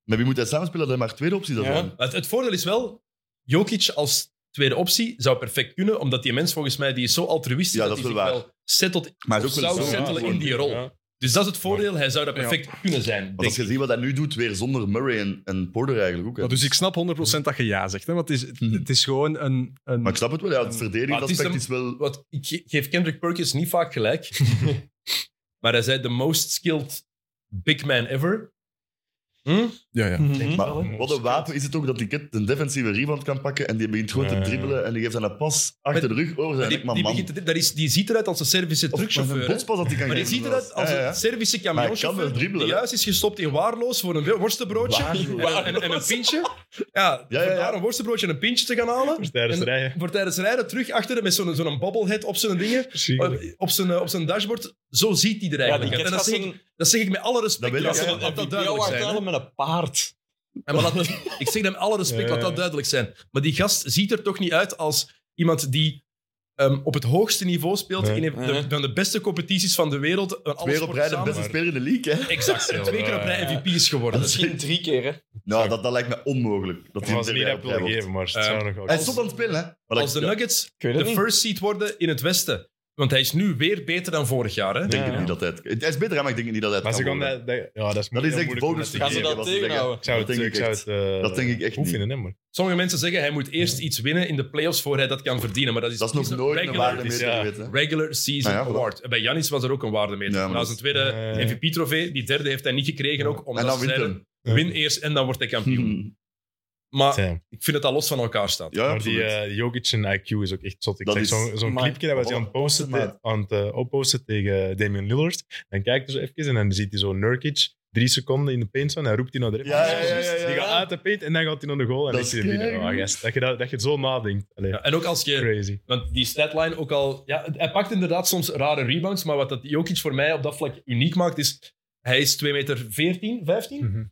Speaker 2: Met wie moet hij samenspelen dat hij maar tweede optie zou
Speaker 4: Ja.
Speaker 2: zijn?
Speaker 1: Het, het voordeel is wel, Jokic als tweede optie zou perfect kunnen, omdat die mens volgens mij die is zo altruïstisch
Speaker 2: Ja,
Speaker 1: dat,
Speaker 2: dat is
Speaker 1: hij
Speaker 2: wel
Speaker 1: zich
Speaker 2: waar.
Speaker 1: wel settelt.
Speaker 2: Maar hij is
Speaker 1: Of
Speaker 2: ook wel
Speaker 1: zou
Speaker 2: zo-
Speaker 1: settelen in die rol.
Speaker 3: Ja.
Speaker 1: Dus dat is het voordeel, hij zou dat perfect kunnen zijn.
Speaker 2: Want
Speaker 1: denk
Speaker 2: als je
Speaker 1: ik.
Speaker 2: ziet wat hij nu doet, weer zonder Murray en, en Porter eigenlijk ook. hè.
Speaker 5: Maar dus ik snap 100% dat je ja zegt. Hè? Want het is,
Speaker 2: Mhm.
Speaker 5: het is gewoon een... een
Speaker 2: Maar ik snap het wel, ja, het
Speaker 1: Maar het is
Speaker 2: verdedigingsaspect
Speaker 1: hem-
Speaker 2: is wel...
Speaker 1: Wat, ik ge- geef Kendrick Perkins niet vaak gelijk, [laughs] maar hij zei de most skilled big man ever. Hm?
Speaker 5: ja, ja.
Speaker 4: Mhm.
Speaker 2: Maar wat een wapen is het ook dat die kid een defensieve rebound kan pakken en die begint gewoon te
Speaker 3: Ja.
Speaker 2: dribbelen en die geeft dan een pas achter de rug over zijn
Speaker 1: Die,
Speaker 2: nek. Maar
Speaker 1: die,
Speaker 2: man,
Speaker 1: begint te- dat is, die ziet eruit als een Servische
Speaker 2: of maar een
Speaker 1: truckchauffeur. hè.
Speaker 2: botspas dat hij kan
Speaker 1: Maar die
Speaker 2: geven.
Speaker 1: ziet
Speaker 2: zelfs.
Speaker 1: eruit als
Speaker 2: Ja, ja, ja.
Speaker 1: een Servische
Speaker 2: Maar hij kan wel
Speaker 1: camionchauffeur
Speaker 2: dribbelen,
Speaker 1: die
Speaker 2: hè.
Speaker 1: juist is gestopt in waarloos voor een worstenbroodje en, en, en een pintje. Ja,
Speaker 2: Ja, ja,
Speaker 1: voor
Speaker 2: ja.
Speaker 1: daar een worstenbroodje en een pintje te gaan halen.
Speaker 3: Dus tijdens
Speaker 1: En-
Speaker 2: Oh,
Speaker 3: rijden.
Speaker 1: Voor tijdens rijden terug achter hem met zo'n zo'n bobblehead op zijn dingen,
Speaker 3: Verschrikkelijk.
Speaker 1: op zijn, eh, op zijn dashboard. Zo ziet hij er
Speaker 4: Ja, die
Speaker 1: eigenlijk uit.
Speaker 4: kent
Speaker 1: En dat
Speaker 4: gaat
Speaker 1: zeg, ik,
Speaker 4: een
Speaker 1: dat zeg ik met alle respect.
Speaker 2: Dat wil
Speaker 1: laat
Speaker 2: ik,
Speaker 1: dat,
Speaker 2: ja.
Speaker 1: laat dat duidelijk zijn. hè.
Speaker 4: halen met een paard.
Speaker 1: En maar laat- [laughs] ik zeg dat met alle respect, laat
Speaker 3: Ja,
Speaker 1: dat
Speaker 3: ja.
Speaker 1: duidelijk zijn. Maar die gast ziet er toch niet uit als iemand die ehm, op het hoogste niveau speelt
Speaker 3: Nee.
Speaker 1: in een de,
Speaker 4: Nee.
Speaker 1: van de beste competities van de wereld. Een
Speaker 2: Twee op rij de beste speler in de league. Hè?
Speaker 1: Exact. [laughs]
Speaker 3: Ja,
Speaker 1: Twee keer op rij
Speaker 3: ja.
Speaker 1: MVP is geworden.
Speaker 4: Misschien drie keer, hè.
Speaker 2: Nou, dat, dat lijkt me onmogelijk. Dat
Speaker 3: Dat
Speaker 2: hij
Speaker 3: was
Speaker 2: hem
Speaker 3: niet
Speaker 2: twee
Speaker 3: dat ik
Speaker 2: op rij
Speaker 3: wil
Speaker 2: wordt.
Speaker 3: geven, maar het
Speaker 1: Eh,
Speaker 3: zou nog wel-
Speaker 2: Hij is top aan het spelen, hè? Maar
Speaker 1: Als de
Speaker 2: dat, ja,
Speaker 1: Nuggets
Speaker 4: Ik weet
Speaker 1: de
Speaker 4: het niet.
Speaker 1: first seed worden in het Westen. Want hij is nu weer beter dan vorig jaar. Hè?
Speaker 2: ik denk
Speaker 4: Ja,
Speaker 2: het
Speaker 4: ja.
Speaker 2: niet dat hij... het- Hij is beter, hè, maar ik denk niet dat hij het
Speaker 3: Maar ze
Speaker 2: kan
Speaker 3: gaan
Speaker 2: worden.
Speaker 3: dat... dat- Ja, dat is
Speaker 2: Dat is
Speaker 3: heel
Speaker 2: echt
Speaker 3: moeilijk om
Speaker 2: bonus
Speaker 3: te
Speaker 2: te
Speaker 4: Gaan ze
Speaker 3: geven.
Speaker 2: geven,
Speaker 4: dat
Speaker 2: wat ze
Speaker 4: tegenhouden?
Speaker 2: zeggen.
Speaker 3: Ik zou het,
Speaker 2: Dat denk
Speaker 3: ik
Speaker 2: ik
Speaker 3: zou
Speaker 2: echt.
Speaker 3: het eh,
Speaker 2: Dat denk ik echt
Speaker 3: goed
Speaker 2: niet.
Speaker 3: vinden, hè, maar.
Speaker 1: Sommige mensen zeggen hij moet eerst iets winnen in de playoffs voor hij dat kan verdienen. Maar dat is,
Speaker 2: Dat is nog
Speaker 1: een
Speaker 2: nooit een
Speaker 1: regular,
Speaker 2: waardemeter
Speaker 3: Ja.
Speaker 2: geweest. hè.
Speaker 1: regular season
Speaker 2: Nou ja, voilà.
Speaker 1: award. En Bij Janis was er ook een waardemeter.
Speaker 2: Ja, maar
Speaker 1: Na
Speaker 2: dat
Speaker 1: zijn
Speaker 2: is-
Speaker 1: tweede
Speaker 3: Ja, ja.
Speaker 1: MVP-trofee, die derde heeft hij niet gekregen ook. Omdat
Speaker 2: En dan
Speaker 1: ze
Speaker 2: wint
Speaker 1: zeiden,
Speaker 2: hem.
Speaker 1: Win Ah, eerst en dan wordt hij kampioen.
Speaker 2: Hm.
Speaker 1: Maar
Speaker 3: Damn.
Speaker 1: ik vind dat dat los van elkaar staat.
Speaker 2: Ja,
Speaker 3: maar die
Speaker 2: absoluut.
Speaker 3: eh, Jokic en IQ is ook echt zot. Ik
Speaker 2: Dat
Speaker 3: zag
Speaker 2: is-
Speaker 3: zo'n zo'n
Speaker 4: Maar-
Speaker 3: clipje dat was hij aan het, posten,
Speaker 2: Maar-
Speaker 3: aan het eh, opposten tegen Damian Lillard. Dan kijkt hij zo even en dan ziet hij zo Nurkic. drie seconden in de paint staan en roept hij naar de ref.
Speaker 2: Ja, ja, ja, ja, ja.
Speaker 3: Die gaat uit de paint en dan gaat hij naar de goal en
Speaker 2: Dat
Speaker 3: legt hij
Speaker 2: is
Speaker 3: hem binnen.
Speaker 2: keigoed.
Speaker 3: Oh, gast, dat, je dat, dat je zo nadenkt. Allee,
Speaker 1: Ja, en ook als je...
Speaker 3: Crazy.
Speaker 1: Want die statline ook al... Ja, hij pakt inderdaad soms rare rebounds, maar wat dat Jokic voor mij op dat vlak uniek maakt, is... Hij is 2 meter 14, 15.
Speaker 3: Mhm.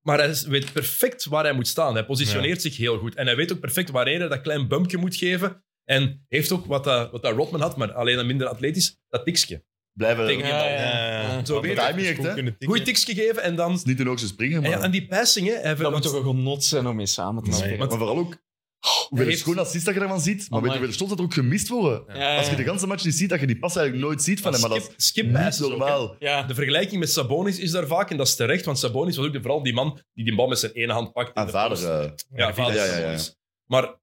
Speaker 1: Maar hij is- weet perfect waar hij moet staan. Hij positioneert zich heel goed. En hij weet ook perfect waar hij dat klein bumpje moet geven. En heeft ook wat dat, wat dat Rodman had, maar alleen dan minder atletisch, dat tikje.
Speaker 2: Blijven.
Speaker 1: Tegen-
Speaker 2: Het
Speaker 4: Ja,
Speaker 3: Ja.
Speaker 1: Zo weet
Speaker 2: timing
Speaker 1: hij.
Speaker 2: echt, hè?
Speaker 1: Goed tikje geven en dan...
Speaker 2: is niet hun hoogste springen,
Speaker 1: En,
Speaker 2: maar,
Speaker 1: ja, en die passing, hè. Hij,
Speaker 4: Dat
Speaker 1: want-
Speaker 4: moet toch een genot zijn om mee samen te
Speaker 3: Nee.
Speaker 4: spelen.
Speaker 2: maar vooral ook hoeveel
Speaker 1: heeft-
Speaker 2: schoon assist dat je daarvan ziet. Maar
Speaker 4: Amai.
Speaker 2: weet je hoeveel shots dat er ook gemist worden?
Speaker 4: Ja,
Speaker 2: Als je
Speaker 4: ja.
Speaker 2: de ganse match niet ziet, dat je die pas eigenlijk nooit ziet van hem. Maar dat
Speaker 1: skip,
Speaker 2: is
Speaker 1: skip
Speaker 2: niet
Speaker 1: passes ook, hè.
Speaker 2: normaal.
Speaker 4: Ja.
Speaker 1: De vergelijking met Sabonis is daar vaak, en dat is terecht, want Sabonis was ook de, vooral die man die die bal met zijn ene hand pakt. in
Speaker 2: Aan
Speaker 1: de
Speaker 2: vader.
Speaker 1: post.
Speaker 2: eh,
Speaker 1: Ja, vader
Speaker 2: ja,
Speaker 1: is
Speaker 2: ja, ja.
Speaker 1: Sabonis. Maar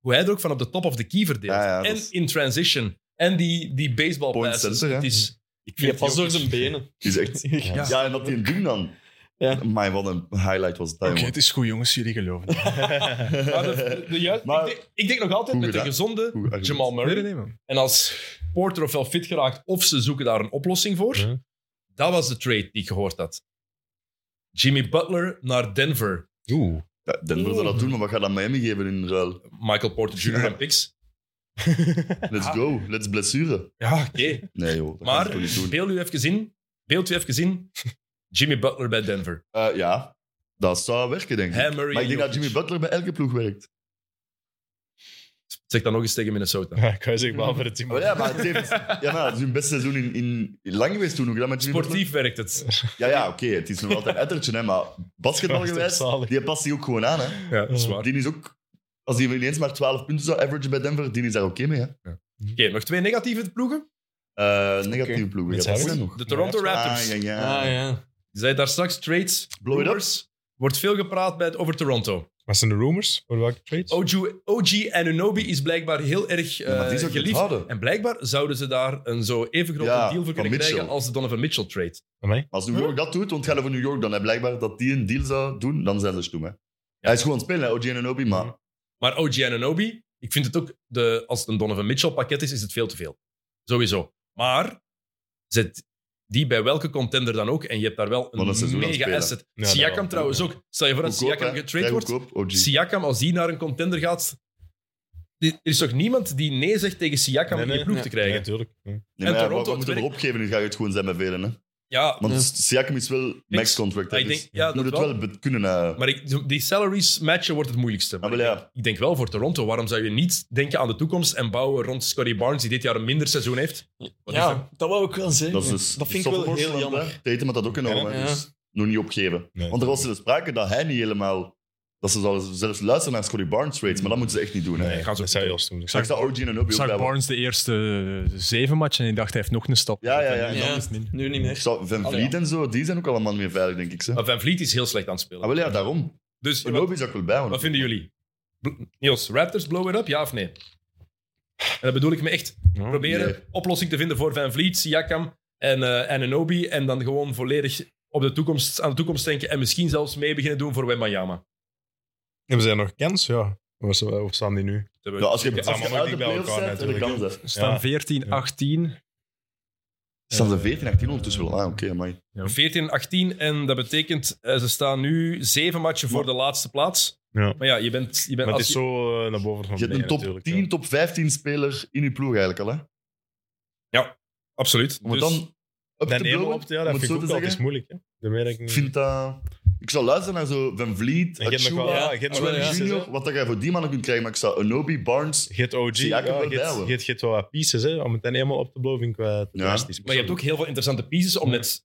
Speaker 1: hoe hij er ook van op de top of the key verdeelt.
Speaker 2: Ja, ja, dat
Speaker 1: en
Speaker 2: is-
Speaker 1: in transition. En die, die baseball
Speaker 2: Point
Speaker 1: passes.
Speaker 2: center, hè.
Speaker 1: Het is, ik
Speaker 4: Je
Speaker 1: vind
Speaker 4: past
Speaker 1: die
Speaker 4: door
Speaker 1: ook-
Speaker 4: zijn benen.
Speaker 2: is echt...
Speaker 1: Ja.
Speaker 2: Ja, en dat die een ding dan.
Speaker 4: Ja.
Speaker 2: Maar wat een highlight was dat,
Speaker 5: Oké,
Speaker 2: jongen.
Speaker 5: het is goed, jongens. Jullie geloven.
Speaker 1: [laughs]
Speaker 5: het.
Speaker 1: Maar de-
Speaker 2: [laughs]
Speaker 1: de- de juist-
Speaker 2: Maar-
Speaker 1: ik, denk, ik denk nog altijd
Speaker 2: Goed
Speaker 1: met een
Speaker 2: gedaan.
Speaker 1: gezonde
Speaker 2: Goed argument.
Speaker 1: Jamal
Speaker 5: Nee,
Speaker 1: Murray.
Speaker 5: nee, nee, man.
Speaker 1: En als Porter ofwel fit geraakt of ze zoeken daar een oplossing voor.
Speaker 3: Ja.
Speaker 1: Dat was de trade die ik gehoord had. Jimmy Butler naar Denver.
Speaker 3: Oeh. [laughs]
Speaker 2: Ja, Denver zou dat doen, maar wat gaat dat Miami geven in ruil?
Speaker 1: Michael Porter Jr.
Speaker 2: Ja.
Speaker 1: en picks.
Speaker 2: Let's
Speaker 1: Ja.
Speaker 2: go, let's blessure.
Speaker 1: Ja, oké.
Speaker 2: Nee joh, dat
Speaker 1: Ah. Maar
Speaker 2: gaan ze toch niet doen.
Speaker 1: beeld u even in. Beeld u even in. Jimmy Butler bij Denver.
Speaker 2: Eh, ja, dat zou werken denk ik.
Speaker 1: Hey, Murray
Speaker 2: maar ik denk
Speaker 1: en
Speaker 2: dat Jimmy Butler bij elke ploeg werkt.
Speaker 1: Zeg dan nog eens tegen Minnesota.
Speaker 3: Ja, ik kan zeggen, behalve het team.
Speaker 2: Maar Oh, ja, maar het heeft, [laughs] ja, maar het is hun beste seizoen in, in, in lang geweest toen. Hoe gedaan met Jimmy
Speaker 1: Sportief werkt het.
Speaker 2: Butler? Ja, ja, oké, het is nog altijd een ettertje, hè, maar
Speaker 1: [laughs]
Speaker 2: basketbal geweest,
Speaker 3: Zalig.
Speaker 2: die past die ook gewoon aan. Hè.
Speaker 1: Ja, dat is waar. Oké,
Speaker 2: Die is ook, als die ineens maar 12 punten zou averagen bij Denver, die is daar oké mee. Hè.
Speaker 1: nog twee negatieve ploegen.
Speaker 2: Eh, negatieve ploegen.
Speaker 3: Met
Speaker 2: Ja, dat
Speaker 3: zijn
Speaker 2: is
Speaker 3: goed.
Speaker 2: nog.
Speaker 1: De Toronto Raptors.
Speaker 2: Ah, ja, ja.
Speaker 4: Ah, ja.
Speaker 1: Je zei daar straks trades.
Speaker 2: Blow it up.
Speaker 1: Rumors. Wordt veel gepraat bij het, over Toronto.
Speaker 3: Wat zijn de rumors? Voor welke trades?
Speaker 1: OG, OG Anunobi is blijkbaar heel erg eh,
Speaker 2: Ja, maar die is ook
Speaker 1: geliefd.
Speaker 2: onthouden.
Speaker 1: En blijkbaar zouden ze daar een zo even grote
Speaker 2: Ja,
Speaker 1: deal voor
Speaker 2: van
Speaker 1: kunnen
Speaker 2: Mitchell.
Speaker 1: krijgen als de Donovan Mitchell trade.
Speaker 2: Maar Als New York dat doet, want het gaat over New York dan. Hè. Blijkbaar dat die een deal zou doen, dan zijn ze stoem. Hè. Hij is gewoon aan het spelen, hè, OG en Obi, maar
Speaker 1: Maar OG Anunobi, ik vind het ook, de, als het een Donovan Mitchell pakket is, is het veel te veel. Sowieso. Maar zet die bij welke contender dan ook en je hebt daar wel
Speaker 2: Wat een
Speaker 1: een
Speaker 2: seizoen aan het
Speaker 1: mega
Speaker 2: spelen.
Speaker 1: asset.
Speaker 3: Ja, dat
Speaker 1: Siakam
Speaker 3: wel.
Speaker 1: trouwens ook. Stel je voor dat
Speaker 2: goedkoop,
Speaker 1: Siakam
Speaker 2: hè.
Speaker 1: getrade
Speaker 2: Vrij
Speaker 1: wordt.
Speaker 2: goedkoop, OG.
Speaker 1: Siakam, als die naar een contender gaat... die- Er is toch niemand die nee zegt tegen Siakam
Speaker 3: Nee,
Speaker 1: om
Speaker 3: nee,
Speaker 1: die ploeg
Speaker 4: nee.
Speaker 1: te
Speaker 3: Ja,
Speaker 1: krijgen?
Speaker 3: natuurlijk. Ja.
Speaker 2: Nee, maar
Speaker 1: En
Speaker 2: ja,
Speaker 1: Toronto,
Speaker 2: wat- wat moet je
Speaker 1: het
Speaker 2: erop geven? Nu ga je het gewoon zijn met velen. Hè?
Speaker 1: Ja,
Speaker 2: Want Siakam is wel max contract. hè,
Speaker 1: ik
Speaker 2: dus
Speaker 1: denk- ja,
Speaker 2: je moet
Speaker 1: dat
Speaker 2: het wel
Speaker 1: wel.
Speaker 2: be- kunnen. eh,
Speaker 1: Maar ik, die salaries matchen wordt het moeilijkste.
Speaker 2: Ah,
Speaker 1: Maar
Speaker 2: wel ja.
Speaker 1: Ik denk wel voor Toronto. Waarom zou je niet denken aan de toekomst en bouwen rond Scotty Barnes, die dit jaar een minder seizoen heeft? Wat is
Speaker 4: ja, dat wou ik wel zeggen.
Speaker 2: Dat, is dus
Speaker 4: dat vind ik wel heel jammer.
Speaker 2: Tatum had dat ook enorm. hè,
Speaker 4: Ja.
Speaker 2: Dus nog niet opgeven.
Speaker 3: Nee.
Speaker 2: Want er was er sprake dat hij niet helemaal... Dat ze zouden zelfs luisteren naar Scotty Barnes rates, maar dat moeten ze echt niet doen. Hè.
Speaker 3: Nee,
Speaker 1: gaan ze
Speaker 3: dat zou je als doen.
Speaker 2: Maar Ik zag OG en Obi
Speaker 5: Ik
Speaker 2: ook bij.
Speaker 5: zag
Speaker 2: want-
Speaker 5: Barnes de eerste zeven matchen en ik dacht, hij heeft nog een stap.
Speaker 2: Ja, ja, ja.
Speaker 5: En
Speaker 4: Ja.
Speaker 5: dan is het niet.
Speaker 4: Nu niet
Speaker 2: Ik
Speaker 4: meer.
Speaker 2: zag Van
Speaker 4: Allee,
Speaker 2: Vliet en zo, die zijn ook allemaal meer veilig, denk
Speaker 1: [laughs]
Speaker 2: ik. Ze.
Speaker 1: Maar
Speaker 2: Ah,
Speaker 1: Van Vliet is heel slecht aan het spelen.
Speaker 2: wel ja, daarom.
Speaker 1: Dus
Speaker 2: En
Speaker 1: wat,
Speaker 2: Obi zag ik wel bij, want
Speaker 1: wat vinden jullie? Bl- Niels, Raptors blow it up, ja of nee? En dat bedoel ik me echt. Proberen
Speaker 2: nee.
Speaker 1: oplossing te vinden voor Van Vliet, Siakam en eh Ananobi. En dan gewoon volledig op de toekomst, aan de toekomst denken. En misschien zelfs mee beginnen doen voor Wembanyama.
Speaker 3: Hebben zij nog kans? Ja. Of zo- of staan die nu?
Speaker 1: Dat we-
Speaker 2: Ja, als je,
Speaker 1: Ja,
Speaker 2: als je
Speaker 3: allemaal
Speaker 2: uit de
Speaker 3: dik bij
Speaker 2: playoffs
Speaker 3: elkaar
Speaker 2: zet, heb je
Speaker 3: natuurlijk,
Speaker 2: kansen.
Speaker 5: Ze Staan
Speaker 3: Ja.
Speaker 5: 14,
Speaker 3: Ja.
Speaker 5: 18.
Speaker 2: Staan ze 14, 18 ondertussen wel. Ah, oké, maar
Speaker 1: 14, 18 en dat betekent eh, ze staan nu zeven matchen voor de laatste plaats.
Speaker 3: Ja.
Speaker 1: Maar ja, je bent, je bent
Speaker 3: Maar het
Speaker 1: als
Speaker 3: is
Speaker 1: je-
Speaker 3: zo eh, naar boven van
Speaker 2: Je hebt een
Speaker 3: beneden
Speaker 2: top
Speaker 3: natuurlijk,
Speaker 2: 10,
Speaker 3: ja.
Speaker 2: top 15 speler in je ploeg eigenlijk al. Hè?
Speaker 1: absoluut.
Speaker 2: Om het
Speaker 1: Dus-
Speaker 2: dan up
Speaker 3: Dan
Speaker 2: te
Speaker 3: helemaal
Speaker 2: blowen,
Speaker 3: op te ja,
Speaker 2: om
Speaker 3: dat
Speaker 2: het
Speaker 3: vind
Speaker 2: zo te
Speaker 3: ik ook altijd
Speaker 2: zeggen.
Speaker 3: moeilijk. Hè. Dat merk ik
Speaker 2: Ik
Speaker 3: niet.
Speaker 2: vind dat... Ik zou luisteren naar zo Van Vliet,
Speaker 3: En je hebt nog wel...
Speaker 2: Achua,
Speaker 3: Ja,
Speaker 4: Ja.
Speaker 3: je hebt nog
Speaker 4: Achua,
Speaker 3: wel
Speaker 4: ja.
Speaker 3: pieces,
Speaker 2: Junior,
Speaker 3: hè.
Speaker 2: wat dat je voor die mannen kunt krijgen. Maar ik zou Anobi, Barnes...
Speaker 3: Je hebt OG,
Speaker 2: Zie, ja,
Speaker 3: ja,
Speaker 2: ik heb wel
Speaker 3: je hebt-
Speaker 2: bijlen.
Speaker 3: je hebt- je hebt wel wat pieces. Hè. Om het dan helemaal op te blowen vind ik wel fantastisch.
Speaker 1: Maar je hebt ook heel veel interessante pieces om net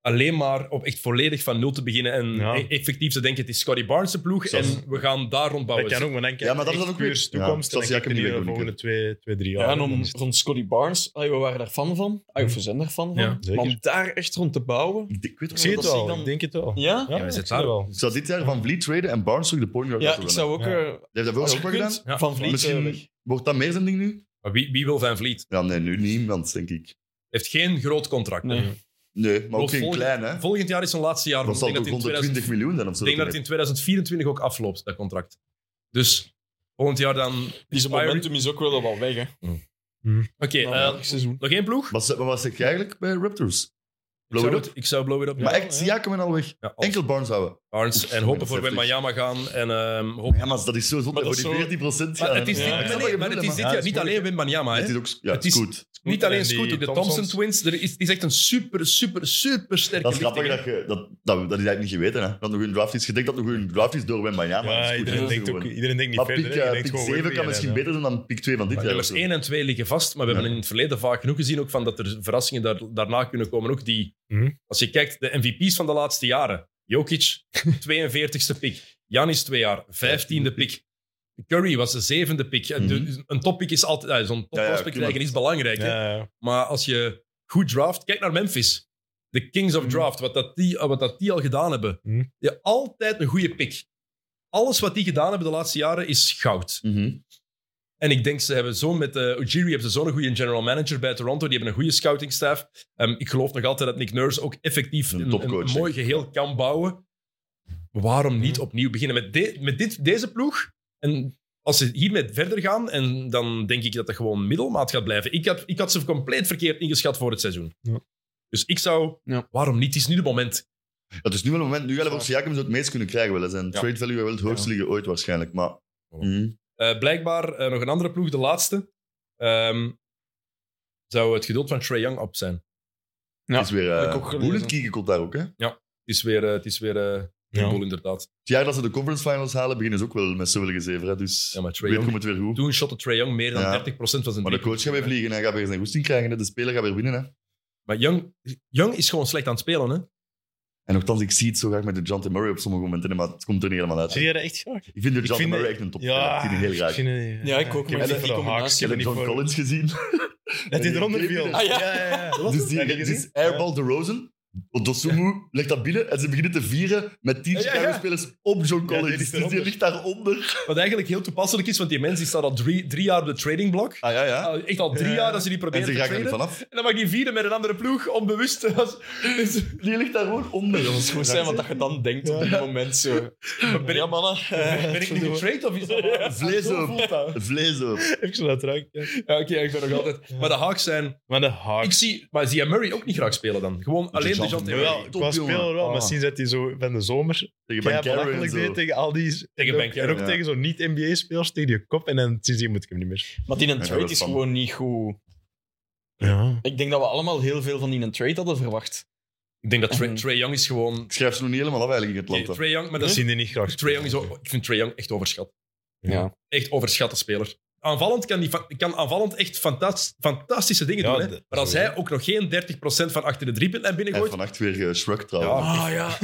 Speaker 1: alleen maar op echt volledig van nul te beginnen en
Speaker 3: Ja.
Speaker 1: e- effectief te denken, het is Scotty Barnes de ploeg
Speaker 3: Zoals-
Speaker 1: en we gaan daar Dus rond
Speaker 3: Dat
Speaker 1: bouwen.
Speaker 3: kan ook, maar dan kijk
Speaker 2: Ja, maar dat
Speaker 3: je
Speaker 2: is
Speaker 3: echt
Speaker 2: ook weer-
Speaker 3: puur
Speaker 2: Ja,
Speaker 3: toekomst.
Speaker 2: zoals
Speaker 3: en dan kijk
Speaker 2: Jacob
Speaker 3: je
Speaker 2: niet
Speaker 3: niet
Speaker 2: meer
Speaker 3: de
Speaker 2: doen
Speaker 3: volgende twee, twee drie jaar.
Speaker 4: Ja, en
Speaker 3: hè. Dan
Speaker 4: om,
Speaker 3: is het-
Speaker 4: rond Scotty Barnes, ah, we waren daar fan van. Ah, of we zijn daar fan van.
Speaker 3: Ja, zeker.
Speaker 4: maar om daar echt rond te bouwen.
Speaker 2: Ik, ik weet
Speaker 3: Ik
Speaker 2: het
Speaker 3: zie
Speaker 2: wel.
Speaker 3: het
Speaker 4: dat zie ik
Speaker 3: wel,
Speaker 4: dan-
Speaker 3: ik denk het wel.
Speaker 1: Ja,
Speaker 4: Ja?
Speaker 1: we zitten
Speaker 3: ik zie het
Speaker 1: daar.
Speaker 3: wel.
Speaker 2: Ik zou dit jaar Van Vliet traden en Barnes terug de point guard
Speaker 4: Ja,
Speaker 2: laten
Speaker 4: ik
Speaker 2: rennen.
Speaker 4: zou ook
Speaker 3: Ja.
Speaker 4: eh,
Speaker 2: Die heeft dat
Speaker 4: als
Speaker 2: wel
Speaker 4: je
Speaker 2: ook
Speaker 4: kunt,
Speaker 2: gedaan.
Speaker 1: Ja.
Speaker 4: van Vliet eh, weg.
Speaker 2: Misschien wordt dat meer zijn ding nu?
Speaker 1: Maar wie, wie wil Van Vliet?
Speaker 2: Ja, nee, nu niemand, denk ik.
Speaker 1: Heeft geen groot contract.
Speaker 4: Nee.
Speaker 2: Nee, maar ook
Speaker 1: Of
Speaker 2: geen
Speaker 1: volgend-
Speaker 2: klein, hè.
Speaker 1: Volgend jaar is zijn laatste jaar. want
Speaker 2: Dat
Speaker 1: ik
Speaker 2: zal
Speaker 1: denk
Speaker 2: toch
Speaker 1: dat in
Speaker 2: 120
Speaker 1: 2000
Speaker 2: miljoen dan of zo.
Speaker 1: Ik denk dat het in 2024 ook afloopt, dat contract. Dus volgend jaar dan...
Speaker 4: Die zijn
Speaker 1: expiry.
Speaker 4: momentum Nou, is ook wel wel weg, hè.
Speaker 1: Oké,
Speaker 4: Na
Speaker 1: eh,
Speaker 4: welk seizoen.
Speaker 1: nog één ploeg?
Speaker 2: Wat, ze- wat was ik eigenlijk bij Raptors?
Speaker 1: Ik
Speaker 2: Blow
Speaker 1: zou,
Speaker 2: it
Speaker 1: het, ik zou blow it up.
Speaker 2: Maar
Speaker 1: ja.
Speaker 2: echt, Siakam en al weg.
Speaker 1: Ja, als
Speaker 2: Enkel Barnes houden.
Speaker 1: Barnes en hopen voor
Speaker 2: Oef,
Speaker 1: Wembanyama gaan. En, ehm hopen.
Speaker 2: Ja, maar dat is zo zonde.
Speaker 1: Maar dat
Speaker 2: Voor
Speaker 1: is
Speaker 2: die
Speaker 1: zo-
Speaker 2: 14%
Speaker 1: Maar het is
Speaker 2: ja,
Speaker 1: dit, maar
Speaker 2: ja, ja.
Speaker 1: nee,
Speaker 2: Ik snap
Speaker 1: maar
Speaker 2: wat je
Speaker 1: het
Speaker 2: bedoelt,
Speaker 1: is dit
Speaker 2: man.
Speaker 3: Ja,
Speaker 1: jaar
Speaker 3: het is
Speaker 1: niet alleen Wembanyama. hè.
Speaker 2: Het is ook... Ja,
Speaker 1: Het is-
Speaker 2: goed.
Speaker 1: Niet alleen
Speaker 3: En die
Speaker 1: Scoot, ook de Thompson
Speaker 3: Thompsons.
Speaker 1: Twins. Er is, is echt een super, super, super sterke
Speaker 2: Dat is grappig
Speaker 1: lichting, hè.
Speaker 2: dat je... Dat, dat, dat is eigenlijk niet geweten, hè. Dat nog een draft is. Je denkt dat nog een draft is door Wembanyama. Dat is
Speaker 3: Ja,
Speaker 2: goed,
Speaker 3: iedereen,
Speaker 2: dat is
Speaker 3: denkt ook,
Speaker 2: gewoon.
Speaker 3: iedereen denkt niet
Speaker 2: Maar
Speaker 3: verder.
Speaker 2: pick,
Speaker 3: hè. Je
Speaker 2: eh,
Speaker 3: denkt
Speaker 2: pick
Speaker 3: gewoon
Speaker 2: 7
Speaker 3: Whitby
Speaker 2: kan
Speaker 3: en,
Speaker 2: misschien
Speaker 3: eh,
Speaker 2: beter zijn dan pick 2 van dit
Speaker 1: Maar
Speaker 2: jaar.
Speaker 1: nummers
Speaker 2: of
Speaker 1: 1
Speaker 2: zo.
Speaker 1: en 2 liggen vast. Maar we hebben
Speaker 2: Ja.
Speaker 1: in het verleden vaak genoeg gezien ook van dat er verrassingen daar, daarna kunnen komen. Ook die,
Speaker 3: Mhm.
Speaker 1: Als je kijkt, de MVP's van de laatste jaren.
Speaker 2: [laughs]
Speaker 1: Jokic, 42e pick. Janis, twee jaar, 15e pick. Curry was de zevende pick. Eh, de- een toppick is altijd... eh, Zo'n
Speaker 2: Mhm. Ja, ja,
Speaker 1: topprospect
Speaker 2: tuurlijk.
Speaker 1: krijgen is belangrijk. hè.
Speaker 3: Ja, ja.
Speaker 1: Maar als je goed draft... Kijk naar Memphis. De Kings of Draft. Wat dat die, wat dat die al gedaan hebben.
Speaker 3: Mhm.
Speaker 1: Je altijd een goede pick. Alles wat die gedaan hebben de laatste jaren is goud.
Speaker 2: Mhm.
Speaker 1: En ik denk, ze hebben zo met eh Ujiri hebben ze zo'n goede general manager bij Toronto. Die hebben een goede scoutingstaf. Ehm, ik geloof nog altijd dat Nick Nurse ook effectief
Speaker 2: Een
Speaker 1: een, een,
Speaker 2: topcoach,
Speaker 1: mooi geheel kan bouwen. Waarom niet opnieuw beginnen met, de- met dit, deze ploeg? En als ze hiermee verder gaan, en dan denk ik dat dat gewoon middelmaat gaat blijven. Ik had, ik had ze compleet verkeerd ingeschat voor het seizoen.
Speaker 3: Ja.
Speaker 1: Dus ik zou...
Speaker 4: Ja.
Speaker 1: Waarom niet? Het is nu de moment.
Speaker 2: Dat is nu wel een moment. Nu hebben we voor Siakam zou het meest kunnen krijgen. Wel. hè. Zijn trade value wel het hoogst liggen ooit waarschijnlijk. Maar... Mhm.
Speaker 1: Eh, blijkbaar eh, nog een andere ploeg, de laatste. Ehm, zou het geduld van Trae Young op zijn?
Speaker 4: Ja,
Speaker 2: Het is weer...
Speaker 4: heb ik ook
Speaker 2: eh
Speaker 4: gelezen.
Speaker 2: Bullet Kieken komt daar ook, hè.
Speaker 1: Het is weer, eh, het is weer eh, een
Speaker 3: Ja.
Speaker 1: boel, inderdaad.
Speaker 2: Het jaar dat ze de conference finals halen, beginnen ze ook wel met zoveel gezever. Hè? Dus
Speaker 1: Ja, maar Trae
Speaker 2: weet
Speaker 1: Young,
Speaker 2: komt het weer goed.
Speaker 1: toen shotte Trae Young meer dan
Speaker 2: Ja.
Speaker 1: 30% van zijn
Speaker 2: Maar de coach gaat weer
Speaker 1: driepunten.
Speaker 2: vliegen. Hij gaat weer zijn goesting krijgen. hè. De speler gaat weer winnen. Hè?
Speaker 1: Maar Young, Young is gewoon slecht aan het spelen, hè?
Speaker 2: En nogthans, ik zie het zo graag met de John Murray op sommige momenten. Maar het komt er niet helemaal uit.
Speaker 3: Zie jij dat echt graag?
Speaker 2: Ik vind de
Speaker 3: Ik
Speaker 2: John
Speaker 3: vind-
Speaker 2: Murray echt een top.
Speaker 3: Ja,
Speaker 2: ik zie die heel graag.
Speaker 3: ik vind het-
Speaker 4: Ja, ik ook,
Speaker 3: heb
Speaker 4: maar
Speaker 3: niet
Speaker 4: die
Speaker 3: voor de
Speaker 4: combinatie
Speaker 3: Hawks,
Speaker 2: Ik heb
Speaker 3: heb
Speaker 2: de
Speaker 3: niet
Speaker 2: John
Speaker 3: voor-
Speaker 2: Collins gezien.
Speaker 3: Dat hij eronder viel.
Speaker 4: Ah, ja.
Speaker 3: ja, ja.
Speaker 2: [laughs] dus die,
Speaker 3: Heb je
Speaker 2: dus
Speaker 3: gezien?
Speaker 2: airball de Rosen. Dosumu legt dat binnen en ze beginnen te vieren met 10
Speaker 1: Ja, ja, ja.
Speaker 2: Chicago-spelers op John
Speaker 3: die
Speaker 2: Collins.
Speaker 3: ligt
Speaker 2: dus die
Speaker 3: eronder.
Speaker 2: ligt daaronder.
Speaker 1: Wat eigenlijk heel toepasselijk is, want die mens die staat al drie, drie jaar op de trading block.
Speaker 2: Ah ja, ja.
Speaker 1: Al- Echt al drie
Speaker 3: Ja.
Speaker 1: jaar dat ze die
Speaker 2: En
Speaker 1: proberen
Speaker 2: ze
Speaker 1: te
Speaker 2: gaan er niet
Speaker 1: traden.
Speaker 2: vanaf.
Speaker 1: En dan mag die vierde met een andere ploeg, onbewust.
Speaker 2: [laughs]
Speaker 1: [laughs]
Speaker 2: Die ligt daar gewoon onder.
Speaker 4: Dat moet goed zijn wat dat je dan denkt op dit moment. Zo.
Speaker 1: ben,
Speaker 4: Ja, mannen. eh,
Speaker 1: ben ik nu getraind of is dat
Speaker 2: Vlees
Speaker 1: Zo
Speaker 2: op.
Speaker 1: voelt dat.
Speaker 2: Vlees op.
Speaker 3: Even zo dat ruikt. ja.
Speaker 1: Ja, oké, ik ben nog altijd... Maar de Hawks zijn...
Speaker 3: Maar de
Speaker 1: Ik
Speaker 3: Hawks.
Speaker 1: zie... Maar zie jij Murray ook niet graag spelen dan? Gewoon alleen de John
Speaker 2: Murray.
Speaker 3: Wel,
Speaker 2: Top,
Speaker 3: qua
Speaker 2: jongen.
Speaker 3: speler wel,
Speaker 1: Ah.
Speaker 3: maar sinds dat hij zo van de zomer
Speaker 2: Tegen Ben
Speaker 3: ja,
Speaker 2: Carey en
Speaker 3: belachelijk
Speaker 2: zo.
Speaker 3: deed tegen al die...
Speaker 1: Tegen
Speaker 3: en
Speaker 1: Ben
Speaker 3: ook-
Speaker 1: Carey,
Speaker 3: En ook
Speaker 2: ja.
Speaker 3: tegen zo'n niet-NBA-spelers, tegen die kop. En dan sindsdien moet ik hem niet meer.
Speaker 4: Maar die een
Speaker 2: Ja,
Speaker 4: trade
Speaker 2: dat
Speaker 4: is
Speaker 2: is van-
Speaker 4: gewoon niet goed.
Speaker 3: Ja.
Speaker 4: Ik denk dat we allemaal heel veel van die een trade hadden verwacht.
Speaker 1: Ik denk dat Trae-
Speaker 4: Mhm.
Speaker 1: Trae Young is gewoon...
Speaker 2: Ik schrijf ze nog niet helemaal af eigenlijk in Mm. Atlanta.
Speaker 1: Trae Young, maar dat
Speaker 3: Dat
Speaker 1: is
Speaker 3: zien die niet graag.
Speaker 1: Trae Young is ook- ik vind Trae Young echt overschat.
Speaker 4: Ja.
Speaker 1: Echt overschatte speler. Aanvallend kan, die, fa- kan aanvallant echt fantas- fantastische dingen
Speaker 3: Ja,
Speaker 1: doen. Hè?
Speaker 3: dat-
Speaker 1: Maar als hij ook nog geen 30% van achter de driepuntlijn
Speaker 2: Hij heeft
Speaker 1: binnengooit...
Speaker 2: vannacht weer eh, Shrug trouwens.
Speaker 1: Ja, ja.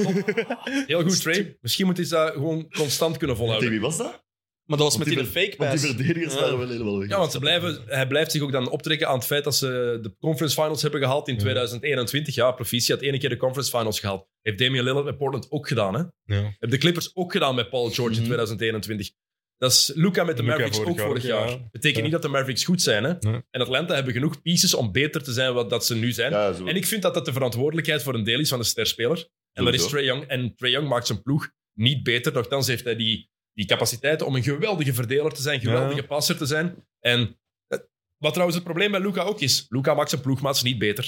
Speaker 1: Heel goed, Trae. Misschien moet hij dat gewoon constant kunnen
Speaker 2: Tegen
Speaker 1: volhouden.
Speaker 2: wie was dat?
Speaker 4: Maar dat was
Speaker 2: Want
Speaker 4: met die,
Speaker 2: die
Speaker 4: een fake
Speaker 2: Want die
Speaker 4: pass.
Speaker 2: verdedigers
Speaker 4: Ja.
Speaker 2: waren wel helemaal weg.
Speaker 1: Ja, want ze blijven, hij blijft zich ook dan optrekken aan het feit dat ze de conference finals hebben gehaald in 2021. Ja, Proficiat had ene keer de conference finals gehaald. Heeft Damian Lillard met Portland ook gedaan, hè?
Speaker 3: Ja.
Speaker 1: Hebben de Clippers ook gedaan met Paul George
Speaker 4: Mhm.
Speaker 1: in 2021. Dat is Luca met de
Speaker 3: Luka
Speaker 1: Mavericks
Speaker 3: vorig
Speaker 1: ook
Speaker 3: jaar,
Speaker 1: vorig
Speaker 3: ja.
Speaker 1: jaar. Betekent
Speaker 3: Ja.
Speaker 1: niet dat de Mavericks goed zijn. Hè?
Speaker 3: Nee.
Speaker 1: En Atlanta hebben genoeg pieces om beter te zijn wat dat ze nu zijn.
Speaker 2: Ja, zo.
Speaker 1: En ik vind dat dat de verantwoordelijkheid voor een deel is van de sterspeler. En dat
Speaker 2: Sowieso.
Speaker 1: is Trae Young. En Trae Young maakt zijn ploeg niet beter. Nochtans heeft hij die, die capaciteit om een geweldige verdeler te zijn, geweldige passer te zijn. En eh, wat trouwens het probleem bij Luca ook is. Luca maakt zijn ploegmaats niet beter.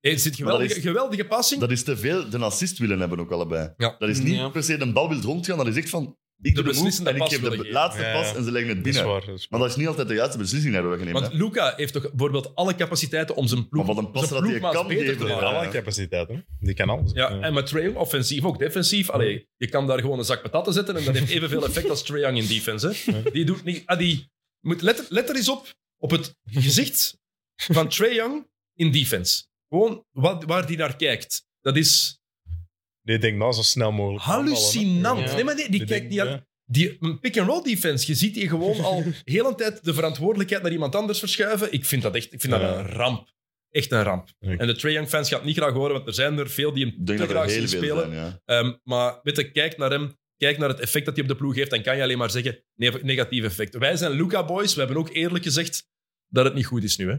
Speaker 1: Er zit
Speaker 2: Maar dat
Speaker 1: geweldige,
Speaker 2: is-
Speaker 1: geweldige passing.
Speaker 2: Dat is te veel de assist willen hebben ook allebei.
Speaker 1: Ja.
Speaker 2: Dat is niet
Speaker 4: Ja.
Speaker 2: per se de bal wil rondgaan, dat is echt van... Ik doe de move
Speaker 1: beslissende
Speaker 2: en ik
Speaker 1: pas
Speaker 2: geef de
Speaker 1: willen
Speaker 2: be-
Speaker 1: geven.
Speaker 2: laatste
Speaker 3: Ja, ja.
Speaker 2: pas en ze leggen het
Speaker 3: Dat is
Speaker 2: binnen.
Speaker 3: waar. dat is waar.
Speaker 2: Maar dat is niet altijd de juiste beslissing die we nemen.
Speaker 1: Want Luca heeft toch bijvoorbeeld alle capaciteiten om zijn ploeg,
Speaker 2: Maar wat een pas
Speaker 1: zijn
Speaker 2: dat hij
Speaker 1: ploegmaats
Speaker 2: kan
Speaker 1: beter
Speaker 2: geven.
Speaker 1: te
Speaker 3: Maar
Speaker 1: maken.
Speaker 2: Ja.
Speaker 3: alle capaciteit, hè. Die kan alles.
Speaker 1: Ja, en met Trae Young, offensief ook defensief. Allee, je kan daar gewoon een zak patatten zetten en dat heeft evenveel effect als Trae Young in defense. Hè. Die doet niet... Ah, die moet let, let er eens op, op het gezicht van Trae Young in defense. Gewoon wat, waar die naar kijkt. Dat is
Speaker 3: Die denkt nou zo snel mogelijk.
Speaker 1: hallucinant.
Speaker 4: Ja.
Speaker 1: Nee, maar die, die kijkt niet aan... Die een pick-and-roll defense, je ziet die gewoon al heel een tijd de verantwoordelijkheid naar iemand anders verschuiven. Ik vind dat echt ik vind dat
Speaker 3: Ja.
Speaker 1: een ramp. Echt een ramp.
Speaker 3: Ja.
Speaker 1: En de Trae Young fans gaan het niet graag horen, want er zijn er veel die hem
Speaker 2: Ik denk
Speaker 1: te
Speaker 2: dat er
Speaker 1: graag
Speaker 2: heel
Speaker 1: zien
Speaker 2: veel
Speaker 1: spelen.
Speaker 2: zijn, ja.
Speaker 1: Ehm, maar weet je, kijk naar hem. Kijk naar het effect dat hij op de ploeg heeft. Dan kan je alleen maar zeggen, ne- negatief effect. Wij zijn Luca Boys. We hebben ook eerlijk gezegd dat het niet goed is nu. Hè?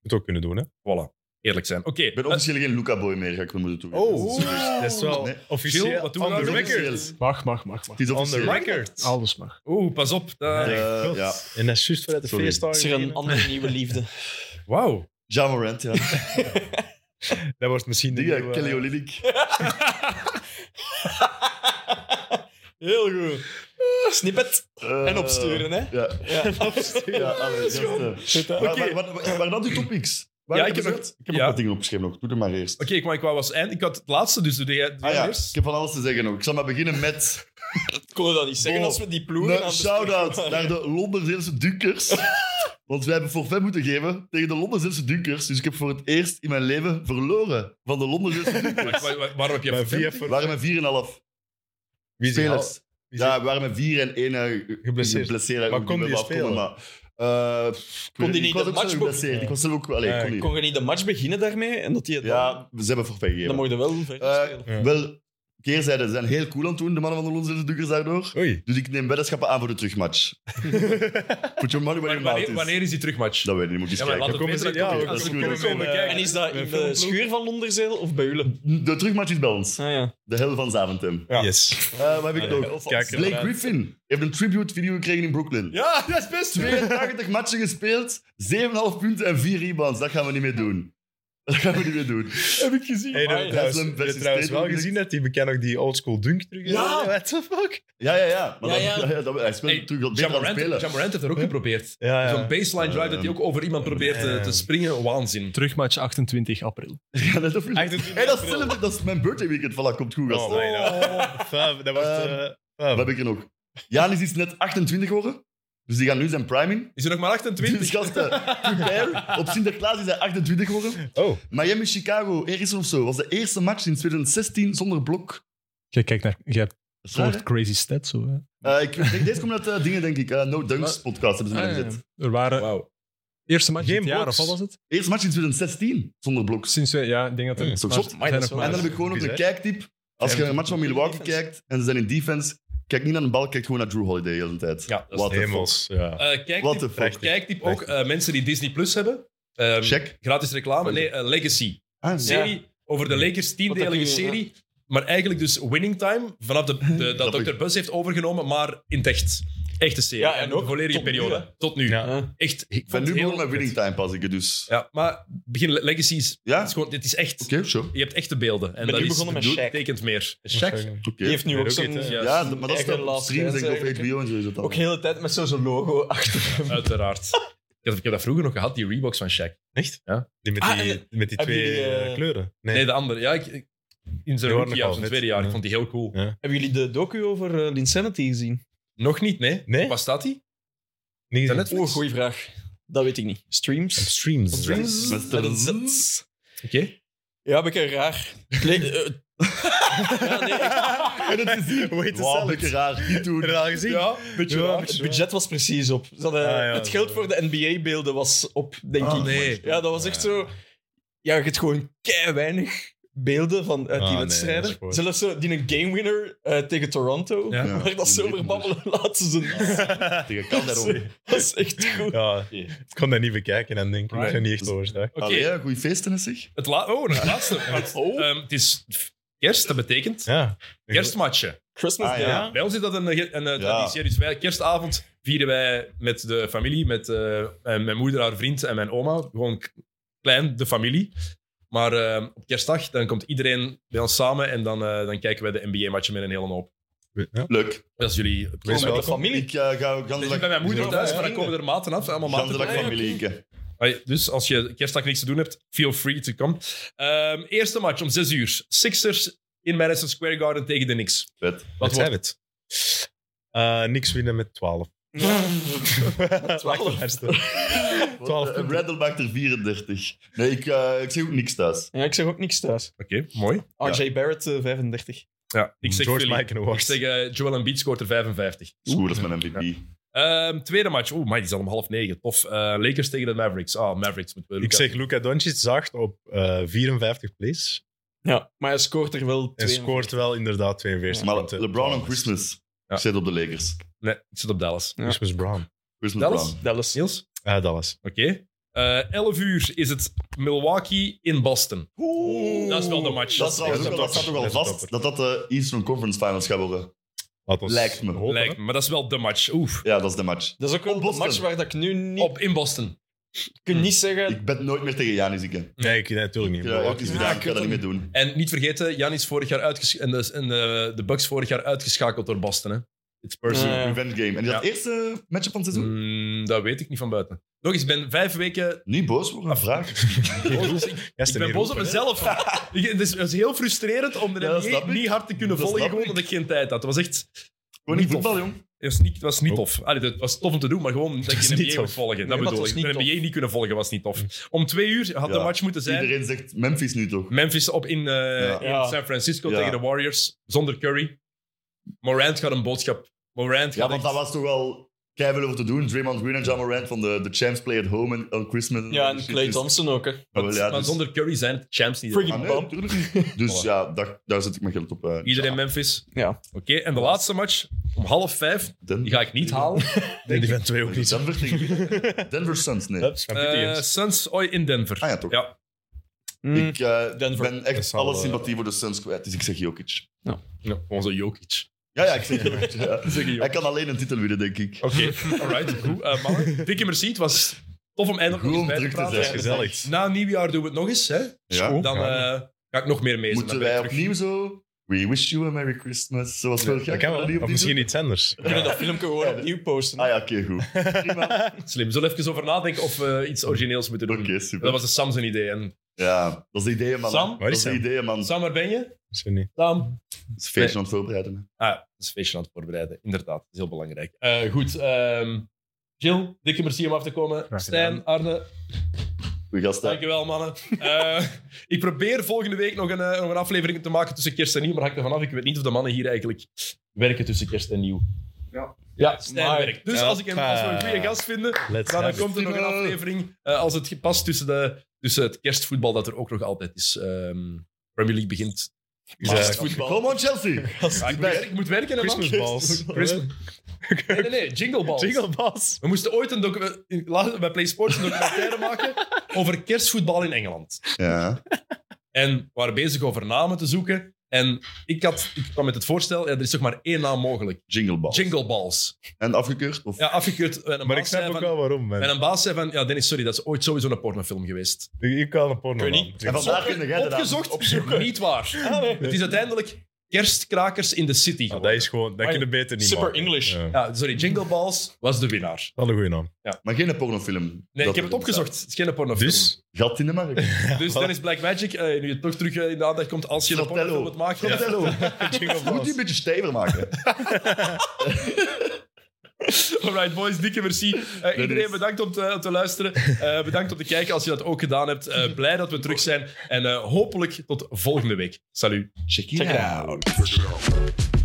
Speaker 3: moet ook kunnen doen, hè.
Speaker 1: Voilà. Eerlijk zijn. Oké. eh,
Speaker 2: Ik ben officieel geen Luca-boy meer, ga ik wel moeten toegeven.
Speaker 1: Oh.
Speaker 2: Dat is serieus.
Speaker 3: Dat is wel
Speaker 2: Nee.
Speaker 3: officieel.
Speaker 1: Jill, wat doen we
Speaker 3: on the
Speaker 1: nou?
Speaker 3: record.
Speaker 5: Mag, mag, mag. mag.
Speaker 2: Het is
Speaker 3: On the
Speaker 2: officieel.
Speaker 3: record.
Speaker 5: Alles mag.
Speaker 1: Oeh, pas op. Daar-
Speaker 2: Eh,
Speaker 3: God.
Speaker 2: ja.
Speaker 3: En dat is juist vooruit de
Speaker 2: Sorry.
Speaker 3: feestdagen.
Speaker 4: Is er een
Speaker 3: beginnen.
Speaker 4: andere nieuwe liefde?
Speaker 1: Wauw.
Speaker 2: Ja Morant, ja.
Speaker 3: Dat wordt misschien de
Speaker 2: Die, ja,
Speaker 3: nieuwe-
Speaker 2: Kelly Olynyk.
Speaker 4: Heel goed. Snippet
Speaker 2: Eh,
Speaker 4: en opsturen, hè?
Speaker 2: Ja,
Speaker 4: Ja.
Speaker 2: ja allee, eh. gasten.
Speaker 4: Oké.
Speaker 2: Waar- waar- waar- waar- Waar dan die topics? Waar
Speaker 1: Ja,
Speaker 2: heb
Speaker 1: ik
Speaker 2: je
Speaker 1: heb
Speaker 2: gezegd? Ik heb
Speaker 1: ja.
Speaker 2: nog wat dingen opgeschreven ook. Doe er maar eerst.
Speaker 1: Oké, ik, maar ik wou was eind. Ik had het laatste, dus doe jij doe
Speaker 2: Ah
Speaker 1: jij
Speaker 2: ja, ik
Speaker 1: eerst.
Speaker 2: heb van alles te zeggen nog. Ik zal maar beginnen met
Speaker 4: Ik kon dat niet zeggen
Speaker 2: Wow.
Speaker 4: als we die ploegen aan
Speaker 2: een
Speaker 4: de
Speaker 2: shout-out
Speaker 4: [laughs] strijd
Speaker 2: naar de Londense Dunkers. Want wij hebben forfait moeten geven tegen de Londense Dunkers. Dus ik heb voor het eerst in mijn leven verloren van de Londense Dunkers.
Speaker 1: Wa- wa- wa- waarom heb je
Speaker 3: Bij
Speaker 1: even
Speaker 3: VF
Speaker 2: We
Speaker 3: voor-
Speaker 2: waren met 4,5
Speaker 3: Wie is die
Speaker 2: spelers.
Speaker 3: Wie is
Speaker 2: Ja, we waren met 4 en 1
Speaker 3: Geblesseerd.
Speaker 2: geblesseerd. geblesseerd
Speaker 3: Maar
Speaker 2: Ook
Speaker 3: kon
Speaker 2: niet
Speaker 3: die
Speaker 2: meer afkomen,
Speaker 3: spelen?
Speaker 2: maar, eh, pff, ik
Speaker 4: Kon
Speaker 2: weet niet.
Speaker 4: die niet
Speaker 2: Ik was
Speaker 4: de
Speaker 2: ook zelf
Speaker 4: matchboek?
Speaker 2: geblesseerd. Ik was zelf ook... Allee,
Speaker 3: Ja,
Speaker 2: ik kon niet.
Speaker 4: Kon je niet de match beginnen daarmee? En dat die het dan-
Speaker 2: Ja, ze hebben forfait
Speaker 4: dan
Speaker 2: gegeven.
Speaker 4: mocht je wel verder
Speaker 2: Eh,
Speaker 4: spelen.
Speaker 3: Ja.
Speaker 2: Wel, keerzijde, ze zijn heel cool aan het doen, de mannen van de Londense Dukkers daardoor.
Speaker 3: Oei.
Speaker 2: Dus ik neem weddenschappen aan voor de
Speaker 1: [laughs]
Speaker 2: terugmatch. Put your money
Speaker 1: Maar
Speaker 2: where your mouth
Speaker 1: wanneer,
Speaker 2: is.
Speaker 1: wanneer is die terugmatch?
Speaker 2: Dat weet ik niet, moet je
Speaker 1: Ja,
Speaker 2: eens
Speaker 1: maar laat
Speaker 2: kijken.
Speaker 1: het
Speaker 3: komen
Speaker 1: weten.
Speaker 3: ze- ja,
Speaker 1: dan
Speaker 3: we
Speaker 1: kunnen we
Speaker 2: komen
Speaker 1: komen
Speaker 2: ze-
Speaker 1: komen
Speaker 3: eh,
Speaker 1: kijken.
Speaker 4: En is dat in de
Speaker 3: filmploeg.
Speaker 4: schuur van Londerzeel of bij Ulen?
Speaker 2: De terugmatch is bij ons.
Speaker 4: Ah ja.
Speaker 2: De hel van Zaventem.
Speaker 3: Ja. Yes.
Speaker 2: Eh wat heb ik
Speaker 3: Ja,
Speaker 2: nog?
Speaker 3: kijk er
Speaker 2: Blake
Speaker 3: maar uit.
Speaker 2: Griffin heeft een tribute video gekregen in Brooklyn.
Speaker 1: Ja, dat is best.
Speaker 2: 82 matchen gespeeld, 7,5 punten en 4 rebounds. Dat gaan we niet meer doen. Dat gaan we niet meer doen.
Speaker 1: heb ik gezien.
Speaker 3: Hey,
Speaker 4: Ah,
Speaker 3: dat,
Speaker 4: ja.
Speaker 3: trouwens,
Speaker 2: Haslam
Speaker 3: heb je
Speaker 2: versus
Speaker 3: trouwens wel
Speaker 2: Tatum
Speaker 3: gezien
Speaker 2: gezien.
Speaker 3: dat die bekend ook die oldschool dunk terug is?
Speaker 4: Ja.
Speaker 3: What the fuck?
Speaker 2: Ja, ja, ja. Maar
Speaker 4: Ja,
Speaker 2: dat-
Speaker 4: ja.
Speaker 2: ja, dat- hij speelt
Speaker 1: Hey,
Speaker 2: terug beter aan het spelen.
Speaker 1: Jamorant Jamorant heeft dat ook geprobeerd.
Speaker 3: Ja,
Speaker 1: Zo'n baseline drive dat hij ook over iemand probeert eh, te, te springen. Waanzin.
Speaker 5: Terugmatch 28 april.
Speaker 2: Ja, dat is ook-
Speaker 3: 28
Speaker 2: Hey, dat, is
Speaker 3: april.
Speaker 2: hetzelfde- dat is mijn birthday weekend. Voilà, komt goed, gasten.
Speaker 3: Oh, my God. Fab, dat wordt...
Speaker 2: Ehm,
Speaker 3: eh, fab.
Speaker 2: Wat heb ik er nog? Janis is net 28 geworden. Dus die gaan nu zijn prime in.
Speaker 1: Is er nog maar
Speaker 2: Dus
Speaker 1: 28?
Speaker 2: gasten, prepare. Op Sinterklaas is hij 28 geworden.
Speaker 3: Oh,
Speaker 2: Miami, Chicago, Erison of zo. was de eerste match sinds 2016 zonder blok.
Speaker 5: Jij kijkt naar... Jij hebt
Speaker 2: Dat is
Speaker 5: een
Speaker 2: raar,
Speaker 5: soort crazy stats. Zo, hè.
Speaker 2: hè? Eh, ik denk, deze komt uit eh, dingen, denk ik. Eh, no Dunks podcast hebben ze mij gezet.
Speaker 5: Er waren...
Speaker 1: Wauw.
Speaker 5: Eerste match
Speaker 3: Geen
Speaker 5: dit jaar,
Speaker 3: bloks.
Speaker 5: of wat was het?
Speaker 2: Eerste match in 2016 zonder blok.
Speaker 5: Sinds wij... Ja, ik denk dat er...
Speaker 2: Dat is ook
Speaker 5: maar
Speaker 2: zot.
Speaker 5: het
Speaker 4: Amai,
Speaker 5: zijn
Speaker 4: dat
Speaker 5: nog
Speaker 4: is
Speaker 2: En dan
Speaker 5: maar-
Speaker 2: heb ik gewoon nog een
Speaker 3: Bizar.
Speaker 2: kijktip. Als je naar een match van Milwaukee
Speaker 4: Defense.
Speaker 2: kijkt en ze zijn in defense, kijk niet naar de bal, kijk gewoon naar Drew Holiday de hele tijd.
Speaker 1: Ja, dat is
Speaker 2: What the
Speaker 3: hemels. Ja.
Speaker 1: Eh, kijk,
Speaker 2: fuck. What
Speaker 1: die-
Speaker 2: the fuck.
Speaker 1: kijk die ook eh, mensen die Disney Plus hebben. Ehm,
Speaker 2: Check.
Speaker 1: Gratis reclame. Nee, eh, Legacy.
Speaker 2: Ah,
Speaker 1: Een
Speaker 2: ja.
Speaker 1: serie over de Lakers,
Speaker 4: Wat
Speaker 1: tiendelige
Speaker 4: dat kun je-
Speaker 1: serie. Maar eigenlijk dus Winning Time, vanaf de,
Speaker 2: [laughs]
Speaker 1: de, dat
Speaker 2: Grappig.
Speaker 1: Dr. Buzz heeft overgenomen, maar in het echt. Echte serie.
Speaker 4: Ja, en ook
Speaker 1: de volledige
Speaker 4: tot nu,
Speaker 1: periode.
Speaker 4: hè?
Speaker 1: tot nu.
Speaker 3: Ja.
Speaker 4: Ja.
Speaker 1: Echt. Ik
Speaker 2: Ik ben
Speaker 1: vond het
Speaker 2: nu
Speaker 1: heel
Speaker 2: begonnen met winning
Speaker 1: vet.
Speaker 2: time pas ik het dus.
Speaker 1: Ja, maar begin Le- Legacy is,
Speaker 2: Ja?
Speaker 1: het is gewoon, dit is echt.
Speaker 2: Oké, sure.
Speaker 1: Je hebt echte beelden. En
Speaker 4: ben
Speaker 1: dat
Speaker 4: nu
Speaker 1: is,
Speaker 4: begonnen met
Speaker 1: bedoel-
Speaker 4: Shaq.
Speaker 1: betekent meer.
Speaker 2: Oké.
Speaker 4: Die heeft nu
Speaker 3: Ja,
Speaker 4: ook
Speaker 3: dat ook
Speaker 4: zo'n...
Speaker 3: iets, hè.
Speaker 2: Ja, maar dat is
Speaker 4: Eigen
Speaker 2: dan op
Speaker 4: last
Speaker 2: streams
Speaker 4: dance
Speaker 2: denk ik op
Speaker 4: eigenlijk,
Speaker 2: HBO en zo is het dan.
Speaker 4: Ook de hele tijd met zo'n zo'n logo achter hem.
Speaker 1: Uiteraard. Ik heb, ik heb dat vroeger nog gehad, die Reeboks van Shaq.
Speaker 3: Echt?
Speaker 1: Ja.
Speaker 3: Die met
Speaker 4: Ah,
Speaker 3: die,
Speaker 4: en-
Speaker 3: met die
Speaker 4: hebben
Speaker 3: twee
Speaker 4: jullie, eh,
Speaker 3: eh, kleuren.
Speaker 1: Nee, de andere. Ja, ik, ik- in zijn
Speaker 3: Die waren
Speaker 1: rookie jaar,
Speaker 3: nogal
Speaker 1: zijn
Speaker 3: vet.
Speaker 1: tweede jaar. Ik
Speaker 3: Ja.
Speaker 1: vond die heel cool.
Speaker 3: Ja.
Speaker 4: Hebben jullie de docu over eh, Linsanity gezien?
Speaker 1: Nog niet, nee.
Speaker 3: Nee?
Speaker 1: Waar staat die?
Speaker 3: Niet
Speaker 1: Zijn
Speaker 3: gezien.
Speaker 1: Netflix?
Speaker 4: Oeh, goeie vraag. Dat weet ik niet.
Speaker 3: Op
Speaker 4: Streams?
Speaker 3: streams.
Speaker 4: Streams?
Speaker 2: Met
Speaker 4: Met een
Speaker 2: een
Speaker 4: Z.
Speaker 1: Oké.
Speaker 4: Ja, ben ik een raar. Het leek- eh, [laughs] ja, nee, echt. [laughs]
Speaker 2: En het is hier.
Speaker 3: Wait a
Speaker 2: Wauw, een
Speaker 3: second.
Speaker 2: beetje raar. Niet doen.
Speaker 3: Heb je dat al gezien?
Speaker 1: Ja, beetje
Speaker 3: Ja,
Speaker 1: raar.
Speaker 3: beetje
Speaker 4: Het budget was precies op. Ze hadden-
Speaker 3: Ah, ja,
Speaker 4: het geld
Speaker 3: zo.
Speaker 4: voor de NBA-beelden was op, denk
Speaker 1: Ah,
Speaker 4: ik.
Speaker 1: nee.
Speaker 4: Ja, dat was echt zo... Ja, je hebt gewoon kei weinig beelden van uit
Speaker 3: Ah,
Speaker 4: die
Speaker 3: nee,
Speaker 4: wedstrijden.
Speaker 3: dat is goed.
Speaker 4: Zelfs zo, die een game winner eh, tegen Toronto,
Speaker 1: Ja.
Speaker 2: Ja.
Speaker 4: [laughs] waar dat ze over babbelen, [laughs] laten ze
Speaker 2: [laughs]
Speaker 4: een-
Speaker 2: Tegen kan daarom.
Speaker 4: Dat is echt goed.
Speaker 3: Ja, ik kon dat niet bekijken en denk ik, ik
Speaker 1: Right.
Speaker 3: ben niet echt overstag.
Speaker 1: Oké.
Speaker 2: Allee, ja, goeie feesten is zich.
Speaker 1: Het la- oh,
Speaker 3: [laughs]
Speaker 1: het laatste. Want, ehm, het is kerst, dat betekent
Speaker 3: Oh. Ja.
Speaker 1: kerstmatchen.
Speaker 4: Christmas
Speaker 2: Ah,
Speaker 4: Day.
Speaker 2: ja.
Speaker 1: Bij ons is dat een, een, een
Speaker 2: Ja.
Speaker 1: traditie. Dus wij, kerstavond vieren wij met de familie, met eh, en mijn moeder, haar vriend en mijn oma. Gewoon k- klein, de familie. Maar ehm, op kerstdag, dan komt iedereen bij ons samen en dan, eh, dan kijken wij de NBA-matchen met een hele hoop.
Speaker 3: Ja.
Speaker 2: Leuk.
Speaker 1: Dat is jullie...
Speaker 3: Wees
Speaker 4: Gewoon met de
Speaker 3: welkom.
Speaker 4: familie.
Speaker 2: Ik eh, ga ook
Speaker 1: Dat
Speaker 2: gans
Speaker 1: is niet bij mijn moeder
Speaker 3: Ja,
Speaker 1: thuis,
Speaker 3: ja,
Speaker 1: maar dan komen er maten af. Allemaal maten
Speaker 2: dag
Speaker 1: erbij.
Speaker 2: familie. Inke.
Speaker 1: Allee, Dus als je kerstdag niks te doen hebt, feel free to come. Ehm, eerste match om 6 uur. Sixers in Madison Square Garden tegen de Knicks.
Speaker 2: Vet.
Speaker 1: Wat
Speaker 3: Wat
Speaker 1: wordt
Speaker 3: zijn het? Eh, niks winnen
Speaker 1: [laughs]
Speaker 3: met 12. [laughs]
Speaker 4: 12.
Speaker 3: 12 punten.
Speaker 2: Randall maakt er 34. Nee, ik, eh, ik zeg ook niks thuis.
Speaker 4: Ja, ik zeg ook niks thuis.
Speaker 1: Oké, mooi.
Speaker 4: RJ Barrett, eh, 35.
Speaker 1: Ja, ik zeg
Speaker 3: Mm, George
Speaker 1: Philly.
Speaker 3: Michael
Speaker 1: Ik
Speaker 3: Awards.
Speaker 1: zeg eh, Joel Embiid scoort er 55.
Speaker 2: Is goed, dat is mijn MVP.
Speaker 1: Ehm, tweede match. Oeh, maar die is al om half negen. Tof. Eh, Lakers tegen de Mavericks. Ah, Mavericks moeten we
Speaker 3: Ik
Speaker 1: Luka.
Speaker 3: zeg Luka Doncic zacht op eh, 54 plays.
Speaker 4: Ja, maar hij scoort er wel
Speaker 3: En
Speaker 4: twee.
Speaker 3: scoort wel inderdaad 42
Speaker 2: Maar
Speaker 3: punten.
Speaker 2: LeBron en Christmas
Speaker 1: Ja.
Speaker 2: zit op de Lakers.
Speaker 1: Nee, ik zit op Dallas.
Speaker 4: Ja.
Speaker 3: Christmas Brown.
Speaker 2: Christmas
Speaker 1: Dallas?
Speaker 2: Brown.
Speaker 4: Dallas.
Speaker 1: Niels?
Speaker 3: Ah, Dallas.
Speaker 1: Oké. Eh, 11 uur is het Milwaukee in Boston. Dat is wel de match.
Speaker 2: Dat, is trouwens
Speaker 3: Ja,
Speaker 2: ook
Speaker 3: dat
Speaker 2: al-
Speaker 3: is
Speaker 2: dat staat toch al
Speaker 3: topper.
Speaker 2: vast dat dat de Eastern Conference Finals gaat worden.
Speaker 3: Laat ons
Speaker 2: Lijkt me.
Speaker 3: hopen,
Speaker 1: Lijkt me, maar dat is wel de match. Oeh.
Speaker 2: Ja, dat is de match.
Speaker 4: Dat is ook wel een
Speaker 2: Boston.
Speaker 4: match waar dat ik nu niet...
Speaker 1: Op in Boston.
Speaker 4: Je kunt niet zeggen...
Speaker 2: Ik ben nooit meer tegen Janis. Ik heb
Speaker 3: Nee, ik, nee, natuurlijk niet.
Speaker 2: ja,
Speaker 3: Maar
Speaker 2: het
Speaker 3: [laughs]
Speaker 2: is gedaan. Ik ga dat niet meer doen.
Speaker 1: En niet vergeten, Janis vorig jaar uitges- en, de, en de, de Bucks vorig jaar uitgeschakeld door Boston. Hè?
Speaker 2: It's personal
Speaker 4: Ja.
Speaker 2: revenge game. En die had
Speaker 1: Ja.
Speaker 2: eerste matchup van het seizoen.
Speaker 1: Mm, dat weet ik niet van buiten. Nog eens, ik ben vijf weken...
Speaker 2: Niet boos worden, een vraag.
Speaker 1: boos. Ik-
Speaker 3: Ja,
Speaker 1: Ik
Speaker 3: ze
Speaker 1: ben
Speaker 3: meer
Speaker 1: boos op
Speaker 3: roepen, hè.
Speaker 1: mezelf.
Speaker 2: [laughs]
Speaker 1: Ik- Het is, het is heel frustrerend om de
Speaker 2: Ja, dat
Speaker 1: NBA
Speaker 2: snap ik.
Speaker 1: niet hard te kunnen
Speaker 2: Dat
Speaker 1: volgen,
Speaker 2: snap
Speaker 1: gewoon
Speaker 2: ik.
Speaker 1: omdat ik geen tijd had. Het was echt...
Speaker 2: Gewoon niet voetbal, jong.
Speaker 1: Het was niet, het was
Speaker 2: Oh.
Speaker 1: niet tof. Allee, het was tof om te doen, maar
Speaker 2: [laughs]
Speaker 1: gewoon dat
Speaker 3: was
Speaker 1: je de
Speaker 3: niet
Speaker 1: NBA
Speaker 3: tof.
Speaker 1: moet volgen.
Speaker 4: maar
Speaker 1: Dat
Speaker 4: het
Speaker 1: bedoel
Speaker 4: was
Speaker 1: ik.
Speaker 4: niet
Speaker 1: De
Speaker 4: tof.
Speaker 1: NBA niet kunnen volgen was niet tof. Om twee uur had de
Speaker 2: Hm. Ja.
Speaker 1: match moeten zijn.
Speaker 2: Iedereen zegt Memphis nu toch?
Speaker 1: Memphis op in, eh, in
Speaker 4: Ja.
Speaker 1: San Francisco
Speaker 2: Ja.
Speaker 1: tegen de Warriors, zonder Curry. Morant gaat een boodschap. Morant
Speaker 2: Ja,
Speaker 1: gaat
Speaker 2: want
Speaker 1: echt-
Speaker 2: dat was toch wel keihard over te doen. Draymond Green en John Morant van de, de Champs Play at Home en on Christmas.
Speaker 4: Ja, en
Speaker 2: shit.
Speaker 4: Clay
Speaker 2: Dus-
Speaker 4: Thompson ook, hè.
Speaker 2: Ah, wel, ja,
Speaker 1: maar
Speaker 2: dus-
Speaker 1: zonder Curry zijn het champs niet.
Speaker 4: Friggin-
Speaker 2: Ah, nee,
Speaker 4: Bam.
Speaker 2: natuurlijk niet. Dus ja, daar, daar zet ik mijn geld op. eh.
Speaker 1: Iedereen Memphis.
Speaker 4: Ja.
Speaker 1: Oké, en de laatste match om half vijf.
Speaker 2: Den-
Speaker 1: Die ga ik niet halen.
Speaker 3: Nee, die van twee ook niet.
Speaker 2: Denver, tegen- [laughs] Denver Suns, nee.
Speaker 3: Hups, van
Speaker 1: Eh,
Speaker 3: Pittigens.
Speaker 1: Suns oi, in Denver.
Speaker 2: Ah ja, toch.
Speaker 1: Ja.
Speaker 4: Mm.
Speaker 2: Ik eh,
Speaker 4: Denver.
Speaker 2: ben echt
Speaker 3: zal,
Speaker 2: alle
Speaker 3: eh,
Speaker 2: sympathie voor de Suns kwijt, dus ik zeg Jokic.
Speaker 1: Gewoon zo Jokic.
Speaker 2: Ja, ja, ik zeg Jokic. ja.
Speaker 1: Zeg je
Speaker 2: Hij
Speaker 1: Jokic.
Speaker 2: kan alleen een titel winnen, denk ik.
Speaker 1: Oké, [laughs] alright. Goed, eh, mannen. Dikke merci. Het was tof om eindelijk nog
Speaker 2: Gewoon
Speaker 1: eens bij te
Speaker 2: druk te
Speaker 1: praten.
Speaker 3: Dat is
Speaker 2: zijn.
Speaker 3: gezellig.
Speaker 1: Na nieuwjaar doen we het nog eens. Hè?
Speaker 2: Ja.
Speaker 1: Dan eh, ga ik nog meer mee.
Speaker 2: Moeten wij opnieuw zo... We wish you a Merry Christmas. Zoals vorig jaar.
Speaker 3: Dat kan
Speaker 2: Gaan we
Speaker 3: wel.
Speaker 2: dat
Speaker 3: Of
Speaker 2: niet
Speaker 3: misschien
Speaker 2: opnieuw
Speaker 3: iets anders.
Speaker 4: We kunnen dat filmpje gewoon opnieuw posten.
Speaker 2: doen? Ah ja, oké, goed. Prima.
Speaker 1: Slim. Zullen we even over nadenken of we iets origineels moeten doen?
Speaker 2: Oké, super.
Speaker 1: Dat was de Sam zijn idee. En
Speaker 2: Ja, dat is de ideeën, man.
Speaker 1: Sam?
Speaker 2: Dat
Speaker 1: Waar
Speaker 3: is
Speaker 2: is de
Speaker 3: Sam?
Speaker 2: ideeën, man.
Speaker 1: Sam, waar ben je?
Speaker 3: Misschien niet.
Speaker 1: Sam.
Speaker 2: Het is feestje aan het voorbereiden. hè.
Speaker 1: Ah, dat is feestje aan het voorbereiden. Inderdaad, dat is heel belangrijk. Eh, goed. ehm Jill, dikke merci om af te komen.
Speaker 5: gedaan.
Speaker 1: Stijn, Arne,
Speaker 2: Goeie gasten.
Speaker 1: Dankjewel, mannen. Eh, ik probeer volgende week nog een, eh, nog een aflevering te maken tussen kerst en nieuw, maar hak er vanaf. Ik weet niet of de mannen hier eigenlijk werken tussen kerst en nieuw. Ja, ja Stijn
Speaker 4: Maar-
Speaker 1: werkt. Dus als, ik een, als we een goede gast vinden,
Speaker 3: Let's
Speaker 1: dan,
Speaker 3: have it.
Speaker 1: komt er nog een aflevering eh, als het past tussen, de, tussen het kerstvoetbal dat er ook nog altijd is. Ehm Premier League begint.
Speaker 3: Dus,
Speaker 1: Maar-
Speaker 3: eh,
Speaker 2: Voetbal. Come on, [laughs] Chelsea.
Speaker 1: Ja, ik, moet
Speaker 2: ben-
Speaker 1: werken, ik moet werken, hè, man.
Speaker 3: Christmas balls.
Speaker 1: Christmas- Nee, nee, nee. Jingle balls.
Speaker 3: Jingle balls.
Speaker 1: We moesten ooit een docu- in- laten we bij PlaySports een
Speaker 3: [laughs]
Speaker 1: documentaire maken over kerstvoetbal in Engeland.
Speaker 2: Ja.
Speaker 1: En we waren bezig over namen te zoeken. En ik, had, ik kwam met het voorstel, ja, er is toch maar één naam mogelijk.
Speaker 2: Jingle Ball.
Speaker 1: Jingle Balls.
Speaker 2: En afgekeurd? Of...
Speaker 1: Ja, afgekeurd. En een
Speaker 3: Maar ik
Speaker 1: baas
Speaker 3: snap
Speaker 1: zei
Speaker 3: ook
Speaker 1: van-
Speaker 3: wel waarom,
Speaker 1: En
Speaker 3: man.
Speaker 1: een baas zei van, ja Dennis, sorry, dat is ooit sowieso een pornofilm geweest.
Speaker 3: Ik kan een porno.
Speaker 4: Kun je
Speaker 3: man.
Speaker 4: niet?
Speaker 2: En vandaag kun jij eraan.
Speaker 1: Opgezocht, niet waar. Het is uiteindelijk kerstkrakers in de city
Speaker 3: Ah,
Speaker 1: geworden.
Speaker 3: dat is gewoon, dat
Speaker 1: Ah, ja.
Speaker 3: kunnen beter niet
Speaker 4: Super
Speaker 3: maken.
Speaker 4: English.
Speaker 3: Ja.
Speaker 1: Ja, sorry, Jingle Balls was de winnaar.
Speaker 3: Wel een goede naam.
Speaker 2: Maar geen pornofilm.
Speaker 1: Nee,
Speaker 2: Dat
Speaker 1: ik heb het
Speaker 2: er
Speaker 1: opgezocht. Het is geen pornofilm.
Speaker 3: Dus,
Speaker 2: bestaat. Gat in de markt.
Speaker 1: [laughs] Dus Dennis Blackmagic, eh, nu je toch terug eh, in de aandacht komt, als je een
Speaker 2: Fratello.
Speaker 1: pornofilm moet maken... [laughs]
Speaker 2: Fratello.
Speaker 3: Jingle
Speaker 2: Moet
Speaker 3: balls.
Speaker 2: die een beetje stijver maken.
Speaker 1: Alright, boys, dikke merci. Eh, iedereen
Speaker 2: is-
Speaker 1: bedankt om te, om te luisteren. Eh, bedankt om te kijken als je dat ook gedaan hebt. Eh, blij dat we terug zijn. En eh, hopelijk tot volgende week. Salut.
Speaker 2: Check it out.